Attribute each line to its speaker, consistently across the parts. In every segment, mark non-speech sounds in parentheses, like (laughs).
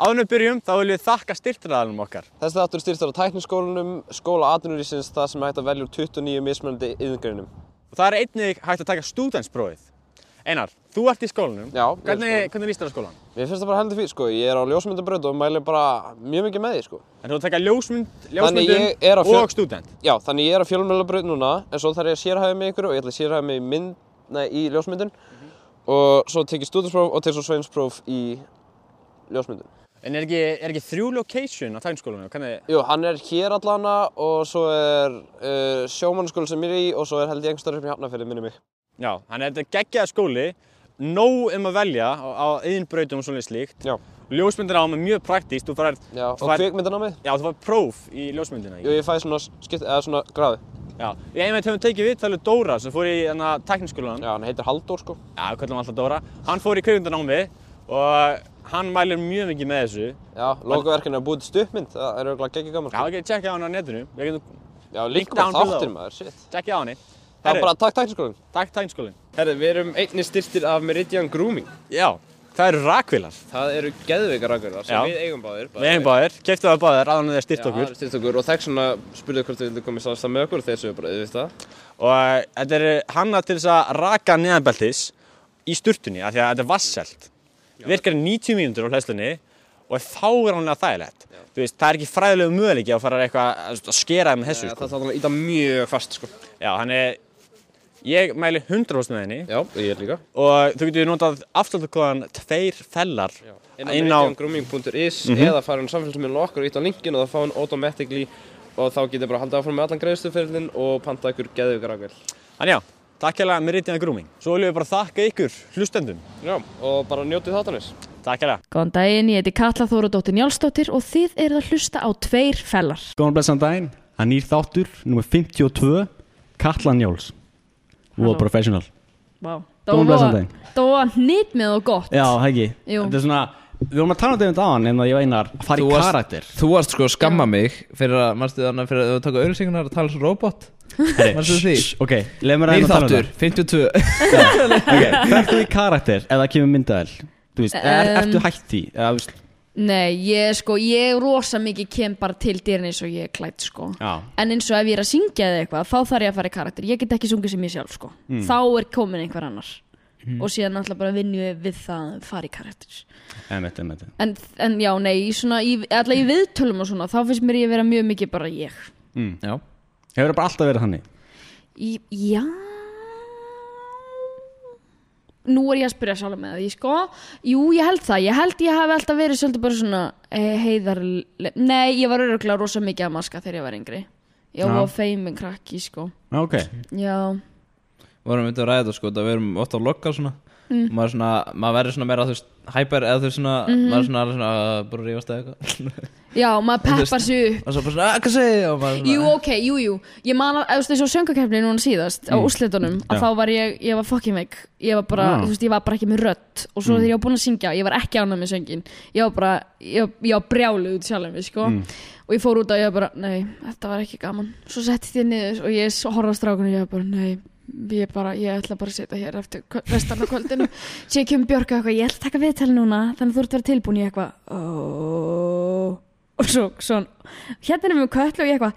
Speaker 1: Ánum byrjum þá viljum við þakka styrtaraðanum okkar.
Speaker 2: Þessi þáttur styrst á tækniskólanum, skóla atvinnurísins, það sem er hægt að velja úr 29 mismunandi yðingreinum.
Speaker 1: Og það er einnig hægt að taka stúdensprófið. Einar, þú ert í skólanum.
Speaker 2: Já, ég er í
Speaker 1: Hvernig,
Speaker 2: skólanum.
Speaker 1: hvernig líst þér á skólan?
Speaker 2: Mér finnst það bara heldur fyrir, sko. Ég er á ljósmyndabraut og mæli bara mjög mikið með því, sko.
Speaker 1: En þú ert að taka ljósmynd,
Speaker 2: Þannig
Speaker 1: ljósmyndum
Speaker 2: ég er á fjö-
Speaker 1: og stúdent.
Speaker 2: Já, þannig ég er á fjölmjölabraut núna, en svo þarf ég að sérhæfa mig ykkur og ég ætla að sérhæfa mig í mynd, nei, í ljósmyndun. Og svo tek ég stúdinspróf og tek svo sveinspróf í ljósmyndun.
Speaker 1: En er ekki, er ekki þrjú location á tækniskólanum? Hvernig,
Speaker 2: Jú, hann er hér allana og svo er uh, sjómannskóla sem ég er í og svo er held ég einhverstaður upp í Hafnarfjörði minni mig.
Speaker 1: já, þannig að þetta er geggjaða skóli, nóg um að velja á, á einbrautum og svona slíkt.
Speaker 2: Já.
Speaker 1: Ljósmyndir á með mjög praktíst, þú farir,
Speaker 2: Já, og
Speaker 1: þú fær-
Speaker 2: kvikmyndanámið?
Speaker 1: já, þú farir próf í ljósmyndina.
Speaker 2: Jú, ég fæ svona skipt, eða svona gráðu.
Speaker 1: Já, ég einmitt hefum tekið vitt, það er Dóra sem fór í hana, tækniskólan,
Speaker 2: Já, hann heitir Halldór sko.
Speaker 1: já, við kallum hann alltaf Dóra, hann fór í kveikmyndanámi og hann mælir mjög mikið með þessu.
Speaker 2: Já, logoverkinu er búið til stuppmynd, það er auðvitað geggir gaman
Speaker 1: Já,
Speaker 2: sko.
Speaker 1: það getur tjekkað á hann á netinu, við getum
Speaker 2: Já, líka
Speaker 1: down
Speaker 2: bara
Speaker 1: below.
Speaker 2: þáttir maður, shit.
Speaker 1: tjekkað á hann.
Speaker 2: Það
Speaker 1: Herru,
Speaker 2: er bara takk sko. taktiskólinn.
Speaker 1: takk tækniskólinn.
Speaker 3: Herri, við erum einni styrtir af Meridian Grooming.
Speaker 1: Já, það eru rakvilar.
Speaker 3: Það eru geðveikar akkurat sem
Speaker 1: Já.
Speaker 3: við eigum báðir.
Speaker 1: Við eigum báðir, keftu það báðir, aðan þeir styrkt
Speaker 3: Já, það
Speaker 1: okkur.
Speaker 3: eru styrkt okkur og þegar svona spurðu hvort þau vildu komið samstað með okkur og þeir sögðu bara, þú veist það.
Speaker 1: Og þetta er hanna til þess að raka neðanbeltis í sturtunni, af því að þetta er vasselt. Virkar í 90 mínútur á hlæslunni og er fáránlega þægilegt. Þú veist, það er ekki fræðilegu möguleiki að fara eitthvað að- að skera þeim með þessu,
Speaker 3: Eh, Það
Speaker 1: sko.
Speaker 3: þarf þannig að íta mjög fast, sko.
Speaker 1: Já, hann er, ég mæli 100% með henni
Speaker 3: Já, og ég líka.
Speaker 1: og þú getur notað afslutarkoðan tveir fellar
Speaker 3: Inn á meridiangrooming.is
Speaker 1: Mhm.
Speaker 3: eða fara hann samfélagsmiðlun okkur og íta á linkin og það fá hann automatically og þá getur bara haldið áfram með allan greiðsluferðin og panta ykkur geðveikar akkur.
Speaker 1: Þannig já, takk hérlega Meridian Grooming. Svo viljum við bara þakka ykkur, hlustendum.
Speaker 3: Já, og bara njótið þáttanis.
Speaker 1: Takk hérlega.
Speaker 4: Góðan daginn, ég heiti Katla Þóradóttir Njálsdóttir og þið eruð að hlusta á tveir fellar.
Speaker 5: Góðan blessan daginn, það er nýr þáttur, nummer 52, Katlan Jóls.
Speaker 4: Halló.
Speaker 5: Wow, professional.
Speaker 4: Vá.
Speaker 5: Góðan blessan daginn.
Speaker 4: Dóa nýtt með og gott.
Speaker 5: Já, hegi.
Speaker 4: Jú.
Speaker 5: Þetta er svona, við vorum að tala um þetta um dagann en það ég veinar að fara í karakter.
Speaker 6: Þú varst sko að skamma mig fyrir að, mannstu þannig fyrir að þú taka auðlýsingunar og tala svo robot
Speaker 5: (laughs) Herri,
Speaker 6: Varstu því?
Speaker 5: shh, Ok, leið mér
Speaker 6: Nýr
Speaker 5: aðeins að tala um
Speaker 6: þáttur,
Speaker 5: það.
Speaker 6: 52
Speaker 5: Ok, ferðu í karakter ef það kemur myndavel? Þú veist, er,
Speaker 4: Um,
Speaker 5: ertu hætt því? Eða, þú veist,
Speaker 4: Nei, ég sko, ég rosa mikið kem bara til dyrn eins og ég er klætt sko.
Speaker 5: Já.
Speaker 4: En eins og ef ég er að syngja eða eitthvað, þá þarf ég að fara í karakter. Ég get ekki sungið sem ég sjálf sko.
Speaker 5: Mm.
Speaker 4: Þá er komin einhver annar. Og síðan náttúrulega bara vinnjum við við það að fara í karakter.
Speaker 5: emmett, emmett.
Speaker 4: En, en já, nei, í svona, í, allavega í viðtölum og svona, þá finnst mér ég vera mjög mikið bara ég.
Speaker 5: Mm.
Speaker 6: (laughs) Já,
Speaker 5: Hefur það bara alltaf verið þannig?
Speaker 4: Í, já Nú er ég að spyrja sjálf með því sko Jú, ég held það, ég held ég hafi alltaf verið svolítið bara svona eh, heiðar Nei, ég var öruglega rosa mikið að maska þegar ég var yngri Ég
Speaker 5: Já.
Speaker 4: var feimin krakki sko
Speaker 5: Já, Ok,
Speaker 4: Já,
Speaker 6: vorum við að ræða þetta sko, það við erum oft að lokka svona
Speaker 4: Mm.
Speaker 6: og maður, svona, maður verður svona meira þú veist, hyper eða þú veist svona,
Speaker 4: Mhm.
Speaker 6: maður svona, svona uh, bara rífast eða eitthvað (laughs)
Speaker 4: já, maður peppar sig upp
Speaker 6: og svo bara svona, "Ah, hvað segir ég og maður svona
Speaker 4: Jú, ok, jú, jú Ég man að, eða þessu söngakefni núna síðast á úrslitunum, að þá var ég, ég var fucking veik ég var bara,
Speaker 5: Já.
Speaker 4: þú veist, ég var bara ekki með rödd og svo þegar ég var búin að syngja, ég var ekki ánað með söngin ég var bara, ég, var- ég var brjáluð út sjálf mig, sko, og ég fór út og ég var bara, nei, þetta var ekki gaman svo settist ég niður og ég horfði á strákunum og ég var bara, nei ég bara, ég ætla bara að setja hér eftir kvö- restan af kvöldinu síðan kemur Björk og eitthvað, ég ætla að taka viðtal núna þannig að þú ert að vera tilbúin í eitthvað oh. og svo, svo hérna erum við köllu og ég eitthvað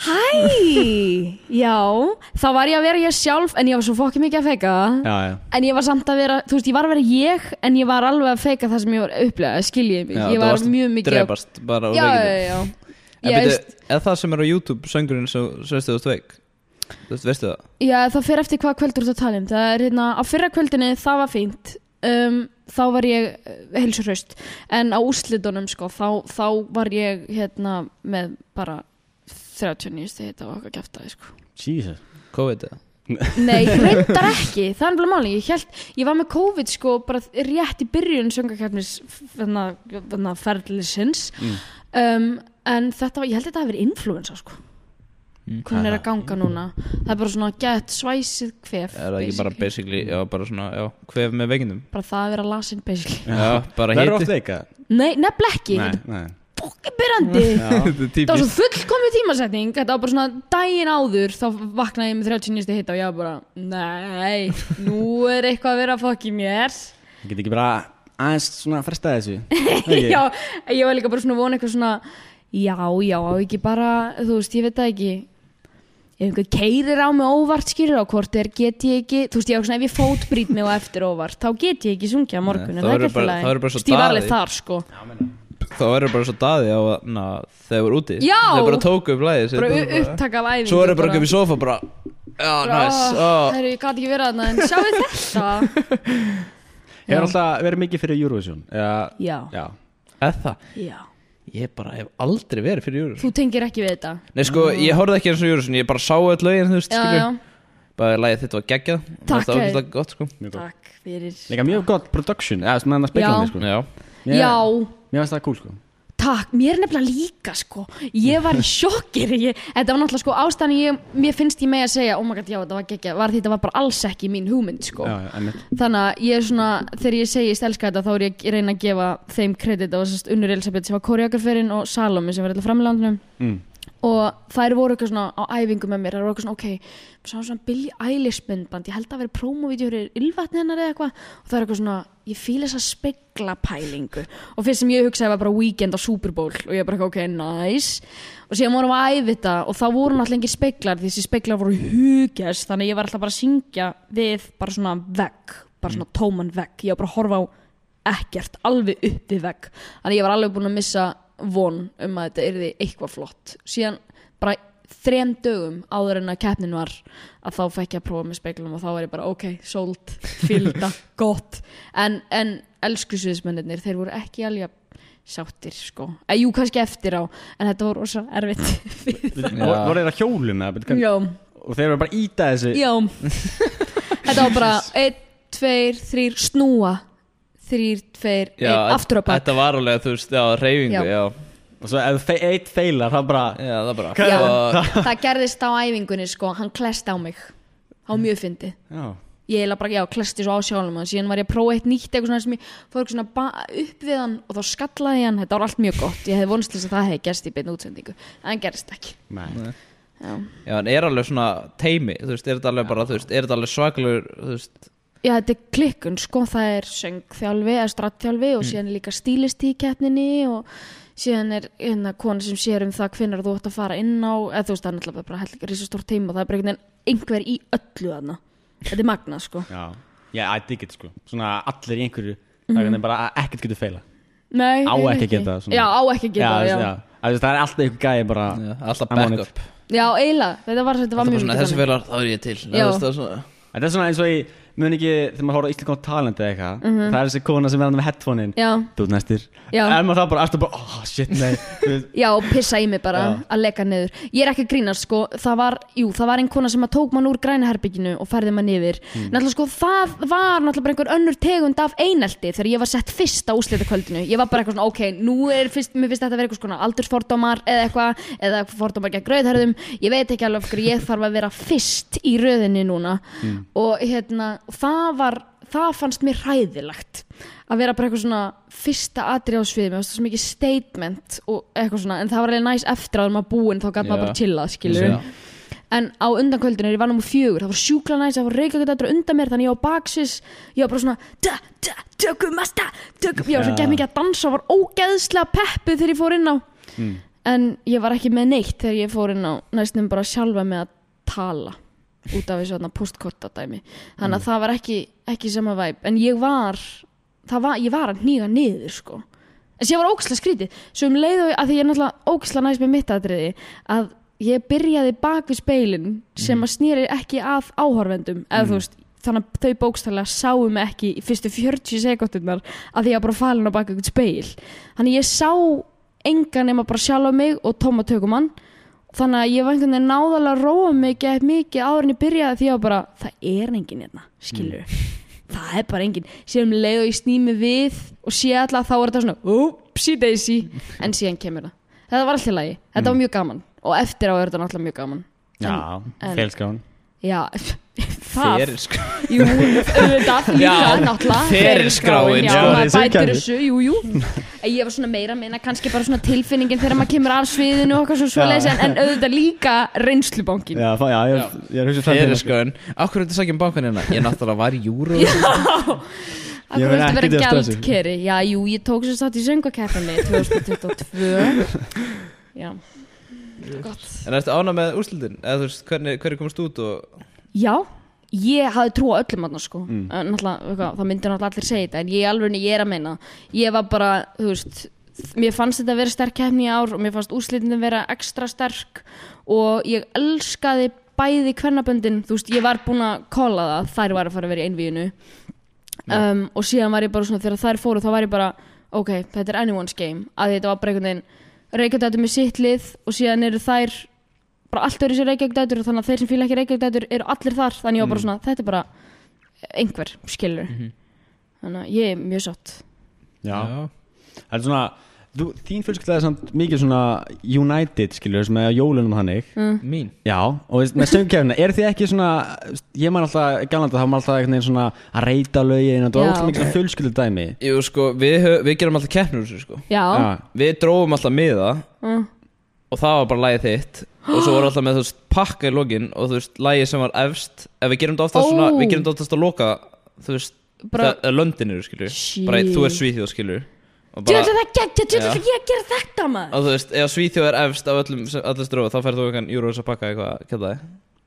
Speaker 4: hæ, já þá var ég að vera ég sjálf en ég var svo fokki mikið að feika
Speaker 5: já, já.
Speaker 4: en ég var samt að vera, þú veist, ég var að vera ég en ég var alveg að feika það sem ég var upplegað skiljið mig,
Speaker 6: Já,
Speaker 4: ég
Speaker 6: þú
Speaker 4: var
Speaker 6: varst
Speaker 4: mjög mikið að-
Speaker 6: drepast bara og
Speaker 4: já, já,
Speaker 6: veikindi.
Speaker 4: já,
Speaker 6: En
Speaker 4: já.
Speaker 6: byrju, eða það sem er á YouTube, söngurinn sem sveist þú ert veik Þú veist, veistu það?
Speaker 4: Já, það fer eftir hvað kvöldur þú ert að tala um. Það er hérna, á fyrra kvöldinni það var fínt. Um, þá var ég heilsurhaust. En á úrslitunum, sko, þá, þá var ég hérna með bara 39 stegi, þetta var okkar kæftæði, sko.
Speaker 5: Jesus.
Speaker 6: COVID eða?
Speaker 4: Nei, reyndar ekki. Það er alveg máli. Ég held, ég var með COVID, sko, bara rétt í byrjun söngakefnis ferðlisins. Mm. Um, en þetta var, ég held þetta að vera influensa, sko.
Speaker 6: Mm,
Speaker 4: Hvernig er að ganga núna? Það er bara svona get svæsið kvef.
Speaker 6: Er það ekki bara
Speaker 4: basically.
Speaker 6: basically, já, bara svona, já, kvef með veikindum
Speaker 4: bara það að vera lasin basically
Speaker 6: Já, bara
Speaker 5: Verður
Speaker 6: (laughs)
Speaker 5: oft
Speaker 6: hiti
Speaker 5: veika?
Speaker 4: Nei, nefnileg ekki,
Speaker 5: Nei,
Speaker 4: þetta
Speaker 5: nei.
Speaker 4: er bókið byrjandi
Speaker 6: Þetta er
Speaker 4: Það var
Speaker 6: típist
Speaker 4: svo fullkomið tímasetning Þetta var bara svona daginn áður Þá vaknaði ég með 39. hita og ég var bara Nei, nú er eitthvað að vera að fokki mér
Speaker 5: Ég get ekki bara aðeins svona
Speaker 4: (laughs)
Speaker 5: fresta þessu okay.
Speaker 4: já, ég var líka bara svona að vona eitthvað svona já, já, á ekki bara þú veist, ég veit það ekki ef einhver keirir á mig óvart skýrir á hvort er, get ég ekki þú veist, ég var svona, ef ég fótbrýt mig og eftir óvart þá get ég ekki sungja á morgun
Speaker 6: Nei,
Speaker 4: en
Speaker 6: þá
Speaker 4: það er
Speaker 6: verður
Speaker 4: ekki
Speaker 6: bara- þá verður bara
Speaker 4: alltaf
Speaker 6: svo
Speaker 4: stíf alveg
Speaker 6: Daði.
Speaker 4: þar, sko
Speaker 6: Þá verður bara svo daði á að, na, þegar voru úti
Speaker 4: Já!
Speaker 6: Þeir bara tóku upp læði
Speaker 4: bara u- upptaka af æfingu
Speaker 6: Svo verður bara ekki upp í sofa bara Já, næs
Speaker 4: oh,
Speaker 6: ó.
Speaker 4: Herru, ég gat ekki verið þarna, en
Speaker 6: (laughs)
Speaker 4: sjáu þetta
Speaker 5: Ég er alltaf verið mikið fyrir Eurovision Já,
Speaker 4: Já,
Speaker 5: já.
Speaker 6: Eða það
Speaker 4: já
Speaker 6: Ég bara hef aldrei verið fyrir júru
Speaker 4: Þú tengir ekki við þetta
Speaker 6: Nei, sko, ég horfði ekki eins og júru Ég bara sá öll lögin, þú veist,
Speaker 4: Ah. Já,
Speaker 6: skilju
Speaker 4: já,
Speaker 6: Bara lagið þitt var geggjað
Speaker 4: Takk, Ah.
Speaker 6: Það var
Speaker 4: hei.
Speaker 6: ekki gott, sko
Speaker 4: takk fyrir
Speaker 5: Líka mjög gott production, eða svona hann að spekla
Speaker 4: Já.
Speaker 5: mig sko
Speaker 6: Já
Speaker 5: Mér-
Speaker 4: Já,
Speaker 5: Mér finnst það cool sko
Speaker 4: takk, mér er nefnilega líka sko Ég var í sjokkir ég, Þetta var náttúrulega sko ástæðan ég, Mér finnst ég með að segja, oh my god, já, þetta var geggja Var því þetta var bara alls ekki mín hugmynd sko
Speaker 5: Já, já, einmitt.
Speaker 4: Þannig að ég er svona, þegar ég segi stelska þetta þá er ég að reyna að gefa þeim kredit á þessast Unnur Elisabeth sem var koreograferinn og Salome sem var hérna alltaf framlandunum
Speaker 5: Mm.
Speaker 4: og þær voru eitthvað svona á æfingu með mér þær voru eitthvað svona, ok, sá svona Billie Eilish myndband, ég held að vera prómovídeó fyrir ylvatni hennar eða eitthvað og það er eitthvað svona, ég fíla þessa speglapælingu og fyrst sem ég hugsaði var bara weekend á Super Bowl og ég bara ok, nice og síðan vorum við að æfi þetta og þá voru náttúrulega engir speglar því þessi speglar voru hugjast þannig að ég var alltaf bara að syngja við bara svona vegg, bara svona tóman vegg ég var bara að horfa á ekkert alveg upp við vegg þannig að ég var alveg búin að missa von um að þetta yrði eitthvað flott síðan bara þrem dögum áður en að keppnin var að þá fekk ég að prófa með speglum og þá var ég bara ok, sold, fylgda, gott en, en elsku sviðismennir þeir voru ekki alveg sáttir sko, að jú kannski eftir á en þetta voru rosa erfitt (laughs) fyrir það
Speaker 5: Vor- Voru þeir að hjólum eða betur
Speaker 4: já,
Speaker 5: Og þeir eru bara að íta þessu
Speaker 4: já þetta var bara 1, 2, 3, snúa 3, 2, 1, aftur á bak
Speaker 6: Þetta var alveg, þú veist, já, reyfingu,
Speaker 4: Já.
Speaker 6: já
Speaker 5: Og svo ef fe eitt feilar þá bara
Speaker 6: Já, það bara
Speaker 4: Já,
Speaker 6: Og-
Speaker 4: það gerðist á æfingunni sko, hann klest á mig á mjög fyndi
Speaker 5: Já,
Speaker 4: ég eiginlega bara, já, klesti svo á sjálfum hann síðan var ég að prófa eitt nýtt eitthvað svona sem ég fór eitthvað svona ba- upp við hann og þá skallaði ég hann þetta var allt mjög gott, ég hefði vonst til þess að það hefði gerst í beinu útsendingu, en það gerist ekki
Speaker 5: nei
Speaker 4: já.
Speaker 6: Já, en er alveg svona teimi, þú veist, er þetta alveg bara, þú veist, er þetta alveg svakalur, þú veist
Speaker 4: já, þetta er klikkun, sko, það er söngþjálfi eða strattþjálfi og síðan er líka stílist í keppninni og síðan er hérna kona sem sér um það hvenær þú ætti að fara inn á, eða þú veist, það er náttúrulega bara hellingar risastór teima og það er bara einhvern veginn einhver í öllu þarna, þetta er magna, sko
Speaker 5: Já, ég ætti ekki sko Svona allir í einhverju
Speaker 4: Mhm.
Speaker 5: Það er hvernig bara að ekkert getur feila
Speaker 4: Nei,
Speaker 5: Á
Speaker 4: eiginlega
Speaker 5: ekki að geta það, svona.
Speaker 4: Já, á ekki að geta það, já.
Speaker 5: já. Að þú veist, Það er alltaf einhver gæði bara
Speaker 6: já, alltaf
Speaker 5: I'm on it.
Speaker 6: backup
Speaker 4: já, eiginlega, þetta var, þetta var
Speaker 6: Alltaf bara
Speaker 4: mjög
Speaker 6: svona,
Speaker 4: mikið
Speaker 6: þessi
Speaker 4: þannig.
Speaker 6: félag, þá er ég til
Speaker 4: Já.
Speaker 6: Það er svona,
Speaker 5: Þetta er svona eins og ég Mun ekki Þegar maður horfður á Íslandkóna talent eða eitthvað Það er þessi kona sem er hann með headphonein
Speaker 4: Mhm. Já,
Speaker 5: Þú ert næstir
Speaker 4: Já.
Speaker 5: En maður það bara Ertu bara Oh shit,
Speaker 4: (laughs)
Speaker 5: nei Þú veist,
Speaker 4: já, pissa í mig bara að leka niður. Ég er ekki að grínast, sko, það var, jú, það var einn kona sem að tók mann úr grænaherbygginu og færði mann yfir.
Speaker 5: Hmm.
Speaker 4: Náttúrulega, sko, það var náttúrulega bara einhver önnur tegund af einelti þegar ég var sett fyrst á úslitakvöldinu. Ég var bara eitthvað svona, ok, nú er fyrst, mér finnst þetta að vera eitthvað svona aldursfordómar eða eitthvað, eða fordómar gegn rauðherðum. Ég veit ekki alveg af hverju ég þarf að vera fyrst í rauðinni núna.
Speaker 5: Hmm.
Speaker 4: Og hérna, það var, það fannst mér hræðilegt. að vera bara eitthvað svona fyrsta atri á sviði, mér finnst það svo mikið statement og eitthvað svona, en það var alveg næs eftir að maður búinn, þá gæti maður
Speaker 6: Já.
Speaker 4: bara chillað, skilur
Speaker 6: Já.
Speaker 4: en á undankvöldinu, ég var nummer fjögur það var sjúkla næs, það var reykjagöldur undan mér þannig ég á baksis, ég var bara svona da, da, tökum að sta, tökum ég var svo gett mikið að dansa, og var ógeðslega peppuð þegar ég fór inn á en ég var ekki með neitt þegar ég fór inn á næstum bara sjálfa með að tala út af þessu postkortadæmi þannig að það var ekki, ekki sama væp en ég var, það var ég var að nýga niður sko en sem var ógislega skrítið svo um leiðu að því ég er náttúrulega ógislega næst með mitt aðriði að ég byrjaði bak við speilin sem að snýri ekki að áhorfendum eða þú veist þannig að þau bókstæðlega sáum mig ekki í fyrstu 40 sekundunar að því ég var bara falin á bak við speil þannig ég sá engan nema bara sjálfa mig og Tóma Tökumann þannig að ég var einhvern veginn náðalega að róa mig gett mikið áður en ég byrjaði því að bara það er enginn hérna, skilur (laughs) það er bara enginn, síðan um leið og ég sný mig við og sé alltaf þá er þetta svona oopsie daisy, en síðan kemur það þetta var alltaf lagi, þetta var mjög gaman og eftir á er þetta náttúrulega mjög gaman
Speaker 5: Já,
Speaker 4: en-
Speaker 5: feilskrán
Speaker 4: já, (laughs) það
Speaker 6: sko
Speaker 4: Jú, auðvitað, líka,
Speaker 6: Já,
Speaker 4: náttúrulega
Speaker 6: ferilskráin,
Speaker 4: Já,
Speaker 6: sko.
Speaker 4: maður
Speaker 5: Þessi
Speaker 4: bætir
Speaker 5: kerfi.
Speaker 4: þessu, jú, jú En Ég var svona meira að minna, kannski bara svona tilfinningin þegar maður kemur af sviðinu og eitthvað svo svoleiðis en, en auðvitað líka reynslubankin
Speaker 5: Já, fá- já, ég, ég er um hugsað
Speaker 6: sko, um Fyrir sko, en akkur er þetta sækjum bankan hérna? Ég náttúrulega var í júru
Speaker 4: Af
Speaker 5: Ég
Speaker 4: hverju
Speaker 5: verð
Speaker 4: viltu
Speaker 5: ekkert
Speaker 4: vera
Speaker 5: að stressa.
Speaker 4: gjaldkeri? Já, jú, ég tók sér satt í söngakefninni
Speaker 5: (laughs)
Speaker 4: 2022 Já, gott
Speaker 6: En ertu ána með úrslitin? Eða þú veist, hvernig, hvernig komst þú út og
Speaker 4: Já, ég hafði trú á öllum þarna sko mm. Náttúrulega, eitthvað, það myndi náttúrulega allir segja þetta En ég alveg, ég er að meina Ég var bara, þú veist Mér fannst þetta að vera sterk kefni í ár Og mér fannst úrslitin vera ekstra sterk Og ég elskaði bæði kvennaböndin Þú veist, ég var búin að kóla það Þær var að fara að vera í einvíinu um, og síðan var ég bara svona þegar þær fóru þá var ég bara ok, þetta er anyone's game að þetta var bara einhvern veginn reykjadætur með sitt lið og síðan eru þær bara allt öðru sér reykjadætur og þannig að þeir sem fíla ekki reykjadætur eru allir þar þannig ég var bara
Speaker 6: Mm.
Speaker 4: svona, þetta er bara einhver skilur
Speaker 6: Mhm.
Speaker 4: þannig að ég er mjög sátt
Speaker 5: Já,
Speaker 6: Já.
Speaker 5: það er svona þú, Þín fjölskylda er samt mikið svona United skilur sem er á jólunum hannig
Speaker 4: Mm.
Speaker 6: mín?
Speaker 5: Já, og veist, með söngkefnina, er þið ekki svona ég man alltaf, galanda, þá man alltaf einhvern veginn svona að reyta lögin og það
Speaker 4: Já.
Speaker 5: var alltaf mikið svona fjölskyldu dæmi
Speaker 6: Jú, sko, við, hö- við gerum alltaf keppnur úr þessu, sko
Speaker 4: já,
Speaker 5: Já,
Speaker 6: Við drófum alltaf miða
Speaker 4: Mm.
Speaker 6: Og það var bara lagið þitt Og svo voru alltaf með þú veist pakka í lokin Og þú veist, lagið sem var efst Ef við gerum þetta oftast svona,
Speaker 4: Ó.
Speaker 6: við gerum þetta oftast að loka Þú veist,
Speaker 4: Bara-
Speaker 6: það er löndinu, skilur
Speaker 4: Shit.
Speaker 6: Bara í- þú er svíþjóð, skilur Og
Speaker 4: djöðu
Speaker 6: bara-
Speaker 4: það geggja, djöðu
Speaker 6: Já.
Speaker 4: það ég að gera þetta maður
Speaker 6: Og þú veist, ef Svíþjóð er efst af öllum sem allir strófa þá færðu þú einhvern Euros að pakka eitthvað kjallaði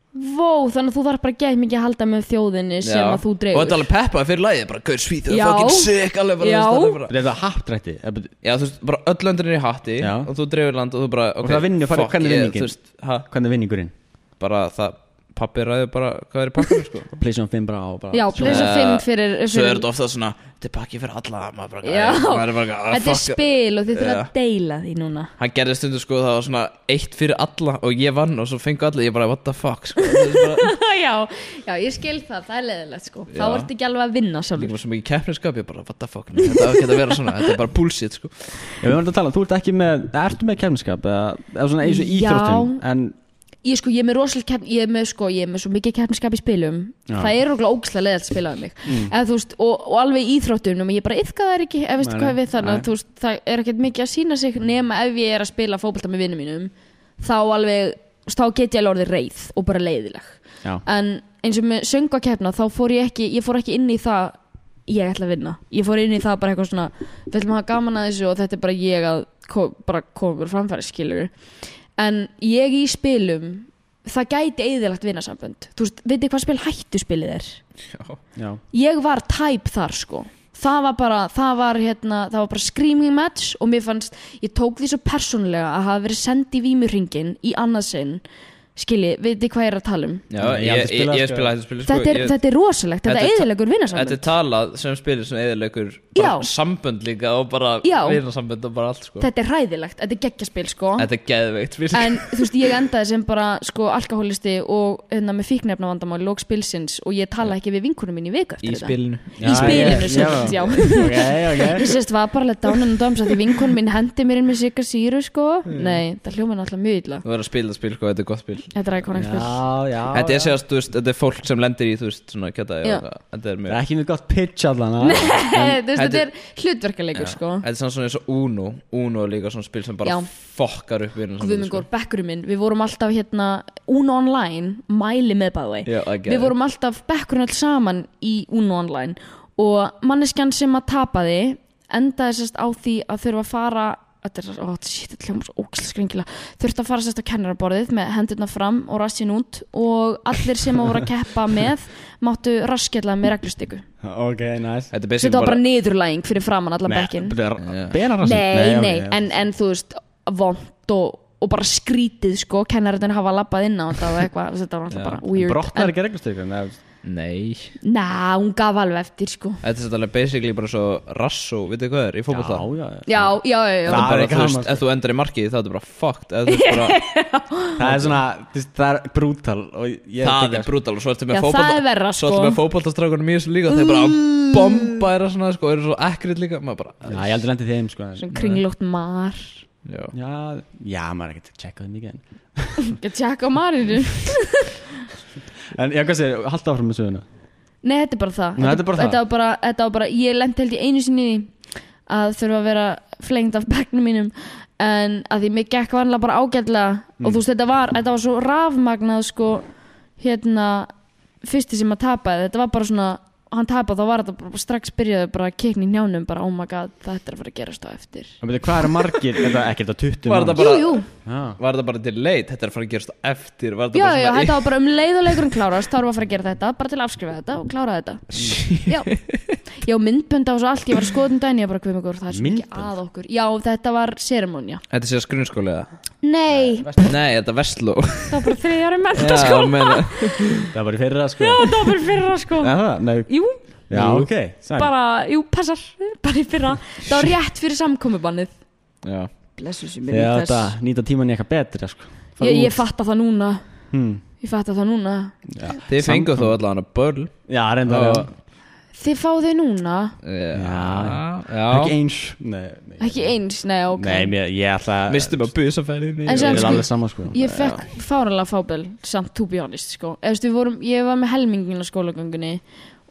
Speaker 4: vó, þannig að þú þarf bara gegg mikið að halda með þjóðinni sem að þú
Speaker 6: Og þetta er
Speaker 4: dregur
Speaker 6: alveg peppa fyrir lagið, bara Gaur Svíþjóð,
Speaker 4: Já.
Speaker 6: fucking sick, alveg bara
Speaker 4: Já.
Speaker 6: þú veist, þetta er bara-
Speaker 5: er þetta happdrætti? Er bet-
Speaker 6: Já, þú veist, bara öll löndin er í hatti
Speaker 5: Já.
Speaker 6: Og þú dreifur land og þú bara okay,
Speaker 5: það vinnur, farið-
Speaker 6: fuck,
Speaker 5: hvernig
Speaker 6: ég-
Speaker 5: vinningin?
Speaker 6: Þú veist, ha,
Speaker 5: Hvernig er vinningurinn?
Speaker 6: bara það Pappi ræður bara hvað er í pakkinu,
Speaker 4: (laughs)
Speaker 6: sko
Speaker 5: Playstation 5 bara og bara
Speaker 4: já, plessa
Speaker 6: Eh,
Speaker 4: fimm fyrir,
Speaker 6: Svo er
Speaker 4: fyrir
Speaker 6: þetta ofta svona, þetta er pakki fyrir alla maður bara,
Speaker 4: Já.
Speaker 6: maður er bara, ah,
Speaker 4: þetta er
Speaker 6: fuck.
Speaker 4: spil og þið þurfa
Speaker 6: Já.
Speaker 4: að deila því núna
Speaker 6: Hann gerði stundu sko, það var svona eitt fyrir alla Og ég vann og svo fengu allir, ég bara, what the fuck sko. Þú veist, bara,
Speaker 4: (laughs) já, já, ég skil það, það er leðilegt sko Þá
Speaker 6: Já.
Speaker 4: ertu ekki alveg að vinna
Speaker 6: Líka
Speaker 4: sjálfur
Speaker 6: með svo mikið keppniskap, ég bara, what the fuck nei, Þetta á ekki að vera svona, þetta er bara bullshit sko.
Speaker 5: Já, við varum að tala, þú ert ekki með, ertu með kemskap eða, eða svona eins og
Speaker 4: Já.
Speaker 5: íþróttum en
Speaker 4: Ég sko, ég er með rosalega kepp, ég er með sko, ég er með svo mikið keppniskap í spilum
Speaker 5: Já. Mm.
Speaker 4: Það er okkur ógæslega leðilegt að spila um mig Eða þú veist, og, og alveg í íþróttum nema ég bara yfka það ekki, ef veistu
Speaker 5: Nei,
Speaker 4: hvað
Speaker 5: nei,
Speaker 4: við þannig
Speaker 5: nei.
Speaker 4: að þú veist, það er ekkert mikið að sína sig nema ef ég er að spila fótbolta með vinnum mínum þá alveg, þú veist, þá get ég alveg orðið reið og bara leiðileg
Speaker 5: já,
Speaker 4: en eins og með söngakeppna þá fór ég ekki, ég fór ekki inn í það ég ætla að vinna, ég fór inn í það bara eitthvað svona, við ætlum að hafa gaman að þessu og þetta er bara ég að ko bara koma okkur á framfæri skilur en ég í spilum það gæti eðilagt vinnasambönd þú veist, veitir hvað spil hættu spilið er
Speaker 5: já,
Speaker 4: ég var tæp þar sko það var bara, það var hérna það var bara screaming match og mér fannst ég tók því svo persónulega að hafa verið sendi í vímurringin í annað sinn skilji, veitir hvað ég er að tala um
Speaker 5: Nei,
Speaker 6: Já,
Speaker 5: ég
Speaker 6: ég,
Speaker 5: hef
Speaker 6: ég,
Speaker 5: aldrei spilað,
Speaker 6: ég, ég
Speaker 5: sko.
Speaker 6: spila þetta spil sko,
Speaker 4: þetta, er,
Speaker 6: ég,
Speaker 4: þetta er rosalegt, þetta,
Speaker 6: Þetta er
Speaker 4: þetta
Speaker 6: ta-
Speaker 4: eðilegur
Speaker 6: Þetta er
Speaker 4: vinnarsamönd
Speaker 6: talað sem spilir sem eðilegur bara
Speaker 4: Já.
Speaker 6: sambönd líka og bara
Speaker 4: Já.
Speaker 6: vinasambönd og bara allt sko
Speaker 4: þetta er hræðilegt, þetta er geggjaspil sko
Speaker 6: Þetta er geðveikt spil
Speaker 4: en þú veist ég endaði sem bara sko alkoholisti og hérna með fíknefna vandamál lók spilsins og ég tala ekki við vinkunum mín í viku eftir
Speaker 6: Í
Speaker 4: þetta
Speaker 6: spilinu
Speaker 5: Já,
Speaker 4: í spilinu
Speaker 5: ég-
Speaker 4: samt, já,
Speaker 5: ok, ok
Speaker 4: (laughs) Ég sérst var bara alveg dánan og döms að því vinkon minn hendi mér inn með sikka síru sko Nei, það hljóma náttúrulega mjög illa
Speaker 6: Þú verður að spila þetta spil sko, þetta er gott spil
Speaker 4: Þetta er iconic spil
Speaker 5: Já, já,
Speaker 6: Þetta er
Speaker 5: já.
Speaker 6: séðast, þú veist, þetta er fólk sem lendir í, þú veist, svona kjata
Speaker 4: Já.
Speaker 6: Þetta er
Speaker 5: Það er
Speaker 6: mjög
Speaker 5: ekki mjög gott pitch allan að-
Speaker 4: (laughs) Þú veist,
Speaker 6: þetta
Speaker 4: Þetta
Speaker 6: er-
Speaker 4: er hlutverkaleikur sko
Speaker 6: Þetta er svona svona eins og Uno Uno er líka svona spil sem bara
Speaker 4: Já.
Speaker 6: fokkar upp sko. vinasambönd
Speaker 4: Guðmengur, bekkurinn minn, við vorum alltaf hérna Uno Online, mæli með by the way
Speaker 6: Já, I get
Speaker 4: Við
Speaker 6: it.
Speaker 4: vorum alltaf bekkurinn alls saman í Uno Online Og manneskjan sem að tapaði endaði sérst á því að þurfa að fara Þetta er svo, ó, shit, þetta hljóma svo ókslega skringila Þurfti að fara sérst á kennaraborðið með hendurna fram og rassin út Og allir sem að voru að keppa með máttu raskella með reglustiku
Speaker 5: Ok, nice
Speaker 6: Þetta er
Speaker 4: Þetta
Speaker 6: basically
Speaker 4: var bara
Speaker 6: bara
Speaker 4: niðurlæging fyrir framann allan bekkin
Speaker 5: Benar rassin
Speaker 4: Nei, nei,
Speaker 5: ok,
Speaker 4: en, en þú veist vond og, og bara skrítið sko, kennarinn hafa lappað inn á þetta og eitthvað, þetta var alltaf bara weird
Speaker 5: Brotnar ekki reglustykun
Speaker 6: Nei
Speaker 4: En- Ná, hún gaf alveg eftir sko
Speaker 6: Þetta er svolítið basically bara svo rassó, veitu hvað er, í
Speaker 5: Já,
Speaker 6: fótbolta
Speaker 5: já, já
Speaker 4: Já, já, já, já.
Speaker 5: Það er
Speaker 6: Það bara,
Speaker 5: ekki
Speaker 6: þú
Speaker 5: gaman,
Speaker 6: veist,
Speaker 5: sko.
Speaker 6: ef þú endar í markið þá er þetta bara fucked
Speaker 4: (laughs)
Speaker 6: eða þú veist bara,
Speaker 5: Það er svona, þú veist, það er brútal og ég
Speaker 6: það
Speaker 5: ekki-
Speaker 6: er brútal og svo ertu
Speaker 4: Já,
Speaker 6: með
Speaker 4: það
Speaker 6: fótbolta
Speaker 4: er verra,
Speaker 6: svo ertu
Speaker 4: sko.
Speaker 6: með fótboltastrákunum í þessu líka þeir bara bomba þeirra svona sko, og eru svo ekkert líka maður bara,
Speaker 5: Já, ég aldrei lendi þeim, sko en-
Speaker 4: Svona kringlótt mar
Speaker 6: já.
Speaker 5: Já, já, maður er ekkert að checka þeim mikið en-
Speaker 4: Ég tjekka á marinu
Speaker 5: En já, hvað segir, halda áfram með söguna
Speaker 4: Nei, þetta er bara það
Speaker 5: Nei, þetta er bara það.
Speaker 4: þetta var bara, þetta var bara, ég lendi held í einu sinni í því að þurfa að vera flengd af bekknum mínum en að því mér gekk vanlega bara ágætlega
Speaker 5: Mm.
Speaker 4: og þú veist, þetta var, þetta var svo rafmagnað sko, hérna fyrsti sem að tapaði, þetta var bara svona hann tapa þá var þetta bara- bara strax byrjaði bara að kikna í njánum bara oh my god þetta er að fara að gerast á eftir
Speaker 5: En betur, hvað er margir, (laughs) er þetta ekki þetta 20
Speaker 6: Var þetta
Speaker 5: manns?
Speaker 6: bara,
Speaker 4: Jú, jú,
Speaker 5: Já.
Speaker 6: var þetta bara delayed? Þetta er að fara að gerast á eftir Var þetta
Speaker 4: já,
Speaker 6: bara
Speaker 4: já,
Speaker 6: svona
Speaker 4: þetta var bara um leið og leikurinn klárast þá erum við að fara að gera þetta, bara til að afskrifa þetta og klára þetta Já, já myndbönd á þessu allt, ég var að skoða um daginn ég var bara kvim ykkur, það er svo
Speaker 5: Myndbönd?
Speaker 4: ekki að okkur Já, þetta var sérumónja
Speaker 6: Þetta sé að grunnskóli eða?
Speaker 4: Nei,
Speaker 6: Nei, þetta er
Speaker 5: (laughs)
Speaker 6: Vestló
Speaker 4: það var bara þriðja ári
Speaker 5: sko-
Speaker 6: Já,
Speaker 4: mentaskóla
Speaker 6: meina-
Speaker 5: Það var í fyrra sko
Speaker 4: sko. (laughs) Já, það var bara í fyrra sko
Speaker 5: Já, það, nei,
Speaker 4: Jú,
Speaker 5: já,
Speaker 6: Jú.
Speaker 5: ok Sæl.
Speaker 4: bara, jú, passar, bara í fyrra Það var rétt fyrir samkomubannið
Speaker 6: Já.
Speaker 4: Blessu sér
Speaker 5: Já,
Speaker 4: minning
Speaker 5: þetta,
Speaker 4: þess
Speaker 5: nýta tíman í eitthvað betra sko Fara
Speaker 4: Ég, ég
Speaker 5: út.
Speaker 4: fatta það núna
Speaker 5: hmm.
Speaker 4: Ég fatta það núna
Speaker 6: Þið fenguð þó allan að börl
Speaker 5: Já, reynda
Speaker 6: Já.
Speaker 5: já.
Speaker 4: Þið fáðu núna
Speaker 5: Já. Ekki
Speaker 6: Já
Speaker 5: eins Nei, nei,
Speaker 4: Ekki eins, nei, ok
Speaker 5: Eh. nei mér, ég ætla
Speaker 6: Mistum að busa færiðni
Speaker 4: En
Speaker 5: Ég
Speaker 4: sem-
Speaker 5: er alveg sama sko
Speaker 4: Ég fekk fáralega fábel samt to be honest sko. Eðast, vorum, ég var með helmingin á skólagöngunni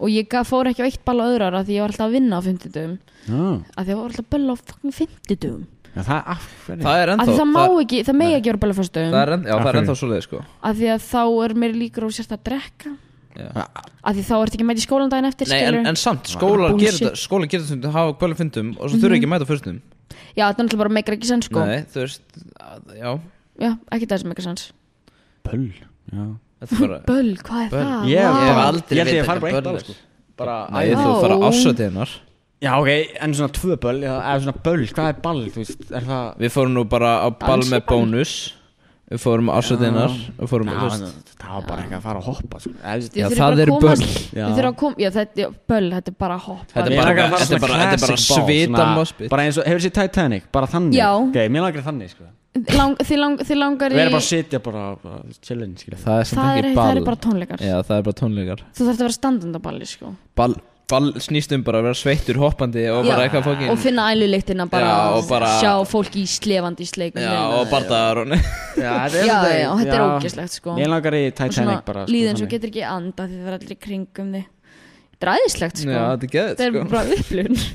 Speaker 4: og ég gaf, fór ekki á eitt ball á öðru ára því ég var alltaf að vinna á 50 dögum
Speaker 5: Já,
Speaker 4: að því ég var alltaf að bölla á fucking 50 dögum
Speaker 5: Já, það er af hverju
Speaker 6: Það er
Speaker 4: að
Speaker 6: ennþá
Speaker 4: því það má
Speaker 6: það-
Speaker 4: ekki, það megi ekki vera að bölla á fyrstu
Speaker 6: Það
Speaker 4: dögum
Speaker 6: er ennþá, já, það er
Speaker 5: Af
Speaker 6: ennþá svoleið sko
Speaker 4: að því að þá er mér líkur á sérst að drekka
Speaker 6: Já.
Speaker 4: að því þá ertu ekki mæti í skólan daginn eftir
Speaker 6: Nei, en,
Speaker 4: skilurðu.
Speaker 6: en samt, skólar
Speaker 4: Bullshit. Mhm.
Speaker 6: gerir þetta Skólar gerir þetta, hafa kvölu fundum Og svo þurfa ekki að mæta fyrstum
Speaker 4: já, þetta er náttúrulega bara meikar ekki sens sko
Speaker 6: Nei, þú veist, að- já
Speaker 4: já, ekki það sem meikar sens
Speaker 5: Pöll Já
Speaker 6: Þetta er bara
Speaker 4: böll, hvað er
Speaker 6: Böll.
Speaker 4: það?
Speaker 5: Ég-
Speaker 4: Vá.
Speaker 5: ég hef
Speaker 6: aldrei
Speaker 5: Ég held ég
Speaker 6: vitað
Speaker 5: fari
Speaker 6: hvað
Speaker 5: bara eitt
Speaker 6: böll
Speaker 5: ball
Speaker 6: er.
Speaker 5: sko Bara
Speaker 6: Nei, þú
Speaker 4: Ó.
Speaker 6: þarf að ásatiðinnar
Speaker 5: Já, ok, en svona tvö böll Já, eða svona böll, hvað er ball, þú veist, er það
Speaker 6: Við fórum nú bara á ball með
Speaker 4: Dansaball.
Speaker 6: bónus Við fórum ásatiðinnar Við fórum,
Speaker 5: Já,
Speaker 6: þú veist
Speaker 5: en það var bara eitthvað að fara að hoppa sko. Eða, þú veist,
Speaker 4: Þið
Speaker 6: Já,
Speaker 4: þurfið
Speaker 6: það
Speaker 4: bara að
Speaker 6: eru
Speaker 4: komast-
Speaker 6: böll.
Speaker 4: þið
Speaker 5: Já.
Speaker 4: þurfið að kom- já, þetta- já, Böll, þetta er bara að hoppa
Speaker 6: Þetta er
Speaker 5: Mér
Speaker 6: bara-
Speaker 5: langar að fara
Speaker 6: þetta er
Speaker 5: svona
Speaker 6: bara- þetta er bara
Speaker 5: classic ball,
Speaker 6: svita
Speaker 5: svona-
Speaker 6: moshpit.
Speaker 5: Bara eins og, hefur sér Titanic, bara þannig
Speaker 4: Já.
Speaker 5: Ok, mér langar þannig sko
Speaker 4: lang, þið, lang, þið langar
Speaker 5: Við
Speaker 4: í
Speaker 5: erum bara að sitja bara, bara chillin skilja
Speaker 6: Það er samt
Speaker 4: það er,
Speaker 6: ekki
Speaker 4: það
Speaker 6: ball
Speaker 4: er bara tónleikar
Speaker 6: Já, það er bara tónleikar
Speaker 4: þú þarf að vera standandi á balli sko.
Speaker 6: Ball, ball snýst um bara að vera sveittur hoppandi Og bara
Speaker 4: Já,
Speaker 6: eitthvað fokkin
Speaker 4: og finna ælulíktina bara,
Speaker 6: Já, og bara-
Speaker 4: sjá fólk í slefandi í sleikum
Speaker 6: Já,
Speaker 4: hérna.
Speaker 6: og bardaðar og (laughs)
Speaker 5: Já, þetta
Speaker 4: já, já, og þetta er ógeslegt sko.
Speaker 5: Mér langar í
Speaker 4: og svona
Speaker 5: Titanic bara sko,
Speaker 4: líðin svo
Speaker 5: þannig.
Speaker 4: getur ekki anda því það er allir í kringum þig þetta er æðislegt sko.
Speaker 6: Já, þetta er geðið
Speaker 4: þetta er
Speaker 6: sko
Speaker 4: bara upplun
Speaker 6: (laughs)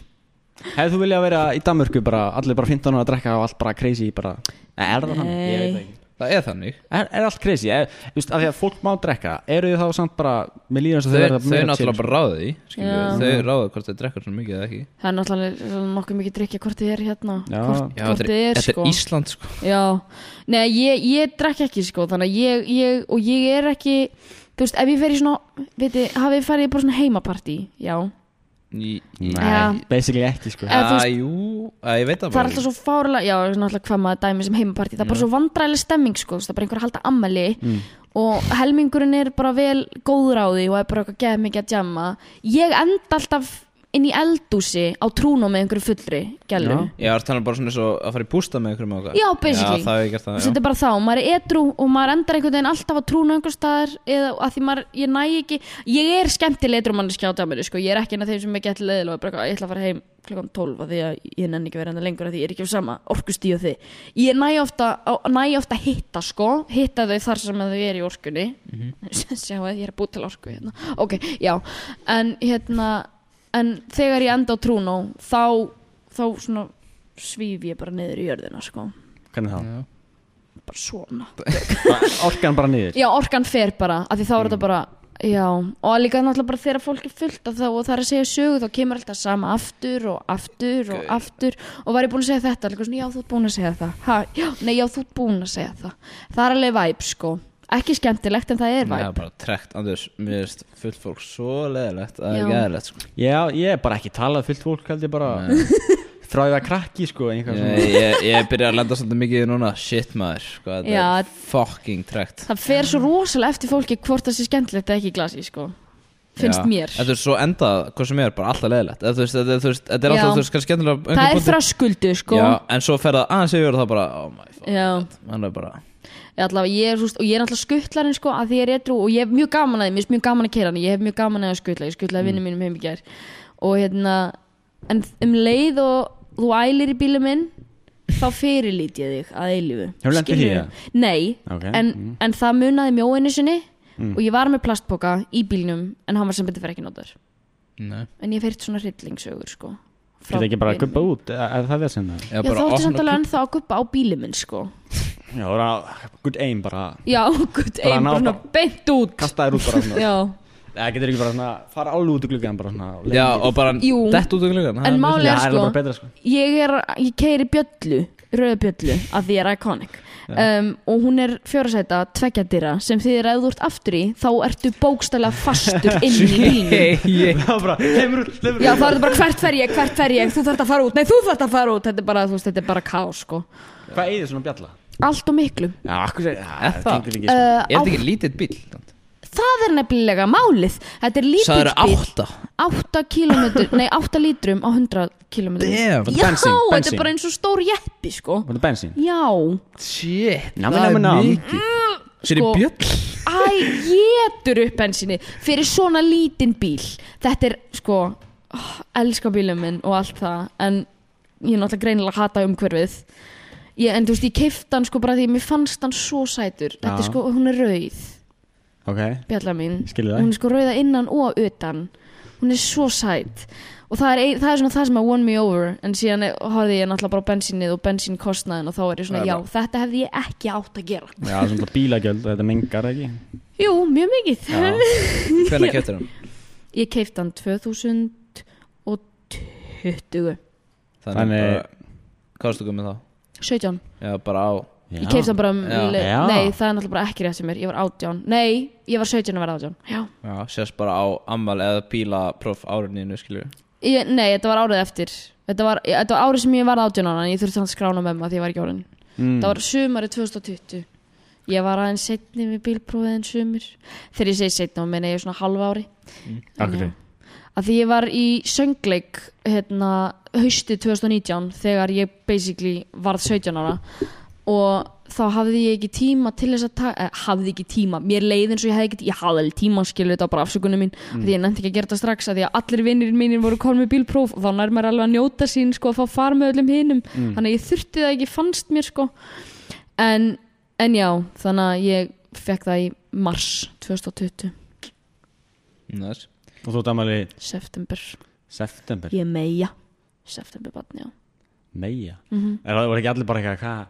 Speaker 5: Hefðu þú viljað vera í Danmörku bara Allir bara 15 ára að drekka og allt bara crazy bara Nei, er það þannig? Ég veit það ekki
Speaker 6: Það er þannig
Speaker 5: Er, er allt crazy, er, þú veist, af því að fólk má drekka Eru þið þá samt bara, mér líður eins og
Speaker 6: Þau,
Speaker 5: þau
Speaker 6: þau,
Speaker 5: verða meira
Speaker 6: náttúrulega
Speaker 5: chill, sko.
Speaker 6: bara ráða því skilur
Speaker 4: Já.
Speaker 6: við. Þau ráða hvort þau drekkar svona mikið eða ekki
Speaker 4: það er náttúrulega nokkuð mikið drikja hvort þið er hérna
Speaker 5: Já.
Speaker 4: hvort,
Speaker 6: Já,
Speaker 4: hvort
Speaker 6: þetta
Speaker 4: þið
Speaker 6: er,
Speaker 4: er
Speaker 6: þetta
Speaker 4: sko
Speaker 6: er Ísland sko
Speaker 4: Já, nei ég, ég drekk ekki sko þannig að ég, ég og ég er ekki þú veist ef ég fer í svona veitir, hafið þið farið í bara svona heimapartí já,
Speaker 6: Í,
Speaker 5: sko. Nei,
Speaker 4: Já.
Speaker 5: basically ekki sko
Speaker 4: Eða þú
Speaker 6: að,
Speaker 4: veist-
Speaker 6: jú, að, ég veit það
Speaker 4: það er
Speaker 6: bara
Speaker 4: alltaf svo fárlega já, náttúrulega hvað maður dæmi sem heimapartí það er bara svo vandræðileg stemming sko, þú veist, það er bara einhver að halda ammali og helmingurinn er bara vel góður á því og er bara eitthvað geð mikið að jamma ég enda alltaf inn í eldúsi á trúnum með einhverju fullri gælum
Speaker 6: Ég var þannig bara svona eins og að fara í bústa með einhverjum og eitthvað.
Speaker 4: Já, basically.
Speaker 6: Já, það hef ég gert
Speaker 4: Þú
Speaker 6: það,
Speaker 4: veist, þetta er bara þá, maður er edru og maður endar einhvern veginn alltaf að trúna einhver staðar eða að því maður, ég næ ekki ég er skemmtileg edru manneskja á dæminu sko. ég er ekki einn af þeim sem er gett leðil og er bara, eitthvað, ég ætla að fara heim klukkan 12 að því að ég nenni ekki að vera enda lengur að því ég er ekki á sama orkustíu og þið ég næ ofta, á, næ ofta að hitta sko hitta þau þar sem þau er í orkunni
Speaker 6: Mhm.
Speaker 4: (laughs) sjá að ég er að búið til orku hérna. ok, já, en hérna en þegar ég enda á trúnó þá, þá svona svíf ég bara niður í jörðina sko
Speaker 5: Hvernig þá?
Speaker 4: bara svona
Speaker 5: Orkan bara niður
Speaker 4: já, orkan fer bara, af því þá
Speaker 6: Mm.
Speaker 4: er þetta bara já, og líka náttúrulega bara þegar fólk er fullt af þá og það er að segja sögu, þá kemur alltaf sama aftur og aftur og aftur og var ég búin að segja þetta, líka svona, já, þú ert búin að segja það ha, já, nei, já, þú ert búin að segja það það er alveg væp, sko ekki skemmtilegt, en það er
Speaker 6: Já,
Speaker 4: væp
Speaker 6: bara trekt, Andrés, mér veist fullt fólk svo leðilegt að það er
Speaker 4: Já.
Speaker 6: geðilegt sko.
Speaker 5: Já, ég er bara ekki talað fullt fólk held ég bara (laughs) Þráðið að krakki sko einhvað
Speaker 6: ég,
Speaker 5: svona
Speaker 6: ég, ég byrja að lenda svolítið mikið í núna Shit maður, sko, þetta
Speaker 4: Já.
Speaker 6: er fucking trekt
Speaker 4: það fer svo rosalega eftir fólki hvort það sé skemmtilegt eða ekki í glasi, sko finnst
Speaker 6: Já.
Speaker 4: mér,
Speaker 6: Þetta er svo endað, hvað sem er, bara alltaf leðilegt Þetta þetta- þetta- þetta- þetta er alltaf,
Speaker 4: Já.
Speaker 6: þú veist, kannski skemmtilega á einhverjum
Speaker 4: það er
Speaker 6: punkti.
Speaker 4: þröskuldu, sko
Speaker 6: Já, en svo fer það aðeins yfir og það bara, oh my fuck
Speaker 4: já.
Speaker 6: Hann er bara,
Speaker 4: Ég allavega, ég er, þú veist, og ég er alltaf skuttlarinn sko að því ég er edru og ég hef mjög gaman að því, mér finnst mjög gaman að kera hann, ég hef mjög gaman að skuttla, ég skuttlaði mm. vinnum mínum heim í gær og hérna, en um leið og þú ælir í bílum minn, þá fyrirlít ég þig að eilífu.
Speaker 5: Hefur lent í því,
Speaker 4: Skilurðu?
Speaker 5: eða?
Speaker 4: Nei,
Speaker 5: Ok, mm.
Speaker 4: en, en það munaði mjóinu sinni og ég var með plastboka í bílnum en hann var sem betur fyrir ekki notar.
Speaker 6: nei
Speaker 4: En ég feirt svona hryllingsögur sko. frá
Speaker 5: Geta ekki bara
Speaker 4: vinum
Speaker 5: að guppa
Speaker 4: mínum.
Speaker 5: út, eða eða það er sem það
Speaker 6: Já,
Speaker 4: Já,
Speaker 6: bara
Speaker 4: þá ertu
Speaker 6: opna
Speaker 4: samt alveg
Speaker 6: kú-
Speaker 4: ennþá að guppa á bílum minn sko.
Speaker 5: Já, það er good aim bara
Speaker 4: Já, (laughs) gutt,
Speaker 5: Bara
Speaker 4: einn
Speaker 5: ná
Speaker 4: bara svona
Speaker 5: bara-
Speaker 4: beint út.
Speaker 5: Kasta þér út bara svona
Speaker 4: Já,
Speaker 5: Það getur ekki bara svona fara alveg út í gluggan bara svona og
Speaker 6: Já,
Speaker 5: leiðin
Speaker 6: og bara
Speaker 4: Jú.
Speaker 6: dett út úr gluggan
Speaker 4: En málið
Speaker 5: Já,
Speaker 4: er
Speaker 5: það er
Speaker 4: sko,
Speaker 5: bara betra, sko. (laughs)
Speaker 4: ég er, ég keiri bjöllu, rauða bjöllu, að því ég er iconic. Um, og hún er fjórasæta tveggjadýra sem þýðir að ef þú ert aftur í þá ertu bókstælega fastur inn í bílnum.
Speaker 6: Ég
Speaker 5: Það er bara, lemur út, lemur út
Speaker 4: Já þá er þetta bara hvert fer ég, hvert fer ég, þú þarft að fara út, nei þú þarft að fara út, þetta er bara, þú veist, þetta er bara kás sko.
Speaker 5: Hvað eigið svona bjalla?
Speaker 4: Allt og miklu.
Speaker 5: Já, akkur sér,
Speaker 6: Er það?
Speaker 5: gengir ekki sko.
Speaker 4: Uh,
Speaker 6: Er
Speaker 4: á,
Speaker 6: þetta ekki lítill bíl?
Speaker 4: það er nefnilega málið, þetta er lítill
Speaker 6: Sæður
Speaker 4: bíll.
Speaker 6: átta
Speaker 4: 8 kilometr, nei 8 lítrum á 100 kilometr
Speaker 6: Damn.
Speaker 4: Já,
Speaker 5: Bensín,
Speaker 4: þetta
Speaker 5: bensín.
Speaker 4: er bara eins og stór jeppi sko
Speaker 5: Bara bensín
Speaker 4: Já,
Speaker 6: Shit,
Speaker 5: Nam,
Speaker 6: það
Speaker 5: nam,
Speaker 6: er
Speaker 5: nam.
Speaker 6: mikið Fyrir
Speaker 4: sko-
Speaker 6: bjöll
Speaker 4: æ, getur upp bensinni fyrir svona lítinn bíl Þetta er sko oh, elska bílum minn og allt það en ég er náttúrulega greinilega að hata umhverfið ég, en þú veist, ég keifti hann sko bara því að mér fannst hann svo sætur Þetta er
Speaker 5: Já.
Speaker 4: sko, hún er rauð
Speaker 5: Ok
Speaker 4: bjalla mín
Speaker 5: Skil það.
Speaker 4: hún er sko rauða innan og utan hún er svo sætt og það er, ein, það er svona það sem að won me over en síðan er- horfði ég náttúrulega bara á bensinnið og bensinkostnaðin og þá er ég svona já, þetta hefði ég ekki átt að gera
Speaker 5: Já, svona bara bílagjöld og þetta mengar ekki
Speaker 4: Jú, mjög mikið
Speaker 6: Hvernig keftur
Speaker 4: (laughs)
Speaker 6: hann?
Speaker 4: Ég keifti hann 2020
Speaker 6: Þannig
Speaker 5: Þannig-
Speaker 6: bara Hvað varstu komið þá?
Speaker 4: 17
Speaker 6: Já, bara á
Speaker 4: Ég keifti hann bara um,
Speaker 6: Já.
Speaker 5: Já.
Speaker 4: Nei, það er náttúrulega bara ekki rétt sem mér Ég var 18 Nei, ég var 17 að vera 18 Já
Speaker 6: Já, sérst bara á ammal eða bílapróf áriðinu, skilju
Speaker 4: ég, Nei, þetta var árið eftir Þetta var, ég- þetta var árið sem ég varð 18 ára En ég þurfti hann skrána með maður því ég var ekki árin
Speaker 6: Hmm.
Speaker 5: Mm.
Speaker 4: Það var sumarið 2020 Ég var aðeins setni með bílprófið en sumir Þegar ég segi setni og meina ég svona halva ári
Speaker 5: Akkur sér
Speaker 4: að því ég var í söngleik hérna, hausti 2019 þegar ég basically varð 17 ára og þá hafði ég ekki tíma til þess að taka, eh, hafði ekki tíma, mér leið eins og ég hafði ekki ég hafði alveg tíma skilu þetta var bara afsökunum mín mm. því ég nefndi ekki að gera þetta strax að því að allir vinnir mínir voru komin með bílpróf og þá nær maður alveg að njóta sín sko að fá far með öllum hinum þannig að ég þurfti það ekki fannst mér sko en, en já, þannig að ég fekk það í mars 2020,
Speaker 6: Næs
Speaker 5: Og þú dæmali
Speaker 4: september
Speaker 5: september
Speaker 4: Ég meia Septemberbarn, já
Speaker 5: Meja
Speaker 4: Mhm.
Speaker 5: Er það voru ekki allir bara eitthvað hvað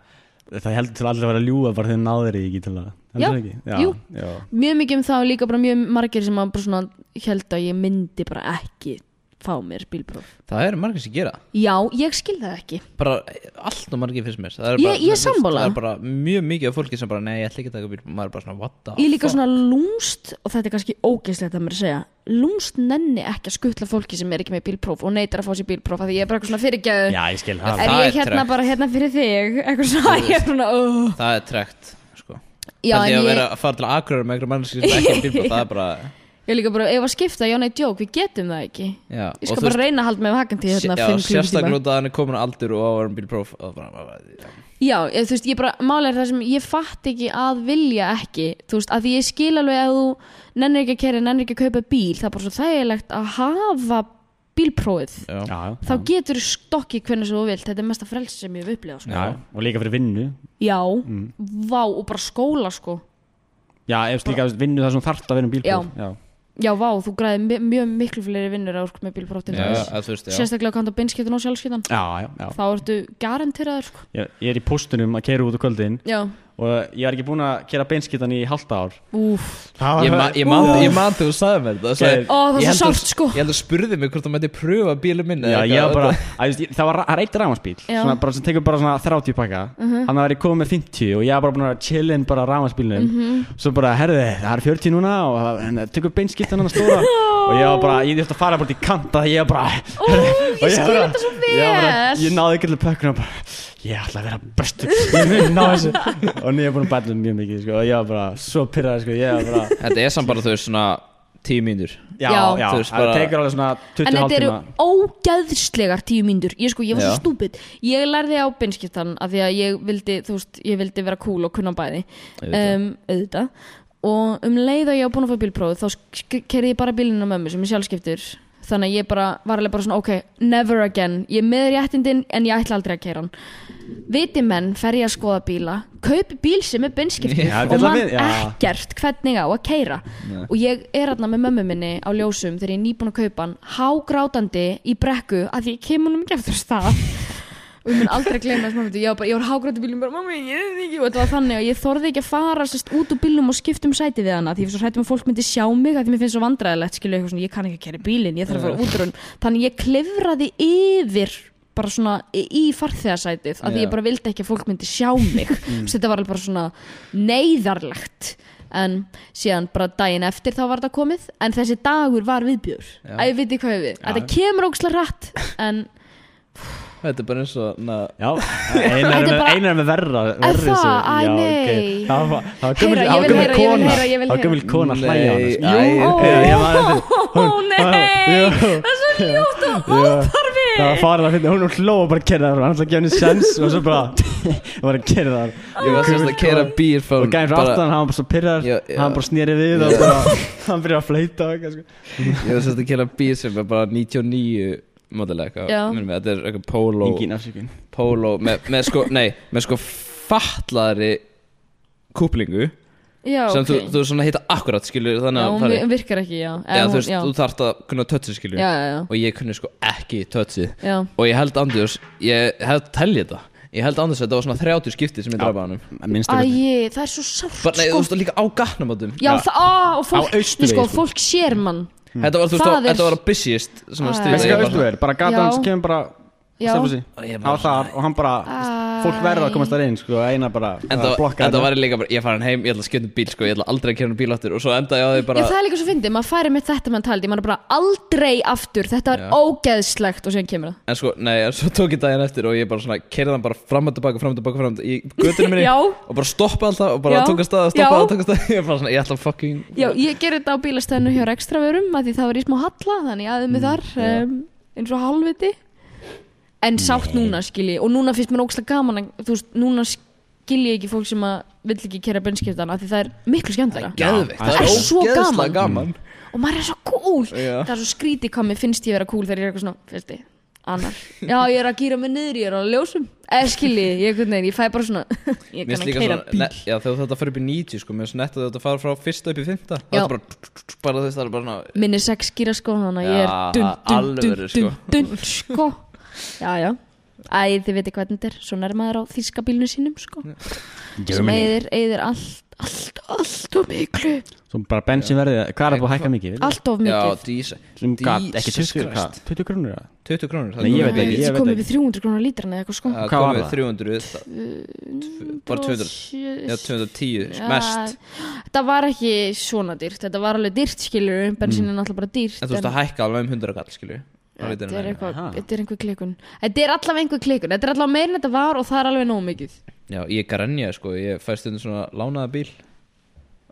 Speaker 5: Það heldur til allir að vera að ljúga bara þegar þeir náður því ekki til það
Speaker 4: Já,
Speaker 5: Heldur ekki? Já,
Speaker 4: jú.
Speaker 5: já.
Speaker 4: Mjög mikið um það og líka bara mjög margir sem að bara svona held að ég myndi bara ekki fá mér bílpróf
Speaker 6: Það eru margir sem gera það.
Speaker 4: Já, ég skil það ekki
Speaker 6: bara eh, allt og margir fyrst mér Það er
Speaker 4: Ég-
Speaker 6: bara,
Speaker 4: ég er sammála.
Speaker 6: Það er bara mjög mikið af fólki sem bara Nei, ég ætla ekki að taka bíl Maður er bara svona, what the
Speaker 4: Ég líka
Speaker 6: fuck?
Speaker 4: svona lúmst og þetta er kannski ógeðslegt að mér segja lúmst nenni ekki að skuttla fólki sem er ekki með bílpróf og neitar að fá sér bílpróf af því ég er bara eitthvað svona fyrirgjöðu
Speaker 5: já, ég skil það
Speaker 4: Er
Speaker 6: það
Speaker 4: ég
Speaker 6: er
Speaker 4: hérna
Speaker 6: trekt.
Speaker 4: bara hérna fyrir þig eitthvað svona, (laughs) ég er svona uh.
Speaker 6: Það er trekt sko.
Speaker 4: Já,
Speaker 6: Það er
Speaker 4: en
Speaker 6: að
Speaker 4: ég,
Speaker 6: vera að fara til akkurar með einhverja mannski sem ekki
Speaker 4: (laughs)
Speaker 6: er bílbóð Það er bara
Speaker 4: ég líka bara, ef að skipta, já nei, djók, við getum það ekki
Speaker 6: Já,
Speaker 4: Ég skal bara reyna að halda mig á hakan til hérna
Speaker 6: já,
Speaker 4: fimm klukkutíma.
Speaker 6: sérstaklega út að hann er komin á aldur og á að vera um bílpróf og bara, bara, bara,
Speaker 4: Já, ég, þú veist, ég bara, málega er það sem ég fatt ekki að vilja ekki, þú veist, að því ég skil alveg að þú nennir ekki að kæra, nennir ekki að kaupa bíl, það er bara svo þægilegt að hafa bílprófið,
Speaker 6: já, já.
Speaker 5: Já, já.
Speaker 4: þá getur þú stokki hvernig sem þú vilt, þetta er mesta frelst sem ég hef upplegað, sko.
Speaker 5: Já, og líka fyrir vinnu
Speaker 4: Já, vá, og bara skóla, sko.
Speaker 5: Já, ef líka vinnu það sem þú þarft að vera um bílpróf
Speaker 4: Já. Já, vá, þú græði mi- mjög miklu fleiri vinnur að orka með bílpróf til
Speaker 6: Já,
Speaker 4: þess.
Speaker 6: að þú veist, já.
Speaker 4: Sérstaklega kanta beinskiptun og sjálfskiptun,
Speaker 5: Já, já, já.
Speaker 4: þá ertu garanteraður, sko.
Speaker 5: Ég, ég er í póstunum að keira út á kvöldin
Speaker 4: Já,
Speaker 5: og ég er ekki búin að kera beinskittan í halvt ár
Speaker 4: úf,
Speaker 6: Ég, ma ég, man, ég man þegar þú sagði mér þetta sagði-
Speaker 4: Ó, það er svo
Speaker 6: ég held að-
Speaker 4: sárt, sko.
Speaker 6: Ég held að spurði mig hvort þú mætti pröfa bílum minni
Speaker 5: Já, ég var bara, að, veist, ég- það var ra- það er eitt rámasbíl
Speaker 4: Já. Mhm.
Speaker 5: svona, bara, sem tekur bara svona 30 pakka hann var ég komið með 50 og ég var bara búin að chillin bara rámasbílnum
Speaker 4: Mhm.
Speaker 5: svo bara, herði, það er 40 núna og það- en það tekur beinskittan hann að
Speaker 4: (laughs)
Speaker 5: stóra og ég var bara, ég þurfti að fara bara til kanta þegar ég var bara
Speaker 4: Ó,
Speaker 5: og
Speaker 4: ég
Speaker 5: var
Speaker 4: skil
Speaker 5: bara-
Speaker 4: þetta svo
Speaker 5: ég, var bara,
Speaker 4: vel.
Speaker 5: ég náði ekki allir pökkuna og bara, ég ætla að vera bestur ég mun ná þessu
Speaker 4: (laughs)
Speaker 5: og nú er ég búin að bæta mjög mikið sko, og ég var bara svo pyrraði sko, ég var bara
Speaker 6: Þetta er samt bara þau svona tíu mínútur
Speaker 5: Já,
Speaker 4: Já.
Speaker 5: já,
Speaker 6: Þú veist,
Speaker 5: það
Speaker 6: bara-
Speaker 5: tekur alveg svona 20
Speaker 4: En þetta eru
Speaker 5: hálftíma
Speaker 4: ógæðslegar tíu mínútur Ég sko, ég var svo
Speaker 6: Já.
Speaker 4: stúpid Ég lærði á beinskiptan af því að ég vildi, þú veist, ég vildi vera cool og kunna bæði
Speaker 6: Auðvitað.
Speaker 4: um, auðvitað Og um leið að ég var búin að fá bílprófið Þá kerði ég bara bílinn á mömmu sem er sjálfskiptur Þannig að ég bara, var alveg bara svona, ok, never again Ég er með réttindin en ég ætla aldrei að keira hann Viti menn fer ég að skoða bíla Kaupi bíl sem er beinskiptur
Speaker 5: Já,
Speaker 4: Og
Speaker 5: þetta er
Speaker 4: mann
Speaker 5: við- já.
Speaker 4: ekkert hvernig á að keira og ég er aðna með mömmu minni á ljósum þegar ég er nýbúin að kaupa hann hágrátandi í brekku að ég kem honum ekki eftir stað og ég mun aldrei gleyma þess mamma ég var bara, ég var hágrátt í bílum bara, mamma, ég er ekki og þetta var þannig og ég þorði ekki að fara sest, út úr bílum og skipta um sæti við hana því ég var svo hrættum að fólk myndi sjá mig af því mér finnst svo vandræðilegt skilu eitthvað svona, ég kann ekki að kæra bílinn, ég þarf að fara útrun þannig ég klifraði yfir bara svona í í farþegasætið af því
Speaker 6: Já.
Speaker 4: ég bara vildi ekki að fólk myndi sjá
Speaker 6: (laughs)
Speaker 4: mig mm. þetta var alveg bara svona neyðarlegt en síðan bara daginn eftir þá var þetta komið en þessi dagur var viðbjör
Speaker 6: Já.
Speaker 4: að ég viti hvað ég við, þetta kemur ógslag rætt en
Speaker 6: Þetta er bara eins og na,
Speaker 5: Já, einar er
Speaker 4: (laughs) Þetta er
Speaker 5: með,
Speaker 4: bara-
Speaker 5: einar er með verra,
Speaker 4: Er
Speaker 5: verri
Speaker 4: það?
Speaker 5: sig.
Speaker 4: Æ, nei.
Speaker 5: Já, ok. Það var- það var gömul-
Speaker 4: Heyra, ég
Speaker 5: það var
Speaker 4: vil heyra, ég vil
Speaker 5: gömul kona
Speaker 4: heyra, ég vil
Speaker 5: Það var gömul
Speaker 4: heyra.
Speaker 5: kona að hlæja á
Speaker 6: Nei,
Speaker 5: hann
Speaker 6: æ,
Speaker 4: Ó,
Speaker 5: Já, ég man eftir-
Speaker 4: ó,
Speaker 5: hún-
Speaker 4: nei
Speaker 5: (laughs) Jú.
Speaker 4: Það er svo ljótt og óþarfi
Speaker 5: Það var farið að finna, hún hló og bara kerði það Hann ætlaði að gefa henni sens og svo
Speaker 4: (laughs)
Speaker 5: bara Hún var að kerði það
Speaker 6: Ég var semst að kera bíl frá
Speaker 5: Og gæði frá
Speaker 6: bara-
Speaker 5: aftan, hann var bara svo pyrrar
Speaker 6: Já, já.
Speaker 5: Hann bara snýri við og bara (laughs) Hann byrjaði að fleita og eitthvað, sko.
Speaker 6: Ég var semst að kera bíl sem er bara 99 modelega
Speaker 4: Já.
Speaker 6: eitthvað minnum við, Þetta er eitthvað polo
Speaker 5: Engin afsökun
Speaker 6: Polo með, með sko, nei, með sko fatlaðri kúplingu
Speaker 4: Já,
Speaker 6: sem þú,
Speaker 4: ok
Speaker 6: þú svona hitta akkurat skilur
Speaker 4: Já,
Speaker 6: þannig að
Speaker 4: hún
Speaker 6: það
Speaker 4: vi-
Speaker 6: er-
Speaker 4: virkar ekki, já
Speaker 6: Já,
Speaker 4: Eða
Speaker 6: þú
Speaker 4: hún-
Speaker 6: veist, þú þarft að kunna tötsi skilur
Speaker 4: Já, já, já
Speaker 6: og ég kunni sko ekki tötsi
Speaker 4: Já,
Speaker 6: og ég held Andjós, ég held telja þetta ég held Andjós að þetta var svona 30 skipti sem ég drafa hann um.
Speaker 5: Minnstu ekki
Speaker 4: æj, það er svo sárt
Speaker 6: Bara, nei, þú
Speaker 4: sko
Speaker 6: veist líka á gatnamátum
Speaker 4: Já, það, á, og fólk,
Speaker 5: Á Austurvegi,
Speaker 4: sko,
Speaker 5: sko.
Speaker 4: fólk sér mann
Speaker 6: Þetta var, þú veist,
Speaker 4: Það
Speaker 6: á-
Speaker 4: er-
Speaker 6: þetta var að busiest svona
Speaker 4: Æ.
Speaker 6: stríð
Speaker 5: Þessi
Speaker 6: Ég
Speaker 5: hvað
Speaker 6: var
Speaker 5: Hmm. veistu
Speaker 6: svona-
Speaker 5: verið, bara gata
Speaker 4: Já.
Speaker 5: hans kemur bara
Speaker 4: Já.
Speaker 5: Stefnsi,
Speaker 6: Ég
Speaker 5: hann
Speaker 6: bara
Speaker 5: var þar og hann bara Fólk verður að komast þar inn, sko, og einar bara
Speaker 6: En
Speaker 5: að
Speaker 6: það
Speaker 5: blokka
Speaker 6: en það
Speaker 5: þetta.
Speaker 6: var líka bara, ég fara hann heim, ég ætla að skjöndum bíl sko, ég ætla aldrei að kjöndum bíl áttur og svo endaði ég á því
Speaker 4: Já,
Speaker 6: bara
Speaker 4: það er líka svo fyndið, maður færi með þetta mann taldi, maður er bara aldrei aftur, þetta var
Speaker 6: Já.
Speaker 4: ógeðslegt og síðan kemur það.
Speaker 6: En sko, nei, en svo tók ég daginn eftir og ég bara svona kerði hann bara fram og tilbaka, fram og tilbaka, fram og tilbaka í göttinu minni
Speaker 4: (laughs) Já.
Speaker 6: og bara stoppa alltaf og bara
Speaker 4: Já.
Speaker 6: tók að
Speaker 4: Já.
Speaker 6: staða, stoppa að tók að staða (laughs) ég var bara svona, ég ætla að fucking
Speaker 4: Já, ég gerði þetta á bílastæðinu hjá rekstravörum að því það var í smá halla, þannig aðeins með
Speaker 6: Mm,
Speaker 4: þar um, eins og halvviti en sátt núna skilji og núna finnst mér ógeðslega gaman að, þú veist, núna skilji ég ekki fólk sem að vill ekki kera benskiptana að því það er miklu skemmtilega
Speaker 6: Geðveikt,
Speaker 5: Það Mm.
Speaker 4: er svo gaman.
Speaker 6: ógeðslega gaman.
Speaker 4: og maður er svo cool
Speaker 6: Já.
Speaker 4: það er svo skrítið hvað mér finnst ég vera cool þegar ég er eitthvað svona, finnst þið, annar já, ég er að gýra mig niður, ég er að ljósum eða skilji, ég, einhvern veginn, ég fæ bara svona (laughs) ég kann
Speaker 6: Mér finnst
Speaker 4: að
Speaker 6: líka
Speaker 4: keira
Speaker 6: svona,
Speaker 4: bíl
Speaker 6: ne, já þegar þetta fyrir upp í 90 sko, mér finnst netta þetta fara frá fyrsta upp í fymta
Speaker 4: Já.
Speaker 6: það er bara, bara þess, það er bara svona
Speaker 4: minni sex gýra sko, þannig að ég er
Speaker 6: Já,
Speaker 4: dun, dun, dun, dun,
Speaker 6: alvöru, sko.
Speaker 4: dun, sko já, já Æ, þið veitir hvernig þetta er, svona er maður á þýska bílnu sínum, sko sem eigðir, eigðir allt, allt, allt of miklu
Speaker 5: Svo bara bensinverðið, hvað er það búið að hækka mikið?
Speaker 4: allt of
Speaker 6: já,
Speaker 4: miklu
Speaker 6: dísa,
Speaker 5: Sem gat,
Speaker 6: Jesus
Speaker 5: ekki 20, hvað?
Speaker 6: Christ.
Speaker 5: 20 krónur eða?
Speaker 6: 20 krónur
Speaker 5: Nei, ég veit ekki,
Speaker 4: Þetta
Speaker 5: ég
Speaker 4: komið
Speaker 5: veit
Speaker 4: við 300 krónar lítran eða eitthvað sko
Speaker 6: það
Speaker 5: Hvað var
Speaker 6: komið
Speaker 5: það?
Speaker 6: 300 það- bara 200, já 210
Speaker 4: Já,
Speaker 6: mest,
Speaker 4: Þetta var ekki svona dýrt, þetta var alveg dýrt skilur bensín er náttúrulega bara dýrt
Speaker 6: Mm. en þú veist að hækka alveg um 100 kall skilju
Speaker 4: þetta er, eitthvað,
Speaker 5: Aha.
Speaker 4: þetta er einhver klikun Þetta er allavega einhver klikun, þetta er allavega meira en þetta var og það er alveg nóg mikið
Speaker 6: Já, ég grenja sko, ég fæ stundum svona lánaða bíl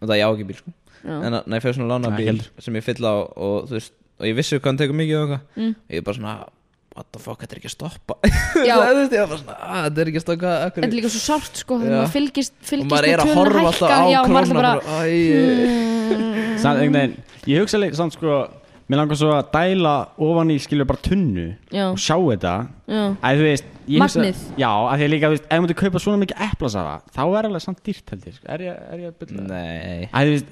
Speaker 6: og það ég á ekki bíl sko
Speaker 4: Já.
Speaker 6: en að- nei, ég fæ svona lánaða
Speaker 5: Ekki
Speaker 6: bíl
Speaker 5: heldur.
Speaker 6: sem ég fylla á og þú veist og ég vissi hvað hann tekur mikið og eitthvað mm. ég er bara svona, what the fuck, þetta er ekki að stoppa (laughs)
Speaker 4: Já.
Speaker 6: það, þú veist, ég var bara svona, "Ah, þetta er ekki að stoppa
Speaker 4: Þetta er
Speaker 6: akkur...
Speaker 4: líka svo sárt sko,
Speaker 6: Já.
Speaker 4: þegar maður fylgist,
Speaker 6: og
Speaker 4: fylgist
Speaker 6: maður
Speaker 4: með
Speaker 6: er að
Speaker 4: tölunum
Speaker 6: horfa alltaf
Speaker 4: já,
Speaker 6: á
Speaker 4: maður er alltaf
Speaker 6: krónuna
Speaker 4: bara, "Mm,
Speaker 6: bara, æ,
Speaker 5: Samt einhvern veginn, ég hugsa leik, samt sko Mér langar svo að dæla ofan í skilur bara tunnu
Speaker 4: Já.
Speaker 5: Og sjá þetta
Speaker 4: já,
Speaker 5: Æ, þú veist ég hugsa-
Speaker 4: Magnið.
Speaker 5: Já, af því að líka, þú veist, ef þú myndir kaupa svona mikið eplasafa Þá er alveg samt dýrt held ég, sko Er ég, er ég að byrja það?
Speaker 6: nei
Speaker 5: Æ, þú veist,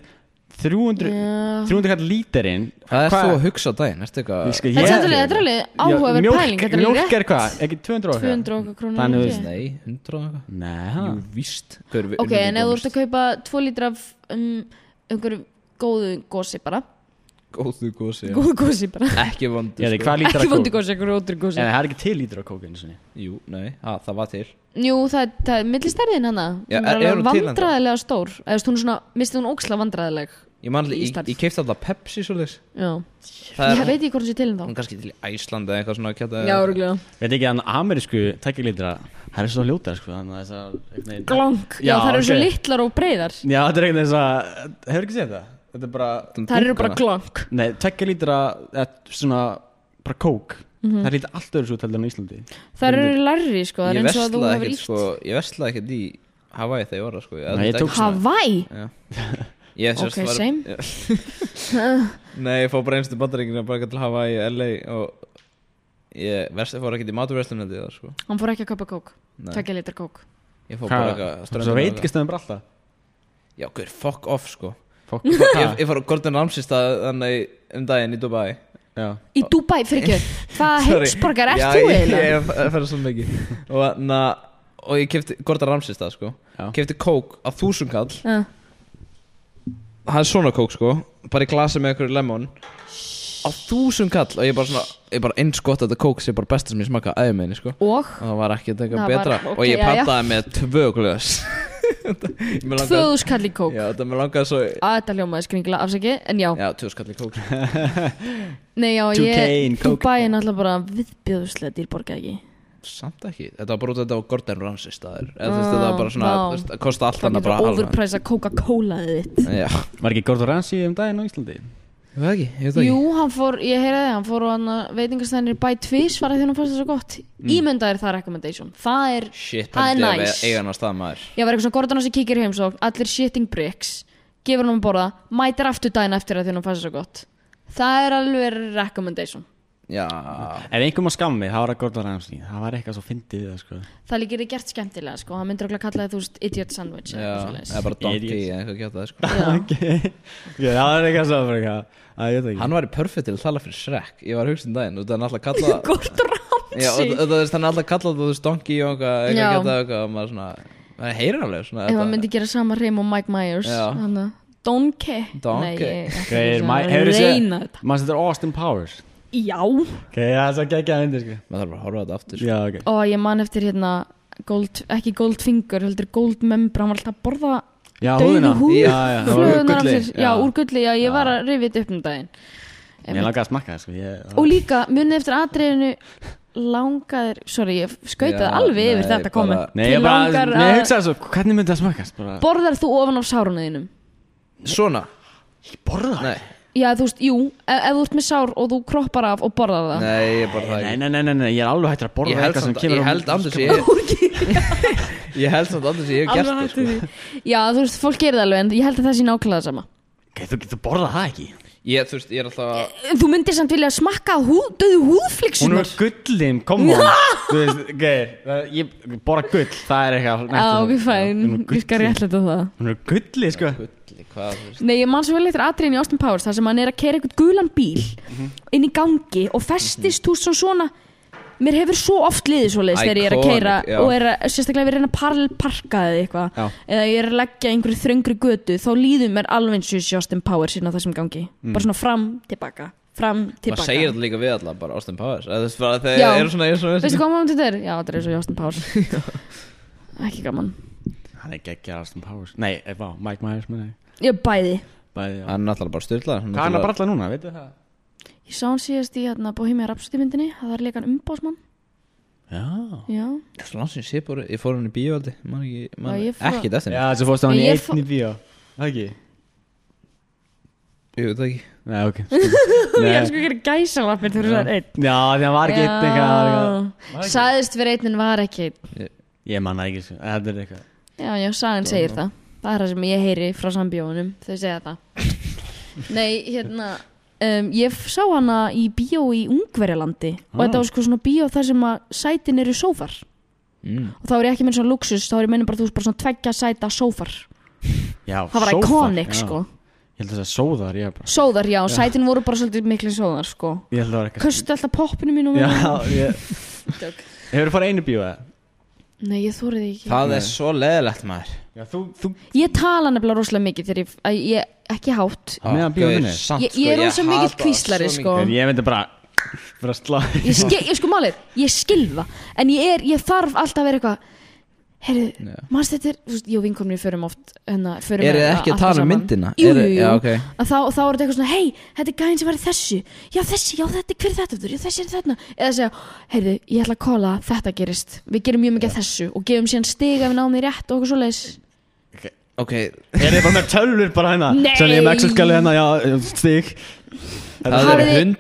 Speaker 5: 300
Speaker 4: Mm. Já.
Speaker 5: 300 kall lítirinn
Speaker 6: hvað er þú að hugsa á daginn, ertu eitthvað
Speaker 5: Sko,
Speaker 4: Þetta er
Speaker 5: ég-
Speaker 4: samt alveg- þetta er alveg
Speaker 5: Já,
Speaker 4: áhugaverð
Speaker 5: mjólk-
Speaker 4: pæling, þetta er alveg
Speaker 5: Mjólk er
Speaker 4: rétt.
Speaker 5: hvað, ekki 200 og eitthvað?
Speaker 4: 200 og eitthvað krónur
Speaker 5: Þannig,
Speaker 4: held
Speaker 5: þú
Speaker 4: ég.
Speaker 5: veist,
Speaker 6: nei, 100 og eitthvað
Speaker 5: Nei, ha?
Speaker 6: jú, víst Hver er-
Speaker 4: Ok, en ef þú ert að kaupa 2 lítra af um, einhverju góðu gósi bara
Speaker 6: góðu gósi, já.
Speaker 4: Góðu gósi
Speaker 6: (laughs)
Speaker 4: bara
Speaker 6: ekki
Speaker 5: Ég
Speaker 6: vondur sko.
Speaker 5: veit, hvað lítir
Speaker 4: sko. Ekki
Speaker 5: að
Speaker 4: vondi
Speaker 5: kóka?
Speaker 4: gósi, einhverju óttur gósi
Speaker 5: En það er ekki til lítir að kóka eins og
Speaker 6: jú, nei, ah, það var til
Speaker 4: Jú, það, er- það er millistærðin hana
Speaker 6: Já,
Speaker 4: sem
Speaker 6: er-
Speaker 4: er
Speaker 6: er
Speaker 4: alveg
Speaker 6: hún til ennþá?
Speaker 4: vandræðilega stór eða þú veist, hún er svona, misti hún óksla vandræðileg
Speaker 6: ég, man, ég,
Speaker 4: Ísland.
Speaker 6: ég keipti alltaf Pepsi svoleiðis
Speaker 4: Já,
Speaker 6: Það
Speaker 4: ég
Speaker 6: er-
Speaker 4: veit ekki hvort hún sé til en
Speaker 6: Hún
Speaker 4: þá
Speaker 6: kannski til í Æslandi eða eitthvað svona kjáta
Speaker 4: Já, örgulega
Speaker 5: Veit ekki, þannig amerísku tækilítra Það er svo ljótar, sko Þannig að þessar einhvern veginn-
Speaker 4: Glong, já,
Speaker 5: Já,
Speaker 4: það eru
Speaker 5: ok.
Speaker 4: svo litlar og breiðar
Speaker 5: Já, þetta er einhvern veginn þess að Hefur ekki séð það? Þetta er bara
Speaker 4: Það eru bara glong
Speaker 5: Nei, tækilítra eða svona bara kók
Speaker 4: Mhm.
Speaker 5: Það lítir allt öðru svo tældur en á Íslandi
Speaker 4: Það eru larri, sko, það
Speaker 6: Ég
Speaker 4: er eins og að þú
Speaker 6: veslaði
Speaker 4: hefur
Speaker 6: ekkert
Speaker 4: ítt
Speaker 6: sko Ég veslaði ekkert í Hawaii þegar ég var það sko
Speaker 5: Nei, ég
Speaker 6: þetta
Speaker 5: tók
Speaker 6: ekki-
Speaker 4: Hawaii
Speaker 6: Ég sem
Speaker 4: Ok,
Speaker 6: sagt var-
Speaker 4: same.
Speaker 6: (laughs) Nei, ég fór bara einstu bandaríkina bara til Hawaii, LA og Ég verst, fór ekkert í maturverslunni þetta það sko
Speaker 4: Hann fór ekki að kaupa kók,
Speaker 6: Nei.
Speaker 4: tvekja litra kók
Speaker 6: Ég fór bara eitthvað
Speaker 5: Hvað? Svo veit ekki stöðum bara alltaf
Speaker 6: Já, hver, fuck off sko
Speaker 5: Fuck
Speaker 6: Ég, ég fór á Gordon Ramsay stað þannig um daginn í Dubai
Speaker 5: Já.
Speaker 4: Í Dubai, fyrir
Speaker 6: (laughs)
Speaker 4: ekki Hvað
Speaker 6: Sorry.
Speaker 4: heimsborgar ert
Speaker 6: Já,
Speaker 4: þú
Speaker 6: ég-
Speaker 4: eiginlega?
Speaker 6: Ég ég fer svo mikið Og, na, og ég kefti, Gordon Ramsay það sko
Speaker 5: Já.
Speaker 6: Kefti kók á þúsundkall
Speaker 4: Já.
Speaker 6: Það er svona kók sko Bara í glasi með einhverju lemon Á þúsundkall Og ég bara svona Ég bara eins gott að þetta kók sé bara besta sem ég smaka aðeins minni sko
Speaker 4: Og
Speaker 6: Og það var ekki að taka
Speaker 4: Það var-
Speaker 6: betra
Speaker 4: ok,
Speaker 6: Og ég
Speaker 4: já, já.
Speaker 6: pantaði með tvö (laughs) glöðs Tvö
Speaker 4: tvöðuskall í kók
Speaker 6: Já, þetta með langaði svo í-
Speaker 4: Að þetta hljómaði skringla, afsaki En já,
Speaker 6: Já, tvö skall í kók sko.
Speaker 4: nei já,
Speaker 5: 2K in
Speaker 4: ég
Speaker 5: kók.
Speaker 4: Dubai er náttúrulega bara viðbjöðuslega dýrborga ekki
Speaker 6: Samt ekki Þetta var bara út að þetta var Gordon Ramsay staðir Eða þú veist, Þetta var bara svona
Speaker 4: vá.
Speaker 6: þú veist, Það kosti allt
Speaker 4: Það
Speaker 6: annað
Speaker 4: getur
Speaker 6: bara
Speaker 4: að overpricea Coca-Cola-ið þitt
Speaker 6: halvan. Já
Speaker 5: Var ekki Gordon Ramsay um daginn á Íslandi?
Speaker 6: Ég veit ekki, ég veit það
Speaker 4: Jú, hann fór, ég heyraði, hann fór á hann veitingastæðinir bæ tvís, var að því hann fannst það svo gott mm. Ímyndaðir það recommendation Það er,
Speaker 6: ekki Hmm. Shit,
Speaker 4: það er
Speaker 6: pældi ég
Speaker 4: næs
Speaker 6: að eiga hann á stað maður
Speaker 4: Ég var eitthvað svona Gordon Ramsay kíkir í heimsókn, allir shitting bricks, gefur hann að borða, mætir aftur daginn eftir að því hann fannst það svo gott. Það er alveg recommendation.
Speaker 6: Já
Speaker 5: Ef einhver má skamma mig, það var að Gordon Ramsay Það var eitthvað svo fyndið við það sko
Speaker 4: Það líkir þið gert skemmtilega, sko. Hann myndir okkur að kalla það, þú veist, idiot sandwich eða
Speaker 6: Já,
Speaker 4: eitthvað
Speaker 6: eða
Speaker 4: svoleiðis.
Speaker 6: bara donkey
Speaker 5: Idiot.
Speaker 6: eða eitthvað geta það sko
Speaker 5: (laughs) Ok, Ok, það var eitthvað svo fyrir eitthvað Það ég veit ekki
Speaker 6: Hann var í perfect til að tala fyrir Shrek Ég var að hugsa um daginn, þú veist hann alltaf
Speaker 4: (laughs)
Speaker 6: kalla
Speaker 4: Gordon
Speaker 6: Já,
Speaker 4: Ramsay!
Speaker 6: og- og þú veist hann alltaf kalla þú veist donkey og eitthvað
Speaker 4: Já.
Speaker 6: Eitthvað geta eitthvað og maður svona Það heyrir alveg svona
Speaker 4: Ef
Speaker 6: þetta-
Speaker 4: hann myndi gera sama reym og Mike Myers,
Speaker 6: Já.
Speaker 4: hann að Donkey.
Speaker 6: Donkey.
Speaker 5: Gauir, ma-
Speaker 4: Nei,
Speaker 5: hefurðu
Speaker 4: ég
Speaker 5: séð-
Speaker 4: reyna þetta.
Speaker 5: Maður setur Austin Powers
Speaker 4: Já.
Speaker 5: Ok, það er svo geggjað myndir sko
Speaker 6: Maður þarf bara að horfa á þetta aftur sko.
Speaker 5: Já, ok
Speaker 4: og ég man eftir hérna gold, ekki goldfinger, heldur goldmembra hann var alltaf að borða
Speaker 5: Já,
Speaker 4: dauðu húð
Speaker 5: Já, já, það var úr
Speaker 4: flögunar af
Speaker 5: gulli.
Speaker 4: sér já, úr gulli, já, ég var að rifja þetta upp um daginn
Speaker 5: Mér langaði að smakka það sko ég,
Speaker 4: og líka, munið eftir atriðinu langaðir, sorry, ég skautaði
Speaker 6: Já,
Speaker 4: alveg yfir
Speaker 6: nei,
Speaker 4: þetta komið
Speaker 6: bara-
Speaker 5: Nei,
Speaker 4: Þig
Speaker 5: ég bara,
Speaker 4: langar
Speaker 5: nei,
Speaker 4: að-
Speaker 5: ég hugsaði svo Hvernig myndi það smakkast? Bara,
Speaker 4: borðar þú ofan á sárunniðinum
Speaker 6: Svona
Speaker 5: borða
Speaker 6: Nei,
Speaker 4: já, þú veist, jú, ef, ef þú ert með sár og þú kroppar af og borðar það
Speaker 6: nei, ég er bara það
Speaker 5: Nei,
Speaker 6: ekki
Speaker 5: nei, nei, nei, nei, ég er alveg hættur að borða
Speaker 6: Ég held
Speaker 5: eitthvað sem
Speaker 6: samt-
Speaker 5: kemur sko.
Speaker 6: ég
Speaker 5: úr-
Speaker 6: held aldrei sem ég (laughs) Ég held samt aldrei sem ég hef gert
Speaker 4: Alveg
Speaker 6: það sko.
Speaker 4: hættu því. (laughs) já, þú veist, fólk gerir það alveg en ég held að það sé nákvæmlega sama
Speaker 5: Ok, Þú getur borðað það ekki
Speaker 6: Ég, þú veist, ég er alltaf
Speaker 4: En þú myndir samt vilja smakka húð, döðu
Speaker 5: Hún
Speaker 4: húðflixunar
Speaker 5: er gullin, come
Speaker 4: (laughs)
Speaker 5: on Þú veist, geir, það- ég borða gull Það er eitthvað næstum
Speaker 4: Já, Ah, ok,
Speaker 5: því.
Speaker 4: fæn,
Speaker 5: Hún er
Speaker 4: ég skal
Speaker 5: gullin.
Speaker 4: réttlega það
Speaker 5: Hún er gulli, sko
Speaker 6: Gulli, hvað, þú veist
Speaker 4: Nei, ég man svo vel eitthvað atriðin í Austin Powers þar sem hann er að kera eitthvað gulan bíl
Speaker 6: Mhm.
Speaker 4: inn í gangi og festist, þú veist, svona svona Mér hefur svo oft liðið svo leiðis þegar ég er að
Speaker 6: Iconic,
Speaker 4: keira
Speaker 6: já.
Speaker 4: og er að, sérstaklega ef ég er að reyna að parallelparka eða eitthvað
Speaker 5: Já.
Speaker 4: eða ég er að leggja einhverju þröngri götu þá líður mér alveg eins og ég sé Austin Powers inn á þessum gangi, bara svona fram, tilbaka fram,
Speaker 6: Mm. Maður segir
Speaker 4: tilbaka
Speaker 6: þetta líka við alla, bara Austin Powers Eða, Þú veist, bara þegar
Speaker 4: Já.
Speaker 6: ég er svona, ég er svona
Speaker 4: Veistu hvað maður þetta er? Já, þetta er eins og í Austin
Speaker 6: (laughs)
Speaker 4: Powers Ekki gaman
Speaker 5: Hann er geggjað Austin Powers Nei, eh, vá, Mike Myers meni
Speaker 4: Ég bæði
Speaker 5: Bæði, já
Speaker 6: Hann er náttúrulega bara styrlað
Speaker 5: Hvað er hann að bralla núna, veitu það?
Speaker 4: Ég sá hann síðast í hérna, Bohemia Rhapsody myndinni það er leikan umbásmann
Speaker 5: Já
Speaker 4: Já,
Speaker 6: Svo langt sem ég sé bara, ég fór hann í bíóaldi man ekki, man,
Speaker 4: Já, ég fór-
Speaker 6: Ekki þetta
Speaker 5: Já, þessi fórst á hann í
Speaker 4: Ég fó-
Speaker 5: einn í bíó Það ekki?
Speaker 6: Jú, það ekki
Speaker 5: Nei, ok
Speaker 4: Ég
Speaker 5: Nei.
Speaker 4: er sko að gera gæsalappir þegar þú sagðir einn
Speaker 5: Eh. Já, því hann var ekki einn eitthvað það var eitthvað-
Speaker 4: Já, sagðist fyrir einn en var ekki einn
Speaker 5: Ég manna ekki, sko Þetta er eitthvað
Speaker 4: Já, já, sagan segir það Það er það sem ég heyri frá sambjóðunum Þau segja það Nei, hérna um, Ég sá hana í bíó í Ungverjalandi Og
Speaker 5: Ah.
Speaker 4: þetta var sko svona bíó þar sem að sætin eru sófar
Speaker 6: mm.
Speaker 4: Og þá er ég ekki minn svona luxus Þá er ég meina bara, þú veist, bara svona tveggja sæta sófar
Speaker 5: Já,
Speaker 4: Það var
Speaker 5: sófar,
Speaker 4: iconic,
Speaker 5: já.
Speaker 4: sko
Speaker 5: Ég held að það er sóðar, ég bara
Speaker 4: Sóðar, já, sætin voru bara svolítið miklu sóðar, sko
Speaker 5: Ég held að það var eitthvað
Speaker 4: Köstu alltaf poppinu mínu
Speaker 5: Já, ég Hefur þú farið einu bíó eða?
Speaker 4: Nei, ég þorið ekki
Speaker 6: Það er svo leðilegt maður
Speaker 5: Já, þú, þú
Speaker 4: Ég tala nefnilega rosalega mikið þegar ég, að ég ekki hátt
Speaker 5: Á meðan bíó
Speaker 6: Gauð,
Speaker 5: vinnur.
Speaker 6: samt,
Speaker 4: Ég- ég er
Speaker 6: sko,
Speaker 4: rosa mikill
Speaker 6: hata það
Speaker 4: hvíslari,
Speaker 6: svo
Speaker 4: sko.
Speaker 6: mikið.
Speaker 5: Ég myndi bara Bara slá
Speaker 4: Ég, skil, ég sko málið, ég skilfa En ég er, ég þarf alltaf að vera eitthvað Herri,
Speaker 6: Já.
Speaker 4: mannst þetta er þú veist, Jó, vinkomni förum oft hennar, förum
Speaker 6: Eru þið
Speaker 4: a-
Speaker 6: ekki að
Speaker 4: alltaf
Speaker 6: tala um
Speaker 4: saman.
Speaker 6: myndina?
Speaker 4: Jú,
Speaker 6: Eru-
Speaker 4: jú, jú
Speaker 6: Já, ok
Speaker 4: að þá, þá er þetta eitthvað svona, hei, þetta er gæðin sem var í þessu Já, þessi, já, þetta, hver er þetta aftur? Já, þessi er þetta Eða segja, heyrðu, ég ætla að kóla að Þetta gerist, við gerum mjög mikið af þessu Og gefum síðan stiga ef við náum því rétt og okkur svoleiðis
Speaker 6: Ok,
Speaker 5: Er þið bara með tölur bara hérna?
Speaker 4: Nei.
Speaker 5: Sem ég með Excel-skali hérna, já, stík
Speaker 6: það eru
Speaker 4: Hafið-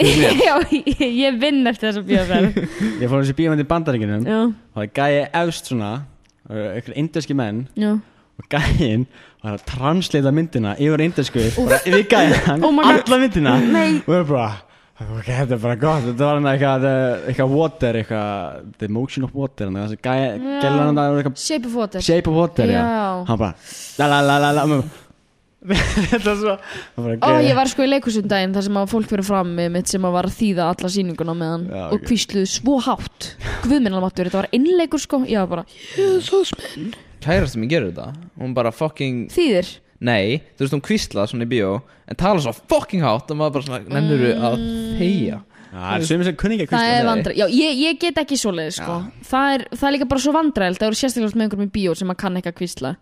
Speaker 6: 104 fyrir mér
Speaker 4: (laughs)
Speaker 6: (laughs)
Speaker 4: Já, ég, ég vinn eftir þess að bíða fyrir
Speaker 5: Ég fór á þessi bíómynd í bandaríkinum
Speaker 4: Já,
Speaker 5: Og það gæði efst svona Það eru einhverjir indverski menn
Speaker 4: já
Speaker 5: Og gæðin var að translita myndina yfir indversku Bara yfir gæðan
Speaker 4: Oh my God.
Speaker 5: Alla myndina
Speaker 4: Nei.
Speaker 5: Og við bara Ok, þetta er bara gott Þetta var hann eitthvað uh, Eitthvað water Eitthvað The motion of water hann, Þessi gæði Gæði hann það var eitthvað
Speaker 4: Shape of water
Speaker 5: Shape of water já.
Speaker 4: Já.
Speaker 5: Hann bara La la la la la og maður bara, Þetta er svo
Speaker 4: Ó, ég var sko í leikusundaginn þar sem að fólk fyrir fram með mitt sem að var að þýða alla sýninguna meðan
Speaker 5: Já,
Speaker 4: og
Speaker 5: ok.
Speaker 4: kvísluðu svo hátt Guðminnalmattur, þetta var innleikur sko Já, bara,
Speaker 6: Kærasti mín gerir þetta Hún bara fucking
Speaker 4: þýðir
Speaker 6: Nei, þú veist hún kvíslað svona í bíó En tala svo fucking hátt Og maður bara svona Nennuru
Speaker 4: Mm.
Speaker 6: að þegja
Speaker 5: Það er sumir sem kunni ekki að
Speaker 4: Það
Speaker 5: kvísla
Speaker 4: er vandræð, já, ég, ég get ekki svoleiði sko það er, það er líka bara svo vandræðilegt Það eru sérstaklega með einhverjum í bíó sem að kann ekki að kvísla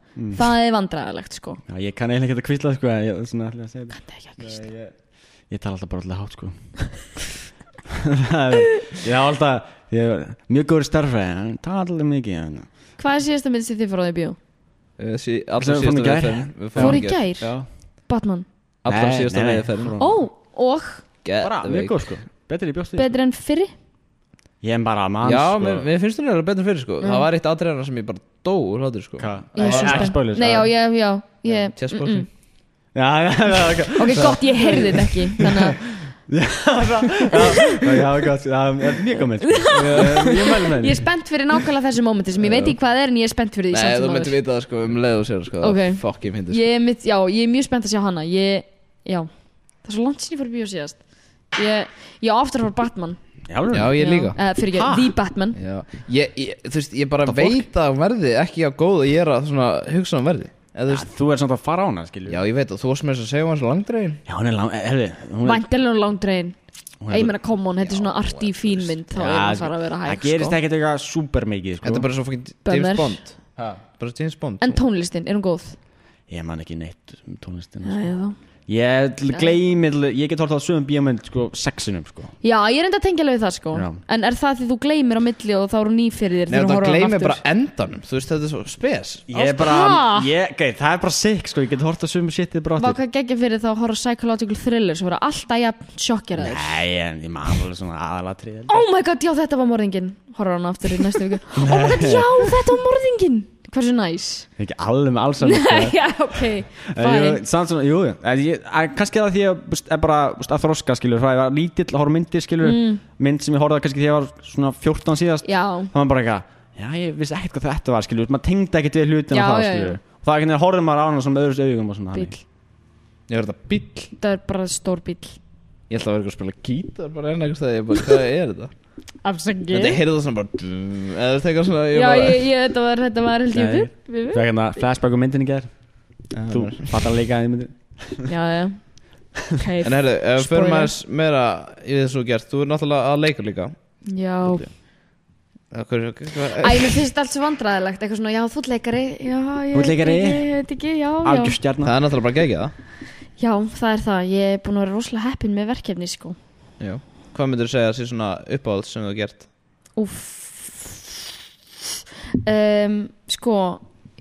Speaker 4: Það er vandræðilegt sko
Speaker 5: Já, ég kann eiginlega ekki að kvísla sko en Ég svona ætlaði að segja
Speaker 4: Það er ekki að kvísla
Speaker 5: Ég, ég- ég tala alltaf bara alltaf hátt
Speaker 4: (laughs)
Speaker 5: sko Það er- Ég á alltaf ég er Mjög góður starfræði Hann tala alltaf mikið en-
Speaker 4: Hvað er síðasta mynd sem þið fóruð í bíó?
Speaker 6: Allra
Speaker 5: Sem við fórum í
Speaker 4: Fóru í
Speaker 5: gær.
Speaker 6: síðasta veiðferðin Við fórum
Speaker 4: gær?
Speaker 6: Já
Speaker 4: Batman
Speaker 6: Allra
Speaker 5: Nei,
Speaker 6: síðasta
Speaker 5: nei, nei.
Speaker 6: veiðferðin
Speaker 4: Ó, og
Speaker 5: Bara mjög góð sko Betri í bjóstið
Speaker 4: betri enn fyrri
Speaker 5: Ég er bara mann
Speaker 6: Já,
Speaker 5: sko.
Speaker 6: mér, mér finnst hún eiginlega betur fyrir sko
Speaker 4: Mm.
Speaker 6: Það var eitt atriðana sem ég bara dó úr hlátur sko
Speaker 5: Hvað?
Speaker 4: Ég er svo
Speaker 5: Ekki
Speaker 4: spennt.
Speaker 5: spoilers,
Speaker 4: Nei, já,
Speaker 5: það-
Speaker 4: ég, já, ég
Speaker 6: Tjá
Speaker 4: mm, mm.
Speaker 6: spókin
Speaker 5: Já, (laughs) já, já, ok.
Speaker 4: Ok, gott, ég heyrði þetta ekki Þannig að
Speaker 5: Já, já, gott, það er mjög
Speaker 4: (laughs)
Speaker 5: góð mynd sko. Ég mælu með henni.
Speaker 4: Ég er spennt fyrir nákvæmlega þessu mómenti sem ég veit ekki hvað það er en ég er spennt fyrir því
Speaker 6: Nei,
Speaker 4: samt
Speaker 6: þú
Speaker 4: sem
Speaker 6: myndir
Speaker 4: áður.
Speaker 6: vita það sko Um leið og sér sko
Speaker 4: Ok.
Speaker 6: Það fucking myndir sko
Speaker 4: Ég er mitt, já, ég er mjög spennt að sjá hana Ég, já, það er svo langt sinni fyrir bíó síðast Ég, ég á aftur að fara Batman
Speaker 5: Já, alveg.
Speaker 6: Já, ég líka
Speaker 4: uh, Fyrir ekki, The Batman
Speaker 6: Já, ég, ég, þú veist, ég bara veit að hún verði ekki á góð og ég er að svona hugsa um verði Eða, þú veist,
Speaker 5: Þú er samt að fara á hana, skilju
Speaker 6: já, ég veit að þú varst með þess að segja um hans langdregin
Speaker 5: Já, hún er lang, herri hún er-
Speaker 4: Væntalega langdregin
Speaker 5: hún er-
Speaker 4: Ég meina, come on, þetta er svona arti fín mynd Þá er
Speaker 5: Já,
Speaker 4: hann fara að vera
Speaker 5: Það
Speaker 4: hæg,
Speaker 5: gerist
Speaker 4: sko
Speaker 5: ekkert eitthvað super mikið, sko
Speaker 6: Þetta er bara svo fokkin
Speaker 4: Bummer.
Speaker 6: James Bond ha. Bara James Bond
Speaker 4: En tónlistin, er hún góð?
Speaker 5: Ég man ekki neitt um tónlistina
Speaker 4: Nei, þá
Speaker 5: Ég gleymi, ég get hortað á sögum bíómynd, sko, sexinum, sko
Speaker 4: Já, ég er enda að tengja alveg við það sko
Speaker 5: Já.
Speaker 4: En er það því þú gleymir á milli og þá eru ný fyrir þér
Speaker 6: Nei,
Speaker 4: þegar þú
Speaker 6: það
Speaker 4: horfir á hana
Speaker 6: gleymir
Speaker 4: aftur?
Speaker 6: bara endanum Þú veist, þetta er svo spes
Speaker 5: Ég
Speaker 4: Ha?
Speaker 5: er bara, ég, okay, það er bara sick, sko, ég get hortað á sögum shitið bara
Speaker 4: Vá,
Speaker 5: áttir
Speaker 4: hvað geggja fyrir þá að horfa á psychological thriller sem vera alltaf jafn sjokkjaraður
Speaker 5: Nei, en ég man alveg svona aðalatrið
Speaker 4: Oh my god, já þetta var morðingin Horfa á hana aftur í næstu
Speaker 5: (laughs)
Speaker 4: viku Oh my god, já þetta var morðingin Hversu næs
Speaker 5: Ekki alveg með alls saman, sko
Speaker 4: (laughs) Já, ok,
Speaker 5: En ég-
Speaker 4: fæn
Speaker 5: samt svona, jú, jú. En ég, að, kannski það því að, búst, að bara búst, að þroska skilur, það var lítill að horfa á myndir skilur, mynd sem ég horfði á kannski því að ég var svona 14 síðast,
Speaker 4: Mm. Já,
Speaker 5: það var bara eitthvað já, ég vissi ekkert hvað þetta var skilur, maður tengdi ekkert við hlutina
Speaker 4: Já,
Speaker 5: og það
Speaker 4: já, já.
Speaker 5: skilur, og það er ekki að horfa maður á hana svona með öðrus augum og svona
Speaker 4: bíl
Speaker 6: Ég verði að bíll
Speaker 4: Það er bara stór bíl
Speaker 6: Ég ætla að vera eitthvað að spila gítar bara enn eitthvað stæði Ég bara, hvað er
Speaker 4: (laughs)
Speaker 6: þetta?
Speaker 4: Afsakið
Speaker 6: Þetta ég heyrði það svona bara Eða þú veist, eitthvað svona
Speaker 4: Já,
Speaker 6: bara,
Speaker 4: ég, ég, þetta var, þetta var held ég
Speaker 5: Nei.
Speaker 4: við- við- við.
Speaker 5: það er ekki að flashback um myndin í gerð þú fattar líka að ég myndi
Speaker 4: Já, já Ok,
Speaker 6: En herru, ef við
Speaker 4: Spoiler.
Speaker 6: förum aðeins meira í þessu gert Þú er náttúrulega að leika líka
Speaker 4: já
Speaker 6: Eða hverju- hvað-
Speaker 4: Æ, mér finnst allt svo vandræðilegt Eitthvað svona, já, þú ert leikari Já, ég
Speaker 5: Þú ert
Speaker 4: veit
Speaker 5: leikari?
Speaker 4: ekki, Ég veit ekki, já, já
Speaker 5: algjörstjarnar
Speaker 6: Það er náttúrulega bara gegið það
Speaker 4: Já, það er það. Ég er búin að vera rosalega heppin með verkefni, sko.
Speaker 6: Já. Hvað myndir þú segja að sé svona uppáhalds sem þú hefur gert?
Speaker 4: Úff. Um, sko,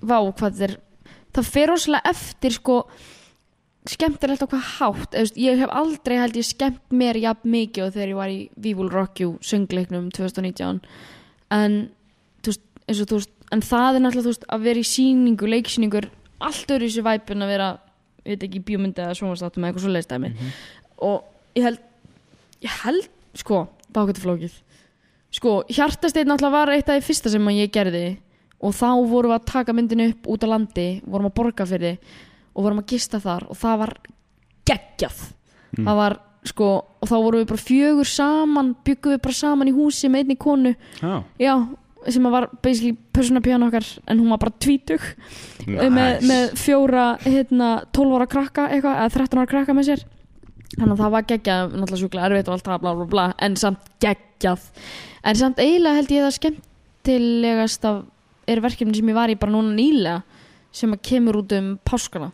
Speaker 4: vá, hvað þetta er... Það fer rosalega eftir, sko, skemmtilegt á hvað hátt. Eðust, ég hef aldrei held ég skemmt mér jafn mikið og þegar ég var í We Will Rock You söngleiknum 2019. En, þú veist, eins og þú veist, en það er náttúrulega, þú veist, að vera í síningu, leiksýningur, allt öðru í þessu væpun að vera, ég veit ekki, bíómyndi eða sjónvastáttum eða eitthvað svo leistæmi. Og ég held ég held, sko, bákvættu flókið sko, hjartasteinn náttúrulega var eitt af því fyrsta sem að ég gerði og þá vorum við að taka myndin upp út á landi vorum að borga fyrir því og vorum að gista þar og það var geggjað það var, sko, og þá vorum við bara fjögur saman byggum við bara saman í húsi með einni konu já, sem að var basically personapján okkar en hún var bara tvítug Eh, með, með fjóra hérna, 12 ára krakka eitthvað, eða 13 ára krakka með sér þannig að það var geggjað, náttúrulega sjúklega erfitt og allt það bla bla bla, en samt geggjað en samt eiginlega held ég það skemmtilegast af er verkefni sem ég var í bara núna nýlega sem að kemur út um páskana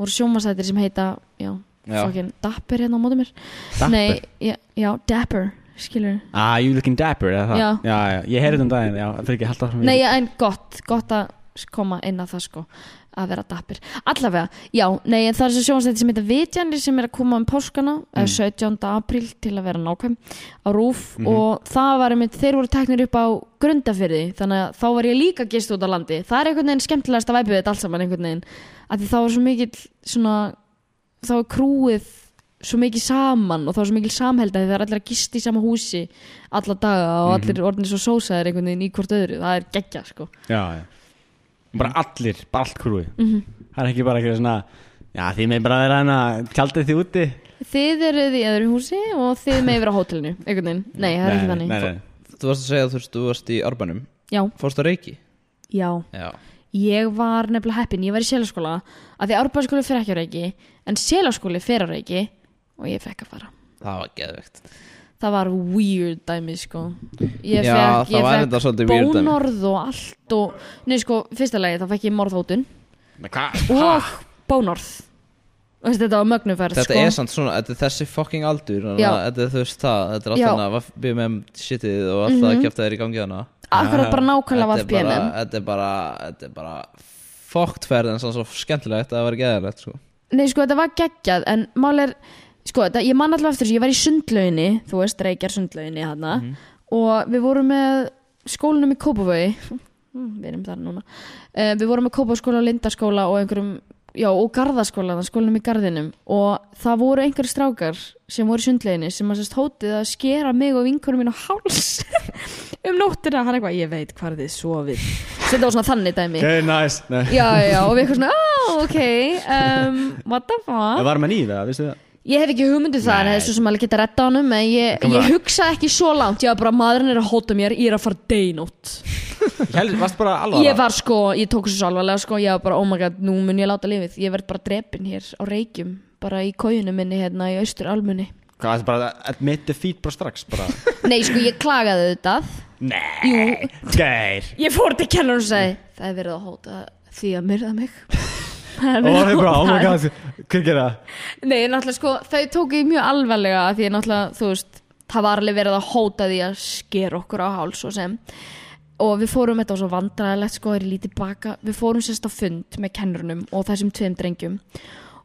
Speaker 4: voru sjómasættir sem heita já,
Speaker 6: Já.
Speaker 4: fucking Dapper hérna á móti mér
Speaker 5: Dapper?
Speaker 4: Nei, já, já, Dapper, skilur
Speaker 5: ah, you looking dapper eða það
Speaker 4: Já.
Speaker 5: já, já, ég heyrði um daginn, já, það er ekki haldið áfram í-
Speaker 4: Nei, en gott, gott að koma inn að það sko að vera dappir, allavega, já, nei en það er svo sjónstætti sem heita Vitjanir sem er að koma um páskana, mm. 17. apríl til að vera nákvæm á Rúf og það var einmitt, þeir voru teknir upp á grundafyrði, þannig að þá var ég líka gist út á landi, það er einhvern veginn skemmtilegast að væpið þetta allt saman einhvern veginn að því þá er svo mikill svona þá er krúið svo mikið saman og þá er svo mikil samhælda því það er allir að gista í sama húsi alla daga og
Speaker 5: Mhm.
Speaker 4: allir orðinir svo sósaðir einhvern veginn í hvort öðru, það er geggja sko Mhm.
Speaker 5: já, já. bara allir, bara allt krúi það er ekki bara eitthvað svona Já, því með bara vera hérna Tjaldið því úti
Speaker 4: Þið eruð í öðru húsi og þið með vera á hótelinu einhvern veginn, nei, það er ekki þannig
Speaker 5: nei, nei.
Speaker 6: Þú varst að segja að þú, veist, þú varst í Arbanum
Speaker 4: Já,
Speaker 6: Fórst að reiki
Speaker 4: já,
Speaker 6: Já
Speaker 4: ég var nefnilega heppin, ég var í selaskóla að því árbæðskóli fer ekki á reiki en selaskóli fer á reiki og ég fekk að fara
Speaker 6: Það var geðvegt
Speaker 4: það var weird dæmi sko ég
Speaker 6: Já,
Speaker 4: fekk,
Speaker 6: það
Speaker 4: ég
Speaker 6: var
Speaker 4: fekk
Speaker 6: enda svolítið weird dæmi.
Speaker 4: bónorð og allt og nei sko, fyrsta lagi þá fekk ég morðhótun
Speaker 1: Nei, hva?
Speaker 4: og bónorð og þetta var mögnuferð
Speaker 6: Þetta
Speaker 4: sko
Speaker 6: er samt svona, þetta er þessi fucking aldur þannig
Speaker 4: Já.
Speaker 6: að Þetta er þú veist það, þetta er
Speaker 4: Já.
Speaker 6: allt hana BMM shitið og allt það að kjæfta þér í gangi hana
Speaker 4: akkurat bara nákvæmlega
Speaker 6: Þetta
Speaker 4: var
Speaker 6: er bara,
Speaker 4: PNM
Speaker 6: þetta er bara, þetta er bara Fucked ferð en svona svo skemmtilegt að það var geðilegt sko
Speaker 4: nei sko, þetta var geggjað en mál er, sko, þetta, ég man alltaf eftir þessu, ég var í sundlauginni, þú veist, reykjar sundlauginni hana og við vorum með skólanum í Kópavogi Mm, við erum þar núna uh, við vorum með Kópavogsskóla og Lindaskóla og einhverjum, já, og Garðaskóla skólanum í Garðinum og það voru einhverjir strákar sem voru í sundleginni sem að sérst hótið að skera mig og vinkunum mín á háls (laughs) um nóttina, hann eitthvað, ég veit hvar þið sofið Svo þetta var svona þannig dæmi
Speaker 5: Ok, nice Nei.
Speaker 4: já, já, já, og við eitthvað svona, oh, ok um, what the fuck
Speaker 5: Það var með nýð, það, vissu það
Speaker 4: Ég hef ekki hugmyndu það, en það er svo sem alveg geta retta honum en ég, ég hugsa ekki svo langt ég var bara, maðurinn er að hóta mér, ég er að fara deynótt
Speaker 5: Hjæl, Varst bara alvara
Speaker 4: Ég var sko, ég tók þessu svo alvarlega sko ég var bara, oh my god, nú mun ég láta lifið ég verð bara drepin hér á Reykjum bara í kójunum minni hérna í austur almunni
Speaker 5: Hvað, þetta bara Admit defeat bara strax
Speaker 4: (laughs)
Speaker 5: bara
Speaker 4: Nei, sko, ég klagaði auðvitað
Speaker 5: Nei
Speaker 4: Jú, (laughs)
Speaker 5: Geir
Speaker 4: ég fór til kennur og sagði það er verið að hóta því að myrða mig (laughs) Það er
Speaker 5: Og
Speaker 4: verið
Speaker 5: það er
Speaker 4: að
Speaker 5: bara, oh my
Speaker 4: hóta-
Speaker 5: god Hver gerir það?
Speaker 4: Nei, náttúrulega sko, þau tóku því mjög alvarlega af því að náttúrulega, þú veist, það var alveg verið að hóta því að sker okkur á háls og sem og við fórum, þetta var svo vandræðilegt sko, er lítið baka, við fórum sérst á fund með kennurunum og þessum tveim drengjum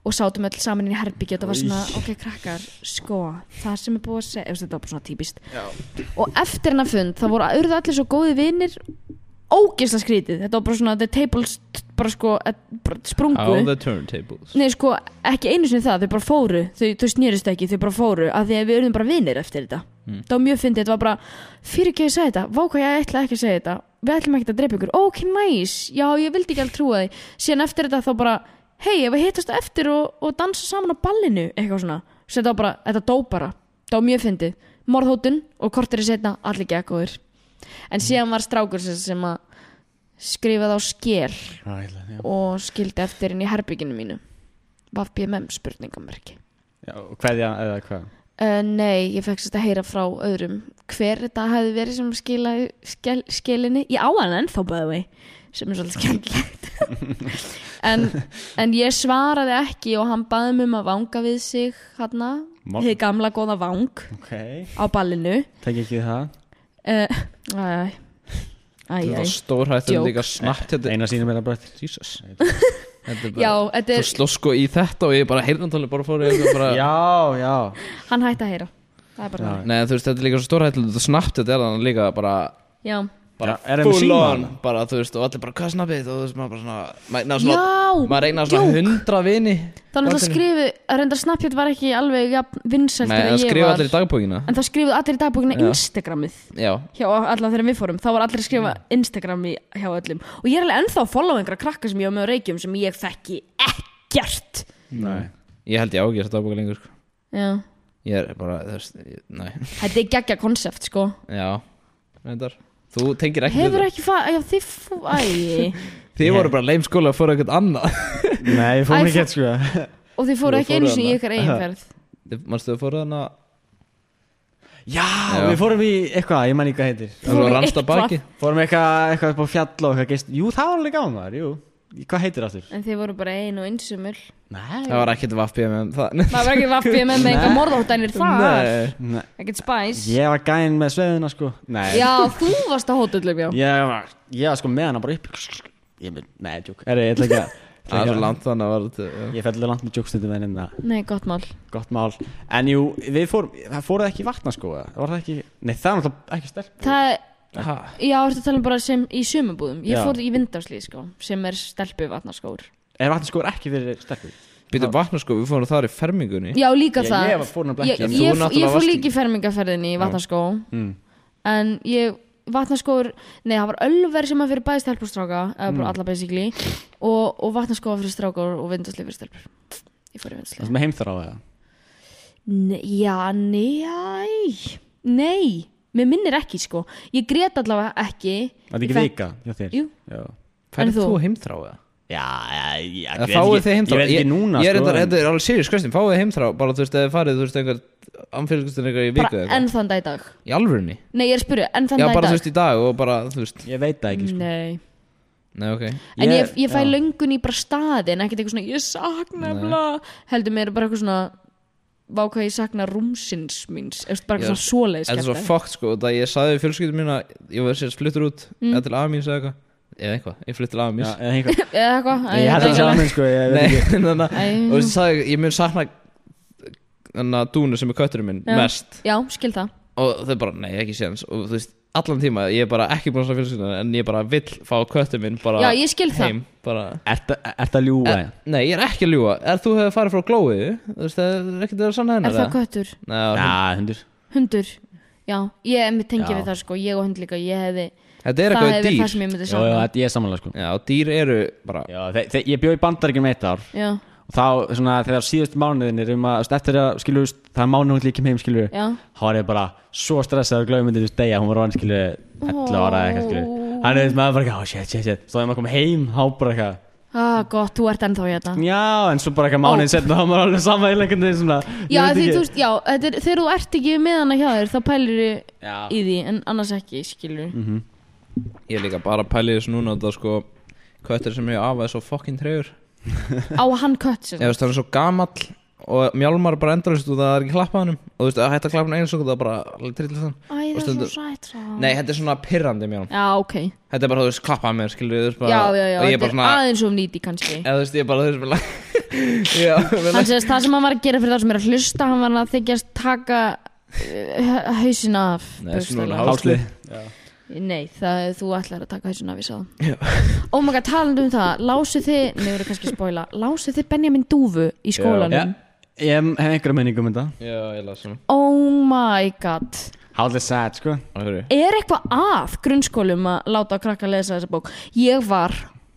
Speaker 4: og sátum öll saman inn í herbyggja og það var svona, ok krakkar, sko það sem er búið að segja, þú veist, þetta var bara svona típist Já. og eftir hennar fund, það voru urðu allir svo góði vinir ógisla skrítið, þetta var bara svona the tables bara sko, eh, bara sprungu
Speaker 6: All the turntables
Speaker 4: Nei, sko, ekki einu sinni það, þau bara fóru þau, þau snýrist ekki, þau bara fóru að því að við urðum bara vinir eftir þetta það var mjög fyndið, þetta var bara, fyrir ekki að ég segi þetta vá hvað ég ætla ekki að segja þetta við ætlum ekki að drepa ykkur, ok, nice já, ég vildi ekki alveg trúa því, síðan eftir þetta þá bara, hei, ef við hittast á eftir og, og dansa saman á ballinu, eitthvað svona Svo þetta var bara, þetta dó bara það var mjög fyndið, morðhóttun og kortir í setna, allir gekkóður en síðan var strákur sem, sem að skrifaði á skér og skildi eftir inn í herbygginu mínu var BMM spurningamerki
Speaker 5: Já, og Kveðja eða hvað
Speaker 4: uh, Nei, ég fekk sérst að heyra frá öðrum hver þetta hefði verið sem skilaði skil, skilinni, ég á hann ennþá bæði vei, sem er svolítið skemmtilegt (laughs) en, en ég svaraði ekki og hann baði mig um að vanga við sig hann
Speaker 5: Má-
Speaker 4: hið gamla góða vang
Speaker 5: Ok
Speaker 4: á ballinu
Speaker 5: Tek ekki það
Speaker 4: uh, Æ, æ, æ, æ.
Speaker 6: Stórhættum
Speaker 4: Joke.
Speaker 6: líka snart þetta
Speaker 5: Eina sínum er að breytta
Speaker 6: Jesus Þetta er bara-
Speaker 4: Já, þetta
Speaker 6: Þú
Speaker 4: er,
Speaker 6: slóst sko í þetta og ég bara heyrnantalið bara fór ég eitthvað bara
Speaker 5: Já, já
Speaker 4: hann hætti að heyra Það er bara
Speaker 5: Já.
Speaker 4: það
Speaker 6: Nei þú veist þetta er líka svo stórhættilegt Þetta snabbt þetta er hann líka bara
Speaker 4: Já,
Speaker 5: Bara, er það með
Speaker 6: Full
Speaker 5: síma?
Speaker 6: on Bara þú veist og allir bara hvað er snabbið Og þú veist maður bara svona Maður ná svona
Speaker 4: Já,
Speaker 6: Maður reyna svona
Speaker 4: joke.
Speaker 6: hundra vini
Speaker 4: Þannig að skrifu, að reynda eh, Snapchat var ekki alveg jafn vinsælt
Speaker 6: Nei það
Speaker 4: þegar ég
Speaker 6: skrifa
Speaker 4: var
Speaker 6: allir í dagbókina
Speaker 4: En það skrifuð allir í dagbókina Instagramið
Speaker 6: Já
Speaker 4: hjá alla þegar við fórum, þá var allir að skrifa Instagram í, hjá öllum og ég er alveg ennþá að follow einhverja krakka sem ég á með á reykjum sem ég þekki ekkert
Speaker 5: Nei
Speaker 6: Ég held ég á ekki þessa dagbóka lengur sko.
Speaker 4: Já,
Speaker 6: Ég er bara þú veist ég- Nei
Speaker 4: þetta er geggja konsept sko
Speaker 6: Já Reyndar Þú tengir ekki
Speaker 4: Hefur
Speaker 6: þetta
Speaker 4: ekki farið, já þið fú, æ
Speaker 6: Þið voru bara leimskóla og fóru eitthvað annað (laughs)
Speaker 5: Nei, við fórum
Speaker 4: Æ,
Speaker 5: ekki eitt sko
Speaker 4: og þið fóru
Speaker 6: Jú,
Speaker 4: ekki einu
Speaker 6: fóru
Speaker 4: sinni í
Speaker 6: þarna.
Speaker 4: ykkar eiginferð
Speaker 6: Þið- Manstu þau fóru þannig
Speaker 5: (laughs) Já, við fórum í eitthvað, ég man ekki hvað heitir
Speaker 6: Það
Speaker 4: Fóru
Speaker 6: var rannst að
Speaker 4: eitthvað.
Speaker 6: baki
Speaker 5: Fórum í eitthvað, eitthvað upp á fjall og eitthvað geist Jú, það var alveg gáðum þar, jú Í- Hvað heitir aftur?
Speaker 4: en þið voru bara einu og um einsumul
Speaker 5: Nei
Speaker 6: Það var ekkert vaffið með um það
Speaker 4: maður var ekki vaffið með með einhver morðhóttanir þar
Speaker 6: (laughs) Nei
Speaker 5: Nei,
Speaker 4: ekkert spæs
Speaker 5: Ég var gæinn með sveðina sko Nei
Speaker 4: Já, þú varst að hóttullum já
Speaker 5: Ég var, ég var sko með hana bara upp Ég með, nei, djók Er ég ætla (laughs) ekki að
Speaker 6: Það er svo langt þannig að var þetta
Speaker 5: Ég fellur langt með djókstundum en hérna
Speaker 4: Nei, gott mál
Speaker 5: Gott mál En jú, við fórum, það fóruð ekki í vatna sko eða? Var það ekki, nei það var náttúrulega ekki stelp
Speaker 4: Það er
Speaker 6: Ha?
Speaker 4: Já, ertu að tala um bara sem í sumabúðum Ég
Speaker 5: Já.
Speaker 4: fór í vindarslið sko Sem er stelpu vatnarskór
Speaker 5: Er vatna sko ekki fyrir stelpur?
Speaker 6: Býtu vatna sko, við fórum þar í fermingunni
Speaker 4: Já, líka
Speaker 5: Ég-
Speaker 4: það
Speaker 5: ég var- fór nefnilega
Speaker 4: Ég,
Speaker 5: ekki.
Speaker 4: ég,
Speaker 6: Þú
Speaker 4: ég,
Speaker 6: náttúrulega
Speaker 4: fór
Speaker 6: varst í-
Speaker 4: líka í fermingaferðinni í vatnarskó En ég vatnaskóður nei, það var ölver sem var fyrir bæði stelpur og stráka eða bara alla basically og, og vatnaskóða fyrir stráka og vindaslið fyrir stelpur ég fór í vindaslið
Speaker 5: Það sem er heimþar á það
Speaker 4: Nei, já, nei Nei, mér minnir ekki sko Ég grét allavega ekki
Speaker 5: Það er
Speaker 4: Ég
Speaker 5: ekki
Speaker 4: fekk-
Speaker 5: vika hjá þér
Speaker 4: Jú.
Speaker 5: Já,
Speaker 6: Færðu
Speaker 4: þú?
Speaker 6: þú heimþrá eða?
Speaker 5: já, já, já
Speaker 6: Eða fáið þið heimþrá?
Speaker 5: Ég veit ekki núna
Speaker 6: Ég
Speaker 5: sko,
Speaker 6: er reyndar,
Speaker 5: en-
Speaker 6: þetta er alveg serious question Fáið þið heimþrá, bara þú veist, eða þið farið, þú veist, einhver Amfélgustin einhver í viku
Speaker 4: Bara
Speaker 6: eða
Speaker 4: enn
Speaker 6: eitthvað?
Speaker 4: þann dag í dag
Speaker 6: Í alvörunni?
Speaker 4: Nei, ég er að spyrja, enn þann
Speaker 6: Já,
Speaker 4: dag í
Speaker 6: bara þú
Speaker 4: dag
Speaker 6: veist, í dag og bara, þú veist
Speaker 5: Ég veit það ekki sko
Speaker 4: Nei,
Speaker 6: Nei, ok
Speaker 4: en
Speaker 5: Ég-
Speaker 4: ég, ég fæ
Speaker 5: já.
Speaker 4: löngun í bara staðin Ekkert eitthvað svona, ég sakna
Speaker 6: Nei.
Speaker 4: bla Heldur mér bara eitthvað svona Vá hvað ég sakna rúmsins míns Eftir bara
Speaker 6: Já,
Speaker 4: eitthvað svona svoleiðis
Speaker 6: Þetta er svo
Speaker 4: kjaftaði.
Speaker 6: fokkt sko, það ég sagði fjölskyldum mína Ég var sérst fluttur út,
Speaker 4: Mm.
Speaker 6: eða til afa míns eða eitthvað Eða eitthvað, ég flutt til afa
Speaker 5: Já,
Speaker 6: míns (laughs)
Speaker 5: eða einhver-
Speaker 4: Eða eitthvað æ,
Speaker 5: Ég held
Speaker 4: veit
Speaker 5: að
Speaker 4: ekki
Speaker 5: saman sko Ég veit
Speaker 6: Nei,
Speaker 5: ekki
Speaker 6: þannig að
Speaker 4: alveg.
Speaker 6: Og þú sagði, ég mun sakna Þannig að dúnu sem er kötturinn minn
Speaker 4: Já.
Speaker 6: mest
Speaker 4: Æ, Já, skil það
Speaker 6: og þau bara, nei, ekki séns og þú veist, allan tíma, ég er bara ekki búin að fjölskylda en ég bara vill fá köttu minn bara
Speaker 4: Já, ég skil það.
Speaker 6: heim, bara
Speaker 5: Ert ert að ljúga
Speaker 6: Eh, Nei, ég er ekki að ljúga, er þú hefur farið frá glóið þú veist, það er ekkert að vera sann hennar
Speaker 4: Er það köttur?
Speaker 6: Nei,
Speaker 5: Já, hundur
Speaker 4: Hundur? Já, ég er með tengi
Speaker 5: Já.
Speaker 4: við það sko Ég og hund líka, ég hefði
Speaker 6: þetta er
Speaker 4: það
Speaker 6: eitthvað
Speaker 4: hefði
Speaker 6: dýr
Speaker 4: það sem ég myndi
Speaker 5: Jó, jó,
Speaker 4: sakna
Speaker 5: þetta- ég er samanlega sko
Speaker 6: Já, dýr eru bara
Speaker 5: Já, þe- þe- ég bjó í bandaríkjum eitt ár
Speaker 4: Já,
Speaker 5: og þá svona þegar síðustu mánuðinir um að þú veist, eftir að skilur þú veist, það er mánuð hún líkjum heim skilur
Speaker 4: já
Speaker 5: þá var ég bara svo stressað og glöðum myndið þú degja hún var vann skilur 11 ára eða eitthvað skilur hann er maður bara ekki, oh shit, shit, shit svo þegar maður kom heim há bara eitthvað
Speaker 4: Ah, gott, þú ert ennþá hérna
Speaker 5: já en svo bara eitthvað mánuðin
Speaker 4: Ó.
Speaker 5: setna þá var maður alveg sama í lengjandi svona ég
Speaker 4: Já,
Speaker 5: veit
Speaker 4: því
Speaker 5: ekki-
Speaker 4: þú veist, já, þetta er, þegar þú ert ekki með hana hjá þér þá pælir þið
Speaker 5: Já. Mhm.
Speaker 4: í því en annars ekki, skilur mm
Speaker 6: Ég er líka bara að pæli þessu núna þetta sko, köttur sem ég afa er svo fucking trefur
Speaker 4: Á hann kött sem
Speaker 6: Ég veist, hann er svo gamall og mjálmar bara endur þessu, það er ekki klappað hannum og þú veist, að hætta að klappa hann eins og það er bara trillist hann
Speaker 4: Æ, það er
Speaker 6: Og stundum-
Speaker 4: svo sætt svo.
Speaker 6: Nei, þetta er svona pirrandi mjálm
Speaker 4: Já, ok
Speaker 6: Þetta er bara, þú veist, klappað mér, skilur þú veist bara
Speaker 4: Já, já, já,
Speaker 6: Og ég er
Speaker 4: þetta
Speaker 6: bara
Speaker 4: er
Speaker 6: svona,
Speaker 4: aðeins of nýti kannski
Speaker 6: eða þú veist, ég er bara, (laughs) þú veist, bara Já, vel
Speaker 4: Hann segist, það sem hann var að gera fyrir það sem er að hlusta hann var að þykjast taka uh, hausin af
Speaker 6: Nei, svona
Speaker 4: bókstaflega.
Speaker 6: hálf-
Speaker 5: Hálslið.
Speaker 4: Nei, það er þú ætlar að taka hausin af, ég sá það Oh my god, talandi um það, lásuð þið Nei, við erum kannski að spoila Lásuð þið Benjamin Dúfu í skólanum
Speaker 5: Já, ég hef einhverja meiningum um þetta
Speaker 6: Já, ég las hann
Speaker 4: Oh my god
Speaker 5: hálflega sad sko
Speaker 6: Það fyrir
Speaker 4: Er eitthvað að grunnskólum að láta krakka að lesa þessa bók? Ég var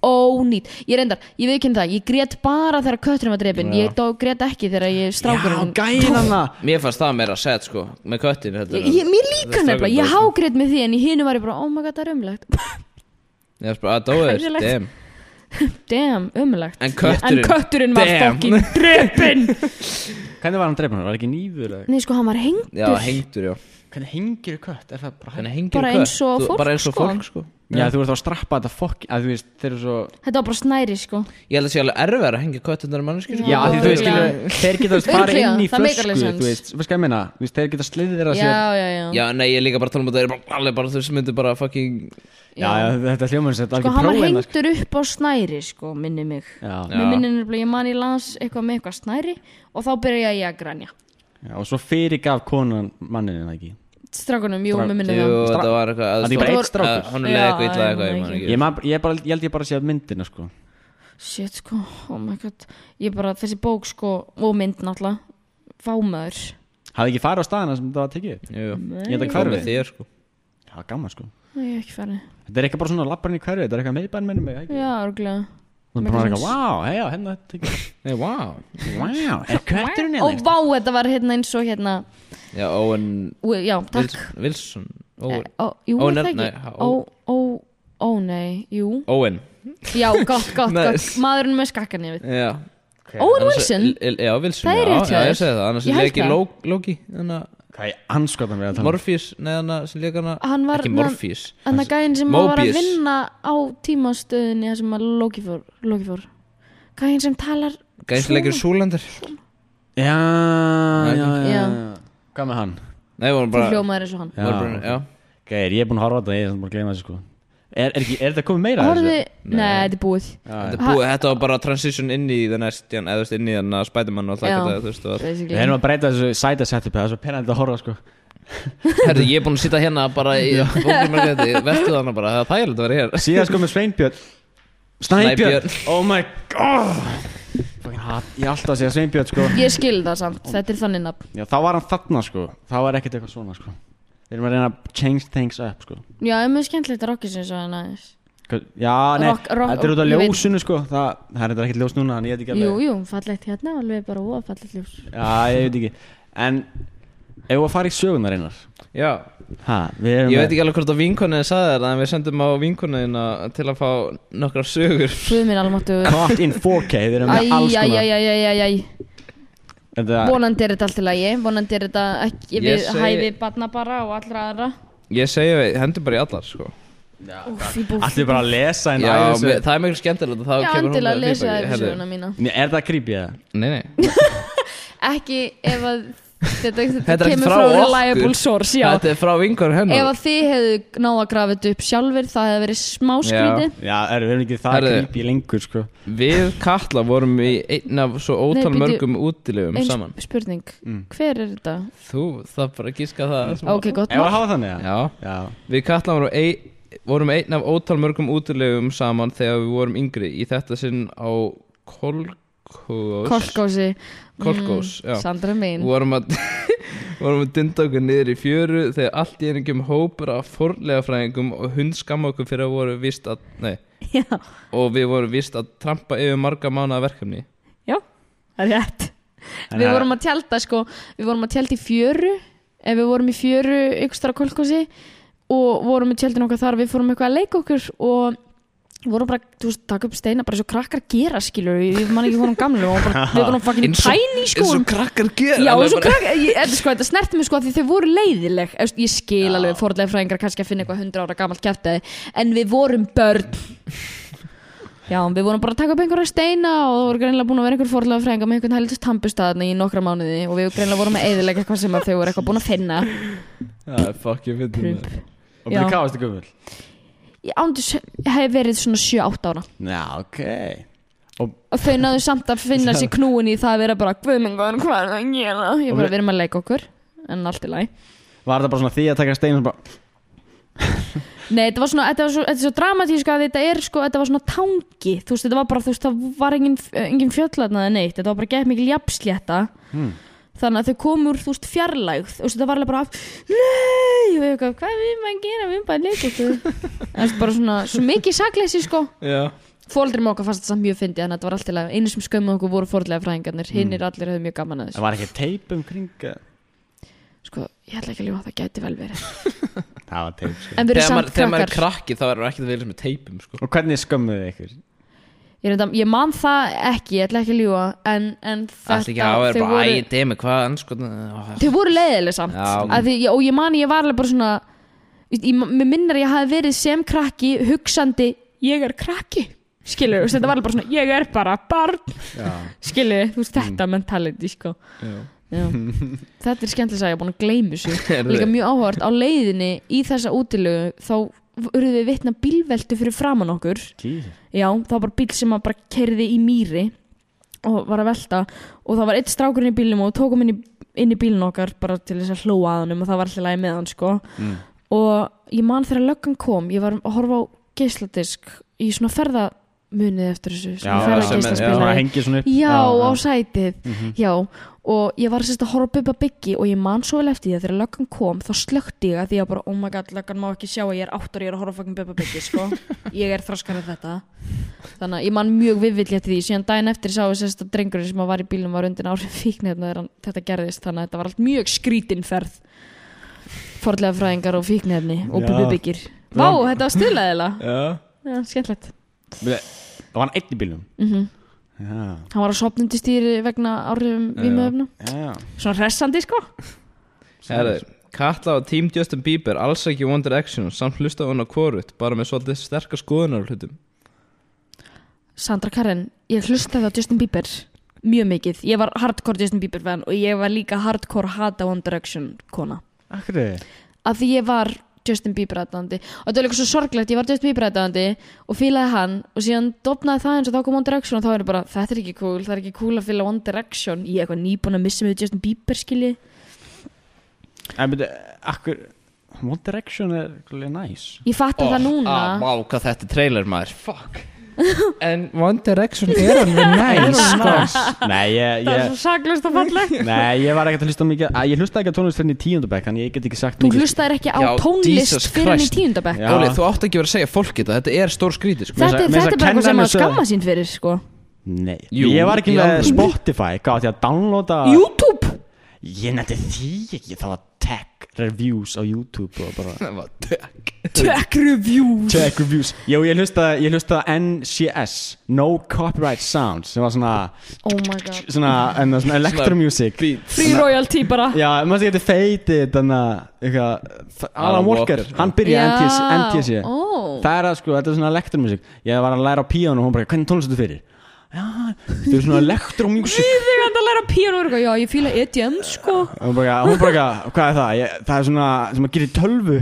Speaker 4: ónýtt Ég reyndar, ég viðkynna það, ég grét bara þegar kötturinn var drefin Ég dó, grét ekki þegar ég strákurinn
Speaker 5: gæðin hann það
Speaker 6: Mér fannst það meira set, sko, með köttin heldur
Speaker 4: Ég,
Speaker 6: en-
Speaker 4: ég, mér líka
Speaker 6: Strákurinn
Speaker 4: nefnilega, ég
Speaker 6: bara-
Speaker 4: hágrét með því en í hinu var ég bara, oh my god, það er ömulegt
Speaker 6: Ég var bara, að dóður,
Speaker 4: Hræðilegt.
Speaker 6: damn
Speaker 4: (laughs) Damn, ömulegt
Speaker 6: En kötturinn,
Speaker 4: En kötturinn var
Speaker 6: Damn. (laughs)
Speaker 4: fokkin drefin
Speaker 5: hvernig var hann dreipin hann var ekki nýfur eða
Speaker 4: Nei, sko, hann var hengdur
Speaker 6: Já, hengdur, já
Speaker 5: hvernig hengir kött er það bara
Speaker 6: Þannig hengir
Speaker 4: Bara
Speaker 6: kött.
Speaker 4: eins og
Speaker 6: Þú-
Speaker 4: fólk,
Speaker 6: Bara eins og
Speaker 4: sko.
Speaker 6: fólk, sko
Speaker 5: já þú ert þá að strappa þetta fokk að þú veist þeir eru svo
Speaker 4: Þetta var bara snæri, sko
Speaker 6: Ég held að sé alveg erfið að hengja kött undan mannskjur, sko
Speaker 5: Já, af því þú veist,
Speaker 4: Örugglega.
Speaker 5: skilur, þeir geta þú veist, farið
Speaker 4: Örugglega,
Speaker 5: inn í
Speaker 4: það meikar alveg
Speaker 5: flösku,
Speaker 4: sens.
Speaker 5: þú veist, veist hvað ég meina, Þú veist, þeir geta sliðið þeirra sér.
Speaker 4: Já, já, já,
Speaker 6: Já, nei, ég er líka bara að tala um að það er bara alveg bara þú veist, myndir bara fucking
Speaker 5: Já, já, þetta hljómaður sem þetta
Speaker 4: Sko,
Speaker 5: algjör
Speaker 4: hann var
Speaker 5: prófa hérna,
Speaker 4: hengdur upp á snæri, sko, minni mig
Speaker 5: sko. Já,
Speaker 4: Mér minnir nefnilega, ég man í lands eitthvað með eitthvað snæri og þá byrja ég að grænja
Speaker 5: já, og svo fyrir gaf konan manninu það ekki.
Speaker 4: Strákunum, jú,
Speaker 5: Strák-
Speaker 4: mér minnir
Speaker 6: Jú,
Speaker 4: það
Speaker 6: þetta var eitthvað
Speaker 5: Þetta er bara
Speaker 6: þú-
Speaker 5: einn strákur.
Speaker 6: að Honum leiði eitthvað
Speaker 4: Já,
Speaker 6: illa
Speaker 4: ég
Speaker 6: eitthvað,
Speaker 4: man
Speaker 6: ég man
Speaker 4: ekki.
Speaker 6: ekki
Speaker 5: Ég, man, ég, bara, ég held ég bara sé að myndina, sko.
Speaker 4: Shit, sko, oh my god Ég bara, þessi bók, sko, og mynd náttúrulega Fámaður
Speaker 5: Hafði ekki farið á staðina sem það var tekið upp.
Speaker 6: Jú, jú.
Speaker 5: Ég held að
Speaker 6: Hvað með
Speaker 5: hverfið.
Speaker 6: þér, sko
Speaker 5: Já, gaman, sko.
Speaker 4: Nei, ég er ekki færði
Speaker 5: Þetta er eitthvað bara svona labbarinn í hverfið, þetta er eitthvað meðbæn minnum mig, ekki?
Speaker 4: Já, örgulega
Speaker 5: Hún er bara eitthvað, wow, hei, já, hérna, þetta ekki.
Speaker 6: Nei, wow
Speaker 5: Wow, er kvætturinn
Speaker 4: Og
Speaker 5: eða?
Speaker 4: vá, þetta var hérna eins og hérna
Speaker 6: Já, Owen
Speaker 4: Ú, Já, takk
Speaker 6: Wilson- Wilson Owen
Speaker 4: Eh, ó, Jú,
Speaker 6: Ó,
Speaker 4: er það
Speaker 6: nei,
Speaker 4: ekki
Speaker 6: nei, ha,
Speaker 4: Ó,
Speaker 6: ó.
Speaker 4: ó, ó, nei, jú
Speaker 6: Owen
Speaker 4: Já, gott, gott, gott
Speaker 6: Nice.
Speaker 4: Maðurinn með skakkan, ég veit
Speaker 6: Já
Speaker 4: Owen
Speaker 6: Annars-
Speaker 4: Wilson?
Speaker 6: L- Já, Wilson
Speaker 4: Það er
Speaker 6: já,
Speaker 4: rétt hjá
Speaker 6: Já,
Speaker 4: þér.
Speaker 6: ég segi það Annars
Speaker 4: Ég
Speaker 6: er
Speaker 4: held
Speaker 6: ekki
Speaker 4: það.
Speaker 6: Ló- Loki Þannig að
Speaker 5: Hvað er anskotan við að tala? um?
Speaker 6: Morpheus Nei, þannig að sem leik hana
Speaker 4: Hann var-
Speaker 6: Ekki Morpheus
Speaker 4: En það gæðin sem var að
Speaker 6: Mobius.
Speaker 4: vinna á tímastöðinni þar sem að Loki fór, Loki fór. Gæðin sem talar
Speaker 6: Gæðin sem leikir Súlandir
Speaker 5: Já, já, já,
Speaker 4: Já.
Speaker 5: já. Hvað með hann?
Speaker 6: Nei, vorum
Speaker 4: Þú
Speaker 6: bara
Speaker 4: hljómaður eins og hann
Speaker 5: Já,
Speaker 6: vorum bara- Já
Speaker 5: Gæir, ég er búinn að horfa á þetta, ég er samt búinn að gleyma þessu sko Er, er, ekki, er þetta komið meira? af
Speaker 4: Horfðu,
Speaker 5: þessu?
Speaker 4: nei, þetta er búið
Speaker 6: Þetta, er
Speaker 4: Ha-
Speaker 6: búið, þetta var bara transition inn í það næst eða þú veist inn í þannig að Spiderman og alltaf
Speaker 4: Já.
Speaker 6: ekki það þú veist og
Speaker 5: Við
Speaker 4: basically.
Speaker 5: erum að breyta þessu sæta setup Það er svo penandi að horfa sko
Speaker 6: Herðu, ég er búin að sitta hérna bara í bókjumarkaði Vestu þarna bara, það er pægilegt að vera hér
Speaker 5: Síðan sko með Sveinbjörn Snæbjörn Oh my god Fucking hat Ég er alltaf að segja Sveinbjörn sko
Speaker 4: Ég skil það samt, þetta er þannig nafn
Speaker 5: Já, þá var hann þarna sko Þá var ekkert eitthvað svona sko Við erum að reyna að change things up sko
Speaker 4: Já, það er mjög skemmtilegt að rokki sem svo hann aðeins
Speaker 5: Hvað- Já, nei,
Speaker 4: Rock- rock-
Speaker 5: þetta er út af
Speaker 4: ég veit.
Speaker 5: ljósinu sko Það, það er þetta ekkert ljós núna, en ég veit ekki alveg
Speaker 4: Jú, jú, fallegt hérna, alveg bara óa fallegt ljós
Speaker 5: Já, ég veit ekki En ef við að fara í sögunar einar
Speaker 6: Já,
Speaker 5: Ha, við erum
Speaker 6: ég veit ekki alveg hvort að vinkonin sagði þér En við sendum á vinkonin til að fá nokkra sögur
Speaker 4: Guð minn almáttu
Speaker 5: Caught in 4K, við erum með alls konar
Speaker 4: Æjæjæjæjæjæjæj
Speaker 5: Þetta,
Speaker 4: Vonandi er þetta allt í lagi, vonandi er þetta ekki
Speaker 6: Ég
Speaker 4: við
Speaker 6: segi-
Speaker 4: hæfi barna bara og allra aðra
Speaker 6: Ég segi við, hendur bara í allar sko
Speaker 4: Úf, ég búið
Speaker 5: Allt við bara að lesa hérna en
Speaker 6: Já,
Speaker 5: æðis-
Speaker 6: mér, það er mjög skemmtilegt að þá
Speaker 4: Já,
Speaker 6: kemur hún
Speaker 4: endilega
Speaker 6: með
Speaker 4: lesa
Speaker 6: feedback.
Speaker 4: þér
Speaker 6: Heyrðu,
Speaker 4: söguna mína
Speaker 5: Er það creepy eða?
Speaker 6: Nei, nei,
Speaker 4: Ekki ef að þetta,
Speaker 6: Þetta er ekki
Speaker 4: kemur
Speaker 6: frá
Speaker 4: frá
Speaker 6: okkur.
Speaker 4: reliable source (laughs) Já,
Speaker 6: þetta er frá vinkonum
Speaker 4: ef
Speaker 6: hennar
Speaker 4: að þið hefðu náð að grafa þetta upp sjálfur það hefði verið smá skrítið
Speaker 5: Já, er, við erum ekki það
Speaker 6: Herðu.
Speaker 5: creepy lengur sko
Speaker 6: Við Katla vorum í einn af svo ótal
Speaker 4: Nei, bíddu.
Speaker 6: mörgum útilegum
Speaker 4: Einn
Speaker 6: saman
Speaker 4: spurning,
Speaker 5: Mm.
Speaker 4: hver er þetta?
Speaker 6: Þú, það bara gíska það smá.
Speaker 4: Ok, gott
Speaker 5: Ef við
Speaker 4: mál
Speaker 5: að hafa þannig eða?
Speaker 6: Já,
Speaker 5: Já
Speaker 6: við Katla vorum, ein, vorum einn af ótal mörgum útilegum saman þegar við vorum yngri í þetta sinn á Kolkós
Speaker 4: Kolkósi, Mm.
Speaker 6: Kolkós, já
Speaker 4: Sandra mín
Speaker 6: vorum að (laughs) vorum að dynda okkur niður í fjöru þegar allt í einingum hópur af forlegafræðingum og hund skamma okkur fyrir að voru vist að, nei,
Speaker 4: (laughs) Já,
Speaker 6: og við vorum vist að trampa yfir marga mánuða verkefni
Speaker 4: já, það er rétt
Speaker 5: En
Speaker 4: Við
Speaker 5: það-
Speaker 4: vorum að tjálta sko, við vorum að tjálta í fjöru ef við vorum í fjöru ykkur starf kolkósi og vorum í tjaldin okkar þar við fórum eitthvað að leika okkur og vorum bara, þú veist, taka upp steina bara svo krakkar gera skilur, við, ég man ekki vorum gamlu og bara,
Speaker 6: (laughs)
Speaker 4: við vorum fucking
Speaker 6: Eins og-
Speaker 4: tæni sko
Speaker 6: krakkar gera
Speaker 4: Já,
Speaker 6: alveg
Speaker 4: og svo
Speaker 6: bara-
Speaker 4: krakka, ég, þetta, sko, þetta snerti mig sko að því þau voru leiðileg Þú veist, Ég skil alveg fórlega fræðingar kannski að finna eitthvað 100 ára gamalt kæftæði En við vorum börn Já, við vorum bara að taka upp einhverja steina og það voru greinlega búin að vera einhver fórlega fræðingar með einhvern helitist tampustaðna í nokkra mánuði og við greinlega vorum að eðilega eitthvað sem að þau voru eitthvað búin að finna
Speaker 6: Það er fucking fyndið
Speaker 4: Prump.
Speaker 6: maður.
Speaker 5: Og byrju
Speaker 4: Já.
Speaker 5: hvað varstu gömul?
Speaker 4: Ég ándis hef verið svona 7-8 ára
Speaker 5: Já, ok
Speaker 4: og þau náðu samt að finna sér knúin í það að vera bara Guðmengan, hvað er það að gera? Ég bara, við erum að leika okkur en allt í lagi
Speaker 5: Var þetta bara svona því að taka stein og bara
Speaker 4: Nei, þetta var svona, þetta var svo, þetta er svo dramatíska að þetta er sko, þetta var svona tangi, þú veist, þetta var bara, þú veist, það var engin, engin fjöllaðnaði neitt, þetta var bara gett mikil jafnslétta,
Speaker 6: Hmm.
Speaker 4: þannig að þau komur, þú veist, fjarlægð, þú veist, þetta var alveg bara, nei, og eitthvað, hvað er við maður að gera, við erum bara að leika
Speaker 6: (laughs)
Speaker 4: okkur, það er bara svona, svo mikið sakleysi, sko,
Speaker 6: Já
Speaker 4: fóldrið okkar fannst þetta samt mjög fyndið, þannig að þetta var allt í lagi, einu sem skömmu okkur voru fóldlega fræðingarnir, hinnir
Speaker 6: Hmm.
Speaker 4: allir höfðu mjög gaman að
Speaker 5: Það
Speaker 4: þessu,
Speaker 5: var ekki teip um kring eh?
Speaker 4: sko, ég ætla ekki að ljúa, það gæti vel
Speaker 6: (laughs)
Speaker 4: verið,
Speaker 5: Það var teip sko
Speaker 4: en við
Speaker 6: Þegar
Speaker 4: erum
Speaker 6: maður,
Speaker 4: samt
Speaker 6: þegar maður er
Speaker 4: krakkar.
Speaker 6: krakki þá er maður ekkert að vilja sem er teipum sko.
Speaker 5: Og hvernig skömmuðu ykkur?
Speaker 4: Ég, reynda, ég man það ekki, ég ætla ekki að ljúa en, en
Speaker 6: Allt
Speaker 4: þetta,
Speaker 6: ekki að vera
Speaker 4: þau
Speaker 6: bara æ,
Speaker 4: voru,
Speaker 6: demi, hvað anskotan
Speaker 4: þau voru leiðileg samt
Speaker 6: Já, ok.
Speaker 4: Af því, og ég man ég var alveg bara svona ég, ég, mér minnir að ég hafi verið sem krakki hugsandi, ég er krakki skilur, þú veist, þetta var alveg bara svona ég er bara barn, skilur þú
Speaker 6: Mm.
Speaker 4: veist, þetta mentality, sko Já. þetta er skemmtilega að ég er búin að gleymi
Speaker 6: (laughs)
Speaker 4: svo
Speaker 6: Heyrðu.
Speaker 4: líka mjög áhört, á leiðinni í þessa útilegu, þá urðu við vitna bílveldu fyrir framann okkur
Speaker 5: Jesus.
Speaker 4: Já, það var bara bíl sem að bara kerði í mýri og var að velta og það var eitt strákurinn í bílnum og við tókum inn í, inn í bílinn okkar bara til þess að hlóa að honum og það var alltaf lagi með hann sko og ég man þegar löggan kom ég var að horfa á geisladisk í svona ferðamunið eftir þessu svona ferðageislaspilari.
Speaker 5: svona hengið svona upp
Speaker 4: Já, á sætið Já, og ég var sérst að horfa upp að byggi og ég man svo vel eftir því að þegar löggan kom þá slökti ég að því að bara, oh my god, löggan má ekki sjá að ég er áttur, ég er að horfa fucking upp að byggi sko. ég er þraskar af þetta þannig að ég man mjög viðvill eftir því síðan daginn eftir sá við sérst að drengurinn sem var í bílum var undir (laughs) áhrif fíknefna þegar hann- þetta gerðist þannig að þetta var allt mjög skrítinferð forlega fræðingar og fíknefni og
Speaker 5: Já.
Speaker 4: bubbi byggir Vá, þetta var stuðlega
Speaker 6: Já
Speaker 4: Já, skemmtlegt
Speaker 5: Það var hann einn í bílnum
Speaker 4: mm
Speaker 5: Já,
Speaker 4: Hann var að sopnundi stýri vegna áhrifum vímöfnum
Speaker 5: já
Speaker 4: Svona hressandi sko
Speaker 6: Herðu, Katla á Team Justin Bieber alls ekki One Direction samt hlusta hún á korut bara með svolítið sterkar skoðunar á hlutum
Speaker 4: Sandra Karen, ég hlustaði á Justin Bieber Mjög mikið, ég var hardcore Justin Bieber fan og ég var líka hardcore hata One Direction kona
Speaker 5: Akkur
Speaker 4: Af því ég var Justin Bieber aðdæðandi og þetta er líka svo sorglegt, ég var Justin Bieber aðdæðandi og fílaði hann og síðan dopnaði það eins og þá kom One Direction og þá er ég bara, þetta er ekki cool, það er ekki cool að fíla One Direction, ég er eitthvað nýbúin að missa mig við Justin Bieber skilji
Speaker 5: En byrju, akkur One Direction er, er næs
Speaker 6: Oh,
Speaker 5: Oh,
Speaker 4: Ég fatta það núna
Speaker 6: ah,
Speaker 5: ah,
Speaker 4: (laughs)
Speaker 6: Vá, hvað þetta er trailer maður Fuck En One Direction er alveg næs sko.
Speaker 5: Nei, ég,
Speaker 4: Það er
Speaker 5: ég,
Speaker 4: svo saklust og fallegt
Speaker 5: nei, ég var ekkert að hlusta mikið að Ég hlusta ekki að tónlist fyrir í tíundabæk Þannig ég get ekki sagt
Speaker 4: (laughs) Þú
Speaker 5: mikið-
Speaker 4: hlustaðir ekki á
Speaker 6: Já, Jesus
Speaker 4: tónlist fyrir henni í
Speaker 6: Christ.
Speaker 4: tíundabæk
Speaker 5: Já.
Speaker 6: Óli, þú átt ekki verið að segja fólki þetta Þetta er stór skríti sko.
Speaker 5: Mér
Speaker 4: Þetta,
Speaker 5: finnst
Speaker 4: þetta er
Speaker 5: að-
Speaker 4: bara eitthvað sem að
Speaker 5: mér finnst að kenna
Speaker 4: skamma sín fyrir sko.
Speaker 5: Nei,
Speaker 6: Jú,
Speaker 5: ég var ekki
Speaker 6: í
Speaker 5: með
Speaker 6: alvöru.
Speaker 5: Spotify Hvað átti ég að downloada
Speaker 4: YouTube
Speaker 5: Ég nefndi því ekki, það var tech reviews á YouTube og bara
Speaker 6: Það var dökk.
Speaker 4: Tech reviews
Speaker 5: Tech reviews Jó, ég hlustaði, ég hlustaði NCS No Copyright Sounds sem var svona
Speaker 4: Oh my god
Speaker 5: svona, en, það var svona electro music
Speaker 4: Free royalty bara
Speaker 5: Já, maður sé getið feitið þannig að eitthvað Alan
Speaker 6: Alan
Speaker 5: Walker,
Speaker 6: Walker,
Speaker 5: hann byrjaði NTS, NTS
Speaker 4: Já, ó.
Speaker 5: Það er að sko, þetta er svona electro music Ég var að læra á píano og hún bara, hvernig tónlistu fyrir? Já, þetta er svona electro music
Speaker 4: Ég þegar að læra píanó og eitthvað, Já, ég fíla EDM sko
Speaker 5: Og Hún bara, hún bara, eitthvað, hvað er það? Ég, það er svona, sem að gera í tölvu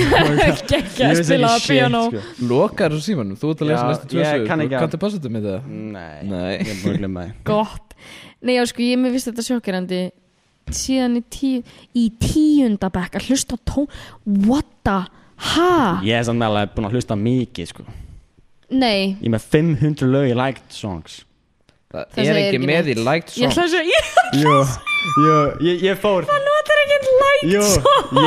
Speaker 4: Gekki að
Speaker 5: vissi
Speaker 4: spila á
Speaker 5: shit,
Speaker 4: píanó
Speaker 5: sko.
Speaker 6: Lokar þú símanum, þú ert að lesa
Speaker 5: Já,
Speaker 6: næstu tvö
Speaker 5: ég
Speaker 6: sögur
Speaker 5: kann
Speaker 6: Þú
Speaker 5: ekki að- Mm.
Speaker 6: Kanntu passa þetta með það
Speaker 5: Nei,
Speaker 6: Nei.
Speaker 5: ég er búin að glemma þið
Speaker 4: Gott Nei, já, sko, ég mér finnst þetta sjokkirandi Síðan í, tíu, í tíunda bekk að hlusta á tón What the ha?
Speaker 5: Ég er samt meðalega búin að hlusta mikið sko
Speaker 4: Nei
Speaker 5: Ég er með 500 lög í liked songs
Speaker 6: Það
Speaker 4: Þessi
Speaker 6: er
Speaker 4: er
Speaker 6: ekki
Speaker 4: ekki
Speaker 6: með í
Speaker 4: neitt.
Speaker 6: liked
Speaker 4: Ég
Speaker 6: song
Speaker 4: ætla að segja (laughs)
Speaker 5: Jú, jú, ég, ég fór
Speaker 4: Það notar ekkert like
Speaker 5: Jú,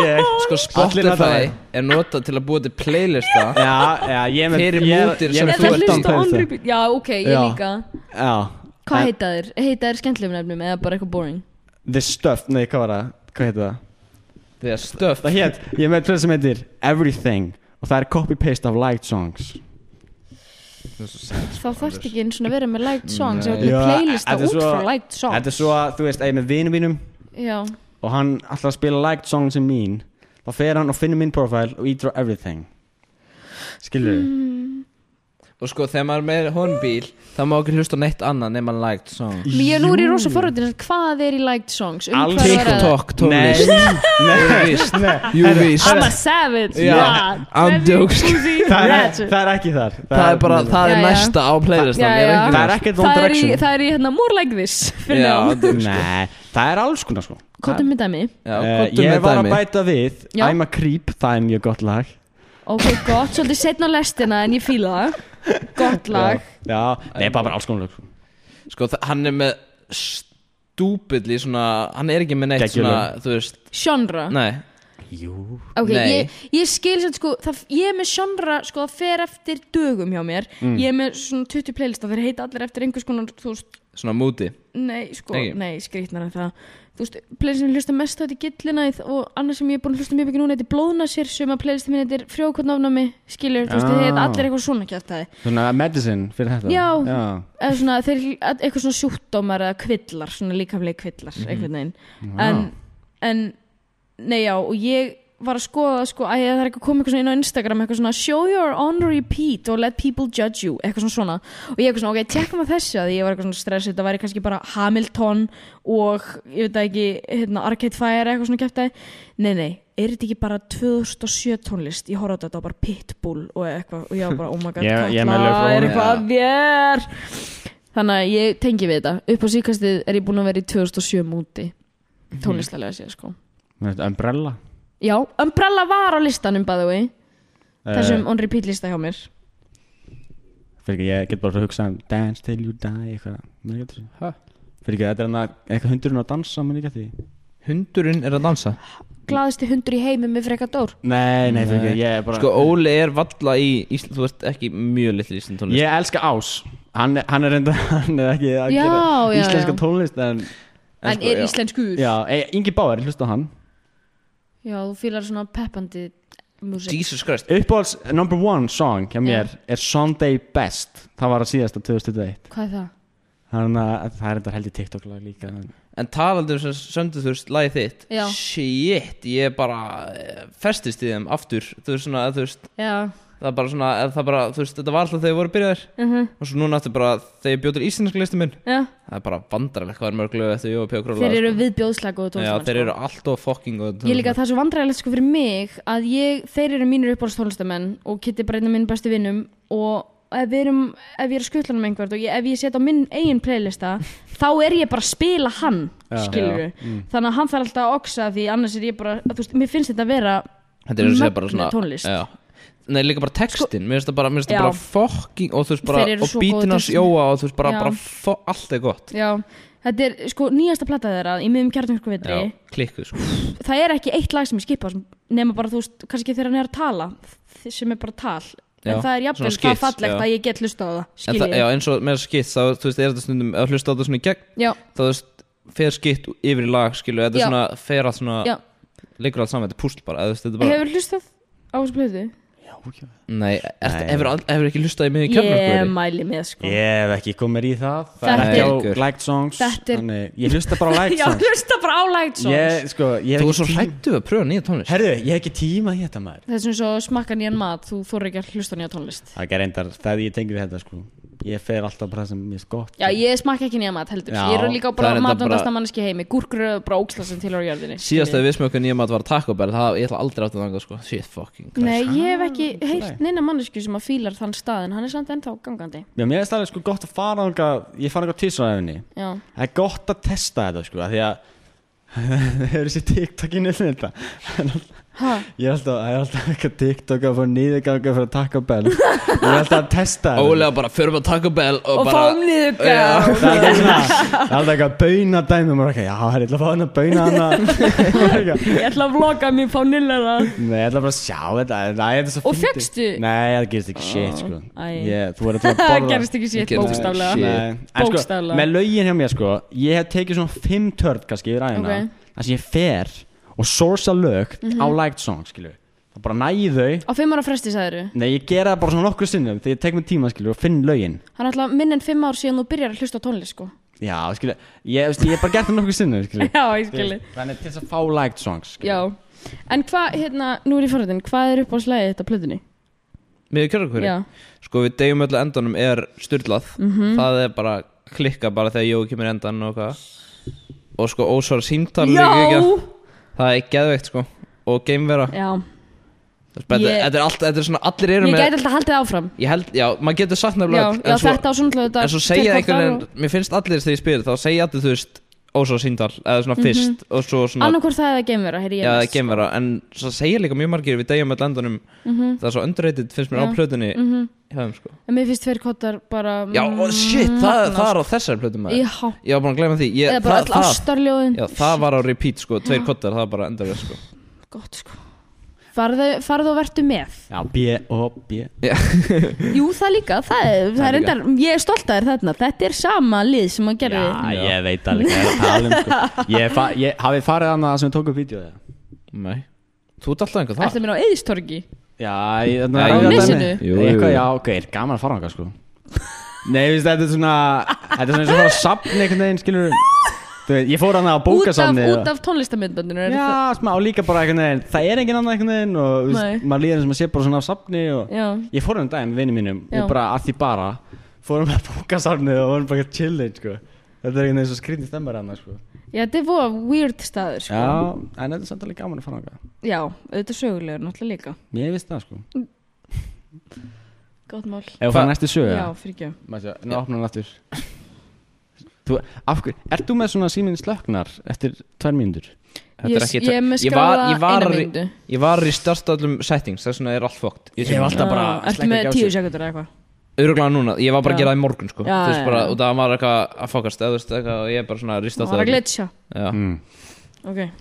Speaker 5: ég
Speaker 6: Sko
Speaker 5: Allir nota
Speaker 6: Spotify
Speaker 5: það.
Speaker 6: er notað til að búa til playlista
Speaker 5: Já, já, ég er með
Speaker 6: Fyrir
Speaker 5: ég er-
Speaker 6: mútir
Speaker 5: ég er
Speaker 6: sem
Speaker 5: með
Speaker 4: Ég ætla að
Speaker 5: 14
Speaker 4: hlusta on
Speaker 5: playlister.
Speaker 4: repeat Já, ok, ég
Speaker 5: Já.
Speaker 4: líka
Speaker 5: Já
Speaker 4: Hvað
Speaker 5: En
Speaker 4: heita þér? Heita þér skemmtlefum nefnum eða bara eitthvað boring?
Speaker 5: The Stuff, nei, hvað var það? Hvað heitir það?
Speaker 6: Þegar stöf
Speaker 5: Það hétt, ég er með plöð sem heitir Everything Og það er copy-paste af liked songs
Speaker 4: Þá þarfst ekki eins og að vera með liked songs Ég
Speaker 5: Mm,
Speaker 4: var með
Speaker 5: Nei. Já,
Speaker 4: playlista
Speaker 5: þetta er
Speaker 4: út
Speaker 5: svo-
Speaker 4: frá liked songs
Speaker 5: Þetta er svo að, þú veist, að ég er með vinum mínum
Speaker 4: Já,
Speaker 5: Og hann alltaf að spila liked songs sem mín Þá fer hann og finnir minn profile og ítrá everything Skilur
Speaker 6: Og sko þegar maður er með honbíl Það má ekki hlusta á neitt annað nema liked song
Speaker 4: Mér- Ég nú er ég rosa forröndin hvað er í liked songs Um
Speaker 5: Alls
Speaker 4: hvað er að
Speaker 6: TikTok tónlist
Speaker 5: Nei, nei
Speaker 6: Jú víst
Speaker 4: I'm a savage
Speaker 6: Já,
Speaker 4: yeah.
Speaker 6: I'm
Speaker 4: Maybe
Speaker 6: jokes.
Speaker 4: pussy
Speaker 5: (laughs) það er,
Speaker 4: ratchet.
Speaker 5: það er ekki þar
Speaker 6: Það er bara, það
Speaker 4: Já,
Speaker 6: er
Speaker 4: já.
Speaker 6: næsta á playlistan
Speaker 4: Já, já.
Speaker 5: Það er ekkert One
Speaker 4: Það er í,
Speaker 5: Direction.
Speaker 4: það er í hérna more like this fyrir
Speaker 6: Já,
Speaker 4: neðan.
Speaker 5: Nei, það er alls konar sko
Speaker 4: Kottum með dæmi
Speaker 6: Já, (laughs)
Speaker 5: Eh,
Speaker 6: komdu
Speaker 5: Ég
Speaker 6: með
Speaker 5: var að
Speaker 6: dæmi.
Speaker 5: bæta við
Speaker 4: Já.
Speaker 5: I'm a Creep, það er mjög gott lag
Speaker 4: Ok, gott, svolítið setna á lestina en ég fíla það Gott lag
Speaker 5: Já, nei, bara, bara alls konar lög sko.
Speaker 6: Sko þa- hann er með stúpidli svona Hann er ekki með neitt
Speaker 5: Geggjulög.
Speaker 6: svona Þú veist,
Speaker 4: Genre
Speaker 6: nei
Speaker 5: Jú
Speaker 4: Ok,
Speaker 6: nei.
Speaker 4: ég, ég skil sér sko það, Ég er með genre, sko, það fer eftir dögum hjá mér
Speaker 5: Mm.
Speaker 4: Ég er með svona 20 playlista Þeir heita allir eftir einhvers konar, þú veist
Speaker 6: Svona múti
Speaker 4: Nei, sko,
Speaker 6: Ekki?
Speaker 4: nei, skrýtnar en það Þú veist, playlist sem ég hlusta mest á þetta gillinæð Og annars sem ég er búin að hlusta mjög mikið núna Þetta er blóðnasir, sem að playlist minn Þetta er frjókotnafnami, skilur, þú veist,
Speaker 5: Já.
Speaker 4: þeir heita allir eitthvað svona kjartaði
Speaker 5: Svona medicine fyrir þetta
Speaker 4: Já.
Speaker 5: Já,
Speaker 4: eða svona þeir að- eitthvað svona sjúkdómar eða kvillar, svona líkamlega kvillar einhvern veginn en, en, nei já, og ég var að skoða, sko, að það er eitthvað komið eitthvað svona inn á Instagram, eitthvað svona show your on repeat or let people judge you, eitthvað svona svona og ég eitthvað svona, ok, tjekkum að þessu að ég var eitthvað svona stressið, það væri kannski bara Hamilton og, ég veit það ekki hérna, Arcade Fire eitthvað svona kæftæði nei, nei, er þetta ekki bara 2007 tónlist, ég horfði á þetta og bara Pitbull og eitthvað, og ég var bara, oh my god,
Speaker 5: Ég-
Speaker 4: Katla,
Speaker 5: ég er með lög frá honum.
Speaker 4: er eitthvað að þér Þannig að ég tengi við þetta Upp á síkastið er ég búin að vera í 2007 múti
Speaker 5: Mhm.
Speaker 4: Tónlistalega séð sko
Speaker 5: Þú veist, umbrella
Speaker 4: Já, Umbrella var á listanum by the way
Speaker 5: Eh,
Speaker 4: Þessum on repeat lista hjá mér
Speaker 6: Mm.
Speaker 5: Fyrir ekki, ég get bara að hugsa um Dance till you die, eitthvað Mér getur þessu
Speaker 6: Ha?
Speaker 5: Fyrir ekki, þetta er hann að Eitthvað hundurinn að dansa, mér ekki að því
Speaker 6: Hundurinn er að dansa
Speaker 4: Glaðasti hundur í heimi með freka dór
Speaker 5: Nei, nei, fyrir
Speaker 6: Nei.
Speaker 5: ekki, ég er bara
Speaker 6: Sko Óli er valla í Ísland Þú ert ekki mjög litli í Ísland tónlist
Speaker 5: Ég elska Ás Hann, er- hann er reynda, (laughs) hann er ekki að
Speaker 4: Já,
Speaker 5: gera
Speaker 4: já,
Speaker 5: íslenska
Speaker 4: já.
Speaker 5: tónlist En,
Speaker 4: En
Speaker 6: sko,
Speaker 4: er
Speaker 6: já.
Speaker 4: íslenskur
Speaker 5: já, e- Ingi Báer, hlusta á hann
Speaker 4: Já, þú fílar svona peppandi músik
Speaker 6: Jesus Christ
Speaker 5: Uppáhalds number one song hjá mér
Speaker 4: Já.
Speaker 5: er Sunday Best Það var að síðasta 2001
Speaker 4: Hvað er það?
Speaker 5: Þannig að það er þetta heldur TikTok lag líka en-
Speaker 6: En talandi um sem söndu þú veist Lagið þitt
Speaker 4: Já.
Speaker 6: Shit Ég bara eh, Festist í þeim aftur Þú veist svona Þú veist
Speaker 4: Já,
Speaker 6: Það er bara svona eh, Það er bara Þú veist þetta var alltaf þegar þau voru byrjaðir
Speaker 4: Mhm.
Speaker 6: Og svo núna aftur bara Þegar ég bjóð til íslenska listum minn
Speaker 4: já
Speaker 6: Það er bara vandrarlegt Hvað er mörglu eftir Jó og Pjó Króla
Speaker 4: Þeir eru viðbjóðslag og
Speaker 6: Já
Speaker 4: tónlistamann
Speaker 6: þeir eru alltaf fucking góð
Speaker 4: Ég líka það er svo vandræðilegt sko fyrir mig að ég, þeir eru mínir uppáhaldstólestamenn og Kitty bara einn af minn bestu vinnum og ef, við erum, ef ég er skuttlanum einhvert og ég, ef ég set á minn eigin playlista þá er ég bara að spila hann skilur
Speaker 6: mm.
Speaker 4: þannig að hann þarf alltaf að oxa því annars er ég bara, þú veist, mér finnst þetta að vera
Speaker 6: Þetta er að segja bara
Speaker 4: mögnuð
Speaker 6: svona
Speaker 4: tónlist. Sko-
Speaker 6: já. Nei, líka bara textin, mér finnst það bara, mér finnst
Speaker 4: Já.
Speaker 6: það bara fokking og þú veist bara,
Speaker 4: Þeir eru
Speaker 6: og
Speaker 4: svo góðir
Speaker 6: bítin hans
Speaker 4: textin.
Speaker 6: jóa og þú veist bara,
Speaker 4: Já.
Speaker 6: bara fó, allt er gott
Speaker 4: Já, þetta er sko nýjasta platta þeirra í miðum kjarnarkovitri
Speaker 6: Já, klikku sko
Speaker 4: það er ekki eitt lag sem ég skipa sem- nema bara þú veist, kannski þegar hann er að tala þ- sem er bara tal en
Speaker 6: Já,
Speaker 4: það er jafnvel
Speaker 6: svona
Speaker 4: það
Speaker 6: skits,
Speaker 4: fallegt
Speaker 6: já.
Speaker 4: að ég get hlusta á það
Speaker 6: En það,
Speaker 4: skiljið
Speaker 6: já,
Speaker 4: já,
Speaker 6: eins og með skitt, þá, þú veist, er þetta stundum, ef hlusta á þetta svona í gegn,
Speaker 4: já,
Speaker 6: þá þú veist, fer skitt yfir í lag, skilu, þetta
Speaker 4: Já.
Speaker 6: er svona, fer allt svona,
Speaker 4: já.
Speaker 6: leikur allt saman, þetta er púsl bara, eða þú veist, þetta er bara,
Speaker 4: hefur hlustað á þessu blöðu?
Speaker 6: nei, eftir, hefur, al- hefur ekki hlustað í miðið
Speaker 4: ég
Speaker 6: kjarnarkvöri?
Speaker 4: mæli með sko (laughs)
Speaker 5: Ég hef ekki komið í það Það
Speaker 4: Þetta
Speaker 5: er ekki á
Speaker 6: er-
Speaker 5: liked songs
Speaker 4: Þetta er-
Speaker 5: Þannig, ég hlusta bara (laughs) á liked
Speaker 4: já,
Speaker 5: songs
Speaker 4: hlusta bara á lægt svo
Speaker 5: Ég, sko, ég hef
Speaker 6: Þú
Speaker 5: ekki
Speaker 6: er svo
Speaker 5: tíma-
Speaker 6: hrættu að pröfa nýja tónlist.
Speaker 5: Herðu, ég hef ekki tíma í þetta maður
Speaker 4: það er svona svo smakka nýjan mat þú þóru ekki að hlusta á nýja tónlist
Speaker 5: Það er reyndar, það ég tengi við þetta sko Ég fer alltaf bara það sem mér er gott
Speaker 4: já, ég smakka ekki nýja mat heldur
Speaker 5: Já,
Speaker 4: ég er líka
Speaker 6: það
Speaker 4: bara
Speaker 6: er enda
Speaker 4: matandasta
Speaker 6: bara-
Speaker 4: manneski heimi gúrkur eru bara óksla sem tilhör jörðinni skiljiði.
Speaker 6: Síðast að við smökum nýja mat var Taco Bell, það, ég ætla aldrei aftur þangað, sko, shit fucking Christ.
Speaker 4: Nei, ég hef ekki heyrt neina mannesku sem að fílar þann staðin, hann er samt ennþá gangandi
Speaker 5: Já, mér er staðlega sko gott að fara þangað Ég fara þangað tísraðinni
Speaker 4: Já,
Speaker 5: Það er gott að testa þetta sko af Því að (laughs) það eru sér TikTokinu þetta
Speaker 4: ha,
Speaker 5: Ég er alltaf, það er alltaf eitthvað TikTok að fara niðurganga fyrir að taka bell Ég er alltaf að testa þetta
Speaker 6: Ólega bara, förum að Taco Bell og,
Speaker 4: og
Speaker 6: bara,
Speaker 4: fáum niður
Speaker 6: (laughs) Já.
Speaker 5: Það er alltaf svona- það er alltaf eitthvað bauna dæmi og maður er eitthvað, já, það er eitthvað að fá hann að bauna
Speaker 4: (laughs)
Speaker 5: hana Maður er eitthvað,
Speaker 4: Ég ætla að vloga mér fá nillera
Speaker 5: Nei, ég ætla bara að sjá þetta Nei, þetta er svo
Speaker 4: Og
Speaker 5: fyndið.
Speaker 4: fékkstu?
Speaker 5: Nei, það gerist ekki shit, sko
Speaker 4: Æ.
Speaker 5: Ég, þú verður alltaf
Speaker 4: (laughs)
Speaker 5: að
Speaker 4: Það
Speaker 5: borða
Speaker 4: gerist ekki sétt
Speaker 6: gerist ekki
Speaker 4: bókstaflega
Speaker 6: shit.
Speaker 5: Nei, en sko,
Speaker 4: Bókstaflega.
Speaker 5: með lögin hjá mér sko ég hef tekið svona fimm törn kannski yfir æfina
Speaker 4: Ok. Mhm.
Speaker 5: þar sem ég fer og sourca lög á liked song skilju þá bara næði þau
Speaker 4: Á fimm ára fresti sagðiru
Speaker 5: nei ég gera það bara svona nokkru sinnum þegar ég tek mig tíma skilju og finn lögin
Speaker 4: Hann er alltaf minn en fimm ár síðan þú byrjar að hlusta á tónlist sko
Speaker 5: já skilju ég, veist, ég hef bara gert það nokkru sinnum
Speaker 4: (laughs)
Speaker 5: skilju
Speaker 4: Já, ég skilji
Speaker 5: þannig til þess að fá liked songs skilju.
Speaker 4: Já En hvað, hérna, nú er ég forðin, hvað er upp á slæði þetta plöðunni?
Speaker 6: miðið kjarnarkvöri.
Speaker 4: Já, Mhm.
Speaker 6: sko við degjum öllu endanum er styrlað það er bara klikka bara þegar Jói kemur endan og hvað og sko ósvara símtal líka
Speaker 4: já,
Speaker 6: ekki. það er geðveikt sko og geimvera
Speaker 4: já.
Speaker 6: Þú veist, þetta
Speaker 4: Ég-
Speaker 6: yeah. er allt, þetta er svona allir eru
Speaker 4: Ég
Speaker 6: með
Speaker 4: gæti alltaf haldið áfram
Speaker 6: ég held, já, maður getur sagt
Speaker 4: Já,
Speaker 6: nefnilega
Speaker 4: já þetta á svona hlöðu
Speaker 6: en svo segja einhvern veginn, mér finnst allir þegar ég spyr þá segja allir þú veist ósvara símtal eða
Speaker 4: Mhm.
Speaker 6: svona fyrst og svo svona
Speaker 4: Annarkvort það eða geimvera, heyri ég
Speaker 6: Já, það er
Speaker 4: næst.
Speaker 6: geimvera, en svo segja líka mjög margir við degjum öll endanum það er svo underrated, finnst mér
Speaker 4: Mhm. Já.
Speaker 6: á plötunni mm
Speaker 4: Mhm.
Speaker 6: -hmm. sko.
Speaker 4: En mér finnst tveir kottar bara mm,
Speaker 6: Já, og shit, það, það er á þessari plötum
Speaker 4: sko. Já,
Speaker 6: Ég var búin að glemja því ég,
Speaker 4: eða bara
Speaker 6: það,
Speaker 4: öll ástarljóðin
Speaker 6: Já, það var á repeat sko, tveir kottar, það var bara endur sko.
Speaker 4: Gott sko Farðu, farðu og vertu með
Speaker 5: já B og B
Speaker 4: Jú, það líka, það, er- það er
Speaker 6: líka.
Speaker 4: endar Ég er stolt að þér þarna, þetta er sama lið sem hann gerði
Speaker 5: já ég veit alveg hvað ég er að tala um
Speaker 4: (laughs)
Speaker 5: sko ég, fa ég hafið farið annað sem ég tók upp vídeo
Speaker 6: Nei Þú ert alltaf einhver
Speaker 4: Ertu
Speaker 6: það
Speaker 4: mér á eðistorgi?
Speaker 5: Já, ég, þarna, ég-
Speaker 6: Já, á
Speaker 5: þarna-
Speaker 4: nesinu?
Speaker 6: Jú, jú,
Speaker 5: Eitthvað,
Speaker 6: jú.
Speaker 5: já, ok, er gaman að fara þangað (laughs) sko Nei, veist, þetta er svona Þetta er svona eins og að fara að sapna einhvern veginn, skilur Þú veit, ég fór hana á
Speaker 4: Út af,
Speaker 5: bókasamni
Speaker 4: út af tónlistamindbandinu er það-
Speaker 5: Já, smá, og líka bara einhvern veginn Það er enginn annað einhvern veginn og þú
Speaker 4: Nei.
Speaker 5: veist, maður líður sem að sé bara svona á sapni og...
Speaker 4: Já,
Speaker 5: Ég fór hann daginn með vinið mínum
Speaker 4: Já.
Speaker 5: og bara að því bara fórum að bókasamni og vorum bara að chilla sko. Þetta er einhvern veginn svo skrýtni stemmar hann sko.
Speaker 4: já þetta er voða weird staður sko.
Speaker 5: Já, en þetta er samt alveg gaman að fara þangað
Speaker 4: já, þetta er sögulegur náttúrulega líka
Speaker 5: Mér veist það sko
Speaker 4: Gott mál
Speaker 5: Ef við fara næstu sögu
Speaker 4: Já,
Speaker 5: eða?
Speaker 4: fyrir ekki
Speaker 5: Mæsja, nú opnar hann aftur Þú, af hverju, ert þú með svona síminn slöknar eftir tvær mínútur?
Speaker 6: Þetta
Speaker 4: Ég,
Speaker 6: er ekki-
Speaker 4: ég er með
Speaker 6: Ég var-
Speaker 4: skráða
Speaker 6: ég var-
Speaker 4: eina myndu
Speaker 6: Ég var í stærst öllum settings, þess vegna er allt fókt
Speaker 5: Ég hef alltaf bara
Speaker 4: Ertu með tíu sekundur eða eitthvað
Speaker 6: Öruglega núna, ég var bara að
Speaker 4: Já.
Speaker 6: gera það í morgun sko.
Speaker 4: Já,
Speaker 6: Þú veist
Speaker 4: já,
Speaker 6: bara,
Speaker 4: já.
Speaker 6: og það var eitthvað að fókast eða þú veist eitthvað og ég er bara svona að rista
Speaker 4: Það var að glitcha
Speaker 6: Já,
Speaker 5: mm.
Speaker 4: Ok,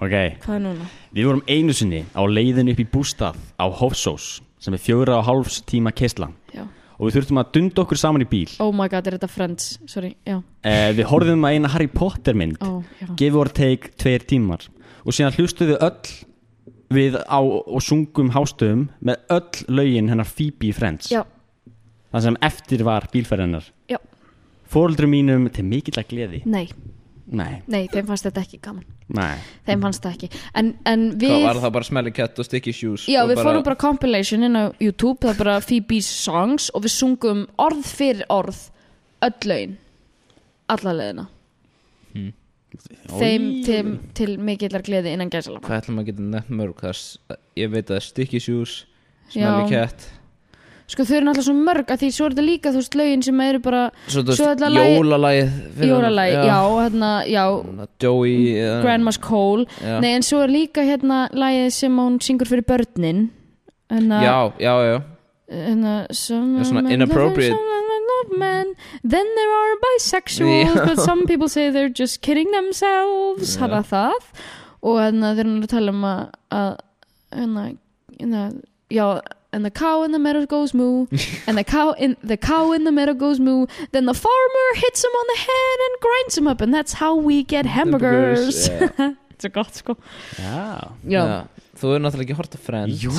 Speaker 5: Ok,
Speaker 4: hvað er núna?
Speaker 5: við vorum einu sinni á leiðin upp í bústað á Hofsós sem er fjóra og hálfs tíma keisla
Speaker 4: Já.
Speaker 5: og við þurftum að dunda okkur saman í bíl
Speaker 4: Oh my god, er þetta Friends? Sorry, já,
Speaker 5: eh, Við horfðum að eina Harry Potter mynd
Speaker 4: ó, já
Speaker 5: Give or take tveir tímar og síðan hlustuðu öll við á og sungum hástöðum með öll lögin hennar Phoebe í Friends
Speaker 4: Já,
Speaker 5: það sem eftir var bílferðinnar
Speaker 4: Já.
Speaker 5: Fóreldrum mínum til mikill að gleði
Speaker 4: nei,
Speaker 5: Nei,
Speaker 4: nei, þeim fannst þetta ekki gaman
Speaker 5: nei
Speaker 4: Þeim fannst það ekki En, en við
Speaker 6: hvað var það bara smelly cat og sticky shoes
Speaker 4: Já,
Speaker 6: og
Speaker 4: við fórum bara compilation inn á YouTube Það er bara Phoebe's songs Og við sungum orð fyrir orð Öll laun Alla leðina
Speaker 6: Hmm.
Speaker 4: Þeim til, til mikillar gleði innan gæsalama
Speaker 6: Hvað ætlum að geta nefnt mörg það er s- Ég veit að það er sticky shoes, smelly
Speaker 4: Já.
Speaker 6: cat
Speaker 4: Sko þau eru náttúrulega svo mörg að Því svo er þetta líka þú veist lögin sem eru bara
Speaker 6: Svo þú
Speaker 4: Svo
Speaker 6: veist,
Speaker 4: ætla að lagi-
Speaker 6: jólalagið fyrir-
Speaker 4: Jóralæg, já, hérna, já
Speaker 6: Joey eða-
Speaker 4: Grandma's Cole
Speaker 6: Já.
Speaker 4: Nei, en svo er líka hérna lagið sem hún syngur fyrir börnin Hérna,
Speaker 6: Já, já, já
Speaker 4: hérna, some
Speaker 6: Já, svona
Speaker 4: women love
Speaker 6: inappropriate.
Speaker 4: them, some women love men Then there are bisexuals
Speaker 5: (laughs)
Speaker 6: Já.
Speaker 4: But some people say they're just kidding themselves Hanna það Og hérna þeir eru að tala um að að- Hérna, hérna Já, and the cow in the meadow goes
Speaker 5: (laughs)
Speaker 4: moo And the cow in the cow in the meadow goes moo Then the farmer hits him on the head And grinds him up And that's how we get hamburgers
Speaker 6: Hamburgers,
Speaker 4: (laughs) Þetta er gott sko
Speaker 5: Já
Speaker 4: Já,
Speaker 6: Þú er náttúrulega ekki hort að friends
Speaker 5: Jú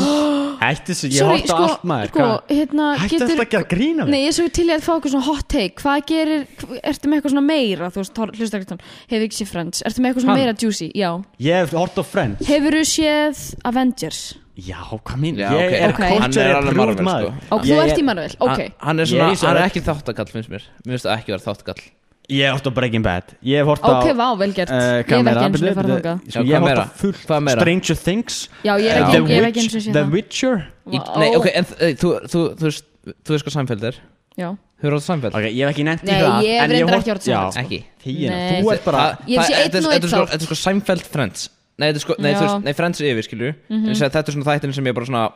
Speaker 5: Hætti þessu, ég
Speaker 4: Sorry,
Speaker 5: horta
Speaker 4: sko,
Speaker 5: allt maður
Speaker 4: sko,
Speaker 5: hvað?
Speaker 4: hérna,
Speaker 5: Hætti
Speaker 4: getur-
Speaker 5: alltaf að gera grína
Speaker 4: Nei, ég er svo til í að fá eitthvað svona hot take Hvað gerir, hv- ertu með eitthvað svona meira Þú veist, hlusta ekkert hann, hefur ekki séð Friends Ertu með eitthvað svona
Speaker 6: Hann?
Speaker 4: meira juicy, já
Speaker 5: Ég hef hort á Friends
Speaker 4: Hefur þú séð Avengers
Speaker 5: Já, hvað mín
Speaker 6: Já,
Speaker 5: Ég
Speaker 6: ok.
Speaker 5: er
Speaker 4: Ok.
Speaker 6: Hann er
Speaker 5: culture
Speaker 6: alveg
Speaker 5: approved
Speaker 6: Marvel,
Speaker 5: maður
Speaker 6: sko.
Speaker 4: Og
Speaker 5: Ég-
Speaker 4: þú ert
Speaker 5: ég-
Speaker 4: í Marvel, ok
Speaker 6: Hann- Hann er
Speaker 5: Ég
Speaker 6: svona,
Speaker 5: er í svo-
Speaker 6: hann er ekki þáttakall finnst mér Mér finnst það ekki vera þáttakall
Speaker 5: Ég hef hort á Breaking Bad Ég hef hort á
Speaker 4: Ok, vá, vel gert
Speaker 5: Ah, eh,
Speaker 4: Ég hef
Speaker 5: meira?
Speaker 4: ekki eins og
Speaker 5: Bíddu,
Speaker 4: ég farið
Speaker 5: bíddu,
Speaker 4: þangað
Speaker 5: sko, Ég
Speaker 6: Já, hvað
Speaker 5: hef hort á
Speaker 6: meira?
Speaker 5: fullt
Speaker 6: Hvað meira?
Speaker 5: Stranger Things
Speaker 4: Já, ég er
Speaker 6: Já.
Speaker 4: ekki, ég
Speaker 5: Eh, The
Speaker 4: er ekki eins og
Speaker 5: Witch-
Speaker 4: ég
Speaker 5: The
Speaker 4: séð það
Speaker 5: Witcher
Speaker 6: Í,
Speaker 4: Vá,
Speaker 6: nei, ok, en eh, þú, þú, þú, veist- þú veist hvað samfélg er
Speaker 4: Já,
Speaker 6: Þú eru á samfélg?
Speaker 5: Ok, ég hef ekki nefnt í
Speaker 4: Nei,
Speaker 5: það
Speaker 4: ég
Speaker 5: en
Speaker 4: reyndar
Speaker 5: hort-
Speaker 4: ekki hort á
Speaker 5: Já,
Speaker 4: Seinfeld,
Speaker 6: Ekki
Speaker 5: Þegina,
Speaker 4: Nei.
Speaker 5: þú ert bara
Speaker 6: Það-
Speaker 4: Ég sé
Speaker 6: það-
Speaker 4: einn
Speaker 6: þetta
Speaker 4: og einn
Speaker 6: er- þetta er sko-
Speaker 4: þátt.
Speaker 6: Þetta er sko Seinfeld Friends Nei, þetta er sko, nei,
Speaker 4: Já. Mhm.
Speaker 6: þú veist, nei Friends er yfir, skilju En segja, þetta er svona þættin sem ég bara svona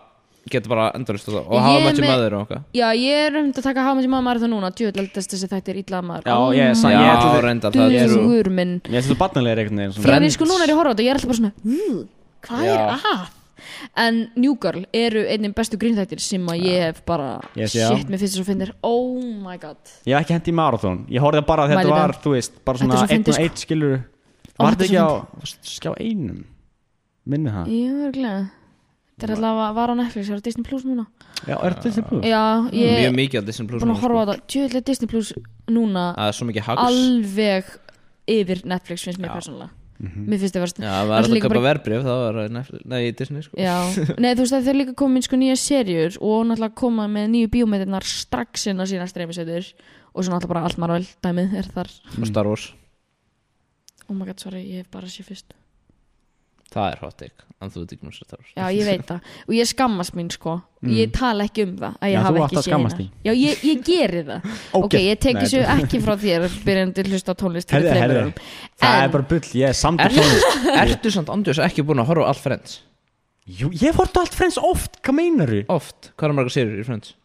Speaker 6: Getur bara endurist og það Og
Speaker 4: Ég
Speaker 6: hafa
Speaker 4: er
Speaker 6: maður sem
Speaker 4: með-
Speaker 6: maður og okkar
Speaker 4: já ég er um að taka háma sem maður maður það núna Djöðlaldast þessi þættir illa um maður
Speaker 5: Já, ég er sann Ég
Speaker 6: Já,
Speaker 5: ætla
Speaker 6: reynda, það er svo
Speaker 4: Dugur minn
Speaker 5: Ég ætla þú barnalegir einhvern veginn
Speaker 4: Ég
Speaker 5: svona.
Speaker 4: er
Speaker 6: Friends.
Speaker 4: sko núna er ég að horfa á þetta og ég er alltaf bara svona "Ugh, Hvað er að? En New Girl eru einnig bestu grínþættir sem að ég hef bara
Speaker 5: Yes, já.
Speaker 4: Shit, mér finnst það svo finnir Oh my god
Speaker 5: Ég hef ekki hendi í marathón Ég horfði bara að þetta
Speaker 4: Mæli
Speaker 5: var,
Speaker 4: með.
Speaker 5: þú veist, bara
Speaker 4: Þetta er
Speaker 5: svona
Speaker 4: svo
Speaker 5: einn
Speaker 4: fyndið,
Speaker 5: og
Speaker 4: sko.
Speaker 5: eitt skilur
Speaker 4: Ó,
Speaker 5: Var
Speaker 4: þetta
Speaker 5: þetta ekki
Speaker 4: er
Speaker 5: á
Speaker 4: svo
Speaker 5: skjá einum? Minni það
Speaker 4: Ég er glæð Þetta er alltaf að var á Netflix, það er á Disney Plus núna
Speaker 5: Já, er þetta þessi búið?
Speaker 4: Já, ég
Speaker 6: Mjög
Speaker 4: er
Speaker 6: mikið á Disney Plus
Speaker 4: búin
Speaker 6: núna,
Speaker 4: að
Speaker 6: sko.
Speaker 4: horfa á þetta Djöðlega Disney Plus núna
Speaker 6: Það er svo mikið hags
Speaker 4: Alveg yfir Netflix finnst mér
Speaker 6: Já. Mhm.
Speaker 4: persónulega Mér finnst það verðst
Speaker 6: Já, það var
Speaker 4: Allt
Speaker 6: alltaf að
Speaker 4: líka
Speaker 6: köpa
Speaker 4: bara-
Speaker 6: verbrif Það var Netflix- nei, í Disney, sko
Speaker 4: Já, nei þú veist að þeir líka komin sko nýja serjur og náttúrulega koma með nýju bíómyndirnar strax inn á sína streymisetur og svo náttúrulega bara allt marvel dæmið er þar
Speaker 6: Og Star Wars
Speaker 4: Oh my god, sorry, ég hef bara séð fyrst
Speaker 6: Það er hot take En þú veit ekki um Star Wars
Speaker 4: Já, ég veit það og ég skammast mín sko Ég tala ekki um það að ég
Speaker 5: Já, þú
Speaker 4: hafi
Speaker 5: átt
Speaker 4: ekki
Speaker 5: að
Speaker 4: séð
Speaker 5: skammast
Speaker 4: hérna Já, ég, ég geri það Ok, ég tek
Speaker 5: Nei,
Speaker 4: þessu ekki frá þér byrjandi hlusta á tónlist fyrir
Speaker 5: Herðu,
Speaker 4: þremur
Speaker 5: herðu.
Speaker 4: árum.
Speaker 5: Það
Speaker 4: En-
Speaker 5: er bara bull, ég er samt að um-
Speaker 6: Ertu,
Speaker 5: tónlist
Speaker 6: ertu samt andjóðs ekki búin að horfa á allt Friends?
Speaker 5: Jú, ég hef hort á allt Friends oft, hvað
Speaker 4: (gasps)
Speaker 5: meinar þú?
Speaker 6: Oft, hvað er margar sérur í Friends?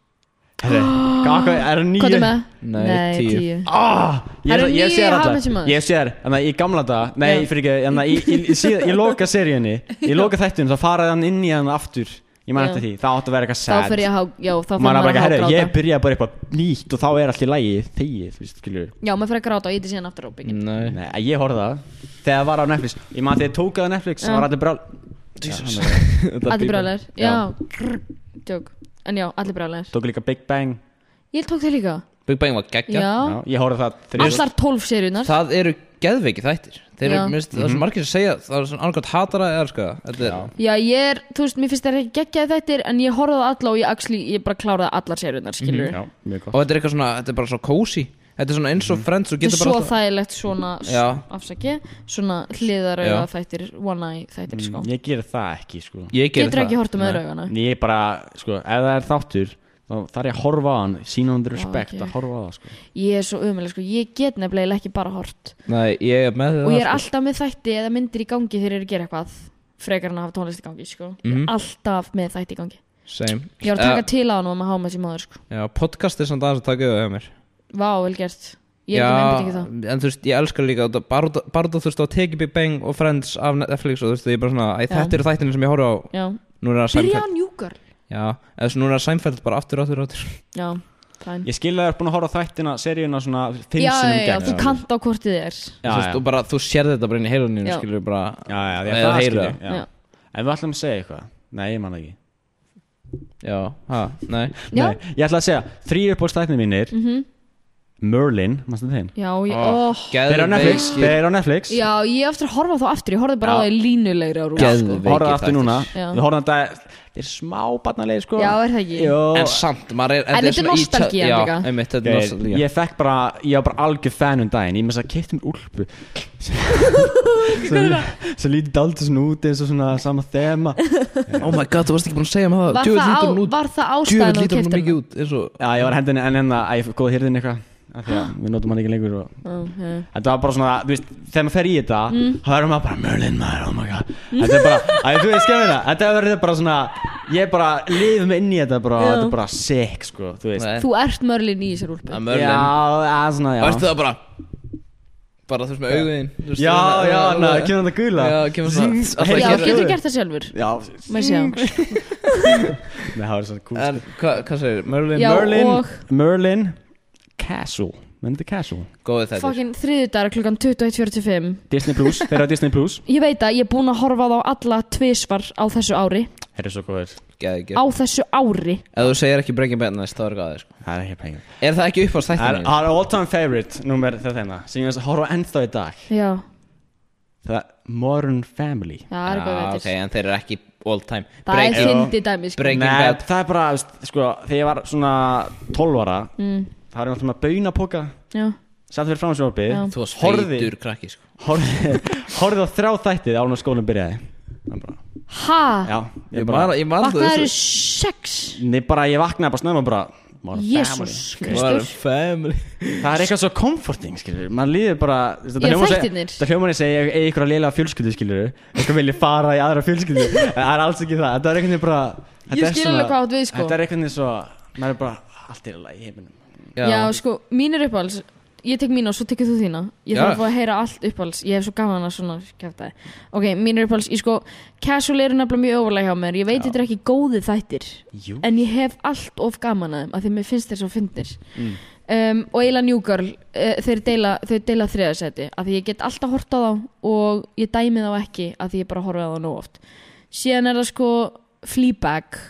Speaker 5: Herri, hvað hvað- er það nýju?
Speaker 4: Hvað er með?
Speaker 6: Nei, tíu.
Speaker 5: Ah, ég,
Speaker 4: Herru,
Speaker 5: ég
Speaker 4: nýju
Speaker 5: sé þær
Speaker 4: How I
Speaker 5: allar.
Speaker 4: Met Your Mother.
Speaker 5: Ég sé þér, þannig að í gamla dag Nei,
Speaker 4: Já.
Speaker 5: fyrir ekki, þannig að ég, ég, ég, ég loka seríunni
Speaker 4: (laughs)
Speaker 5: Ég loka þættunum, þá faraði hann inn í hann aftur Ég man
Speaker 4: Já.
Speaker 5: eftir því, það átti að vera eitthvað
Speaker 4: Þá
Speaker 5: sad
Speaker 4: fyrir ég að há, já, þá fyrir
Speaker 5: maður er bara
Speaker 4: maður að
Speaker 5: ekki,
Speaker 4: há
Speaker 5: herru, ég
Speaker 4: gráta
Speaker 5: byrjaði bara eitthvað nýtt og þá er allt í lægi þegið, þú veist, skilju
Speaker 4: Já, maður fyrir að gráta og íti síðan aftur á byggin
Speaker 6: Nei
Speaker 5: Nei, ég horfði á það þegar það var á Netflix ég maður þegar ég tók að Netflix, það var allir (laughs) brál Jesus
Speaker 4: Allir brjálæðir, já Jók, en já, allir brjálæðir
Speaker 5: tók líka Big Bang,
Speaker 4: Ég tók það líka
Speaker 6: Big Bang var
Speaker 4: Já,
Speaker 6: geggja
Speaker 5: já, ég horfði á það þrjus
Speaker 4: allar tólf seríunar
Speaker 6: Það eru geðveiki þættir Þeir eru,
Speaker 4: Já.
Speaker 6: minnst, það er svo margir sem segja Það er svona annarkvæmt hatara eða sko Þetta er
Speaker 4: Já, ég er, þú veist, mér finnst það ekki geggjaði þættir En ég horfði á alla og ég axli, ég bara kláraði allar
Speaker 6: Mhm,
Speaker 4: seríunar, skilur
Speaker 5: já, mjög
Speaker 6: Og
Speaker 5: gott
Speaker 6: þetta er eitthvað svona, þetta er bara svo cozy Þetta er svona eins og friends og
Speaker 4: Þetta er
Speaker 6: getur bara
Speaker 4: svo
Speaker 6: alltaf
Speaker 4: þægilegt svona,
Speaker 6: Já.
Speaker 4: afsaki Svona hliðarauða þættir, one eye þættir, sko
Speaker 5: ég ger það ekki, sko
Speaker 6: Ég gerði
Speaker 4: Getur ekki um
Speaker 6: Mhm, það.
Speaker 4: horta með
Speaker 6: Nei.
Speaker 4: raugana
Speaker 5: En ég bara, sko, ef það er þáttur þá þarf ég að horfa á hann, sína hann respekt
Speaker 4: ok.
Speaker 5: að horfa á það, sko
Speaker 4: Ég er svo umuleg, sko, ég get nefnilega ekki bara hort
Speaker 6: Nei, ég er með það
Speaker 4: og ég er
Speaker 6: sko.
Speaker 4: alltaf með þætti eða myndir í gangi þegar ég er að gera eitthvað frekar en að hafa tónlist í gangi sko. mm alltaf með þætti í gangi
Speaker 6: Same
Speaker 4: ég var að taka
Speaker 6: Mhm. Eh,
Speaker 4: til á hann og maður háma þessi maður sko.
Speaker 6: Já, podcast er samt aðeins að taka yfir hjá mér
Speaker 4: vá, vel gert ég er ekki nefnir ekki
Speaker 6: Já,
Speaker 4: það
Speaker 6: en þú veist, ég elskar líka þetta, bara út- bara út af, þú veist, að teki Big Bang og Friends af Netflix og þú veist, ég er bara svona, æ,
Speaker 4: Já.
Speaker 6: þetta eru þættinni sem ég horfa á
Speaker 4: já.
Speaker 6: Núna er það
Speaker 4: byrja
Speaker 6: Seinfeld
Speaker 4: að njúkar
Speaker 6: Já, eða þessu núna er Seinfeld bara aftur, aftur, aftur
Speaker 4: já, fæn
Speaker 5: ég skilja þér búin að horfa á þættina, seríuna svona fimm
Speaker 4: já,
Speaker 5: sinnum
Speaker 4: já, já,
Speaker 5: gegn,
Speaker 4: þú
Speaker 5: sko.
Speaker 4: kant á hvort þið er
Speaker 5: Já,
Speaker 6: Þú veist,
Speaker 5: já.
Speaker 6: og bara, þú sér þetta bara inn í heiluninu,
Speaker 4: Já.
Speaker 6: skilur bara
Speaker 5: já, já, já,
Speaker 6: Eða
Speaker 5: það
Speaker 6: heyra
Speaker 5: skilja
Speaker 6: það.
Speaker 5: já.
Speaker 4: Já.
Speaker 5: ef við ætlum að segja eitthvað, nei, ég man það ekki
Speaker 6: Já, ha, nei
Speaker 4: já, Mhm.
Speaker 5: Nei, ég ætla að segja, þrý uppbólstæknir mínir Merlin, mannstu þeim
Speaker 4: já, ég, oh.
Speaker 5: Þeir eru á Netflix, þeir eru á Netflix
Speaker 4: já, ég er aftur að horfa þá aftur ég horfði bara á það í línulegri á rúf
Speaker 6: Geðveikir
Speaker 5: Horfðu aftur
Speaker 6: þættir.
Speaker 5: núna,
Speaker 4: Já.
Speaker 5: við horfum þetta Þeir eru smá barnalegir sko
Speaker 4: já, er það ekki
Speaker 5: Jó,
Speaker 6: En samt, maður er
Speaker 4: En þetta er
Speaker 6: svona í tö-
Speaker 4: nostalgían
Speaker 6: Já,
Speaker 4: líka.
Speaker 6: einmitt, þetta er
Speaker 5: Þeir,
Speaker 6: nostalgían
Speaker 5: ég fekk bara, ég var bara algjör fan um daginn Ég með þess að kipta mér úlpu
Speaker 6: (laughs)
Speaker 5: Svo- Svo lítið daldur svona út eins og svona sama þema
Speaker 6: Oh my god, þú varst ekki búin að segja með það
Speaker 4: var,
Speaker 6: Djöfull
Speaker 4: það á,
Speaker 6: lítur hún út-
Speaker 4: var það
Speaker 6: Djöfull
Speaker 4: ástæðan og
Speaker 6: lítur hún mikið
Speaker 4: keftir
Speaker 6: út eins og
Speaker 5: Já, ég var hendinni en enna að ég góða hirðin eitthvað af Því
Speaker 6: (gasps)
Speaker 5: að við notum hann ekki lengur og Þetta var bara svona, þú veist, þegar maður fer í þetta
Speaker 6: Mm.
Speaker 5: þá verður maður bara Merlin maður, oh my god Þetta er bara, að, þú veist, skemmina Þetta verður bara svona Ég bara lifum inn í þetta bara,
Speaker 4: Já.
Speaker 5: þetta er bara sick sko, þú veist
Speaker 6: Nei,
Speaker 4: Þú ert mörlin í þessar úlpu
Speaker 6: að
Speaker 5: Já,
Speaker 6: mörlin
Speaker 5: að svona, já
Speaker 6: Varstu það bara Bara þú veist með augun þín, þú veist,
Speaker 5: Já,
Speaker 6: það-
Speaker 5: já,
Speaker 6: það-
Speaker 5: na, kemur þetta gula
Speaker 6: Já, kemur svona-
Speaker 5: Zing,
Speaker 6: alltaf
Speaker 5: hey,
Speaker 4: Já,
Speaker 6: gerir-
Speaker 4: getur gert það sjálfur
Speaker 5: Já,
Speaker 4: Má ég sjá
Speaker 6: Mm.
Speaker 5: nei, það var svona cool
Speaker 6: En hvað hva segir, Merlin
Speaker 4: Já,
Speaker 5: Merlin,
Speaker 4: og-
Speaker 5: Merlin Castle Menni þetta Castle
Speaker 6: Góði þetta
Speaker 4: Fokkin þriðudagur klukkan 21.45
Speaker 5: Disney Plus, þeir eru á Disney Plus
Speaker 4: Ég veit að ég er búin að horfa á þá alla tvisvar á þessu ári
Speaker 5: Þeir eru svo góður
Speaker 4: Á
Speaker 6: Ef
Speaker 4: þessu ári
Speaker 6: þú segir ekki Breaking Bad næst, þá er gáðið sko.
Speaker 5: Það er ekki að penga
Speaker 6: Er það ekki upp á
Speaker 5: Það
Speaker 6: stættinu?
Speaker 5: er- það er all time favorite Númer þetta þeimna Sem ég veist að horfa á ennþá í dag
Speaker 4: Já,
Speaker 5: Það er Modern Family
Speaker 4: það er eitthvað
Speaker 6: ok,
Speaker 4: veitir
Speaker 6: en þeir eru ekki all time
Speaker 4: Það er
Speaker 6: Breaking,
Speaker 4: fyndi dæmi sko.
Speaker 6: Breaking
Speaker 5: Nei,
Speaker 6: Bad
Speaker 5: það er bara, veist, sko, þegar ég var svona 12 ára mm. Það var ég alltaf með baunapoka
Speaker 4: Já,
Speaker 5: Satt fyrir framsjónvarpið
Speaker 4: Já.
Speaker 6: Þú varst
Speaker 5: Horfði.
Speaker 6: feitur krakki sko.
Speaker 5: horfði, (laughs) horfði á þrjá þættið án að skólinn byrjaði Það bara,
Speaker 4: ha,
Speaker 5: Já,
Speaker 6: Ég man, ég man
Speaker 4: vaknaði eru sex
Speaker 5: Nei, bara ég vaknaði bara snemma bara maður er
Speaker 4: Jésús
Speaker 5: family.
Speaker 6: Var
Speaker 4: Kristur
Speaker 6: family
Speaker 5: Það er eitthvað svo comforting, skilur Man líður bara
Speaker 4: Já,
Speaker 5: Þetta hljómar seg-
Speaker 4: þættirnir.
Speaker 5: þetta hljómar ég segja Eða ykkur að lélega fjölskyldu, skilur Eitthvað vilja fara í aðra fjölskyldu
Speaker 4: (laughs)
Speaker 5: En það er alls ekki það Þetta er eitthvað bara þetta
Speaker 4: Ég
Speaker 5: er
Speaker 4: skil
Speaker 5: svona-
Speaker 4: alveg hvað átt við, sko.
Speaker 5: Þetta er eitthvað svo Maður er bara Allt er alveg í heiminum
Speaker 4: Já, sko, mín er uppáhalds Ég tek mín og svo tekur þú þína Ég þarf
Speaker 6: Já.
Speaker 4: að fá að heyra allt uppáhalds Ég hef svo gaman að svona kæftæði Ok, mín er uppáhalds Ég sko, casual eru nefnilega mjög ofalega hjá mér Ég veit þetta er ekki góði þættir
Speaker 5: Jú
Speaker 4: En ég hef allt of gaman að þeim Af því mér finnst þeir svo fyndnir um, Og eiginlega New Girl uh, Þeir deila, þeir deila þriðarsæti Af því ég get alltaf hort á þá Og ég dæmi þá ekki Af því ég bara horfa á þá nóg oft Síðan er það sko Fleabag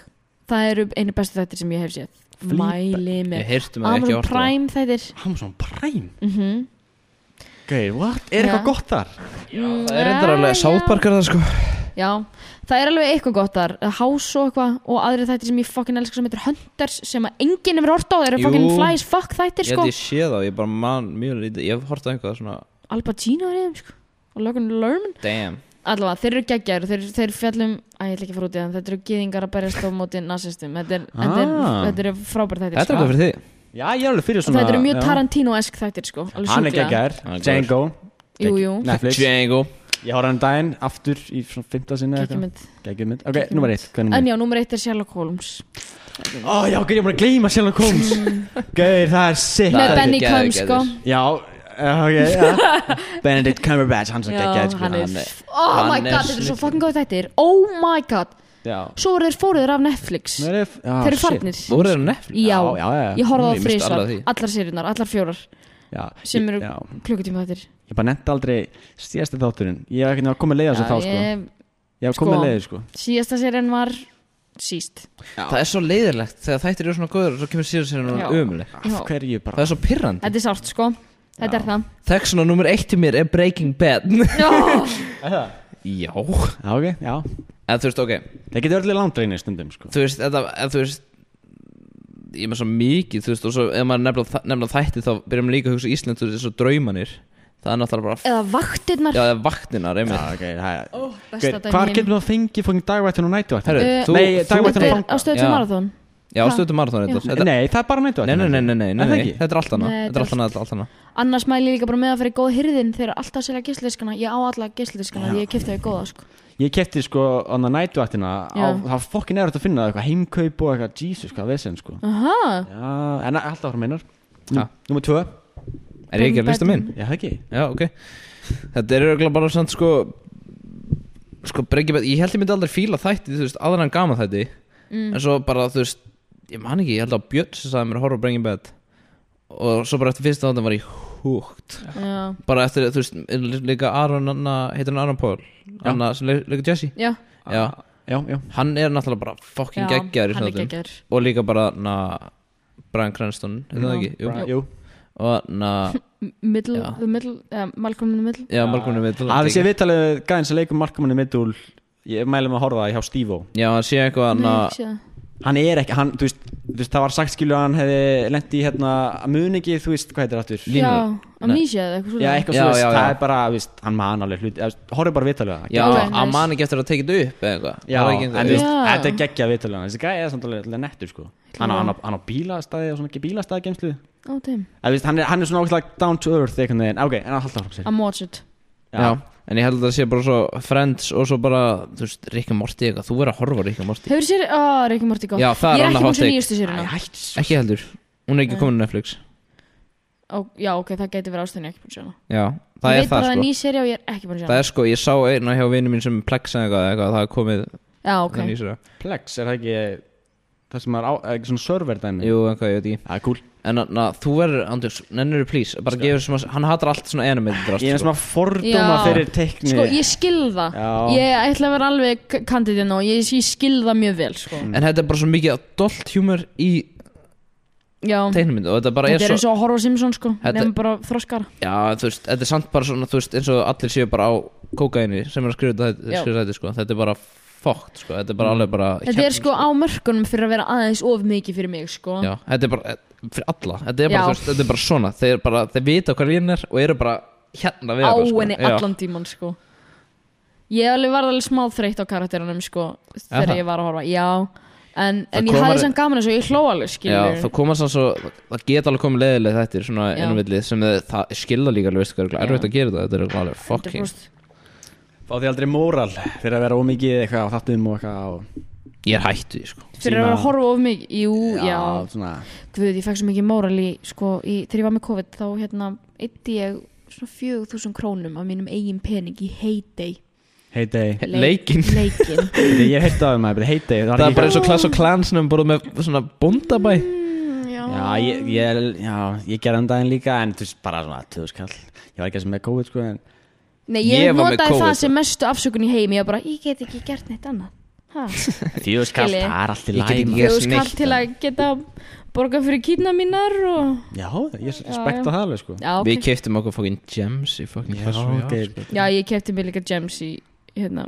Speaker 4: Það eru einu bestu þættir sem ég hef séð Mæli með
Speaker 6: Ég heyrst um að ekki
Speaker 4: Amazon
Speaker 6: orta
Speaker 4: Prime þættir
Speaker 5: Amazon Prime mm -hmm. Gauð, what? Er
Speaker 4: Mhm. Já.
Speaker 5: eitthvað gott þar?
Speaker 6: Það er reyndar alveg sáðbarkar það sko
Speaker 4: Já, það er alveg eitthvað gott þar House og eitthvað og aðri þættir sem ég fokkin elskar sem heitir Hunters sem að enginn hefur hort á þeir eru
Speaker 6: Jú.
Speaker 4: fokkin flies fuck þættir
Speaker 6: Ég
Speaker 4: sko
Speaker 6: held ég sé þá, ég bara man mjög lítið Ég hef hort á einhvað svona
Speaker 4: Al Pacino er í þeim sko og Logan Lerman
Speaker 6: Damn
Speaker 4: allavega þeir eru geggjær og þeir, þeir fjallum að ég ætla ekki að fara út í það en þetta eru gýðingar að berjast á móti nasistum þetta er, þetta er,
Speaker 5: Ah.
Speaker 4: þetta eru frábær þættir
Speaker 6: Þetta er eitthvað
Speaker 4: sko.
Speaker 6: fyrir þig
Speaker 5: Já, ég er alveg fyrir
Speaker 4: Og
Speaker 5: svona
Speaker 4: þetta eru mjög
Speaker 5: já.
Speaker 4: Tarantino-esk þættir sko alveg
Speaker 5: Hann er
Speaker 4: sjúklega.
Speaker 6: Hann er
Speaker 5: geggjær
Speaker 6: góður.
Speaker 5: Django
Speaker 4: Jú, jú.
Speaker 5: Netflix
Speaker 6: Django
Speaker 5: Ég horfði á hann um daginn aftur í svona 15 sinni
Speaker 4: Geggjumynd.
Speaker 5: Geggjumynd Ok, nummer eitt Hvað er
Speaker 4: en
Speaker 5: nummer eitt?
Speaker 4: já, nummer eitt er Sherlock Holmes
Speaker 5: Ó já, gauð, ég er bara að gleyma Sherlock Holmes Gauð, það er sick
Speaker 6: Það
Speaker 4: Mm. með
Speaker 6: er
Speaker 5: þættir.
Speaker 4: Benny
Speaker 6: geggjær,
Speaker 4: Combs sko
Speaker 6: geggjær.
Speaker 5: Já, eh, ok, já
Speaker 4: (laughs)
Speaker 5: Benedict Cumberbatch, hann sem
Speaker 4: Já,
Speaker 5: geggjær sko.
Speaker 4: hann er,
Speaker 6: Hann er-
Speaker 4: oh my
Speaker 6: hann er
Speaker 4: god, þetta er svo
Speaker 6: snillingur.
Speaker 4: fucking góð þættir oh my god,
Speaker 5: Já
Speaker 4: svo voru þeir fóruður af Netflix
Speaker 5: Nú er ég- já,
Speaker 4: þeir eru
Speaker 5: Ah, shit.
Speaker 4: farnir
Speaker 6: Þú voru þeirra nefn
Speaker 4: já,
Speaker 5: Já, já, já.
Speaker 4: ég horfði á
Speaker 6: Ég missti
Speaker 4: frísar
Speaker 6: alla því.
Speaker 4: allar sériunar, allar fjórar
Speaker 5: Já,
Speaker 4: sem eru
Speaker 5: ég- Já,
Speaker 4: klukkutíma þættir
Speaker 5: ég bara nefndi aldrei síðasti þátturinn Ég hef ekkert komið leið á þessu þá sko Ég
Speaker 4: ég,
Speaker 5: hef komið
Speaker 4: sko.
Speaker 5: leið sko
Speaker 4: síðasta sérien var síst
Speaker 6: Það er svo leiðilegt Þegar þættir eru svona góður og Svo kemur síðan
Speaker 4: Já.
Speaker 6: sér núna ömuleg
Speaker 4: Já.
Speaker 5: Af hverju
Speaker 6: Það
Speaker 5: bara
Speaker 6: er svo pirrandi
Speaker 4: þetta er sárt sko, þetta er það
Speaker 6: Þekk svona nummer eitt til mér er Breaking Bad (laughs)
Speaker 4: Já,
Speaker 6: Já
Speaker 5: Já, ok, já
Speaker 6: En þú veist, ok
Speaker 5: Það getur öllu landreinu stundum sko
Speaker 6: Þú veist, þetta, en þú veist Ég er með svo mikið, þú veist Og svo ef maður nefna, þa- nefna þætti Þá byrjum við líka að hugsa Ísland Þú veist, þessu draumanir Það er náttúrulega bara f-
Speaker 4: eða vaktirnar
Speaker 6: Já, það er vaktinar, einmitt
Speaker 5: Já, ok, það er
Speaker 4: besta
Speaker 5: Gauð, Hvar
Speaker 4: dæmi
Speaker 5: getum við að fengi fókin dagvættun og nættuvættun?
Speaker 6: Herru,
Speaker 4: Eh,
Speaker 6: þú,
Speaker 5: Nei,
Speaker 6: þú,
Speaker 5: dagvættin-
Speaker 4: þetta er
Speaker 5: þangað.
Speaker 4: á stöðtum
Speaker 6: Já.
Speaker 4: marathón
Speaker 6: já, stöðum marathón
Speaker 4: Já.
Speaker 6: þetta Þetta-
Speaker 5: Nei, það er bara
Speaker 6: Nei,
Speaker 5: nættuvættun
Speaker 6: nei, nei, nei, nei, nei,
Speaker 5: Er það
Speaker 6: nei.
Speaker 5: ekki?
Speaker 6: Þetta er allt annað
Speaker 4: Nei,
Speaker 6: Þetta er allt annað, þetta er allt annað
Speaker 4: annars mæli ég líka bara með að fyrir góð hyrðin þeir eru alltaf að selja geisladiskana, ég á alla geisladiskana því ég kipta þau góða sko
Speaker 5: Ég kefti sko annað nætuvættina
Speaker 4: Já.
Speaker 5: á, Það var fokkin erfitt að finna það, eitthvað heimkaup og eitthvað Jesus, hvað vesen sko
Speaker 4: aha,
Speaker 5: Já, en alltaf ára minnar
Speaker 6: Ha.
Speaker 5: Númer tvö
Speaker 6: Er ég ekki að lista minn?
Speaker 5: Já, það ekki
Speaker 6: Já, ok Þetta er örgulega bara samt sko Sko, breykja Ég held ég myndi aldrei fíla þætti, þú veist, aðra en gaman þætti En svo bara, þú veist Ég man ekki, ég held að Björn sem sagði mér að horfa Breaking Bad Og svo bara eftir fyrsta þáttan var ég húgt
Speaker 4: já,
Speaker 6: Bara eftir, þú veist, líka Aron Anna, heitir hann Aron Paul Anna, sem leik- leikur Jesse
Speaker 4: já,
Speaker 6: Já,
Speaker 5: Já, já
Speaker 6: hann er náttúrulega bara fucking
Speaker 4: já
Speaker 6: geggjaður í
Speaker 4: hann er
Speaker 6: þáttum.
Speaker 4: geggjaður
Speaker 6: og líka bara na, Brian Cranston hefði það ekki, jú,
Speaker 5: Bra- Jú
Speaker 6: og na,
Speaker 4: middle,
Speaker 6: Já.
Speaker 4: the middle, uh, Malcolm in the middle
Speaker 6: já, Malcolm er
Speaker 5: Það er sér viðtalið við gæðin sem leikum markamanni middúl Ég mælum að horfa það hjá Stívo
Speaker 6: já, hann sé eitthvað
Speaker 4: Nei,
Speaker 6: na,
Speaker 4: ekki séð það.
Speaker 5: Hann er ekki, hann, þú veist, þú veist Það var sagt skilju að hann hefði lent í hérna Mun ekki, þú veist, hvað heitir aftur
Speaker 6: Línu.
Speaker 4: Já,
Speaker 6: Nei.
Speaker 4: amnesia eða eitthvað
Speaker 5: Já,
Speaker 4: svona
Speaker 5: eitthvað
Speaker 6: Já,
Speaker 5: svo
Speaker 6: já, já.
Speaker 5: Það er bara, þú veist, hann man alveg hluti eða, þú veist, Horfðu bara viðtalið það
Speaker 6: já,
Speaker 4: Ok,
Speaker 6: hann
Speaker 4: nice.
Speaker 6: man ekki eftir að teki þetta upp eða eitthvað,
Speaker 5: Já,
Speaker 6: Það
Speaker 5: en
Speaker 6: er ekki
Speaker 5: þú veist,
Speaker 6: eitthvað
Speaker 4: Já.
Speaker 5: þetta er geggjað viðtölu Þessi gæði er samt alveg alveg nettur sko Hann á, hann á, hann á bílastæði og svona ekki bílastæðagemslu
Speaker 4: Ó, damn,
Speaker 5: Hann, er- hann er svona ógæðlega down to earth einhvern veginn Ok, en að halda frá sér
Speaker 4: I'm watched
Speaker 5: Já,
Speaker 6: Já. En ég held að það sé bara svo Friends og svo bara, þú veist, Rick and Morty eitthvað Þú er að horfa á Rick and Morty
Speaker 4: Hefur sér, ó, Reykjum Morty gott
Speaker 6: Já, það er
Speaker 4: Ég er
Speaker 6: annað
Speaker 4: ekki
Speaker 6: hot
Speaker 4: búin sem
Speaker 6: take.
Speaker 4: nýjustu sérina
Speaker 6: Ekki heldur, hún er ekki komin á Netflix
Speaker 4: Já, ok, það geti verið ástæðin ég er ekki búin að sjá hana
Speaker 6: Já, það
Speaker 4: Ég
Speaker 6: er
Speaker 4: veit bara að
Speaker 6: það
Speaker 4: það er
Speaker 6: sko
Speaker 4: ný séri og ég er ekki búin að sjá
Speaker 6: Það
Speaker 4: hana
Speaker 6: er sko, ég sá einn og hjá vinnu mín sem plexaði eitthvað, eitthvað Það er komið
Speaker 4: Já, ok
Speaker 6: okay. nýsra
Speaker 5: Plex, er það ekki það sem er á, er ekki svona server dæmi?
Speaker 6: Jú, eitthvað, ég veit ekki
Speaker 5: Það er cool
Speaker 6: En na, þú verður, Andjós, nennur please Bara gefur sem að, hann hatar allt svona enum
Speaker 5: Ég er
Speaker 6: sko.
Speaker 5: svona fordóma
Speaker 4: Já.
Speaker 5: fyrir teikni
Speaker 4: Sko, ég skil það
Speaker 5: Já.
Speaker 4: Ég ætla að vera alveg kandidin og ég, ég skil það mjög vel, sko
Speaker 6: En þetta er bara svo mikið adult humor í
Speaker 4: Já,
Speaker 6: teiknumyndu Og þetta bara er
Speaker 4: þetta er
Speaker 6: svo
Speaker 4: eins og að horfa á Simpsons, sko
Speaker 6: Þetta-
Speaker 4: Nefnum bara þroskar
Speaker 6: Já, þú veist, þetta er samt bara svona, þú veist, eins og allir séu bara á kókaini sem er að skrifa þetta,
Speaker 4: Já.
Speaker 6: skrifa þetta sko. þetta er bara fókt, sko. þetta er bara alveg bara hérna.
Speaker 4: Þetta er sko á mörkunum fyrir að vera aðeins of mikið fyrir mig, sko
Speaker 6: Já, þetta er bara, eh, fyrir alla, þetta er
Speaker 4: Já.
Speaker 6: bara, þú veist, þetta er bara svona, þeir, bara, þeir vita hvað lín er og eru bara hérna við
Speaker 4: Á
Speaker 6: þetta, sko.
Speaker 4: henni
Speaker 6: Já.
Speaker 4: allan tíman, sko Ég alveg var alveg smá þreytt á karakterunum, sko Þegar
Speaker 6: það?
Speaker 4: ég var að horfa, já En, en ég
Speaker 6: komar-
Speaker 4: hafði samt gaman þessu, ég hló alveg,
Speaker 6: Já,
Speaker 4: skilur
Speaker 6: það komast þannig svo, það geta alveg komið leiðileg þetta er svona
Speaker 4: Já.
Speaker 6: innvillið sem þið, það skilða líka alveg, veistu hvað, er erfitt að gera þetta, þetta er örugglega alveg fucking
Speaker 4: 100%.
Speaker 5: Fá því aldrei móral fyrir að vera ómikið eitthvað á þáttum og eitthvað og
Speaker 6: Ég er hættu, því, sko
Speaker 4: Fyrir að vera að horfa of mikið Jú, já,
Speaker 5: svona
Speaker 4: Guð, ég fekk svo mikið móral í, sko, í Þegar ég var með COVID þá hérna Eitti ég svona 4000 krónum Af mínum eigin pening í heyday
Speaker 5: Hey day
Speaker 6: Leikinn.
Speaker 4: Leikin
Speaker 5: Ég hef heyrt um af þeim að heyday
Speaker 6: Það er bara eins og Clash of Clans nefnum bara með svona bóndabæ
Speaker 5: Já, ég, ég, já, ég gerði hann daginn líka en þú veist bara svona 2000 kall Ég var ekki sem með COVID sko en
Speaker 4: Nei, ég,
Speaker 6: Ég var með
Speaker 4: notaði
Speaker 6: COVID,
Speaker 4: það
Speaker 6: sko.
Speaker 4: sem mestu afsökun í heimi Ég var bara, ég get ekki gert neitt annað
Speaker 6: (laughs)
Speaker 4: Ha?
Speaker 5: 2000 kall,
Speaker 4: Skilji.
Speaker 5: það er allt í
Speaker 6: Ég get
Speaker 5: læg
Speaker 6: ekki
Speaker 5: maður.
Speaker 6: gert-
Speaker 4: Þjóðs kall
Speaker 6: snillt sko.
Speaker 4: til að geta borga fyrir kýtna mínar og...
Speaker 5: Já, ég respekta
Speaker 4: já.
Speaker 5: það alveg sko
Speaker 4: Já,
Speaker 6: Við
Speaker 4: okay.
Speaker 6: keiftum okkur fucking gems í fucking
Speaker 5: Já,
Speaker 6: Clash Royale,
Speaker 5: ok.
Speaker 6: sko.
Speaker 4: Já, ég kefti mér líka gems í hérna,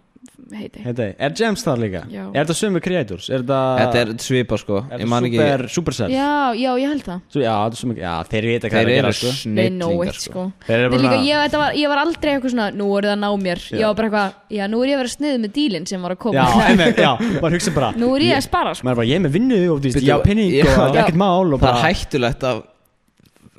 Speaker 4: heiti
Speaker 5: Hey day, er James þar líka?
Speaker 4: Já.
Speaker 5: Er þetta sömu creators? Er þetta
Speaker 6: Þetta er svipa sko
Speaker 5: Er
Speaker 6: Ég man
Speaker 5: þetta
Speaker 6: ekki
Speaker 5: super, supercell?
Speaker 4: Já, já, ég held það
Speaker 5: Svo, já, þetta er sömu Já, þeir vita hvað
Speaker 6: Þeir
Speaker 5: þeir
Speaker 6: eru
Speaker 5: gera sko
Speaker 4: Nei, no
Speaker 6: snillingar
Speaker 4: it,
Speaker 6: sko
Speaker 4: sko
Speaker 5: Þeir eru
Speaker 4: Mér
Speaker 5: bara
Speaker 4: Líka, ég, þetta var, ég var aldrei eitthvað svona, nú er það að ná mér Ég var bara eitthvað, já, nú er ég að vera sniðið með dílinn sem var að
Speaker 5: Já,
Speaker 4: koma
Speaker 5: einmitt, já, maður hugsa bara
Speaker 4: (laughs) Nú er ég að spara, sko
Speaker 5: Maður er bara, ég er með vinnu og þú veist,
Speaker 6: Bittu,
Speaker 5: já, pinning
Speaker 6: já.
Speaker 5: og það er ekkert mál og
Speaker 6: Það er
Speaker 5: bara
Speaker 6: hættulegt að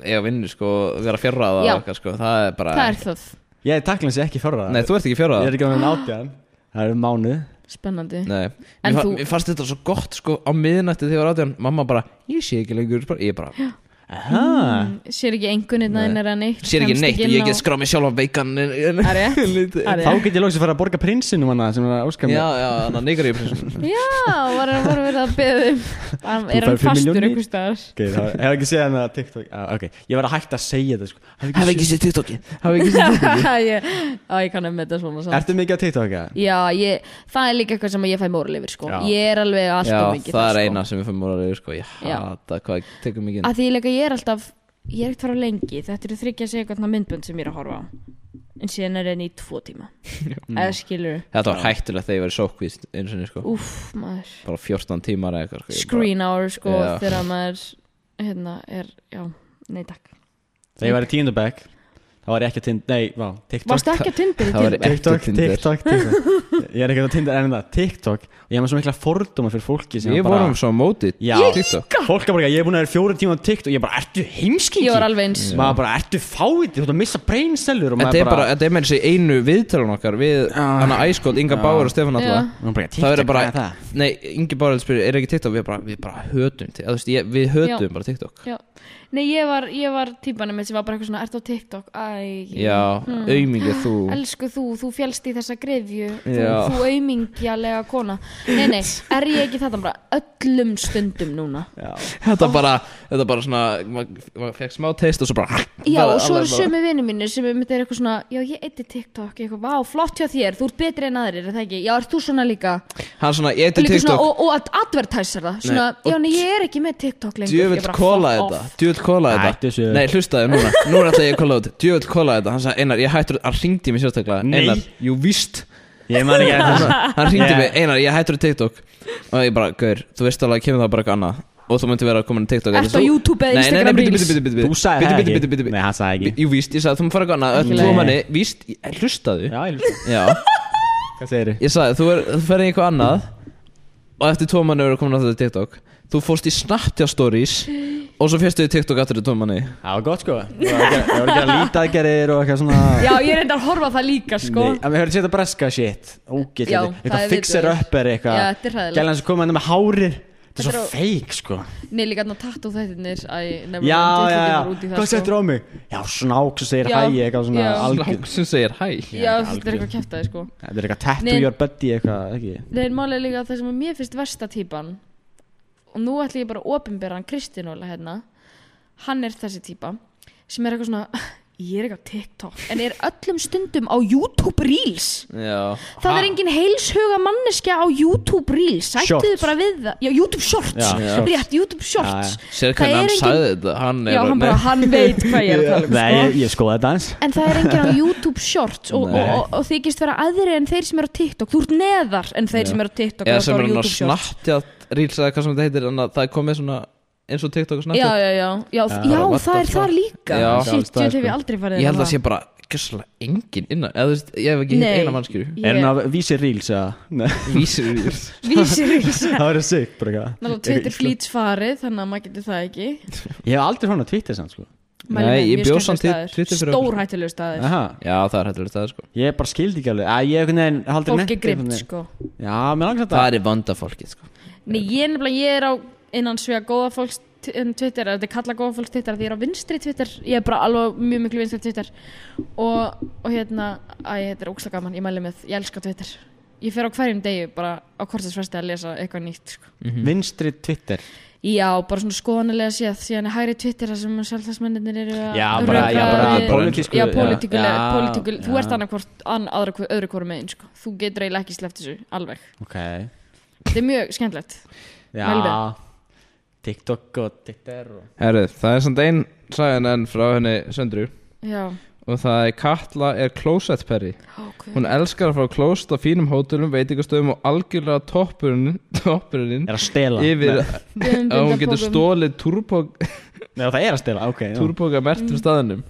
Speaker 6: eiga vinnu sko og vera fjárraða
Speaker 4: Já.
Speaker 6: og eitthvað sko Það er bara
Speaker 4: Það er það,
Speaker 5: Ég takla hans ekki fjóra
Speaker 6: Nei, þú ert ekki
Speaker 5: Ég er
Speaker 6: fjárraða
Speaker 5: ekki á hann átján Það eru mánuð
Speaker 4: spennandi
Speaker 6: Nei
Speaker 4: En
Speaker 6: Mér fa-
Speaker 4: þú-
Speaker 6: Mér fannst þetta svo gott sko á miðnætti þegar ég var átján Mamma bara, ég sé ekki lengur bara- Ég bara,
Speaker 4: Mm.
Speaker 5: Aha.
Speaker 4: Sér ekki einhvernir næðinir að neitt
Speaker 6: sér ekki
Speaker 4: kemst
Speaker 6: neitt og
Speaker 4: inn
Speaker 6: ég
Speaker 4: á-
Speaker 6: get skráð mig sjálf á veikan
Speaker 4: Það er
Speaker 6: (laughs)
Speaker 4: rétt, það er
Speaker 5: Þá
Speaker 4: rétt
Speaker 5: get ég loks að fara að borga prinsinum hana sem er að óska
Speaker 6: Já,
Speaker 5: mér
Speaker 6: já, þannig að neygar ég
Speaker 4: (laughs)
Speaker 6: prinsum
Speaker 4: Já, var hann var verið að beða um Hann- Er
Speaker 5: færð
Speaker 4: hann
Speaker 5: fimm
Speaker 4: fastur
Speaker 5: milljónir.
Speaker 4: einhvers staðar
Speaker 5: Ok, það var- hefur ekki séð hana að TikTok ah, Ok, ég var að hætta að segja þetta sko
Speaker 6: Haf ekki sér TikTokið
Speaker 4: (laughs)
Speaker 6: Haf ekki sér
Speaker 4: ég, á, ég kann að metta svona samt
Speaker 5: Ertu mikið að TikTok eða?
Speaker 4: Já, ég, það er líka eitthvað sem ég fæ móral yfir sko.
Speaker 5: Já.
Speaker 4: Ég er alveg alltaf
Speaker 6: Já,
Speaker 4: mikið
Speaker 6: það er
Speaker 4: sko.
Speaker 6: eina sem við fannum úr að reyðu sko Ég
Speaker 4: Já.
Speaker 6: hata hvað ég tekur mikið inn
Speaker 4: Að því líka ég er alltaf, ég er ekkert fara lengi Þetta eru þryggja að segja eitthvað myndbönd sem ég er að horfa á En síðan er enn í tvo
Speaker 5: (laughs)
Speaker 4: tíma Eða skilur,
Speaker 6: Þetta var hættulegt þegar ég var í sókvist eins og sko
Speaker 4: úff maður
Speaker 6: bara 14 tímar eða eitthvað sko. Ég bara-
Speaker 4: Screen hour sko,
Speaker 6: Já.
Speaker 4: þegar maður Hérna er, já, nei takk
Speaker 5: Þegar ég var í tíundabæk Þá var ég ekki að tind, nei, vá, TikTok
Speaker 4: Varstu ekki að tindir
Speaker 6: það var-
Speaker 4: til?
Speaker 6: ekki
Speaker 5: TikTok,
Speaker 6: Tinder.
Speaker 5: TikTok, TikTok Ég er ekki að tinda enn það TikTok Og ég hef með svo mikla fordóma fyrir fólki sem
Speaker 6: Við
Speaker 5: bara
Speaker 6: vorum svo á móti
Speaker 5: Já,
Speaker 6: TikTok
Speaker 5: fólk er bara, ég er búin að vera fjóra tíma á TikTok Ég er bara, ertu heimskingi?
Speaker 4: Ég var alveg eins
Speaker 5: Maður bara, ertu fáið? Þú ert að missa brainselur og
Speaker 6: Þetta
Speaker 5: maður
Speaker 6: er bara, þetta er með þessi einu viðtölun okkar Við hann að æskóld, Inga Báur og Stefán
Speaker 4: Já.
Speaker 6: Alla
Speaker 5: Maður bara, TikTok,
Speaker 6: Það er bara,
Speaker 5: hvað er það?
Speaker 6: nei, Ingi Báur spyrir, er ekki TikTok Við bara, við bara hötum, til- eða, þú veist, ég, við hötum
Speaker 4: Já.
Speaker 6: bara TikTok
Speaker 4: Já. Nei, ég var, ég var típanum sem var bara eitthvað svona, ertu á TikTok? Æ,
Speaker 6: Já,
Speaker 4: Hmm.
Speaker 6: aumingið þú
Speaker 4: (laughs) Elsku þú, þú fjálst í þessa grefju þú,
Speaker 6: Já.
Speaker 4: þú aumingjalega kona Nei, nei, er ég ekki þetta bara öllum stundum núna
Speaker 6: Þetta bara, þetta bara svona, maður mað fekk smá teist og svo bara
Speaker 4: Já,
Speaker 6: bara
Speaker 4: og svo
Speaker 6: alveg
Speaker 4: eru
Speaker 6: bara-
Speaker 4: sömu vinnu mínir sem er myndið eitthvað svona Já, ég eitti TikTok, eitthvað, vá, flott hjá þér Þú ert betri en aðrir, er það ekki? Já, ert þú svona líka?
Speaker 6: Hann svona,
Speaker 4: Og
Speaker 6: ég til
Speaker 4: líka svona,
Speaker 6: TikTok,
Speaker 4: og, og að advertæsar það Svona,
Speaker 6: Nei, og
Speaker 4: já, nei, ég er ekki með TikTok lengur Ég
Speaker 6: djöfull
Speaker 4: bara,
Speaker 6: kóla
Speaker 4: fuck
Speaker 6: þetta
Speaker 4: off.
Speaker 6: Djöfull kóla þetta
Speaker 5: Hættu þessu.
Speaker 6: Nei, hlustaðu núna Núna ætla ég að kóla þetta Djöfull kóla þetta Hann sagði, Einar, ég hættur Hann ringdi mig sérstaklega
Speaker 5: Nei.
Speaker 6: Einar, jú víst
Speaker 5: Ég man ekki
Speaker 6: (laughs)
Speaker 5: eftir þessu.
Speaker 6: Hann ringdi
Speaker 5: Yeah.
Speaker 6: mig, Einar, ég hættur í TikTok Og ég bara, gaur, þú veist alveg að kemur það bara eitthvað annað Og þú myndi vera að koma inn í TikTok
Speaker 4: Ertu á YouTube eða Instagram
Speaker 6: Reels Nei,
Speaker 4: Reels?
Speaker 6: nei, bitti, bitti, bitti
Speaker 5: Þú sagði það ekki. Nei, hann sagði ekki.
Speaker 6: Jú víst, ég sagði, þú maður fara eitthvað annað Öll
Speaker 4: Ekki
Speaker 6: þú
Speaker 4: leið.
Speaker 6: manni, víst, ég- hlustaðu
Speaker 5: Já, ég-
Speaker 6: Já,
Speaker 5: hvað segirðu?
Speaker 6: ég sagði, þú, er- þú ferði eitthvað annað Og eftir tvo manni verður komin á þetta TikTok Þú fórst í Snapchat stories Og svo fyrstu í TikTok aftur í tómanni
Speaker 5: Það var gott sko Ég var að gera- ég var að gera lítaðgerir og eitthvað svona
Speaker 4: Já, ég reyndar að horfa á það líka sko
Speaker 5: Nei, en við höfum séð þetta breska shit Ógilt,
Speaker 4: Já, það
Speaker 5: eitthvað
Speaker 4: er
Speaker 5: fixer
Speaker 4: viðbjóður.
Speaker 5: upp er eitthvað
Speaker 4: Já, þetta er hræðilegt.
Speaker 5: Gælan sem koma hérna með hárir Þetta er
Speaker 4: Þetta
Speaker 5: svo
Speaker 4: er-
Speaker 5: feik sko
Speaker 4: Nei, líka þarna tattoo þættirnir Æ, nefnum
Speaker 5: Já, já, já, hvað
Speaker 4: sko.
Speaker 5: settur á mig? Já, snák sem segir
Speaker 4: Já,
Speaker 5: hæ, eitthvað svona
Speaker 4: já.
Speaker 5: algjör
Speaker 6: Lák sem segir hæ
Speaker 4: Já,
Speaker 5: Algjör.
Speaker 4: þetta er eitthvað kæftæði sko
Speaker 5: Þetta er eitthvað tattoo
Speaker 4: Nei.
Speaker 5: your buddy eitthvað, ekki
Speaker 4: Nei, en málið er líka að það sem er mér finnst versta típan og nú ætla ég bara að opinbera hann Kristín Óla hérna hann er þessi típa sem er eitthvað svona (laughs) ég er ekki á TikTok en er öllum stundum á YouTube Reels
Speaker 6: Já
Speaker 4: það er engin heilshuga manneskja á YouTube Reels sættuðu
Speaker 5: Shorts.
Speaker 4: bara við það já, YouTube Shorts,
Speaker 5: Já, shorts.
Speaker 4: rétt, YouTube Shorts Það er
Speaker 6: Sér hvernig hann
Speaker 4: engin-
Speaker 6: sagði þetta Hann er
Speaker 4: já, hann bara,
Speaker 6: Nei.
Speaker 4: hann veit hvað ég er að tala um
Speaker 5: Nei,
Speaker 4: sko.
Speaker 5: ég, ég skoða þetta eins
Speaker 4: En það er
Speaker 6: (laughs)
Speaker 4: enginn á YouTube Shorts og, og,
Speaker 6: Nei.
Speaker 4: og, og þykist vera aðri en þeir sem eru á TikTok Þú ert neðar en þeir sem eru á TikTok
Speaker 6: Eða
Speaker 4: og
Speaker 6: sem
Speaker 4: þú
Speaker 6: er hann á
Speaker 4: YouTube Shorts.
Speaker 6: Snapchat Reels eða hvað sem þetta heitir Þannig að það er komið svona Eins og TikTok og Snapchat
Speaker 4: já, já, já, já, já,
Speaker 6: Bara
Speaker 4: það er
Speaker 6: vatnaflá.
Speaker 4: þar líka
Speaker 6: Já.
Speaker 4: Sýtt,
Speaker 5: Sjálfstæði,
Speaker 4: ég hef
Speaker 5: sko.
Speaker 4: ég aldrei farið hérna.
Speaker 6: Ég held að
Speaker 4: þarna.
Speaker 6: það sé bara Gjössalega engin innan Eða þú veist Ég hef ekki hitt
Speaker 4: Nei.
Speaker 6: eina mannskjöru (laughs)
Speaker 4: Ég-
Speaker 5: Er hann að vísi reels eða? Nei, (laughs)
Speaker 6: Vísir Reels
Speaker 4: (laughs) Vísir Reels
Speaker 5: það verður sick bara eitthvað
Speaker 4: Náttúrulega Twitter flýts farið, þannig að maður getur það ekki
Speaker 5: Ég hef aldrei fann að Twitter samt sko
Speaker 4: Mælum
Speaker 6: Nei,
Speaker 4: með,
Speaker 6: ég
Speaker 4: mjög
Speaker 6: bjó
Speaker 4: skemmtilegur staður.
Speaker 6: samt til Twitter fyrir- sko.
Speaker 4: Stórhættulegur staður
Speaker 5: Aha,
Speaker 6: Já það er hættilega staði sko
Speaker 5: Ég bara skildi ekki alveg Æ, Ég hef einhvern veginn haldið
Speaker 4: Fólk
Speaker 5: nett
Speaker 4: er grimt,
Speaker 5: einhvern veginn.
Speaker 4: sko
Speaker 5: Já, mér langar þetta
Speaker 6: Það er vanda fólkið sko
Speaker 4: Nei, ég er nefnilega, ég er á innan svega góða fólks t- en Twitter, eða þetta er kallað góða fólks Twitter því ég er á vinstri Twitter, ég er bara alveg mjög miklu vinstri Twitter og, og hérna, æ, þetta er óksla gaman, ég mæli með ég elska Twitter, ég fer á hverjum degi bara á kortisfesti að lesa eitthvað nýtt sko.
Speaker 5: Mhm. Vinstri Twitter
Speaker 4: Já, bara svona skoðanilega séð síðan er hægri Twitter þar sem sjálfstæðsmennir eru að
Speaker 5: Já, bara, já,
Speaker 4: rökra
Speaker 5: bara
Speaker 4: við-
Speaker 5: Pólitísku
Speaker 4: Já, pólitíkulega,
Speaker 5: Já,
Speaker 4: pólitíkulega, þú
Speaker 5: já.
Speaker 4: ert annað hvort ann, aðra, hvor- öðru hvort megin, sko. þú getur eiginlega ekki sleppt þessu, alveg
Speaker 5: Ok
Speaker 4: þetta er mjög skemmtilegt Mælið
Speaker 5: Já
Speaker 4: það.
Speaker 5: TikTok og Twitter og
Speaker 6: Herru það er samt ein Sæðan enn frá henni Söndru
Speaker 4: Já,
Speaker 6: Og það er Katla er Closet Perry Hún elskar að fara á klóst á fínum hótelum, veitingastöðum og algjörlega toppurinn, toppurinn
Speaker 5: Er að stela
Speaker 6: yfir
Speaker 4: Dömbum,
Speaker 6: að um- hún getur
Speaker 4: dömbum.
Speaker 6: stólið túrbóka
Speaker 5: Nei, það er að stela, ok já.
Speaker 6: mertum staðinum.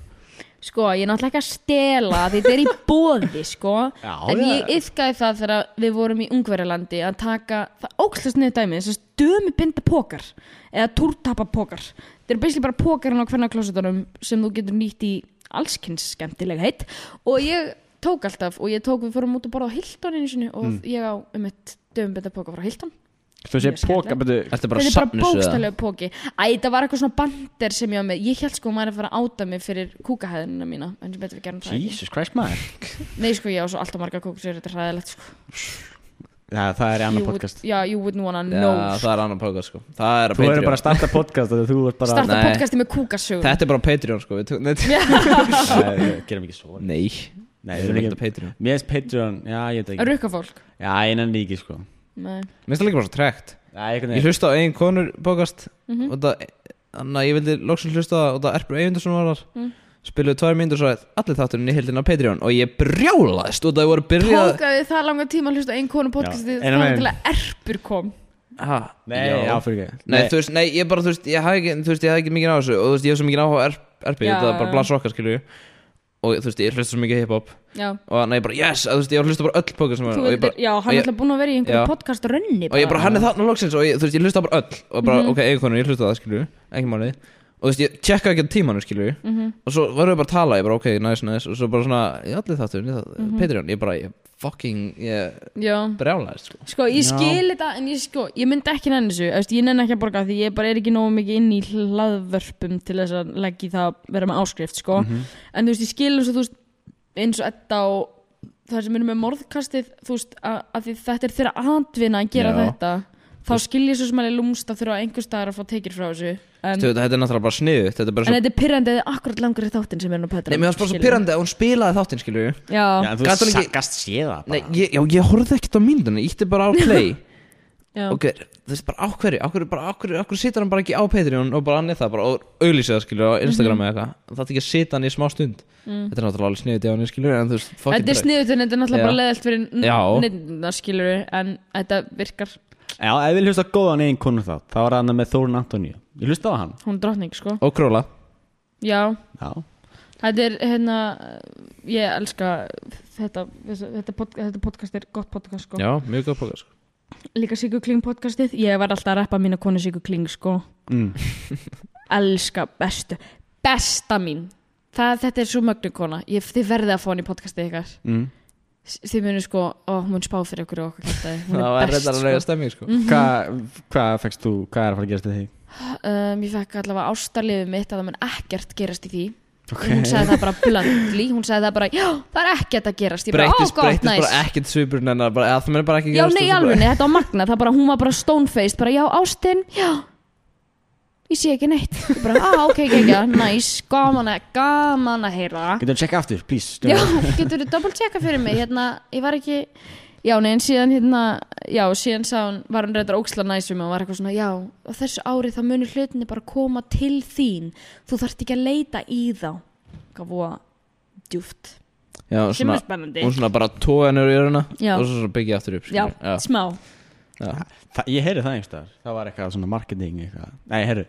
Speaker 4: Sko, ég er náttúrulega ekki að stela því þetta er í bóði, sko
Speaker 5: (laughs) Já,
Speaker 4: En
Speaker 5: já.
Speaker 4: ég yfkaði það þegar við vorum í Ungverjalandi að taka, það ókslast niður dæmi þess að stömi binda pókar eða túrtapa pókar Þetta er beislega bara pókarinn á hvernig klósetunum sem þú getur nýtt í allskins skemmtilega heitt og ég tók alltaf og ég tók við fórum út að borða á Hilton einu sinni og
Speaker 5: Hmm.
Speaker 4: ég á um eitt dömi binda póka frá Hilton
Speaker 5: Þú sé
Speaker 4: Mjög
Speaker 5: póka,
Speaker 4: skemmtilegt.
Speaker 5: betur
Speaker 6: Þetta er bara
Speaker 4: Þetta er bara
Speaker 6: safnus eða?
Speaker 4: bókstælega póki Æ, það var eitthvað svona bandir sem ég var með Ég held sko að maður er að fara að áta mig fyrir kúkahæðinina mína En sem betur við gerum það ekki.
Speaker 5: Jesus Christ, maður
Speaker 4: Nei, sko, ég á svo alltaf marga kúkur Þetta er hræðilegt, sko
Speaker 5: Já, það er í
Speaker 4: You
Speaker 5: annar
Speaker 4: would-
Speaker 5: podcast
Speaker 4: Já, you wouldn't wanna
Speaker 6: Já,
Speaker 4: know sko.
Speaker 6: það er annar podcast sko. Það er
Speaker 5: Þú
Speaker 6: á Patreon.
Speaker 5: verður bara að starta podcast þegar þú ert bara
Speaker 4: Starta
Speaker 6: Nei.
Speaker 4: podcasti með kúkasögum
Speaker 6: Þetta er bara á Patreon sko. Við tök- Nei, t-
Speaker 5: Nei, við gerum ekki svo
Speaker 6: Nei,
Speaker 5: Nei,
Speaker 6: við
Speaker 5: við
Speaker 6: erum
Speaker 5: erum
Speaker 6: ekki á
Speaker 5: ekki
Speaker 6: Patreon.
Speaker 5: Mér finnst Patreon, já, ég veit ekki
Speaker 4: Rukka fólk
Speaker 5: Já, einan líki, sko
Speaker 4: Nei.
Speaker 6: Mér finnst það líka bara svo tregt.
Speaker 5: Já, einhvern
Speaker 6: Ég
Speaker 5: veginn
Speaker 6: hlusta á einn konur podcast og það, þannig að ég vildi loksins hlusta á það og það Erpur Eyvindarsson var þar. Spiluðu tvær myndur svo að allir þátturinn í heildin á Patreon og ég brjálaðist og það voru byrjað
Speaker 4: Pókaði það langa tíma að hlusta á einn konu podcasti
Speaker 5: Já,
Speaker 4: Það
Speaker 5: eina
Speaker 4: var
Speaker 5: megin.
Speaker 4: til að erpur kom
Speaker 6: Ha,
Speaker 5: Nei, já, fyrir ekki
Speaker 6: Nei, þú veist, nei, ég bara, þú veist, ég hafði ekki, þú veist, ég hafði ekki mikið á þessu og þú veist, ég hef svo mikið áhuga á RP, RP
Speaker 4: Já,
Speaker 6: þetta
Speaker 4: já,
Speaker 6: er bara
Speaker 4: já.
Speaker 6: blass okkar, skilju og þú veist, ég hlusta svo mikið hip-hop
Speaker 4: Já,
Speaker 6: og þannig að ég bara, yes, að, þú veist, ég var að hlusta bara öll pókar sem
Speaker 4: Þú
Speaker 6: var og ég
Speaker 4: veitir,
Speaker 6: bara,
Speaker 4: já, hann
Speaker 6: og
Speaker 4: er
Speaker 6: ég-
Speaker 4: alltaf búin að vera í
Speaker 6: Já.
Speaker 4: einhverju podcast rönni
Speaker 6: og ég bara, hann er þarna loksins og ég, þú veist, ég hlusta bara öll og bara,
Speaker 4: Mhm.
Speaker 6: ok, einhvern veginn, ég hlusta á það, skilju, ekki málið og þú veist, ég tjekka ekki á tímanu, skilju
Speaker 4: Mhm.
Speaker 6: og svo varum við bara að tala, ég bara, ok, nice, nice og svo bara svona, ég allir þáttur,
Speaker 4: Mhm.
Speaker 6: Patreon, ég bara, ég fucking, ég
Speaker 4: Já
Speaker 6: brjálaðist, sko.
Speaker 4: Sko, ég skil þetta, en ég sko, ég myndi ekki nenni þessu, eftir, ég nenni ekki að borga því ég bara er ekki nógu mikið inn í hlaðvörpum til þess að leggja í það að vera með áskrift, sko.
Speaker 6: Mhm.
Speaker 4: En þú veist, ég skil eins og þú veist, eins og þetta og það sem er með morðkastið, þú veist, að, að því þetta er þeirra atvinna að gera
Speaker 6: Já.
Speaker 4: þetta, þá skil ég svo sem alveg lúmst að þurfa einhver staðar að fá tekið frá þessu. En,
Speaker 6: Þú veist, þetta er náttúrulega bara sniðugt, þetta er bara
Speaker 4: en
Speaker 6: svo
Speaker 4: þetta er pyrrandi eða akkurat langur í þáttin sem er nú Petra.
Speaker 6: Nei, mér fannst bara svo pyrrandi að hún spilaði þáttin, skilju
Speaker 4: Já,
Speaker 5: Já, en þú
Speaker 6: Gat hún ekki-
Speaker 5: sagast séða
Speaker 6: Nei,
Speaker 5: bara
Speaker 6: ég, já, ég horfði ekkert á myndunni, ég ítti bara á
Speaker 4: (laughs)
Speaker 6: play
Speaker 4: já.
Speaker 6: Ok, þú veist bara á hverju, á hverju, bara á hverju, á hverju situr hann bara ekki á Patreon og bara annir það bara og auglýsið það
Speaker 4: Mhm.
Speaker 6: skilju á Instagram eða eitthvað Það þarf ekki að sita hann í smá stund Þetta er náttúrulega alveg sniðið á hann skilju en þú veist, fuck
Speaker 4: Mm. Þetta er
Speaker 6: bara.
Speaker 4: sniðut en þetta er náttúrulega
Speaker 6: Já.
Speaker 4: bara leðalt fyrir
Speaker 6: Já.
Speaker 4: neittna skilur en þetta virkar,
Speaker 5: Já, ef við hlusta á góðan einn konu þá Það var hann með Þórun Antoníu Ég hlusta á hann
Speaker 4: hún er drottning sko
Speaker 6: Og króla
Speaker 4: Já,
Speaker 5: Já
Speaker 4: þetta er hérna ég elska þetta, þessa- þetta, pod, þetta podcast er gott podcast sko.
Speaker 6: Já, mjög góð póka sko
Speaker 4: líka Sigur Kling podcastið ég var alltaf að reppa mína konu Sigur Kling sko
Speaker 6: Mm.
Speaker 4: (laughs) elska bestu besta mín það, þetta er svo mögnu kona ég, þið verðið að fá hann í podcastið ykkar
Speaker 5: mm.
Speaker 4: S- þið munir sko, ó, hún spá fyrir okkur og okkur kæftæði, hún
Speaker 6: Það
Speaker 4: er
Speaker 6: var
Speaker 4: best
Speaker 6: reyndar að reyða
Speaker 4: sko.
Speaker 6: stemming sko
Speaker 5: Hvað hva fækst þú, hvað er að fara að gerast í því?
Speaker 4: um, ég fekk allavega ástarliðið mitt að það mun ekkert gerast í því hún sagði það bara blandli hún sagði það bara, já, það er ekkert að gerast ég bara, ó,
Speaker 6: Breytist,
Speaker 4: gott,
Speaker 6: breytist
Speaker 4: næs
Speaker 6: bara ekkert svipurinn hennar bara, eða Það mennir bara ekki
Speaker 4: já,
Speaker 6: gerast sko.
Speaker 4: nei,
Speaker 6: og svo bara-
Speaker 4: alveg, þetta var magna það bara, hún var bara stonefaced, bara, já, ástin já, ég sé ekki neitt ég bara, á, ok, ok, ok, næs gaman að, gaman að heyra
Speaker 5: Getur að checka aftur, please
Speaker 4: já, getur þú double checka fyrir mig hérna, ég var ekki já, nei, en síðan hérna, já, síðan sá hún var hún reyndar óksla næs við mig og var eitthvað svona, já, og þessu ári þá munir hlutinni bara koma til þín þú þarft ekki að leita í þá hvað voða djúft
Speaker 6: Já,
Speaker 4: sem
Speaker 6: svona,
Speaker 4: er spennandi
Speaker 6: hún svona bara tóða hennar í öruna
Speaker 4: Já.
Speaker 6: Og svo svona byggja aftur
Speaker 4: já,
Speaker 6: upp skilur. já.
Speaker 4: smá
Speaker 5: Þa, Ég heyri það einhverstaðar Það var eitthvað svona marketing eitthvað Nei, heyri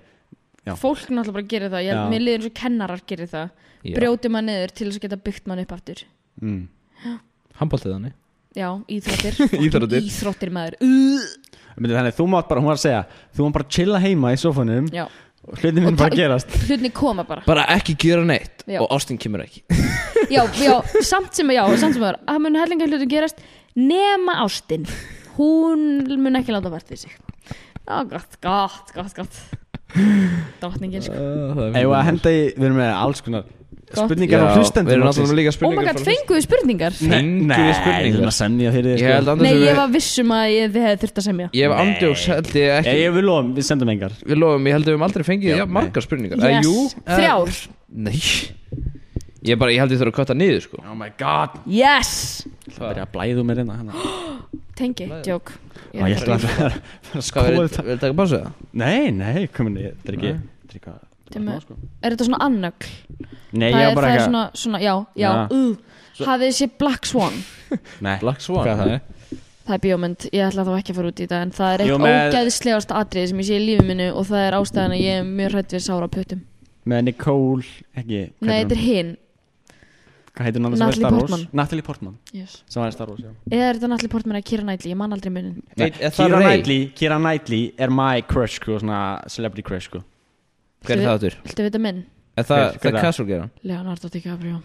Speaker 5: Já.
Speaker 4: fólk náttúrulega bara gerir það, ég held
Speaker 5: Já.
Speaker 4: mér liður eins og kennarar gerir það,
Speaker 6: Já.
Speaker 4: brjóti maður niður til þess að geta byggt maður upp aftur
Speaker 5: mm.
Speaker 6: Handbóltið þannig
Speaker 4: já, íþróttir,
Speaker 6: (laughs)
Speaker 4: fucking
Speaker 6: Íþróttir.
Speaker 4: íþróttir maður Ugh.
Speaker 5: Myndi, Þannig þú mátt bara, hún var að segja Þú mátt bara chilla heima í sofunum
Speaker 4: já,
Speaker 5: og Hlutin minn
Speaker 4: Og
Speaker 5: bara
Speaker 4: ta-
Speaker 5: að gerast
Speaker 4: hlutinni koma bara
Speaker 6: Bara ekki gera neitt
Speaker 4: Já.
Speaker 6: Og ástin kemur ekki
Speaker 4: já, já, samt sem, já, samt sem maður það mun hellingar hlutum gerast nema ástin, hún mun ekki láta verð fyrir sig já, gott, gott, gott, gott drotningin, sko
Speaker 5: Eða að henda í, við erum með alls konar
Speaker 4: Gott.
Speaker 5: Spurningar á
Speaker 6: Við
Speaker 5: hlustendum
Speaker 6: erum náttúrulega líka
Speaker 4: oh my
Speaker 6: spurningar
Speaker 4: god, fenguðu spurningar
Speaker 6: Fengjum
Speaker 5: Nei, við
Speaker 6: við
Speaker 5: erum
Speaker 6: spurningar
Speaker 5: að semja fyrir sko.
Speaker 6: Ég
Speaker 5: þér
Speaker 6: held
Speaker 4: nei,
Speaker 6: andans
Speaker 4: ég var vissum að ég, þið hefði þurft að semja
Speaker 6: Ég hef andjóks held ég
Speaker 5: Ég,
Speaker 6: ekki
Speaker 5: ég vil lofum, við sendum engar
Speaker 6: Við lofum, ég held að við höfum aldrei fengið
Speaker 5: Já,
Speaker 6: já,
Speaker 5: nei.
Speaker 6: margar spurningar Eh,
Speaker 4: yes,
Speaker 6: jú, eh,
Speaker 4: þrjár
Speaker 6: Nei Ég bara, ég held ég þurfa að kötta niður sko
Speaker 5: Oh my god
Speaker 4: yes
Speaker 5: Það byrja að blæðu mér hérna hana.
Speaker 4: Tengi, djók
Speaker 5: Ég ætla að fara að
Speaker 6: Hvað,
Speaker 5: skoða
Speaker 6: vil
Speaker 5: þetta
Speaker 6: vil taka pásu það?
Speaker 5: Nei, nei, komin, ég drikki
Speaker 6: Nei.
Speaker 5: Drikka
Speaker 4: Þeim er- Er þetta svona annögl? það
Speaker 5: Nei, ég var
Speaker 4: er, það
Speaker 5: bara
Speaker 4: er
Speaker 5: eitthvað
Speaker 4: svona, svona, já, já,
Speaker 5: Já.
Speaker 4: uh, Hafið þessi Black Swan
Speaker 5: Nei,
Speaker 6: Black Swan
Speaker 5: Hvað er það?
Speaker 4: Það er bíómynd, ég ætla þá ekki að fara út í þetta En það er eitt
Speaker 5: Jú, með-
Speaker 4: ógeðslegast atrið sem ég sé í lífi minu Og það er ástæðan að ég er mjög hrætt við sára puttum
Speaker 5: Með Nicole, ekki hvað
Speaker 4: Nei,
Speaker 5: heitir hún?
Speaker 4: þetta er hinn
Speaker 5: Hvað heitir hún annars sem var
Speaker 4: Natalie
Speaker 5: í Star Wars?
Speaker 4: Portman.
Speaker 5: Natalie Portman
Speaker 4: yes.
Speaker 5: sem var í Star Wars, já
Speaker 4: Eða er þetta náttúrulega portmenn að Kira Knightley Ég man aldrei munin
Speaker 6: Nei,
Speaker 5: Nei,
Speaker 6: er það
Speaker 5: Keira
Speaker 6: Rey?
Speaker 5: Knightley, Keira Knightley er my crush, sko, svona celebrity crush, sko
Speaker 6: Hver er það aftur?
Speaker 4: Viltu vita minn?
Speaker 6: Er það,
Speaker 5: Hver- hver
Speaker 6: það
Speaker 5: er
Speaker 6: er
Speaker 5: það?
Speaker 6: Castle gera?
Speaker 4: Leonardo DiCaprio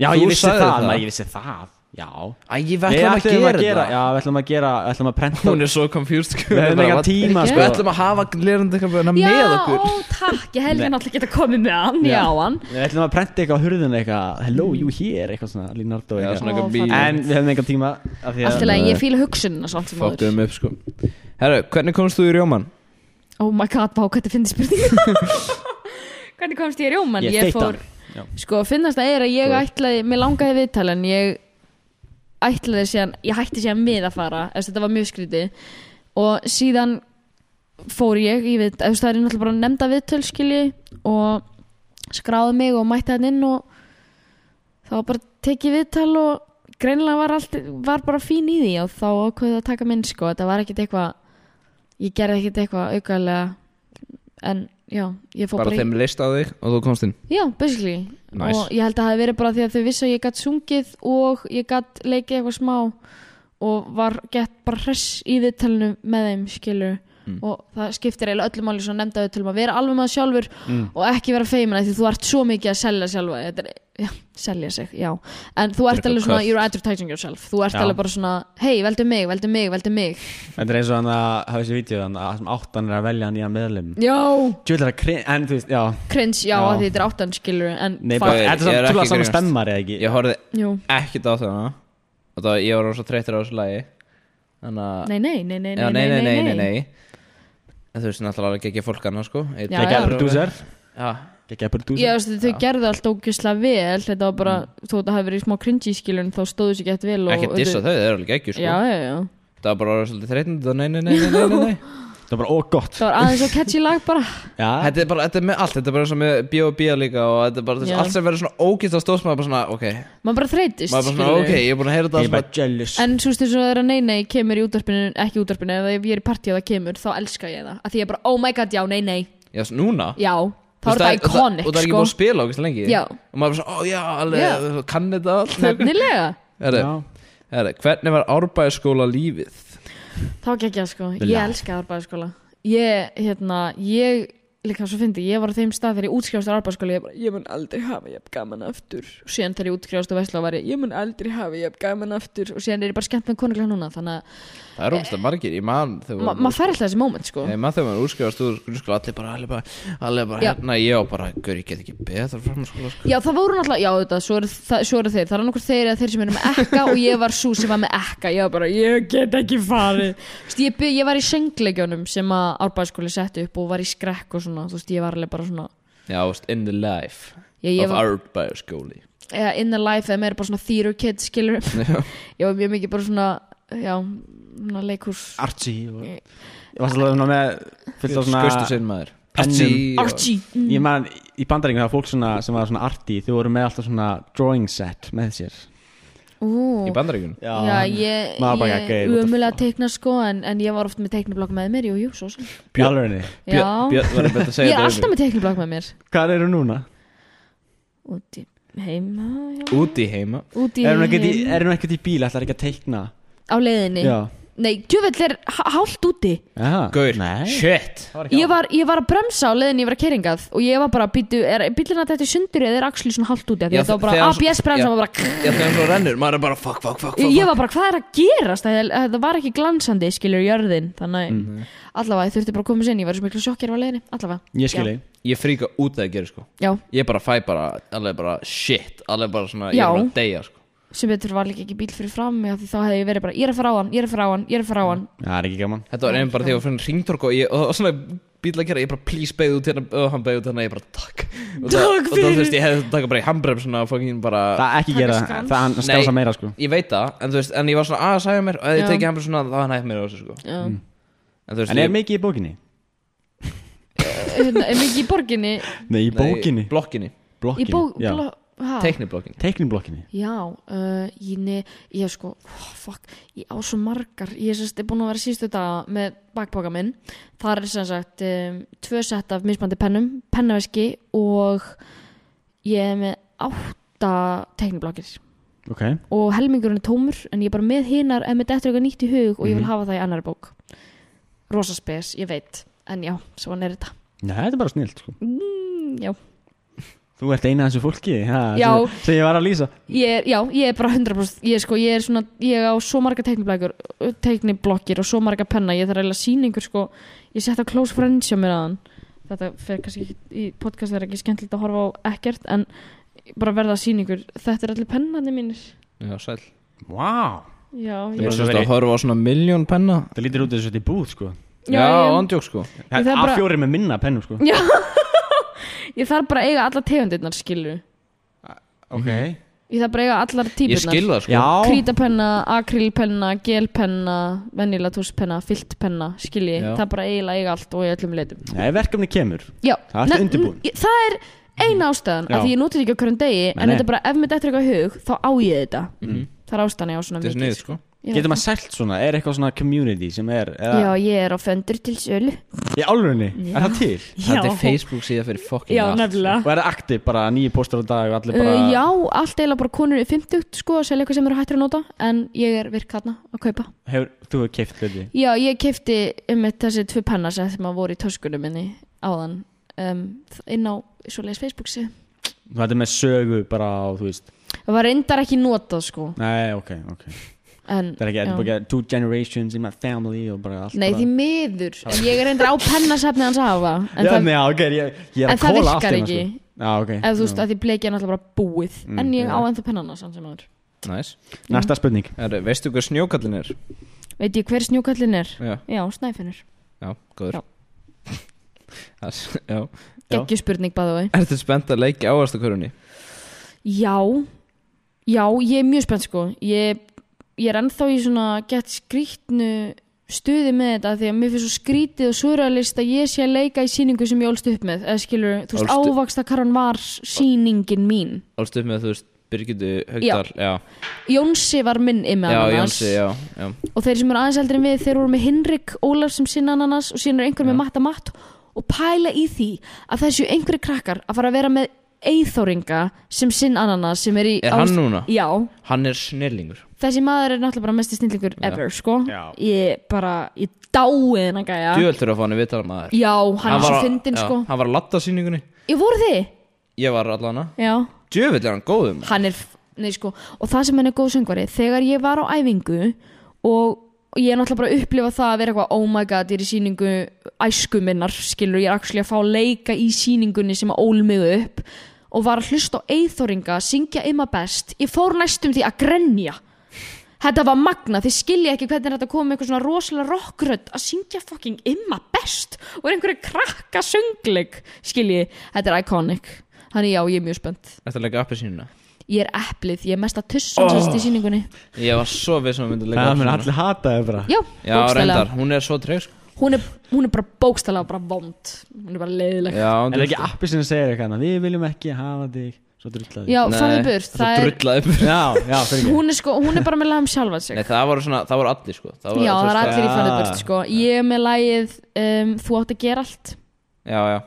Speaker 5: Já,
Speaker 6: Þú
Speaker 5: ég vissi
Speaker 6: sagðir
Speaker 5: það,
Speaker 6: það.
Speaker 5: maður, ég vissi það Já
Speaker 6: Æ, ég
Speaker 5: Við
Speaker 6: ætlaði að
Speaker 5: ætluðum
Speaker 6: gera það
Speaker 5: Já, við ætlum að gera, við ætlum að prenta
Speaker 6: Hún er svo confused
Speaker 5: (laughs)
Speaker 6: sko.
Speaker 5: Við höfum
Speaker 6: Bara,
Speaker 5: eitthvað
Speaker 6: what-
Speaker 5: tíma,
Speaker 4: Ekki?
Speaker 6: Við
Speaker 5: sko
Speaker 6: ætlum að hafa lerandi eitthvað
Speaker 4: Já,
Speaker 6: með
Speaker 4: ó,
Speaker 6: okkur
Speaker 4: takk, ég helgi náttúrulega geta komið með hann Já,
Speaker 5: Já.
Speaker 4: hann
Speaker 5: Við ætlum að prenta eitthvað á hurðinu eitthvað Hello, you here, eitthvað svona, Leonardo
Speaker 6: Já,
Speaker 5: eitthvað
Speaker 4: Ó,
Speaker 6: svona eitthvað bíl
Speaker 5: En við höfum engan tíma af því að-
Speaker 4: Allt í lagi, ég fíla hugsunina samt sem
Speaker 6: Fokkum
Speaker 4: áður
Speaker 6: um upp sko Herru, hvernig komst þú í Rjóman?
Speaker 4: Oh my god, vá, hvað þetta finnst
Speaker 5: (laughs)
Speaker 4: spurning Hvernig komst ég í rjóman?
Speaker 5: Ég þeytti hann. Já.
Speaker 4: Sko, finnast það er að ég
Speaker 6: Góður.
Speaker 4: ætlaði Mér langaði viðtal en ég ætlaði síðan, ég hætti síðan mið að fara eftir þetta var mjög skrítið og síðan fór ég í viðtal, eftir það er náttúrulega bara nefnda viðtöl skilji og skráði mig og mætti hann inn og þá var bara tekið viðtal og greinilega var allt var bara fín í því og þá ákveðið að taka minn sko, þetta var ekkit eitthvað ég gerði ekkit eitthvað aukalega en já, ég fór
Speaker 6: Bara
Speaker 4: bara, í-
Speaker 6: þeim leist á þig og þú komst inn
Speaker 4: Já, basically
Speaker 6: Nice.
Speaker 4: og ég held að það hef verið bara því að þau vissu að ég gætt sungið og ég gætt leikið eitthvað smá og var gett bara hress í viðtalinu með þeim skilur
Speaker 6: Mm.
Speaker 4: og það skiptir eiginlega öllum máli svona nefnda viðtalum að vera alveg maður sjálfur
Speaker 6: Mm.
Speaker 4: og ekki vera feimin af því þú ert svo mikið að selja sjálfa þig. þetta er, já, selja sig, já en þú ert
Speaker 6: eitthvað
Speaker 4: alveg svona,
Speaker 6: köst.
Speaker 4: you're advertising yourself þú ert
Speaker 5: Já.
Speaker 4: alveg bara svona, hei, veldu mig, veldu mig, veldu mig
Speaker 5: Þetta er eins og hann að hafa þessi vídeo hann að sem áttan er að velja nýjan meðlum
Speaker 4: já,
Speaker 5: Tjóðlega krin, en þú veist, já
Speaker 4: cringe, já,
Speaker 5: Já.
Speaker 4: já. því þetta er áttan skilur en,
Speaker 5: Nei,
Speaker 4: fuck,
Speaker 5: bara,
Speaker 6: Ég-
Speaker 5: þetta er samt
Speaker 6: ég er ekki
Speaker 5: tjóðlega saman
Speaker 6: grínast.
Speaker 5: stemmar eða ekki
Speaker 6: Ég horfði
Speaker 4: jú,
Speaker 6: ekkert á þarna Og það ég var rosa þreyttur á þessu lagi Þannig að
Speaker 4: nei, nei, nei, nei,
Speaker 6: Já, nei, nei, nei, nei, nei En þú veist náttúrulega ekki ekki fólk annars sko Einn-
Speaker 4: Já,
Speaker 5: Gekkjaði
Speaker 4: já.
Speaker 5: prodúser
Speaker 6: Já,
Speaker 5: Gekkjaði prodúser
Speaker 4: Já, þessi, þau gerðu allt ógislega vel þetta var bara, þó þetta hafi verið smá cringy skilun þá stóðu sér gett vel og,
Speaker 6: Mm. ekki dissa þau, það er alveg ekki sko
Speaker 4: Já, já, já
Speaker 6: Það var bara orðið svolítið þreytund Nei, nei, nei, nei, nei, nei, nei
Speaker 5: Það var bara ógott
Speaker 4: Það var aðeins og catchy lag bara
Speaker 5: Já,
Speaker 6: Þetta er bara, þetta er með allt, þetta er bara eins og með B.O.B. líka og þetta er bara, þess,
Speaker 4: Já.
Speaker 6: allt sem verður svona ógist á stóðsmaður bara svona, ok,
Speaker 4: Maður bara þreytist
Speaker 6: maður bara svona,
Speaker 4: skilurðu.
Speaker 6: ok, ég er búin að heyra þetta
Speaker 5: ég er
Speaker 6: allt
Speaker 5: bara jealous
Speaker 4: En svo stu svo þeirra nei nei kemur í útvarpinu ekki í útvarpinu, ef ég er í partí og það kemur þá elska ég það, að því ég er bara oh my god já nei nei,
Speaker 6: Já, svo núna
Speaker 4: já þá
Speaker 6: Þú veist,
Speaker 4: er það iconic
Speaker 6: Og það er ekki
Speaker 4: sko
Speaker 6: búin að spila okkur lengi
Speaker 4: Já.
Speaker 6: Og maður bara svona, ó já, alveg,
Speaker 4: Já.
Speaker 6: kann þetta allt
Speaker 4: Nefnilega
Speaker 6: Herri,
Speaker 5: Já.
Speaker 6: herri, hvernig var árbæðaskóla lífið?
Speaker 4: þá gekkja sko,
Speaker 5: The
Speaker 4: ég
Speaker 5: life.
Speaker 4: elska arbæðaskóla ég, hérna, ég líka svo fyndi, ég var á þeim stað þegar ég útskrifast á arbæðaskóla, ég bara, ég mun aldrei hafa ég gaman aftur, og síðan þegar ég útskrifast á Vestlá var ég, ég mun aldrei hafa ég gaman aftur og síðan er ég bara skemmt með konunglega núna þannig að
Speaker 6: Það er ógæslega margir, ég man þegar
Speaker 4: Eh, ma maður fær alltaf þessi moment sko
Speaker 6: Nei, maður þegar maður útskrifast úr grunnskóla allir bara, allir bara, allir bara,
Speaker 4: Já.
Speaker 6: hérna, ég á bara, gaur, ég get ekki betra fram skóla, sko.
Speaker 4: Já, það voru náttúrulega, já, þetta, svo eru, það, svo eru þeir Það eru nokkur þeir eða þeir sem eru með ekka og ég var svo sem var með ekka Ég var bara, ég get ekki farið Þú veist, ég, by- ég var í söngleikjunum sem að árbæðskóli setti upp og var í skrekk og svona Þú veist, ég var alveg bara svona
Speaker 6: Já, þú veist, in the life
Speaker 4: Já, ég
Speaker 6: of
Speaker 4: var,
Speaker 6: arbæðarskóli.
Speaker 4: eða in the life eða meira bara svona theater kid, skilur
Speaker 6: (laughs)
Speaker 4: Ég var mjög mikið bara svona, já, svona leikhús
Speaker 5: Archie og... Ég var svolítið svona með fullt af svona
Speaker 6: Skaustu sinn maður.
Speaker 5: Pennum.
Speaker 6: Archie og-
Speaker 4: Archie
Speaker 5: Ég man, í bandaríkjum það var fólk svona, sem var svona arti Þau voru með alltaf svona drawing set með sér
Speaker 4: Ú,
Speaker 6: Í bandaríkun.
Speaker 5: Já,
Speaker 4: já, ég,
Speaker 5: maður bara
Speaker 4: ég,
Speaker 5: gæði út af-
Speaker 4: umulega teikna sko en, en ég var oft með teiknablokk með mér, jú, jú, svo sem
Speaker 5: Björnurni
Speaker 4: Já,
Speaker 6: Björn var einmitt að
Speaker 4: ég er
Speaker 6: segja þetta
Speaker 4: alltaf með teiknablokk með mér
Speaker 5: Hvað eru núna?
Speaker 4: Úti heima já.
Speaker 6: um mig. Úti heima.
Speaker 4: Úti
Speaker 5: Eru nú ekkert í-
Speaker 4: heima
Speaker 5: eru nú ekkert í bíl, ætlar ekki að teikna
Speaker 4: Á leiðinni
Speaker 5: Já
Speaker 4: Nei, djúvill er há- hálft úti
Speaker 5: Aha.
Speaker 6: Gaur,
Speaker 5: Nei
Speaker 6: shit.
Speaker 4: ég var, ég var að bremsa á leiðinni ég var að keringað Og ég var bara að býtu Er bílina þetta í sundur eða er axli svona hálft úti Af Því
Speaker 6: Já,
Speaker 4: þetta var bara
Speaker 6: þegar-
Speaker 4: ABS bremsa
Speaker 6: já.
Speaker 4: var bara,
Speaker 6: Já, þegar svo rennur, maður er bara fuck, fuck, fuck, fuck.
Speaker 4: Ég var bara hvað er að gerast Það það var ekki glansandi skilur jörðin Þannig
Speaker 5: Mhm.
Speaker 4: mm. allavega ég þurfti bara að koma sér inn Ég var svo miklu sjokkir á leiðinni Allavega
Speaker 5: Ég skil þig
Speaker 6: Ég fríka út að það gerir, sko.
Speaker 4: Já,
Speaker 6: Ég bara fæ bara, alveg bara shit, alveg bara svona, ég
Speaker 4: Já.
Speaker 6: er bara að deyja, sko.
Speaker 4: sem betur var líka ekki bíl fyrir fram mig af Því þá hefði ég verið bara Ég er að fara á hann, ég er að fara á hann, ég er að fara á hann
Speaker 5: Það er ekki gaman
Speaker 6: Þetta var einn bara þegar ég var fyrir ringtorku og, ég- og, og svona bíl að gera, ég bara please beigð út hérna og hann beigð út hérna, ég bara takk og
Speaker 4: Takk
Speaker 6: og það,
Speaker 4: fyrir.
Speaker 6: þú veist, ég hefði þetta taka bara í handbremsuna og fucking bara
Speaker 5: Það er ekki
Speaker 4: Taka
Speaker 5: gera
Speaker 4: skans.
Speaker 5: það hann
Speaker 6: Nei.
Speaker 5: skansa meira sko
Speaker 6: Ég veit það, en þú veist, en ég var svona að sæja mér og
Speaker 4: Já.
Speaker 6: ef ég tekið handbremsuna þá hann hægt mér á þessu sko
Speaker 4: Já.
Speaker 6: En þú veist,
Speaker 5: En er
Speaker 6: ég-
Speaker 5: mikið í bókinni?
Speaker 4: Hérna, er mikið í borginni
Speaker 5: Nei, í
Speaker 6: nei,
Speaker 5: bókinni
Speaker 6: Blokkinni,
Speaker 4: Í
Speaker 5: Blokkinni
Speaker 4: bó-
Speaker 5: Já.
Speaker 4: blá- ha?
Speaker 6: teikniblokkinni
Speaker 5: Teikniblokkinni
Speaker 4: Já, uh, ég, ne, ég sko, oh, fuck, ég á svo margar, ég sérst er búin að vera sístu daga með bakpoka minn, þar er sem sagt um, tvö sett af mismandi pennum, pennaveski og ég er með átta tekniblokkir
Speaker 5: Ok
Speaker 4: og helmingurinn er tómur en ég er bara með hinar ef mér dettur eitthvað nýtt í hug og ég
Speaker 6: Mhm.
Speaker 4: vil hafa það í annari bók. Rosa spes, ég veit, en já, svona er þetta.
Speaker 5: Nei, þetta er bara snilt sko
Speaker 4: Mm, já,
Speaker 5: Þú ert eina af þessu fólki ha,
Speaker 4: Já.
Speaker 5: sem, sem ég var að lýsa
Speaker 4: Ég er, já, ég er bara 100% ég er, sko, ég er svona, ég á svo marga teikniblækur teikniblokkir og svo marga penna ég þarf eiginlega sýningur sko ég sett á Close Friends hjá mér aðan þetta fer kannski ekki, í podcast er ekki skemmtilegt að horfa á ekkert en bara verða sýningur, þetta er allir pennandi mínir
Speaker 6: Já, sæl
Speaker 5: Vá wow.
Speaker 4: já,
Speaker 6: Þú
Speaker 4: ég,
Speaker 6: veist
Speaker 5: svo verið-
Speaker 6: að horfa á svona miljón penna
Speaker 5: Það lítir út eins og þetta er búð sko
Speaker 4: Já,
Speaker 6: Já,
Speaker 4: ég-
Speaker 6: ondjók sko
Speaker 5: Það
Speaker 4: þarf
Speaker 5: er
Speaker 4: bara-
Speaker 5: A4 með minna pennum sko
Speaker 4: ég þarf bara að eiga alla tegundirnar skilur
Speaker 5: Ok
Speaker 4: ég þarf bara að eiga allar
Speaker 6: Ég
Speaker 4: típurnar
Speaker 6: skil það sko
Speaker 5: Já
Speaker 4: krítapenna, akrílpenna, gelpenna venjulega túspenna, filtpenna skilji,
Speaker 6: Já.
Speaker 4: það er bara eiginlega að eiga allt og í öllum leitum
Speaker 5: Nei, verkefni kemur
Speaker 4: Já,
Speaker 5: Það ertu
Speaker 4: ne-
Speaker 5: undirbúin. Mm.
Speaker 4: n- Það er eina ástæðan
Speaker 5: Já.
Speaker 4: af því ég notið ekki á hverjum degi
Speaker 5: Nei,
Speaker 4: en
Speaker 5: nei. Mhm.
Speaker 4: þetta er bara ef mér dettur eitthvað í hug þá á ég þetta Það er ástæðan ég á svona
Speaker 6: Þetta er
Speaker 4: mikið
Speaker 6: snið sko
Speaker 4: Já.
Speaker 5: Getur maður sælt svona? Er eitthvað svona community sem er
Speaker 4: Já,
Speaker 5: eða,
Speaker 4: ég er á föndur til sölu
Speaker 5: Í álunni? Er það til?
Speaker 6: Þetta er Facebook síðan fyrir fucking
Speaker 4: Já,
Speaker 6: allt, sko.
Speaker 4: nefnilega
Speaker 5: Og er það aktiv bara nýju póstur á dag og allir bara
Speaker 4: uh, Já, allt eiginlega bara konur í 50 sko að selja eitthvað sem eru hættur að nota en ég er virk þarna að kaupa
Speaker 5: hefur, Þú hefur keift hluti
Speaker 4: Já, ég kefti um þessi tvö penna sem að voru í töskunum minni áðan um, inn á svoleiðis Facebook síðu
Speaker 5: Þú hættir með sögu bara og þú veist
Speaker 4: Það var reyndar ekki notað sko
Speaker 5: Nei, ok, ok
Speaker 4: en,
Speaker 5: Það er ekki,
Speaker 4: já.
Speaker 5: þetta er bara ekki two generations in my family og bara allt
Speaker 4: Nei,
Speaker 5: bara.
Speaker 4: því miður En ég er reyndar á pennasafni hans hafa En
Speaker 5: Já,
Speaker 4: það,
Speaker 5: nei, ok, ég, ég er
Speaker 4: en
Speaker 5: að
Speaker 4: það
Speaker 5: kóla allt
Speaker 4: virkar
Speaker 5: hérna,
Speaker 4: ekki
Speaker 5: sko. Já, ok
Speaker 4: Ef þú
Speaker 5: já. Mm,
Speaker 4: veist að því bleki er náttúrulega bara búið En ég
Speaker 5: já.
Speaker 4: á ennþá pennana sann sem aður
Speaker 6: Næs
Speaker 5: Næsta spurning
Speaker 6: Herru, Veistu hvað snjókallin er?
Speaker 4: Veit ég hver snjókallinn er?
Speaker 6: Já,
Speaker 4: Já, snæfinnur
Speaker 6: já, góður
Speaker 4: Já.
Speaker 6: (laughs) Það s- Já
Speaker 5: Já.
Speaker 4: Gekkju spurning bæðu vei
Speaker 6: Ertu spennt að leikja áhastakörunni?
Speaker 4: Já Já, ég er mjög spennt sko Ég, ég er ennþá í svona gett skrýtnu stuði með þetta af Því að mér finnst svo skrítið og surrealist að ég sé að leika í síningu sem ég ólst upp með Eða skilur, þú veist,
Speaker 6: Ólstu-
Speaker 4: ávaksta var síningin mín
Speaker 6: Álst upp með þú veist Birgitu Haugdal Já,
Speaker 4: Jónsi var minn immi
Speaker 6: já,
Speaker 4: annars
Speaker 6: Jónsi, já, já
Speaker 4: og þeir sem eru aðeins eldri en við þeir voru með Hinrik Ólaf sem sinna ananas og síðan er einhver með matta matt og pæla í því að þessu einhverju krakkar að fara að vera með eithóringa sem sinn ananas sem er í
Speaker 6: Er hann núna?
Speaker 4: Já,
Speaker 6: Hann er snillingur
Speaker 4: þessi maður er náttúrulega bara mest snillingur ever, sko
Speaker 5: Já.
Speaker 4: Ég bara, ég dáið hennan gæja
Speaker 6: Djöðeltur að fá hann að vita það maður
Speaker 4: Já, hann er
Speaker 6: var
Speaker 4: svo
Speaker 6: að-
Speaker 4: fyndin,
Speaker 6: já,
Speaker 4: sko
Speaker 6: Hann var að latta sýningunni
Speaker 4: Ég voru þið?
Speaker 6: Ég var allan að
Speaker 4: Já
Speaker 6: Djöðeltur er hann góðum
Speaker 4: hann er, nei sko og það sem hann er góð söngvari, þegar ég var á æfingu og og ég er náttúrulega bara að upplifa það að vera eitthvað oh my god, ég er í síningu æsku minnar skilur, ég er actually að fá að leika í síningunni sem að ól mig upp og var að hlusta á eithóringa syngja Imma best, ég fór næstum því að grenja þetta var magna, þið skilja ekki hvernig þetta kom með eitthvað svona rosalega rockrödd að syngja fucking Imma best og er einhverju krakka söngleik skilji, þetta er iconic þannig já, ég er mjög spennt
Speaker 6: Þetta er leika appi sínuna
Speaker 4: ég er eplið, ég er mesta tussan oh. sérst í síningunni
Speaker 6: Ég var svo við sem hann myndi leika
Speaker 5: Það mun
Speaker 6: appelsínuna.
Speaker 5: allir hata þau bara
Speaker 4: já,
Speaker 6: Já,
Speaker 4: bókstælega
Speaker 6: reyndar, hún er svo treg sko.
Speaker 4: hún er, hún er bara bókstælega bara vond hún er bara leiðileg já,
Speaker 6: Já, hún sko.
Speaker 5: Er það ekki appi sem segir eitthvað annað? Við viljum ekki hafa þig Svo drullaði
Speaker 4: já
Speaker 6: Nei,
Speaker 4: farðu burt
Speaker 6: Svo
Speaker 4: það er,
Speaker 6: drullaði upp
Speaker 5: já, já, fyrir ekki
Speaker 4: hún er sko, hún er bara með lagum sjálfa sig
Speaker 6: Nei, það voru svona, það voru allir sko það voru,
Speaker 4: já, það
Speaker 6: þú
Speaker 4: er allir
Speaker 6: veist,
Speaker 4: í farðu
Speaker 5: Ja.
Speaker 4: burt sko ég er með lagið um, Þú átt að gera allt
Speaker 6: Já, já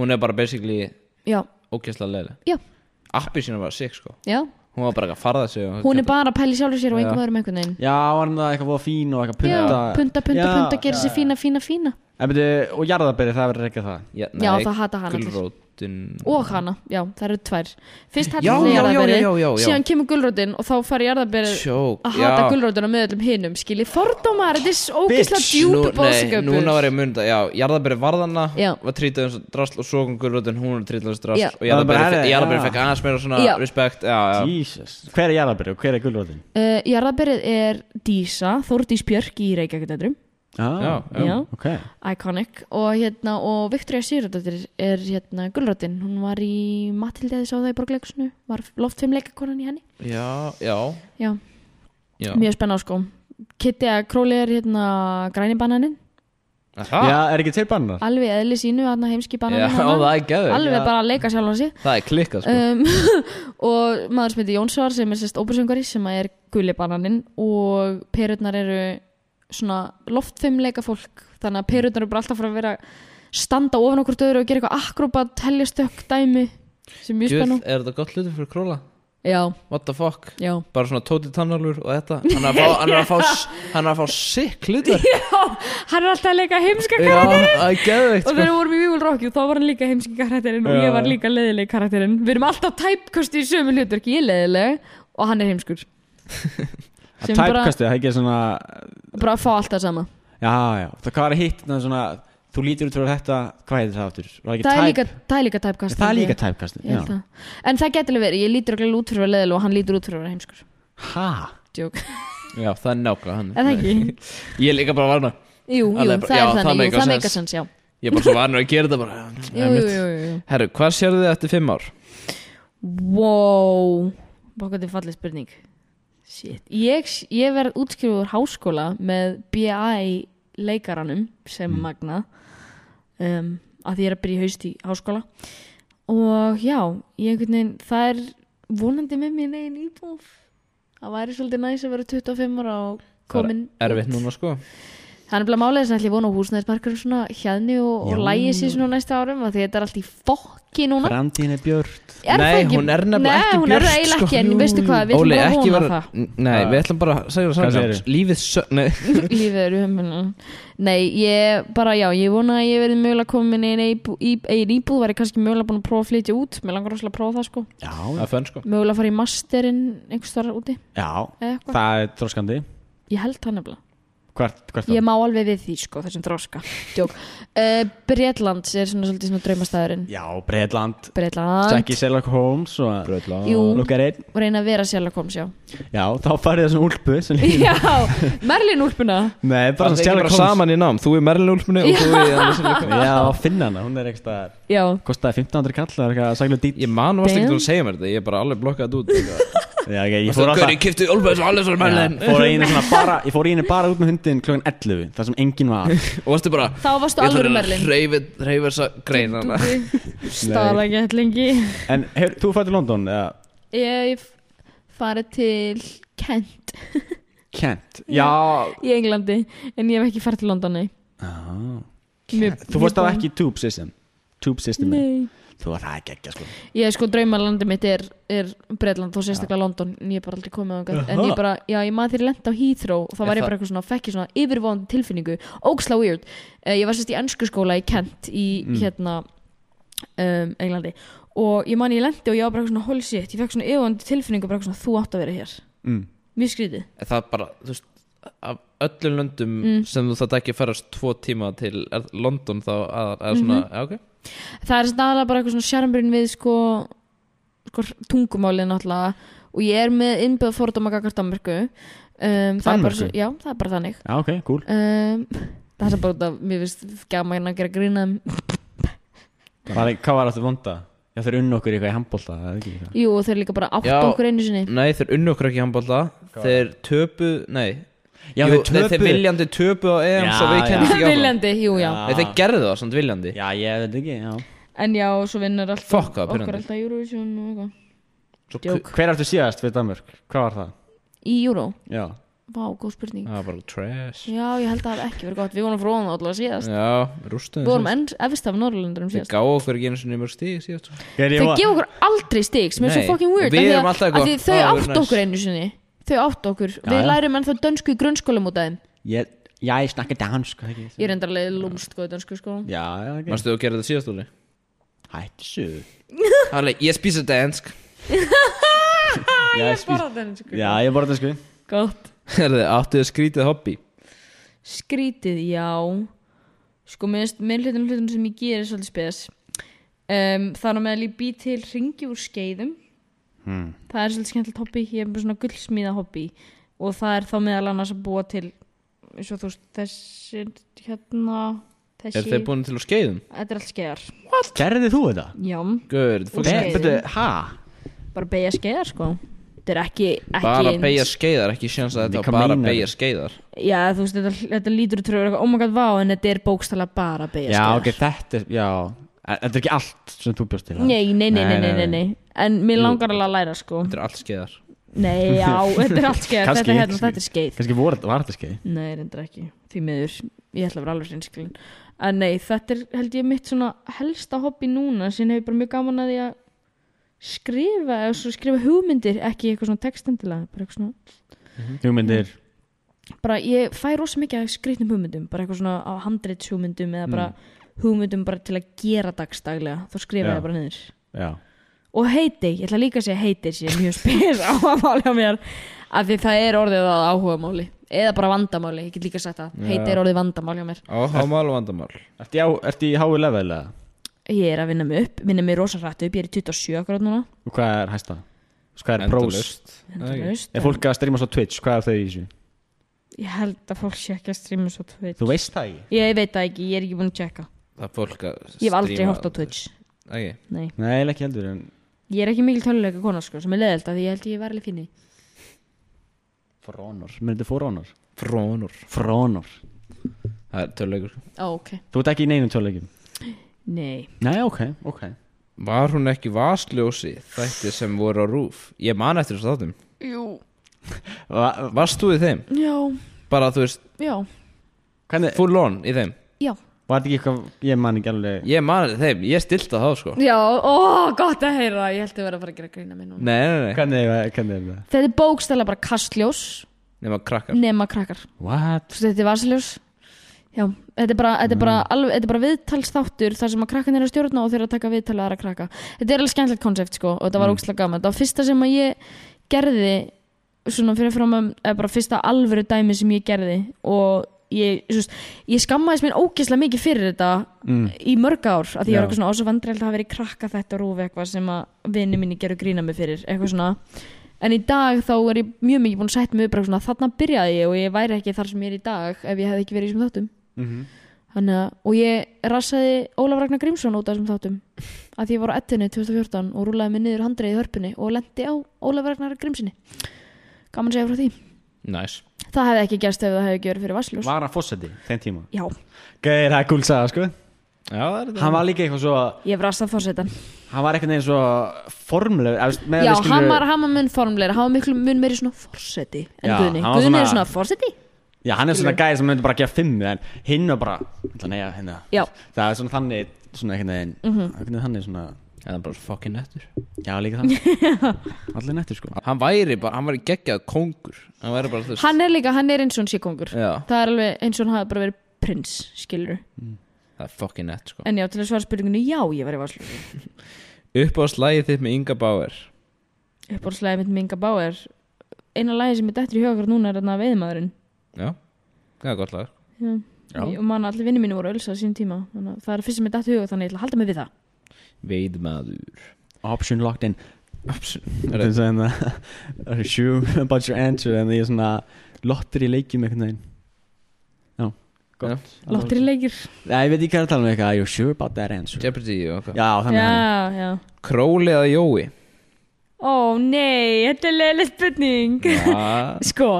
Speaker 6: Hún er bara basically
Speaker 4: já,
Speaker 6: ókjæslega leiðileg
Speaker 4: já,
Speaker 6: Appi sína var sick sko
Speaker 4: já
Speaker 6: Hún var bara ekki að farða sig og-
Speaker 4: hún er bara að pæli sjálfa sér og
Speaker 6: Já.
Speaker 4: engum öðrum einhvern veginn
Speaker 5: Já, var hann það eitthvað voða fín og eitthvað
Speaker 4: já,
Speaker 5: punta
Speaker 4: punta, punta,
Speaker 5: Já,
Speaker 4: punta, gera
Speaker 5: já,
Speaker 4: sér
Speaker 5: já.
Speaker 4: fína, fína, fína
Speaker 5: En byrju, og jarðaberi, það verður ekki það
Speaker 6: Já,
Speaker 4: Já, það hata hann allir.
Speaker 6: Gulrótin
Speaker 4: og hana, já, það eru tvær fyrst
Speaker 6: Já,
Speaker 4: hættum
Speaker 6: já, já,
Speaker 4: við
Speaker 6: já, já, já.
Speaker 4: jarðaberi síðan kemur gulrótin og þá fari jarðaberi
Speaker 6: Sjók,
Speaker 4: að hata
Speaker 6: já.
Speaker 4: gulrótuna með öllum hinum skilji fordómar, þetta er svo ógeðslega
Speaker 5: Bitch.
Speaker 6: Nú-
Speaker 4: djúpi
Speaker 6: Nei,
Speaker 4: bóðsköpur
Speaker 6: núna var ég mynd að, já, jarðaberi varðanna
Speaker 4: Já.
Speaker 6: var trítið eins og drasl og svo kom gulrötin, hún var trítið eins og drasl
Speaker 4: Já.
Speaker 6: og jarðaberi,
Speaker 5: Það var bara,
Speaker 6: fe-
Speaker 5: já.
Speaker 6: jarðaberi fekk aðeins meira svona
Speaker 4: Já.
Speaker 6: respekt, já, já,
Speaker 5: Jesus Hver er jarðaberi og hver er gulvöldin?
Speaker 4: uh, jarðaberið er Dísa, Þórdís Björk í Reykjavíkdætrum
Speaker 5: Já,
Speaker 6: Já.
Speaker 4: Já.
Speaker 5: Ah. ok
Speaker 4: Iconic og hérna og Viktoria Sigurðardóttir er hérna gulrótin hún var í Matilde þið sá það í borgleikusinu var loftfimleikakonan í henni
Speaker 6: já, já,
Speaker 4: já,
Speaker 6: já.
Speaker 4: mjög spenna sko Kitty að Króli er hérna græni bananinn
Speaker 6: Aha.
Speaker 5: Já, er ekki til bannar?
Speaker 4: alveg eðli sínu, hérna heimski
Speaker 6: já,
Speaker 4: bananinn
Speaker 6: (laughs) það
Speaker 4: hana.
Speaker 6: er geður,
Speaker 4: alveg bara að leika sjálf hans
Speaker 6: það er klikkað, sko,
Speaker 4: um, (laughs) og maður sem heitir Jónsvar sem er sérst ópersöngari sem er gulibananinn og perurnar eru svona loftfimleika fólk þannig að perurnar eru bara alltaf frá að vera standa ofan okkur döður og gera eitthvað akrobat teljastökk dæmi sem er mjög
Speaker 6: Gjöð,
Speaker 4: spennu
Speaker 6: er þetta gott hlutur fyrir króla?
Speaker 4: já,
Speaker 6: What the fuck?
Speaker 4: já,
Speaker 6: Bara svona tóti tannalur og þetta Hann er að fá, hann er að fá, s- hann er að fá sick hlutur Já,
Speaker 4: hann er alltaf að leika heimska (laughs) karakterinn
Speaker 6: það er geðveikt,
Speaker 4: og
Speaker 6: sko
Speaker 4: þegar við vorum í Vígul Rocky þá var hann líka heimski karakterinn og
Speaker 6: Já.
Speaker 4: ég var líka leðileg karakterinn við erum alltaf tæpkast í sömu hlutverk ég er leðileg og hann er heimskur
Speaker 6: (laughs)
Speaker 4: sem bara,
Speaker 5: Typecastið, það er ekki svona
Speaker 4: bara að fá alltaf sama
Speaker 5: Já, já, það hvað er hitt na, svona, Þú lítur út fyrir þetta, hvað heitir það áttur? Það
Speaker 4: það er líka, það er líka tæpkast
Speaker 5: Það er
Speaker 4: held ég.
Speaker 5: líka typecastið,
Speaker 4: Ég held
Speaker 5: já
Speaker 4: það. En það getur alveg verið, ég lítur okkur út fyrir að vera leðil og hann lítur út fyrir að vera heimskur
Speaker 5: Ha?
Speaker 4: Djók,
Speaker 6: Já, það er nákvæmlega hann
Speaker 4: er það ekki?
Speaker 6: Ég er líka bara varna
Speaker 4: Jú, jú,
Speaker 6: Hann er bara-
Speaker 4: það
Speaker 6: já,
Speaker 4: er
Speaker 6: það
Speaker 4: þannig,
Speaker 6: make
Speaker 4: jú, það
Speaker 6: sense.
Speaker 4: meika sens, já
Speaker 6: Ég er bara svo varna að gera þetta bara
Speaker 4: Jú, jú, jú, jú
Speaker 6: Herru, hvað sérðu þið eftir fimm ár?
Speaker 4: Wow, baka þetta er fallið spurning Shit, ég, ég verð útskrifuður háskóla með BA í leikaranum sem
Speaker 6: Mm.
Speaker 4: magna um, að því ég er að byrja í haust í háskóla og já, ég einhvern veginn það er vonandi með mér negin íbúf það væri svolítið næs að vera 25 ára og komin
Speaker 6: Það er erfitt núna sko
Speaker 4: Það er bara málið þess að ætla ég vona á húsnæðismarkurinn svona hérni og, og
Speaker 5: Já.
Speaker 4: lægi sér svona á næsta árum af því þetta er allt í fokki núna
Speaker 5: Framtíðin er björt
Speaker 4: er
Speaker 6: Nei,
Speaker 4: það ekki,
Speaker 6: hún er nefnilega
Speaker 4: Nei,
Speaker 6: ekki
Speaker 4: hún er
Speaker 6: björt,
Speaker 4: það eiginlega
Speaker 6: sko.
Speaker 4: ekki, en
Speaker 6: Jú,
Speaker 4: veistu hvað, við
Speaker 6: Óli,
Speaker 4: ætlum
Speaker 6: ekki
Speaker 4: bara að
Speaker 6: vera
Speaker 4: vona
Speaker 6: Nei, við ætlum bara að segja það
Speaker 5: Hvað
Speaker 6: saman
Speaker 5: segirðu?
Speaker 6: Lífið sö... Nei
Speaker 4: það (laughs) Lífið er umhennan Nei, ég bara, já, ég vona að ég verði mögulega komin inn einn íbúð, væri kannski mögulega búin að prófa að flytja út Mér langar rosalega að prófa það, sko
Speaker 5: Já,
Speaker 6: Það er fönn sko
Speaker 4: Mögulega að fara í masterinn einhvers þar úti
Speaker 5: já,
Speaker 4: eða eitthvað
Speaker 5: það er þróskandi
Speaker 4: Ég held það nefnilega
Speaker 5: Hvert, hvert
Speaker 4: Ég
Speaker 5: það?
Speaker 4: má alveg við því, sko, þessum þróska Djók uh, Bretlands er svona svolítið svona draumastæðurinn
Speaker 5: Já, Breitland
Speaker 4: Bretland,
Speaker 5: Jackie Sherlock Holmes og
Speaker 6: sko.
Speaker 4: jú,
Speaker 5: Lukkar einn
Speaker 4: reyna að vera Sherlock Holmes,
Speaker 6: (laughs)
Speaker 4: já
Speaker 5: Já, þá farið þessum úlpu sem (laughs) líka
Speaker 4: Já, Merlin úlpuna
Speaker 5: Nei, bara
Speaker 6: Það
Speaker 5: svona
Speaker 6: er ekki
Speaker 5: Sherlock
Speaker 6: bara
Speaker 5: Holmes
Speaker 6: saman í nám Þú er Merlin Úlfminni og þú er
Speaker 5: Já, að finna hana, hún er ekki stað
Speaker 4: Já,
Speaker 5: Kostaði 1500 kall, það er eitthvað sælu dýt
Speaker 6: Ég man varst ekki
Speaker 4: Damn.
Speaker 6: þú að segja mér þetta Ég er bara alveg blokkað út sko. Ég
Speaker 5: Já, ok, ég fór alltaf
Speaker 6: kipti Úlfminni og allir svo
Speaker 5: Já, fór í henni svona bara, ég fór í henni bara út með hundin klokkan 11, þar sem enginn var
Speaker 6: Og varstu bara
Speaker 4: þá varstu alveg Merlin
Speaker 6: Reyfið þessa grein hana
Speaker 4: (laughs) Stala getlingi
Speaker 5: En hefur, þú fætti London, eða
Speaker 4: Ég f- farið til Kent
Speaker 5: Kent Já,
Speaker 4: í Englandi En ég hef ekki farið til London, nei
Speaker 5: ah.
Speaker 4: Mjög-
Speaker 5: Þú fórst
Speaker 4: mjög
Speaker 5: það
Speaker 4: búin.
Speaker 5: ekki í Tube System Tube System
Speaker 4: Nei,
Speaker 5: þú var það ekki ekki sko.
Speaker 4: Ég sko draumalandi mitt er, er Breitland og sérstaklega London en ég er bara aldrei komið þangað en ég bara, já ég maður þeirri lent á Heathrow og þá var ég bara eitthvað svona, fekk ég svona yfirvóðandi tilfinningu, óksla weird uh, ég var sérst í ennsku skóla í Kent í
Speaker 5: Mm.
Speaker 4: hérna um, Englandi og ég man ég lendi og ég var bara eitthvað svona holy shit, ég fekk svona yfirvóðandi tilfinningu bara eitthvað svona, þú átt að vera hér
Speaker 5: Mm.
Speaker 4: mjög skrítið,
Speaker 6: En það er bara, þú veist af öllum löndum
Speaker 4: Mm.
Speaker 6: sem þú þátt ekki að ferast tvo tíma til er, London þá að,
Speaker 4: Mhm.
Speaker 6: að svona, mm ok
Speaker 4: það er aðalega bara eitthvað svona sjarmbrinn við sko, sko tungumálið náttúrulega og ég er með innbyggð fordóma gagvart Danmörku um, það er bara,
Speaker 5: Danmörku?
Speaker 4: já, það er bara þannig
Speaker 5: já ok, cool
Speaker 4: um, (laughs) það er bara út af mér finnst gaman að gera grína
Speaker 5: var, hvað var þetta vonda? já þeir unna okkur í eitthvað í handbólta
Speaker 4: jú og þeir líka bara átt
Speaker 6: Já. Mm.
Speaker 4: okkur einu sinni
Speaker 6: Nei, þeir unnu okkur ekki handbólta Þeir töpu, nei
Speaker 5: já
Speaker 6: Jú,
Speaker 5: þeir
Speaker 6: Nei, þeir
Speaker 5: töpu
Speaker 6: viljandi töpu á EM
Speaker 5: Já,
Speaker 6: svo við
Speaker 5: já.
Speaker 6: kennum ekki áfram
Speaker 4: viljandi, jú já
Speaker 6: Nei, þeir gerðu það samt viljandi
Speaker 5: já ég veit ekki já.
Speaker 4: en já, svo vinnur alltaf
Speaker 6: Fuck, hvað
Speaker 4: okkur
Speaker 6: pirrandi.
Speaker 4: alltaf Eurovision og eitthvað
Speaker 6: Svo
Speaker 4: Djók.
Speaker 5: hver eftir síðast við Danmörk? hvað var það?
Speaker 4: í Euro,
Speaker 5: já
Speaker 4: vá, góð spurning
Speaker 6: Það var bara trash
Speaker 4: já, ég held að það hef ekki verið gott, við vorum fróðan allavega síðast
Speaker 6: Já, rústuðum
Speaker 4: við vorum enn efst af Norrlundurum
Speaker 6: Þeir
Speaker 4: síðast
Speaker 6: gáðu okkur ekki einu sinni mörg stíð síðast
Speaker 5: Þeir
Speaker 4: þeir gefa okkur aldrei stig sem er svo
Speaker 6: Nei,
Speaker 4: fucking weird
Speaker 6: við
Speaker 4: af því
Speaker 6: erum
Speaker 4: að-
Speaker 6: alltaf
Speaker 4: af því
Speaker 6: eitthvað,
Speaker 4: þau
Speaker 6: "Ah,
Speaker 4: átt
Speaker 6: nice."
Speaker 4: okkur einu sinni þau átt okkur, við
Speaker 5: já.
Speaker 4: lærum ennþá dönsku í grunnskólum út af þeim
Speaker 5: Ég, já, ég snakka dansk er það ekki?
Speaker 6: Mm.
Speaker 4: ég er endarlega lúmst góð í dönsku sko
Speaker 5: Já, já, ekki
Speaker 6: Manstu þú að gera þetta síðast úli?
Speaker 5: Hættu sögur
Speaker 6: Það er leik, ég spýsa (laughs) dansk
Speaker 5: Já, ég spýs
Speaker 4: dönsku
Speaker 5: Já, ég borða dansku
Speaker 4: gott
Speaker 6: Herðu, áttu þið skrítið hobby?
Speaker 4: skrítið, já sko, mér finnst með hlutum hlutum sem ég ger er svolítið spes um, þannig að meðal ég bý til ringi úr skeiðum
Speaker 6: Hmm.
Speaker 4: það er svolítið skemmtilegt hobby ég er með svona gullsmíða hobby og það er þá meðal annars að búa til eins og þú veist, þessi hérna,
Speaker 6: Er
Speaker 4: þessi
Speaker 6: þeir búin til um? úr skeiðum?
Speaker 4: þetta er allt skeiðar,
Speaker 5: Gerðið þú þetta?
Speaker 4: já,
Speaker 6: Gör,
Speaker 4: Úr
Speaker 6: fólk
Speaker 4: skeiðum.
Speaker 5: Be- Betur, ha?
Speaker 4: bara beigja skeiðar sko þetta er ekki, ekki
Speaker 6: bara
Speaker 4: eins.
Speaker 6: beigja skeiðar, ekki sjans að
Speaker 5: Hvað
Speaker 6: þetta var bara
Speaker 5: meinar?
Speaker 6: beigja skeiðar
Speaker 4: já, þú veist, þetta, þetta lítur út fyrir að vera eitthvað, oh my god, vá, en þetta er bókstala bara beigja
Speaker 5: Já, ok, þetta er, já En Þetta er ekki allt sem þú bjóst til ha?
Speaker 4: Nei, nei, nei,
Speaker 5: Nei,
Speaker 4: nei,
Speaker 5: nei,
Speaker 4: nei, nei, nei. En mér langar alveg að læra sko
Speaker 6: Þetta er allt skeiðar
Speaker 4: Nei, já, þetta er allt skeið
Speaker 5: Kannski,
Speaker 4: Þetta er hérna,
Speaker 5: kannski.
Speaker 4: þetta er skeið
Speaker 5: Kannski voru, var þetta skeið
Speaker 4: Nei, reyndar ekki, því miður Ég ætla að vera alveg sinnskilin En nei, þetta er held ég mitt svona helsta hobby núna sem hefur bara mjög gaman að því að skrifa, eða svo skrifa hugmyndir ekki eitthvað svona textendilega bara, eitthvað svona.
Speaker 5: Mhm. Hugmyndir
Speaker 4: bara ég fæ rosa mikið að skrifnum hugmyndum bara eitthvað svona á handreits hugmyndum eða
Speaker 5: Mm.
Speaker 4: bara hugmyndum bara til að gera dagstaglega þá skrifa
Speaker 5: Já.
Speaker 4: ég það bara niður
Speaker 5: Já
Speaker 4: og heiti, ég ætla líka að segja heiti sem er mjög spyr áhugamáli á mér af því það er orðið að áhugamáli eða bara vandamáli, ég get líka sagt það heiti er orðið vandamáli á mér
Speaker 6: Áhámál og vandamál
Speaker 5: Ertu í, á- ertu í háu level eða?
Speaker 4: ég er að vinna mig upp, vinna mig rosa rætt upp ég er í 27 akkurat núna
Speaker 5: Og hvað er hæsta? Hvað er prós?
Speaker 4: endalaust,
Speaker 5: Er fólk að streyma svo Twitch? Hvað er þau í þessu?
Speaker 4: en ég held að fólk sé ekki að streama svo Twitch
Speaker 5: Þú veist það ekki?
Speaker 4: ég veit það ekki, ég er ekki búin að checka
Speaker 6: Það er fólk að
Speaker 4: ég hef aldrei
Speaker 6: stríma-
Speaker 4: hort á Twitch
Speaker 6: Ekki.
Speaker 4: Nei.
Speaker 5: Nei, eiginlega ekki heldur en
Speaker 4: ég er ekki mikil töluleika kona sko, sem er leðilt af því ég held ég var alveg finni
Speaker 5: For honor Mér þetta for honor
Speaker 6: Frónur
Speaker 5: For honor
Speaker 6: Það er tölulegur
Speaker 4: oh, ok,
Speaker 5: Þú ert ekki í neinum tjóðleikum?
Speaker 4: nei,
Speaker 5: Nei, ok, ok
Speaker 6: Var hún ekki vasljósi þætti sem voru á rúf? Ég man eftir þessu þáttum
Speaker 4: jú
Speaker 5: Va-
Speaker 6: Varst þú í þeim?
Speaker 4: já,
Speaker 6: Bara þú veist,
Speaker 4: já,
Speaker 5: Hvernig,
Speaker 6: full on í þeim
Speaker 4: já
Speaker 5: var þetta ekki eitthvað Ég man ekki alveg
Speaker 6: Ég man eftir þeim, ég stilta þá sko
Speaker 4: já, ó, gott að heyra ég held ég verið að fara að gera grína minn núna
Speaker 6: Nei, nei, nei,
Speaker 5: Hvernig, hvernig er það?
Speaker 4: Þetta er bókstæla bara kastljós
Speaker 6: nema krakkar
Speaker 4: nema krakkar.
Speaker 5: What?
Speaker 4: Þú veist, þetta er vasaljós. Já, þetta er bara, þetta er bara, alveg, þetta er bara viðtalsþáttur þar sem að krakkan er að stjórna og þeir eru að taka viðtal að aðra krakka. Þetta er alveg skemmtilegt konsept sko og þetta var mm. ógstlega gaman. Það var fyrsta sem að ég gerði svona fyrir fram að, eða bara fyrsta alvöru dæmi sem ég gerði og ég, svo, veist, ég skammaðist mér ógeðslega mikið fyrir þetta í mörg ár af því ég
Speaker 5: Já.
Speaker 4: var eitthvað svona ás og vandrælt að hafa verið krakka þetta rúfi eitthvað sem að vini minni gerur grína mig fyrir eitthvað svona en í dag þá er ég mjög mikið búin að sætt mig upp bara svona þarna byrjaði ég og ég væri ekki þar sem ég er í dag ef ég hefði ekki verið í þessum þáttum Þannig að, og ég rassaði Ólaf Ragnar Grímsson út af þessum þáttum að því ég var á ettinu 2014 og rúlaði mig niður handreiði í hörpunni og lendi á Ólaf Ragnar Grímssoni gaman að segja frá því
Speaker 6: Næs
Speaker 4: það hefði ekki gerst ef það hefði ekki verið fyrir Vassljós
Speaker 5: Var hann fósetti þeim tíma?
Speaker 4: já,
Speaker 5: Gæði, það er cool saga, sko
Speaker 6: Já, það er þetta
Speaker 5: Hann var líka eitthvað svo
Speaker 4: ég hef rassað fórsetan
Speaker 5: Hann var eitthvað neginn svo formleg
Speaker 4: já, hann var, hann var mun formleira hann var miklu mun meiri svona fórseti en
Speaker 5: Já,
Speaker 4: Guðni,
Speaker 5: hann var
Speaker 4: Guðni er
Speaker 5: svona-
Speaker 4: svona fórseti
Speaker 5: Já, hann er svona gæði sem myndi bara gefa fimmu En hinn var bara ætla að neyja hérna.
Speaker 4: Já. Mhm.
Speaker 5: Það er svona þannig Svona eitthvað neginn mm -hmm. Þannig svona
Speaker 6: Eða bara fucking nettur
Speaker 5: Já, líka það
Speaker 4: (laughs)
Speaker 5: Allir nettir sko
Speaker 6: Hann væri bara, hann væri geggjað kongur Hann væri bara þú veist
Speaker 4: Hann er líka, hann er eins og hann sé kongur
Speaker 5: Eh.
Speaker 6: Já,
Speaker 4: Það er alveg eins og hann hafi bara verið prins, skilur
Speaker 6: það er fucking nett sko
Speaker 4: En já, til að svara spurningunni, já, ég var í vaslu
Speaker 6: Uppáðslægið þitt með Inga Bauer
Speaker 4: Uppáðslæði mitt minga bá er Eina lagi sem er dettur í hugakur núna er þarna veiðmaðurinn
Speaker 6: Já, það er gott lag
Speaker 4: Já. Ég- Og mann, allir vinni mínu voru ölsað sín tíma Þannig að það er fyrst sem er dettur í hugakur Þannig að ég ætla að halda mig við það
Speaker 6: Veidmaður
Speaker 5: Option locked in
Speaker 6: Herru.
Speaker 5: Þannig að það (laughs) er Sure (laughs) about your answer En það er svona Lottir í leikjum einhvern veginn Já, gott
Speaker 4: Láttir í leikir
Speaker 5: Nei, ég veit ekki hvað er að tala um eitthvað You're sure about that answer
Speaker 6: Jeopardy og hvað
Speaker 5: Já, þannig að
Speaker 4: Já, já
Speaker 6: Króli eða (laughs) Jói
Speaker 4: Ó, nei, þetta er leiðileg spurning
Speaker 6: Já
Speaker 4: Sko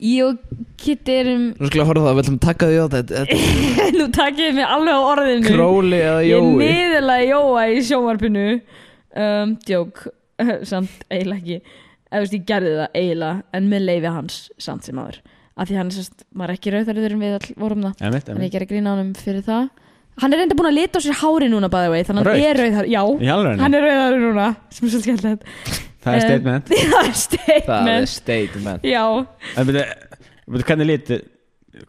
Speaker 4: Ég og Kitty erum
Speaker 6: Nú skulle horfa á það, við ætlum að taka því á þetta þetta er
Speaker 4: (laughs) Nú takiði mig alveg á orðinu
Speaker 6: (laughs) Króli eða
Speaker 4: Ég
Speaker 6: Jói
Speaker 4: niðurlega Jóa í sjónvarpinu um, Djók (laughs) Samt eiginlega ekki Eða, þú veist, Ég gerði það eiginlega En með leifi hans samt sem áður Af því hann er sérst, maður er ekki rauðarður en við all vorum það
Speaker 5: Emmett,
Speaker 4: En ég
Speaker 5: emmett
Speaker 4: gerði grín á hann fyrir það Hann er enda búin að lita á sér hári núna by the way, Þannig að hann er rauðar, já
Speaker 5: Í alveg
Speaker 4: Hann er rauðar núna, sem er svolítið skemmtilegt
Speaker 5: Það er
Speaker 4: em, (laughs)
Speaker 5: statement
Speaker 4: Það er
Speaker 6: Það er
Speaker 4: statement
Speaker 6: statement
Speaker 4: Já,
Speaker 5: En veitu, veitu, hvernig lit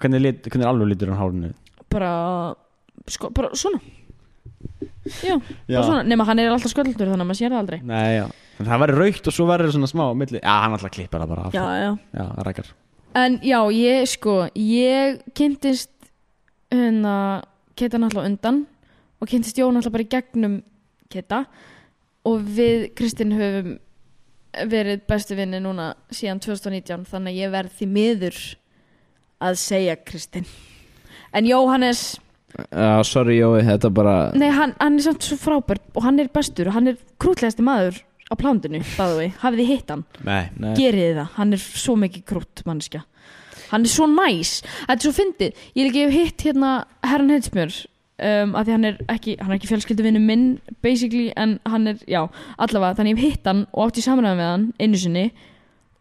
Speaker 5: Hvernig lit, hvernig alveg litur hann hárinu
Speaker 4: bara, sko, bara svona Já,
Speaker 5: Já.
Speaker 4: bara svona Nefna hann er alltaf sköldur þannig að maður sér það aldrei
Speaker 5: Nei, já Þannig að það væri raukt og svo væri það svona smá á milli Já, hann alltaf klippar það bara af.
Speaker 4: Já, já
Speaker 5: já það rækkar
Speaker 4: En já, ég sko, ég kynntist hérna Keta náttúrulega undan og kynntist Jón náttúrulega bara í gegnum Keta og við Kristinn höfum verið bestu vinni núna síðan 2019 þannig að ég verð því miður að segja Kristinn. En Jóhannes,
Speaker 6: Já, sorry Jói, þetta er bara
Speaker 4: nei hann, hann er samt svo frábær og hann er bestur og hann er krútlegasti maður á plándinu, bæðu við, hafið þið hitt hann?
Speaker 5: Nei
Speaker 6: Nei.
Speaker 4: gerið þið það, hann er svo mikið krútt mannskja, hann er svo næs þetta er svo fyndið, ég líka hef hitt hérna herran heitsmjör um, að því hann er ekki, hann er ekki fjölskylduvinu minn basically, en hann er, já allavega, þannig ég hef hitt hann og átt í samræðan með hann einu sinni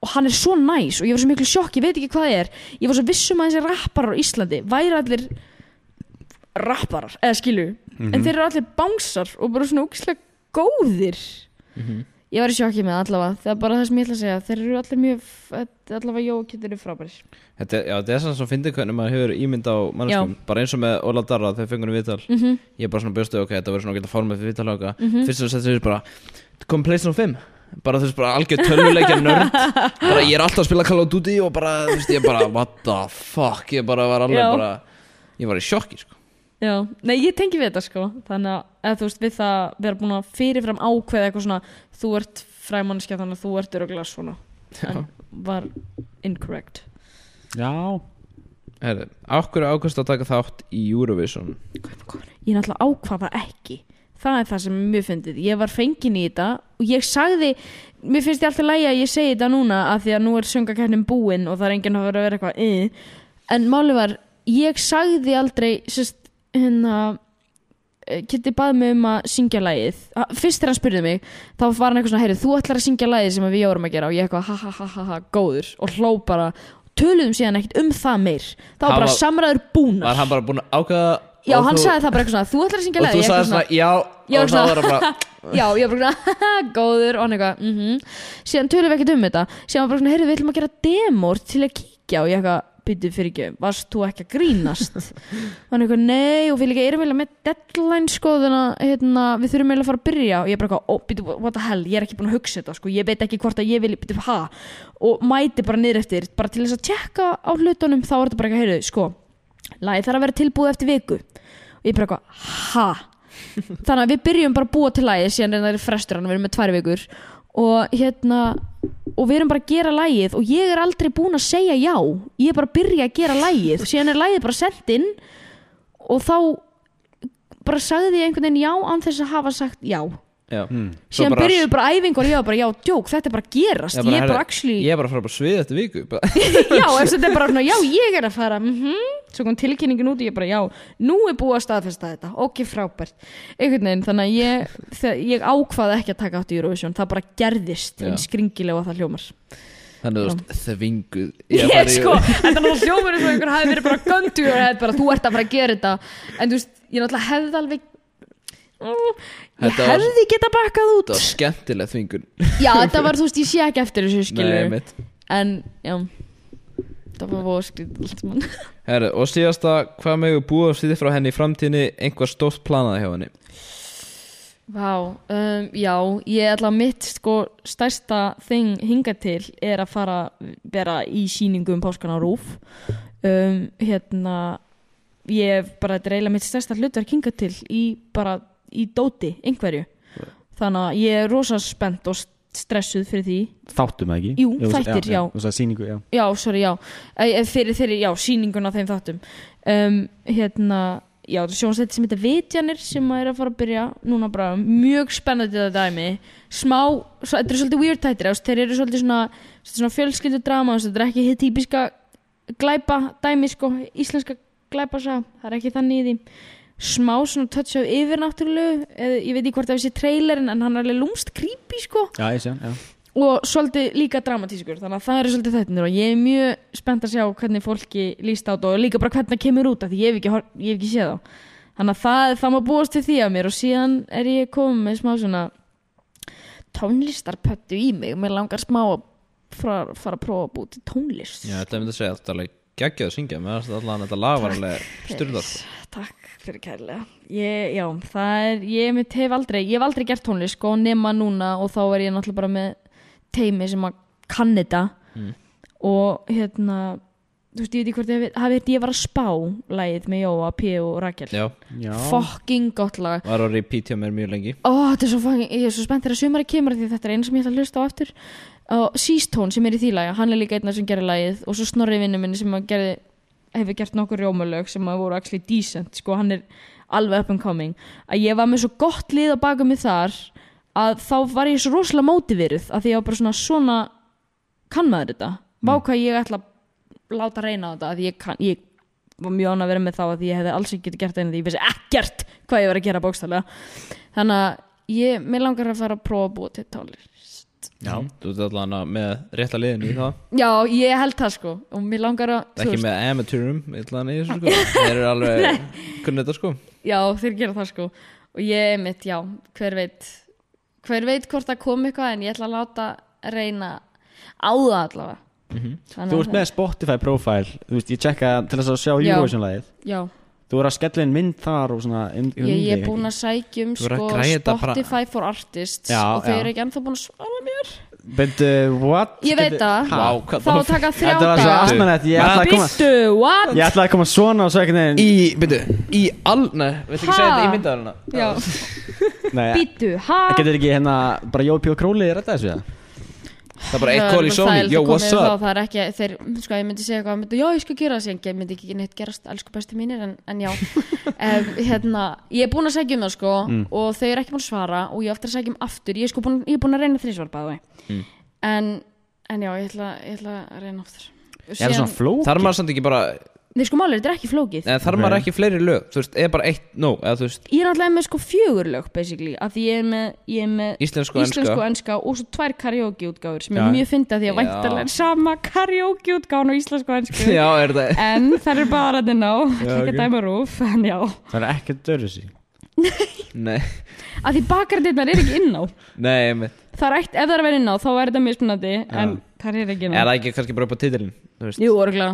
Speaker 4: og hann er svo næs og ég var svo miklu sjokk, ég veit ekki hvað það er ég var svo vissum að þessi rapparar á Íslandi væri allir rapparar, eða skilu en þeir eru allir bánsar og bara svona úkislega góðir Ég var í sjokki með það allavega, það er bara það sem ég ætla að segja, þeir eru allir mjög, allavega Jóa Kittur eru frábæris.
Speaker 6: Þetta, er- já, þetta er svona svo fyndið hvernig maður hefur ímynd á manneskum Bara eins og með Óla Darra þegar fengur hún viðtal
Speaker 4: Mhm.
Speaker 6: Ég er bara svona bjóstu, ok, þetta verður svona geta formið fyrir viðtal áka mm -hmm. Fyrst sem þetta er bara, kom PlayStation 5 Bara þú veist, bara algjör tölvuleikja
Speaker 4: (laughs)
Speaker 6: nörd Bara ég er alltaf að spila Call of Duty Og bara, þú veist, ég bara, what the fuck Ég bara var alveg
Speaker 4: Já.
Speaker 6: bara, ég var í sjokki sko.
Speaker 4: Já, nei ég tengi við þetta sko, þannig að, eða, þú veist, við það vera búin að fyrirfram ákveða eitthvað svona, þú ert fræmannskja þannig að þú ert öruglega svona, en var incorrect.
Speaker 5: Já
Speaker 6: Herðu, okkur ákvæmst að taka þátt í Eurovision
Speaker 4: Ég náttúrulega ákvaða ekki, það er það sem mér fyndið, ég var fengin í þetta og ég sagði, mér finnst ég alltaf lægi að ég segi þetta núna að því að nú er söngakeppnin búin og það er enginn að vera að vera eitthvað uh. en máli var, ég sagði aldrei sérst, hérna Kitty baði mig um að syngja lagið Ha- fyrst þegar hann spurði mig þá var hann eitthvað svona, heyrðu, þú ætlar að syngja lagið sem við vorum að gera og ég eitthvað, ha ha ha ha ha, góður og hló bara, töluðum síðan ekkert um það meir, þá var
Speaker 6: Hann
Speaker 4: bara
Speaker 6: var-
Speaker 4: samræður
Speaker 6: Var
Speaker 4: búnar
Speaker 6: hann bara búin að ákvæða
Speaker 4: já,
Speaker 6: og
Speaker 4: hann
Speaker 6: þú-
Speaker 4: sagði það bara eitthvað svona, þú ætlar að syngja
Speaker 6: Og þú
Speaker 4: lagið Ég
Speaker 6: sagði
Speaker 4: eitthvað
Speaker 6: svona, já,
Speaker 4: Já,
Speaker 6: og þá
Speaker 4: svona-
Speaker 6: var hann
Speaker 4: (laughs)
Speaker 6: bara
Speaker 4: Já, ég var bara svona, (laughs) haha, góður og hann eitthvað, mhm síðan tölum við ekkert um þetta síðan var bara svona, heyrðu, við ætlum að gera demór til að kíkja og ég eitthvað, byttu fyrir ekki varst þú ekki að grínast og hann eitthvað, nei, og við líka erum vel með deadline sko, þannig að hérna, við þurfum vel að fara að byrja og ég bara eitthvað, ó, byttu, what the hell ég er ekki búin að hugsa þetta, sko, ég veit ekki hvort að ég vil byttu, ha, og mæti bara niður eftir bara til þess að tjekka á hlutunum þá er þetta bara eitthvað, heyrðu, sko lagið þarf að vera tilbúið eftir viku og ég bara eitthvað, ha þannig að við byrjum bara að búa til lagið síðan er það er frestur hann, við erum með tvær vikur og hérna og við erum bara að gera lagið og ég er aldrei búin að segja já ég er bara að byrja að gera lagið og síðan er lagið bara sent inn og þá bara sagði ég einhvern veginn já án þess að hafa sagt já
Speaker 6: Já, Svo
Speaker 4: Hmm. síðan
Speaker 6: bara-
Speaker 4: byrjuðum við bara æfingu og ég var bara já, djók, þetta er bara að gerast
Speaker 6: Já,
Speaker 4: ég, er
Speaker 6: herri,
Speaker 4: bara actually,
Speaker 6: Ég er bara að fara bara svið eftir viku bara.
Speaker 4: (laughs)
Speaker 6: (laughs)
Speaker 4: já, ef þetta er bara svona já, ég er að fara, mhm svo kom tilkynningin út og ég bara já, nú er búið að staðfesta þetta, ok, frábært einhvern veginn, þannig að ég þegar, ég ákvaði ekki að taka átt í Eurovision það bara gerðist,
Speaker 6: Já.
Speaker 4: eins skringilega það hljómar
Speaker 6: Þannig að þú veist, þvinguð
Speaker 4: ég,
Speaker 6: er bara í-
Speaker 4: sko, þetta er náttúrulega hljómar eins og einhver hafi verið bara gun to your head, bara þú ert að fara að gera þetta en þú veist, ég náttúrulega hefði alveg Ég
Speaker 6: Þetta var-
Speaker 4: hefði geta bakkað út
Speaker 6: Þetta var skemmtileg þvingun
Speaker 4: Já, þetta var, þú veist, ég sé ekki eftir þessu skilur
Speaker 6: mitt
Speaker 4: En, já Það var voða skrítið allt mann
Speaker 6: Herru, og síðasta, hvað megu búið að sýði frá henni í framtíðinni einhvað stórt planaði hjá henni
Speaker 4: Vá, um, já, ég ætla að mitt sko stærsta þing hinga til er að fara að vera í sýningu um páskana á Rúf um, hérna ég hef bara þetta er eiginlega mitt stærsta hlutverk hinga til í bara í dóti, einhverju þannig að ég er rosa spennt og stressuð fyrir því
Speaker 5: Þáttum það ekki?
Speaker 4: Jú, þættir, já.
Speaker 5: Þú sagði sýningu, já
Speaker 4: já, sorry, já Eh, fyrir þeirri, já, sýninguna á þeim þáttum um, hérna já, sjónstætti sem heitir Vitjanir sem maður er að fara að byrja núna bara mjög spennandi þetta dæmi smá, svo, þetta er svolítið weird tættir ást, þeir eru svolítið svona, svolítið svona fjölskyldudrama þú veist, þetta er ekki hitt típiska glæpa dæmi sko, íslenska glæpa sá, það er ekki þannig í því smá svona touch af yfirnáttúrulegu eða ég veit ekki hvort það sé trailerin en hann er alveg lúmst creepy sko
Speaker 5: Já, ég sé, hann, já
Speaker 4: og svolítið líka dramatískur þannig að það eru svolítið þættinir og ég er mjög spennt að sjá hvernig fólki líst á þetta og líka bara hvernig það kemur út af því ég hef ekki, hor- ég hef ekki séð þá þannig að það, það má búast við því að mér og síðan er ég komið með smá svona tónlistarpöttu í mig og mér langar smá að fara, fara að prófa að búa til tónlist
Speaker 6: Já, þetta myndi að segja, þetta er alveg geggjað að syngja með þess að allan þetta lag var alveg styrðar
Speaker 4: Takk fyrir kærlega ég, Já, það er, ég mitt hef aldrei ég hef aldrei gert tónlist sko, nema núna og þá er ég náttúrulega bara með teimi sem að kann þetta og hérna þú veist, ég veit ekki hvort ég hafi þetta ég var að spá lagið með Jóa, P og Rakel
Speaker 6: Já,
Speaker 5: Já,
Speaker 4: Fucking gott lag
Speaker 6: var að repeat hjá mér mjög lengi
Speaker 4: Ó, þetta er svo fangin, ég er svo spennt þegar sumari kemur því þetta er eina sem ég ætla að hlusta á aftur og Seastone sem er í því lagi, hann er líka einn af sem gerir lagið og svo Snorri vinnu minni sem að gerði, hefur gert nokkur rjómalög sem að voru actually decent, sko hann er alveg up and coming að ég var með svo gott lið á baka mig þar að þá var ég svo rosalega mótiveruð að því ég var bara svona svona kann maður þetta, vá hvað ég ætla að láta reyna á þetta að ég kann, ég var mjög án að vera með þá að ég hefði alls ekki getið gert einu því ég vissi ekkert hvað ég var að gera bókstælega þannig að ég, mér langar að fara að prófa að búa til tónlist
Speaker 6: Já Mm. Þú ert allan að- með rétta liðinu í það
Speaker 4: já, ég held það sko og mér langar að,
Speaker 6: Það er ekki
Speaker 4: veist,
Speaker 6: með amateurum, allan í þessu sko Þeir eru
Speaker 4: (laughs)
Speaker 6: alveg, kunni þetta sko
Speaker 4: já, þeir gera það sko og ég, mitt, já, hver veit hver veit hvort það kom eitthvað en ég ætla að láta reyna á það allavega Þannig
Speaker 5: Þú
Speaker 4: að
Speaker 5: ert
Speaker 4: það-
Speaker 5: með Spotify profile Þú veist, ég tjekka til þess að sjá
Speaker 4: Já.
Speaker 5: Eurovision-lagið
Speaker 4: já,
Speaker 5: Þú er að skella inn mynd þar og svona inn-
Speaker 4: ég, ég er
Speaker 5: innlegg,
Speaker 4: búin
Speaker 5: ekki?
Speaker 4: að sækja um
Speaker 6: Þú verður
Speaker 4: sko,
Speaker 6: að græja þetta bara-
Speaker 4: Spotify for Artists
Speaker 5: Já,
Speaker 4: og þau
Speaker 5: já.
Speaker 4: eru ekki ennþá búin að svara mér
Speaker 5: But uh, what?
Speaker 4: ég veit það,
Speaker 5: Ha?
Speaker 6: Vá, hvað (laughs)
Speaker 4: þá taka þrjá
Speaker 5: Þetta var svo
Speaker 4: daga
Speaker 5: asmanett Ég ætlaði að koma
Speaker 4: býttu, what?
Speaker 5: Ég ætlaði að koma svona og svo ekki neginn
Speaker 6: Í, byrju, í all, nei, veit ekki
Speaker 4: Ha?
Speaker 6: segja þetta í myndaðurina
Speaker 4: já,
Speaker 5: Nei,
Speaker 4: býttu, ha?
Speaker 5: getur ekki hérna bara Jópi og Króli rætta þessu það?
Speaker 6: Það er bara eitt kól í sóni,
Speaker 4: Það er
Speaker 6: yo,
Speaker 4: alveg
Speaker 6: what's
Speaker 4: komið
Speaker 6: up
Speaker 4: þá, það er ekki, þeir, sko, ég myndi segja eitthvað, myndi, já, ég skal gera það, síðan myndi ekki neitt gerast, elsku bestu mínir, en, en já,
Speaker 6: (laughs)
Speaker 4: um, hérna, ég er búin að segja um það, sko,
Speaker 6: Mm.
Speaker 4: og þau eru ekki búin að svara og ég er eftir að segja um aftur, ég er sko búin, ég er búin að reyna þrísvar, bæði, mm. en, en já, ég ætla, ég ætla að reyna aftur.
Speaker 5: Er það svona fló?
Speaker 6: Þar maður samt ekki bara,
Speaker 4: Nei, sko, málið, er, þetta er ekki flókið.
Speaker 6: en þar maður ekki fleiri lög Þú veist, eða bara eitt, no, eða þú veist
Speaker 4: Ég er náttúrulega með sko fjögur lög, basically, af því ég er með, ég er með
Speaker 6: Íslensku og enska.
Speaker 4: íslensku og enska og svo tvær karaoke útgáfur sem er
Speaker 5: Já.
Speaker 4: mjög fyndið af því að
Speaker 6: Já.
Speaker 4: væntalega er sama karaoke útgáfun og íslensku og enska.
Speaker 6: (laughs) (laughs) Já, er það
Speaker 4: en það er bara þetta ná ekki
Speaker 6: ok.
Speaker 4: dæma rúf, en já
Speaker 5: Það er ekki dörru sí
Speaker 6: Nei,
Speaker 4: að því bakardirnar er ekki inn á
Speaker 6: nei, einmitt
Speaker 4: það er eitt, ef það er að vera inn á, þá er þetta mismunandi en það er ekki inn á
Speaker 6: Er það ekki kannski bara upp á titilin?
Speaker 4: jú, orglega,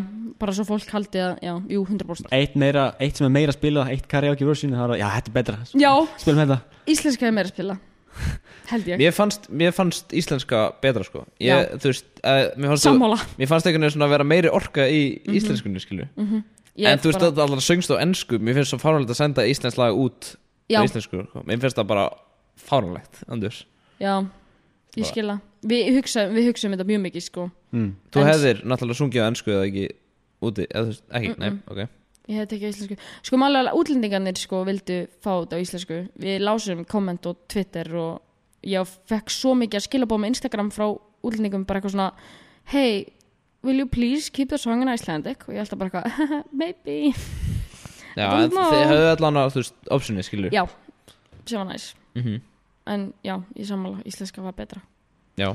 Speaker 4: bara svo fólk haldi að já, jú, 100%
Speaker 5: Eitt, meira, eitt sem er meira að spila, eitt karaoke version það var, Já, þetta er betra
Speaker 4: já,
Speaker 5: Spilum þetta
Speaker 4: íslenska er meira að spila held ég,
Speaker 6: Mér fannst, mér fannst íslenska betra sko ég,
Speaker 4: Já.
Speaker 6: Þú veist, uh, mér fannst
Speaker 4: sammála Mhm.
Speaker 6: Mér fannst einhvern veginn svona að vera meiri orka í íslenskunni skilju
Speaker 4: Mm-hmm. ég
Speaker 6: En þú veist
Speaker 4: bara-
Speaker 6: að allan söngst á ennsku Mér finnst svo fáránlegt að senda íslensk lag út
Speaker 4: Já.
Speaker 6: á íslensku sko. Mér finnst það bara fáránlegt Anders
Speaker 4: já, ég skila við hugsaum, við hugsaum þetta mjög mikið sko
Speaker 6: Þú
Speaker 4: En-
Speaker 6: hefðir náttúrulega sungið á ennsku eða ekki úti eða, þú veist, Ekki, nei, ok
Speaker 4: Ég hef tekið íslensku. Sko málega útlendingarnir sko vildu fá þetta á íslensku. Við lásum komment og Twitter og ég fekk svo mikið að skilabóð með Instagram frá útlendingum bara eitthvað svona Hey, will you please keep the song in Icelandic? Og ég held að bara eitthvað, (laughs) maybe.
Speaker 6: Já,
Speaker 4: Don't
Speaker 6: en
Speaker 4: know.
Speaker 6: þið hefðu allan að, þú veist, optioni skilju
Speaker 4: Já, sem var næs.
Speaker 6: Mhm.
Speaker 4: En já, ég sammála, íslenska var betra.
Speaker 6: Já.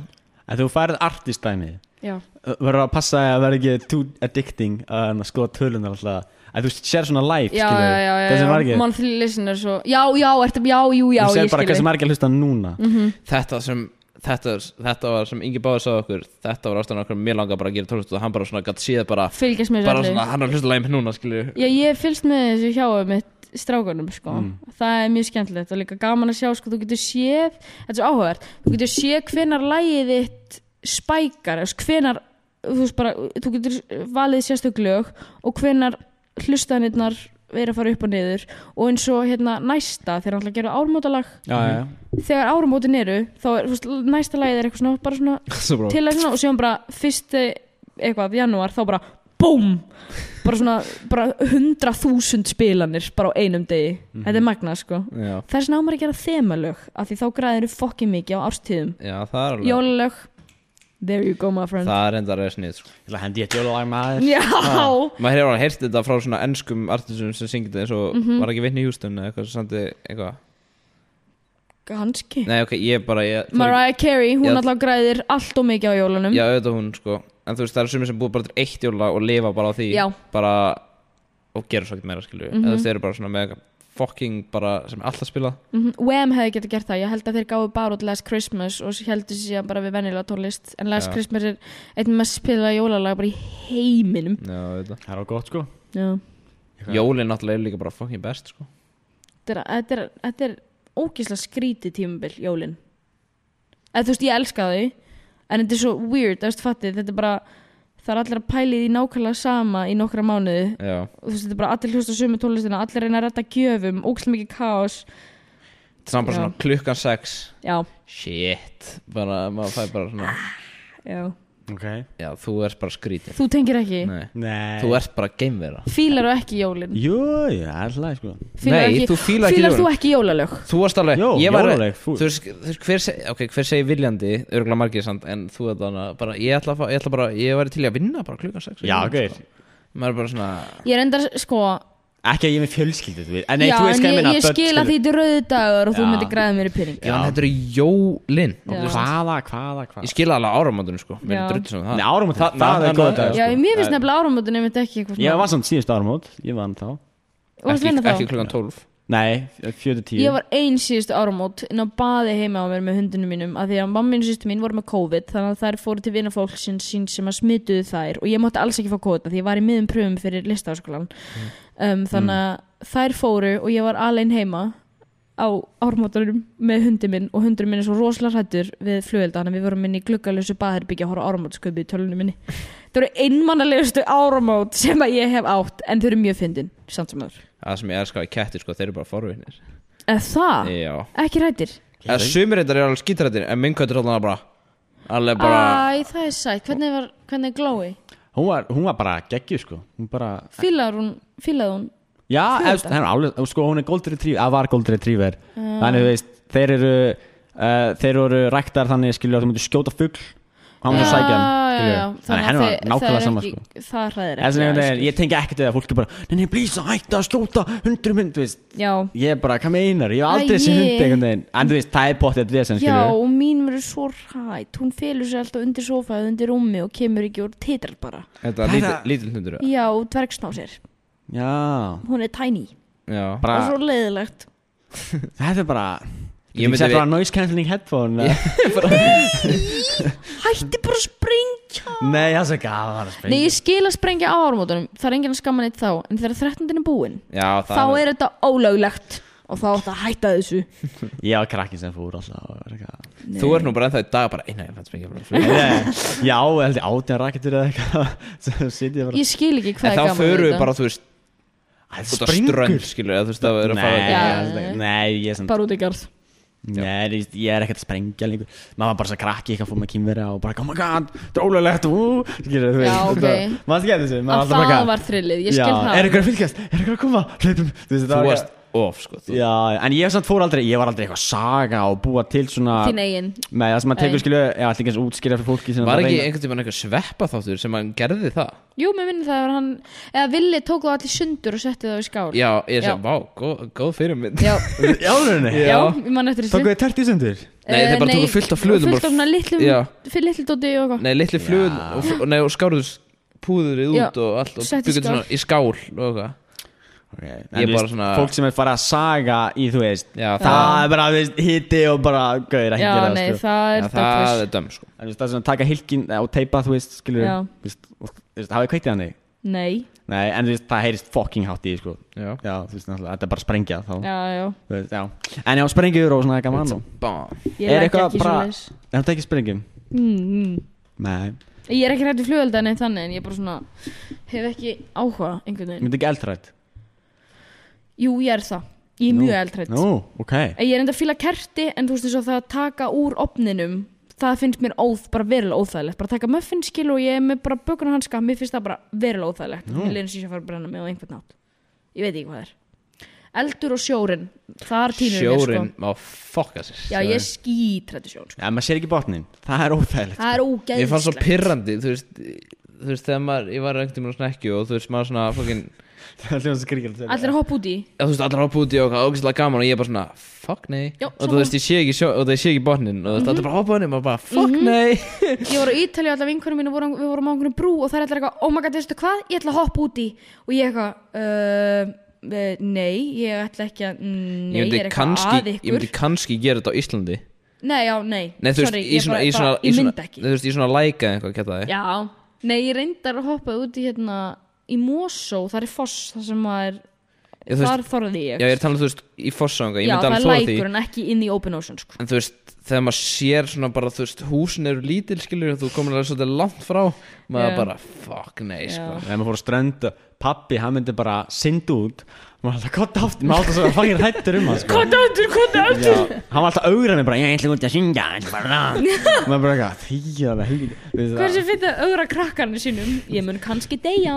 Speaker 5: En þú færið artist dæmið
Speaker 4: Já,
Speaker 5: Eh, Verður að passa að vera ekki too addicting að skoða tölunar alltaf að þú sér svona live
Speaker 4: já,
Speaker 5: skilur
Speaker 4: já,
Speaker 5: við,
Speaker 4: já, já,
Speaker 5: það sem
Speaker 4: já,
Speaker 5: margir
Speaker 4: monthly listeners og, já, já, ertu, já, jú, já, ég
Speaker 5: þú
Speaker 4: Mhm.
Speaker 5: sér bara
Speaker 4: skil
Speaker 5: hvað sem margir að hlusta núna
Speaker 6: þetta sem þetta, þetta var sem Ingi Báður sagði okkur þetta var ástæðan okkur, mér langaði bara að gera tónlist og hann bara svona gætt síða bara,
Speaker 4: fylgjast með
Speaker 6: bara
Speaker 4: þessu
Speaker 6: svona,
Speaker 4: öllu
Speaker 6: hann er hlusta lægum núna skilju
Speaker 4: já, ég fylgst með þessu hjá mitt strákunum, sko, það er mjög skemmtilegt og líka gaman að sjá, sko, þú getur séð þetta er svo áhugavert, þú getur séð hvenar lægið þitt spækar eða hvenar, þú veist bara þú getur valið sérstök lög og hvenar hlustanirnar er að fara upp og niður og eins og hérna næsta þegar hann ætla að gera ármótalag
Speaker 5: já, já,
Speaker 6: (laughs)
Speaker 5: já.
Speaker 4: þegar áramótin eru þá er þú veist, næsta lagið er eitthvað svona bara svona
Speaker 6: sko.
Speaker 4: til að svona og síðan bara fyrst eitthvað janúar þá bara BOOM bara svona bara 100.000 spilanir bara á einum degi
Speaker 6: Mhm.
Speaker 4: þetta er magnað sko
Speaker 6: já,
Speaker 4: þess vegna á maður að gera þemalög af því þá græðir þú fokkin mikið á árstíðum
Speaker 6: já, það er alveg
Speaker 4: jólalög there you go my friend
Speaker 6: það er enda reis nýtt sko.
Speaker 5: Ég ætla að hendi ég jólalag maður
Speaker 4: já
Speaker 6: maður hefur alveg heyrt þetta frá svona ennskum artistum sem syngið þetta eins og
Speaker 4: Mhm.
Speaker 6: var ekki Whitney Houston eða eitthvað sem sandi eitthvað
Speaker 4: kannski
Speaker 6: nei ok, ég bara ég, það er-
Speaker 4: Mariah Carey hún
Speaker 6: Já.
Speaker 4: alltaf græðir allt og mikið á jólunum
Speaker 6: já, auðvitað hún sko en þú veist, það er sumir sem búið bara til eitt jólalag og lifa bara á því
Speaker 4: Já.
Speaker 6: bara og gera svo ekkert meira skilju mm þú veist, þeir eru bara svona með eitthvað fucking bara sem er alltaf spila
Speaker 4: Mhm, Wham hefði getið gert það, ég held að þeir gáðu bara út Last Christmas og heldur síðan bara við venjulega tónlist en Last
Speaker 6: Já.
Speaker 4: Christmas er einn mest spilaða jólalag bara í heiminum
Speaker 6: já, auðvitað
Speaker 5: það er á gott sko
Speaker 4: Já.
Speaker 6: jólin náttúrulega er líka bara fucking best sko
Speaker 4: Þetta er- Þetta er, þetta er ógislega skrítið tímabil, jólin eða þú veist, ég elska þau en þetta er svo weird, þú veist, fattið þetta er bara, það er allir að pæli því nákvæmlega sama í nokkra mánuði
Speaker 6: já,
Speaker 4: og þú veist, þetta er bara allir hlusta á sömu tónlistina allir reyna að retta gjöfum, ógislega mikið kaos
Speaker 6: saman bara
Speaker 4: Já.
Speaker 6: svona klukkan sex
Speaker 4: Já,
Speaker 6: shit, bara maður fær bara svona
Speaker 4: já
Speaker 5: ok
Speaker 6: já, þú ert bara skrítið
Speaker 4: Þú tengir ekki,
Speaker 6: nei,
Speaker 5: nei
Speaker 6: þú ert bara geimvera
Speaker 4: fílar þú ekki jólin
Speaker 5: jú, já, alltaf sko
Speaker 4: Fílar
Speaker 6: Nei,
Speaker 4: ekki,
Speaker 6: þú fílar ekki
Speaker 4: fílar
Speaker 6: jólin.
Speaker 4: þú ekki jólalög
Speaker 6: Þú varst alveg,
Speaker 5: Jó,
Speaker 6: ég var
Speaker 5: jólaleg,
Speaker 6: þú
Speaker 5: fúl.
Speaker 6: veist, þú veist, hver, seg, okay, hver segir viljandi, örgulega margir samt En þú er þarna, bara, ég ætla, að fá- ég ætla bara, ég væri til í að vinna bara klukkan 6
Speaker 5: já, ok
Speaker 6: sko. Maður er bara svona,
Speaker 4: ég er endar sko
Speaker 5: ekki að ég er með fjölskyldu þú veit. en nei,
Speaker 4: já,
Speaker 5: þú veist
Speaker 4: en
Speaker 5: hvað ég
Speaker 4: ég,
Speaker 5: meina
Speaker 4: ég
Speaker 5: börn,
Speaker 4: skil
Speaker 5: skilur.
Speaker 4: að því þetta er rauði dagur og þú
Speaker 5: Já.
Speaker 4: myndir græða mér í pening
Speaker 6: já, en þetta eru jólin
Speaker 4: Já.
Speaker 5: hvaða, hvaða, hvaða
Speaker 6: Ég skila alveg áramótunum, sko, mér
Speaker 4: Já.
Speaker 6: er drutt sem það
Speaker 5: Nei, áramót, það, það er
Speaker 6: annað-
Speaker 5: góð dag
Speaker 4: Já, mér finnst nefnilega áramótin einmitt ekki eitthvað
Speaker 5: Ég var samt síðust áramót, ég vann þá
Speaker 4: Varstu
Speaker 6: ekki,
Speaker 4: vinna þá?
Speaker 6: ekki klukkan 12
Speaker 5: Nei, 4-10
Speaker 4: Ég var ein síðustu áramót inn á baði heima á mér með hundunum mínum af því að mamma mín og sýstu mín voru með COVID þannig að þær fóru til vinafólk sín, sín sem að smituðu þær og ég mátti alls ekki fá COVID af því ég var í miðum pröfum fyrir listaháskólan um, þannig að þær fóru og ég var alein heima á áramótunum með hundin minn og hundurinn minn er svo rosalega hrættur við flugvelda þannig að við vorum inn í gluggalösu baðherbyggja að horfa áramótsköpi í tölunum minni það eru einmannalegustu áramót sem að ég hef átt en þau eru mjög fyndin samt sem aður
Speaker 6: Það sem ég elska í ketti, sko, þeir eru bara forvinnir
Speaker 4: eða
Speaker 5: Ah.
Speaker 4: það,
Speaker 6: Já,
Speaker 4: ekki hrættir
Speaker 6: en sumir þetta eru alveg skítrættir En minn köttur allan bara, alveg bara
Speaker 4: Æ, það er sætt, hvernig var, hvernig er glói?
Speaker 5: hún, var, hún var bara geggju sko Hún bara
Speaker 4: Fílaði hún, fílaði hún
Speaker 5: Já,
Speaker 4: Fyrir
Speaker 5: efst,
Speaker 4: þetta?
Speaker 5: hennar, alveg, sko, hún er gold retriever, að var gold retriever Þannig, þú veist, þeir eru uh, Þeir eru ræktar þannig, skilur að þú myndir skjóta fugl Hann var
Speaker 4: Já,
Speaker 5: svo sækja
Speaker 4: já, já,
Speaker 5: hann, skilur Þannig henni var
Speaker 4: þið- það
Speaker 5: nákvæmlega
Speaker 4: er
Speaker 5: sama,
Speaker 4: ekki-
Speaker 5: sko
Speaker 4: Það hræðir
Speaker 5: En sem ég
Speaker 4: það
Speaker 5: veginn, ég tengi ekkert eða fólk er bara Nei, nei, please, hætta að skjóta hundur minn, þú veist
Speaker 4: er- Já,
Speaker 5: Ég er bara, hvað meinar, ég hef aldrei
Speaker 4: Æi.
Speaker 5: þessi hund einhvern veginn En þú veist, það er pottið að lesa,
Speaker 4: já,
Speaker 5: skilur
Speaker 4: og mín verður svo hrætt Hún félur sér alltaf undir sofaðið, undir rúmi og kemur ekki úr titrar bara
Speaker 6: Þetta er lítill lítil hundur
Speaker 4: Já, dvergsnásir,
Speaker 5: Já,
Speaker 4: hún er tiny
Speaker 6: Já,
Speaker 4: Það
Speaker 5: bara,
Speaker 4: er svo leiðilegt
Speaker 5: þetta er bara
Speaker 6: Ég
Speaker 5: Ég
Speaker 6: myndi
Speaker 5: myndi
Speaker 6: við-
Speaker 5: bara noise cancelling headphone eða?
Speaker 4: Hætti bara að sprengja
Speaker 5: Nei, það er svo gaman að
Speaker 4: Nei,
Speaker 5: spila
Speaker 4: ég skil að sprengja á áramótunum Það er enginn að skamma neitt þá En þegar 13. er búin,
Speaker 6: já það
Speaker 4: þá er þetta ólöglegt Og þá átt að hætta þessu
Speaker 5: Ég var krakkin sem fór alltaf og var eitthvað.
Speaker 6: Þú ert nú bara ennþá í dag bara eina, ég fætt spengja bara
Speaker 4: (laughs)
Speaker 6: flug
Speaker 5: Nei, Já, heldur átján rakettur eða eitthvað sem sitja bara
Speaker 4: Ég skil ekki hvað
Speaker 6: En
Speaker 4: er
Speaker 6: þá
Speaker 4: gaman við
Speaker 6: förum við
Speaker 4: þetta.
Speaker 6: bara, þú veist,
Speaker 5: Æ,
Speaker 6: út á strönd, skilur eða þú veist, það er að fara
Speaker 5: Nei,
Speaker 4: Já,
Speaker 5: það
Speaker 4: já,
Speaker 5: er-
Speaker 4: já.
Speaker 5: nei, ég er sem
Speaker 4: bara út í garð
Speaker 5: Nei, þú veist, ég er ekkert að sprengja lengur Maður var bara svo krakki, eitthvað fór með kýmvera og bara, oh my god, drólulegt Ú, skilur, þú
Speaker 4: Já, ok.
Speaker 5: Maður skilur þessu maður
Speaker 4: að
Speaker 5: alltaf bara
Speaker 4: það
Speaker 5: eitthvað,
Speaker 4: var þrillið, ég skil
Speaker 5: já,
Speaker 4: það
Speaker 5: Er eitthvað að fylgjast, er eitthvað að koma, hlaupum Þú veist,
Speaker 6: Þú
Speaker 5: það var
Speaker 6: varst of, sko þú-
Speaker 5: Já, en ég samt fór aldrei, ég var aldrei eitthvað að saga og búa til svona
Speaker 4: þín eigin
Speaker 5: Nei, það sem maður tekur
Speaker 4: Nei.
Speaker 5: skilju, ég ætla ekki eins að útskýra fyrir fólki sem
Speaker 6: Var
Speaker 5: er að
Speaker 6: ekki
Speaker 5: reyna-
Speaker 6: einhvern tímann eitthvað sveppa þáttur sem hann gerði það?
Speaker 4: jú, mér minnir það var hann eða Villi tók það allir sundur og setti það í skál
Speaker 6: Já, ég
Speaker 4: Já.
Speaker 6: sem, vá, góð, góð fyrir mynd
Speaker 4: já,
Speaker 5: (laughs) Í alvörunni?
Speaker 4: já, ég man eftir þessu Eh,
Speaker 5: Tókuðu þið tært í sundur?
Speaker 6: Nei, þeir bara tóku fullt af flugum
Speaker 4: fullt af svona litlum,
Speaker 6: Já.
Speaker 4: fyrir litlu dóti og eitthvað
Speaker 6: Nei, litli flugun, og, f- og, nei, og skáruðu s- púðrið
Speaker 4: Já,
Speaker 6: út og allt og
Speaker 4: setti
Speaker 6: byggjum
Speaker 4: skál.
Speaker 6: svona í skál og eitthvað
Speaker 5: okay.
Speaker 6: Ég
Speaker 5: en, þú
Speaker 6: bara
Speaker 5: veist,
Speaker 6: svona-
Speaker 5: fólk sem er farið að saga í þú veist
Speaker 6: Já,
Speaker 5: það er bara þú veist, hitti og bara gauðir ekki
Speaker 4: Já,
Speaker 5: gera
Speaker 4: nei,
Speaker 5: það sko.
Speaker 4: það
Speaker 6: Já,
Speaker 4: er
Speaker 6: það
Speaker 4: dökkfis.
Speaker 6: er döm sko
Speaker 5: En, þú veist, það er svona að taka hilkin og teipa þú veist skilur
Speaker 4: Já.
Speaker 5: þú veist, og, þú veist, hafið kveiktið hann þig
Speaker 4: Nei,
Speaker 5: nei en þú veist það heyrist fucking hátt í því, sko
Speaker 6: Já.
Speaker 5: já þú veist náttúrulega þetta er bara sprengja þá
Speaker 4: já, já
Speaker 5: þú veist, já en já sprengjur og svona er gaman og
Speaker 6: Bam
Speaker 4: Ég
Speaker 5: Er
Speaker 4: er
Speaker 5: eitthvað
Speaker 4: ekki
Speaker 5: bara-
Speaker 4: svoleiðis.
Speaker 5: er þetta ekki sprengjum
Speaker 4: Mm, mm.
Speaker 5: nei
Speaker 4: Ég er ekki rætt í flugölda neitt þannig en ég bara svona hef ekki áhuga einhvern veginn
Speaker 5: myndi ekki eldrætt
Speaker 4: Jú, ég er það, ég er mjög eldrætt
Speaker 5: nú ok
Speaker 4: Ég er enda að fíla kerti en þú veist þess að það að taka úr opninum það finnst mér óð, bara verilega óþægilegt bara taka muffinskil og ég er með bara bökunarhanska mér finnst það bara verilega óþægilegt mm. mér leynir sér að fara að brenna mig á einhvern nátt ég veit ekki hvað það er eldur og sjórin, þar týnur
Speaker 6: Sjórin
Speaker 4: mér
Speaker 6: má fokka sér
Speaker 4: sko já ég skýt rætt í sjón sko.
Speaker 5: já maður sér ekki botnin það er óþægilegt (laughs)
Speaker 4: það er
Speaker 6: Ég fann svo
Speaker 4: ógeðslegt
Speaker 6: pirrandi, þú veist Þú veist, þegar maður, ég var einhvern tímann á snekju og þú veist, maður svona fokkin
Speaker 5: það er hljóðan skrikjöld
Speaker 4: allir að hoppa út í
Speaker 6: Já, þú veist, allar hoppa út í okkar, ógæslega gaman og ég bara svona, fuck nei
Speaker 4: Já,
Speaker 6: Og þú
Speaker 4: sama. Mhm.
Speaker 6: veist, ég sé ekki, sjó, og það ég sé ekki botnin og þú veist, allir bara hoppa hann og maður bara, fuck nei
Speaker 4: ég var á Ítali og allar vinkunum mínu vorum, við vorum á einhvern brú og það er allar eitthvað, oh my god, veistu hvað, ég ætla að hoppa út í og ég eitthvað, uh, eh, nei, ég ætla ekki að, mm, nei,
Speaker 6: Ég
Speaker 4: ég
Speaker 6: myndi
Speaker 4: er eitthvað að
Speaker 6: kannski, ég
Speaker 4: ykkur.
Speaker 6: myndi kannski gera þetta á Íslandi
Speaker 4: Nei, já, nei,
Speaker 6: Nei, þú veist,
Speaker 4: Sorry,
Speaker 6: í
Speaker 4: ég
Speaker 6: svona,
Speaker 4: bara,
Speaker 6: í svona,
Speaker 4: bara,
Speaker 6: í
Speaker 4: ég
Speaker 6: svona,
Speaker 4: myndi ekki.
Speaker 6: þú veist, í svona læka eða eitthvað, geta það
Speaker 4: Já, nei, ég reyndar að hoppa út í hérna, í Mosó, það er foss, það sem maður,
Speaker 6: Já, þú
Speaker 4: þar
Speaker 6: veist,
Speaker 4: þorði ég.
Speaker 6: já, ég er talað, þú veist, í fossanga, ég
Speaker 4: Já,
Speaker 6: myndi
Speaker 4: það er
Speaker 6: alveg þóra því
Speaker 4: lækur en ekki inn í open ocean, sko.
Speaker 6: En þú veist, þegar maður sér svona bara, þú veist, húsin eru lítil, skilur, þú komin alveg svolítið langt frá, maður
Speaker 4: Já.
Speaker 6: bara, fuck nei, sko.
Speaker 5: ef maður fór að strönda pappi hann myndi bara synd út maður alltaf gott aftur maður alltaf svo fangir hættur um hann sko
Speaker 4: Döndur, hvað er
Speaker 5: Já, hann var alltaf augrað mér bara, ég ætla út að syngja ég ætla
Speaker 6: (laughs)
Speaker 5: bara að maður bara eitthvað, þýja það hugið
Speaker 4: Hvað sem finnst að ögra krakkarnir sínum? Ég mun kannski
Speaker 6: (laughs)
Speaker 4: deyja.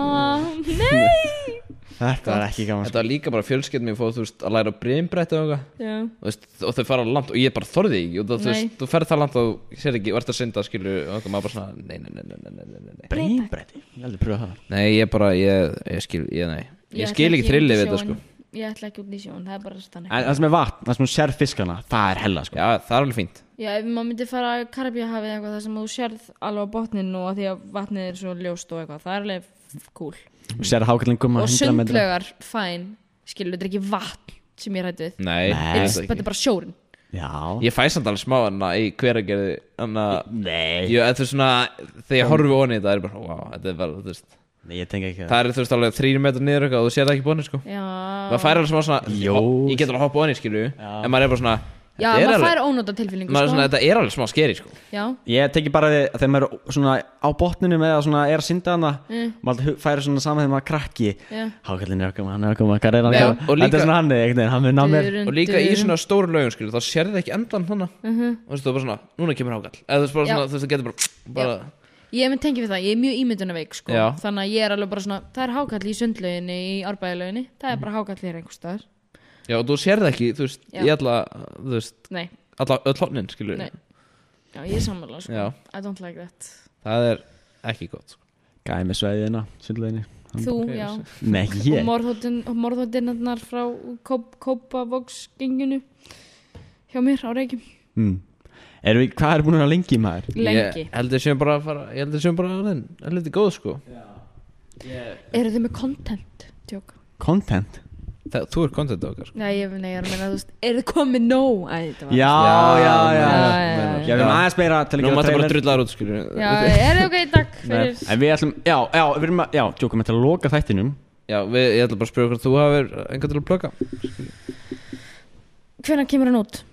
Speaker 4: Nei!
Speaker 5: þetta var ekki gaman sko.
Speaker 6: Þetta var líka bara fjölskeldum ég fóð, þú veist, að læra brimbretti og eitthvað,
Speaker 4: Já,
Speaker 6: þú veist, og þau fara langt og ég bara þorði ekki, og það, þú
Speaker 4: Nei.
Speaker 6: veist, þú ferð það langt og þú sér ekki, og ert að synda, skilur, og eitthvað, maður bara svona, nei, nei, nei, nei, nei, nei, nei, nei.
Speaker 5: brínbretti, ég aldrei pröfa það
Speaker 6: Nei, ég bara, ég, ég skil, ég, nei, ég,
Speaker 4: ætla
Speaker 6: skil ekki
Speaker 4: út í
Speaker 6: þrillið við þetta,
Speaker 4: sjón.
Speaker 6: sko.
Speaker 4: Ég ætla ekki út í sjón, það er bara stannig.
Speaker 5: en það sem er vatn, það sem hún sér fiskana, það er hella sko.
Speaker 6: Já, það er alveg fínt.
Speaker 4: Já, ef maður myndi fara að Karabíahafið eða eitthvað, það sem þú sérð alveg á botninu og af því að vatnið er svo ljóst og eitthvað, það er alveg cool.
Speaker 5: hún sér hákallin gumma
Speaker 4: og
Speaker 5: 100 metra
Speaker 4: sundlaugar, fæn skilur, þetta er ekki vatn sem ég rætti við
Speaker 6: Nei,
Speaker 5: Nei.
Speaker 6: ég
Speaker 4: It's-
Speaker 6: veit það
Speaker 4: þetta
Speaker 6: ekki.
Speaker 4: er bara sjórin
Speaker 5: já,
Speaker 6: Ég fæ samt alveg smá hana í hveragerði, hana,
Speaker 5: nei
Speaker 6: Jú, þetta er svona, þegar ég horfi onni þetta er bara, wow, þetta er vel, þú veist
Speaker 5: Nei, ég tengi ekki það
Speaker 6: Það er, þú veist, alveg þrýri metrar niður eitthvað og þú sér það ekki bónið, sko
Speaker 4: já,
Speaker 6: Það fær alveg smá svona,
Speaker 5: Jó.
Speaker 6: ég get alveg að hoppa onni, skilju En maður er bara svona,
Speaker 4: já
Speaker 6: þetta er
Speaker 4: maður
Speaker 6: alveg,
Speaker 4: fær ónóta tilfinningu sko.
Speaker 6: maður er svona, þetta er alveg smá skeri, sko
Speaker 4: já,
Speaker 5: ég tengi bara því að þegar maður er svona á botninu með að svona er að synda hana
Speaker 6: Mm.
Speaker 5: maður alltaf hu- færi svona saman þegar maður er krakki
Speaker 4: Já.
Speaker 5: hákallin er að koma, hann er að koma, hvað er hann
Speaker 6: Já,
Speaker 5: að
Speaker 6: og
Speaker 5: koma þetta
Speaker 6: líka-
Speaker 5: er svona hann, einhvern veginn, hann mun ná mér
Speaker 4: Dun,
Speaker 6: Og líka í
Speaker 4: dun.
Speaker 6: svona stóru lögum, skilju, þá sér það ekki endan hana Og þú veist, þú er bara svona, núna kemur hákall Eða þú veist, bara
Speaker 4: Mhm. Já.
Speaker 6: svona, þú veist, það getur bara, (sniffs) bara
Speaker 4: ég með tengi við það, ég er mjög ímyndunaveik sko.
Speaker 6: Já.
Speaker 4: þannig að ég er alveg bara svona það er hákall í sundlauginni, í árbæðilauginni það er bara hákall hér einhvers staðar
Speaker 6: Já, og þú sér það ekki, þú veist,
Speaker 4: Já.
Speaker 6: í alla, þú veist,
Speaker 4: nei,
Speaker 6: alla, öll hotnin, skilju
Speaker 4: Nei. já, ég er sammála sko.
Speaker 6: Já.
Speaker 4: I don't like that
Speaker 6: Það er ekki gott, sko
Speaker 5: gæmi sveiðina, sundleginni
Speaker 4: þú, já,
Speaker 5: hérna, nei,
Speaker 4: yeah.
Speaker 5: ég
Speaker 4: og morðhóttinarnar frá Kópavóksgenginu hjá mér á Reykjum
Speaker 5: Mm. Erum við, hvað er búin að vera lengi maður?
Speaker 4: lengi
Speaker 6: Ég held að séum bara að fara, ég held að séum bara að það er litið góð, sko
Speaker 4: Eru þið með content? Tjók.
Speaker 5: Content?
Speaker 6: Það, þú er content okkar sko.
Speaker 4: Nei, ég, nei, ég er að meina, þú veist, eru þið komið nóg? Æ, þetta var...
Speaker 5: Já,
Speaker 6: Já,
Speaker 5: já, já,
Speaker 4: já,
Speaker 5: já.
Speaker 4: já, já.
Speaker 5: Ég erum
Speaker 6: Já.
Speaker 5: aðeins meira til að
Speaker 6: Nú
Speaker 5: gera
Speaker 6: maður bara
Speaker 5: trailer
Speaker 6: drullar út skilur
Speaker 4: Já, er þið ok, takk
Speaker 5: Nei,
Speaker 4: fyrir...
Speaker 5: En við ætlum, já, já, við erum að, já, tjókum þetta að loka þættinum
Speaker 6: Já, við, ég ætla bara að spyrja okkur Þú hafir einhvern til að plugga
Speaker 4: Hvernig kemur hann út?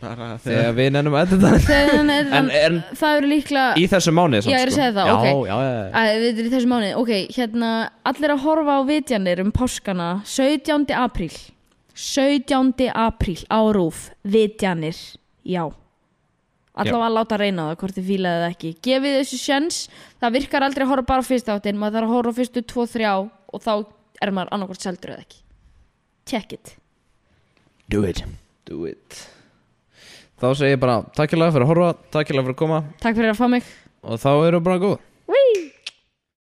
Speaker 6: Þegar við nennum að þetta
Speaker 4: Þegar hann er...
Speaker 6: En, en
Speaker 4: það eru líklega...
Speaker 6: í þessu mánuði sko.
Speaker 4: Já, ég er að segja það,
Speaker 5: Já,
Speaker 4: ok.
Speaker 5: já, já,
Speaker 4: Æ, við erum í þessu mánuði. Ok, hérna, allir að horfa á vitjanir um páskana 17. apríl. 17. apríl á rúf. Vitjanir. Já. Allavega að láta reyna það hvort þið fílaðið eða ekki. Gefið þessu sjens. Það virkar aldrei að horfa bara á fyrsta áttinn. Maður þarf að horfa á fyrstu 2-3 og þá er maður annarkvort seldur eða ekki. Check it.
Speaker 5: Do it
Speaker 6: Do it Þá segir ég bara Takkilega fyrir að horfa Takkilega fyrir að koma
Speaker 4: Takk fyrir að fá mig.
Speaker 6: Og þá erum við bara góð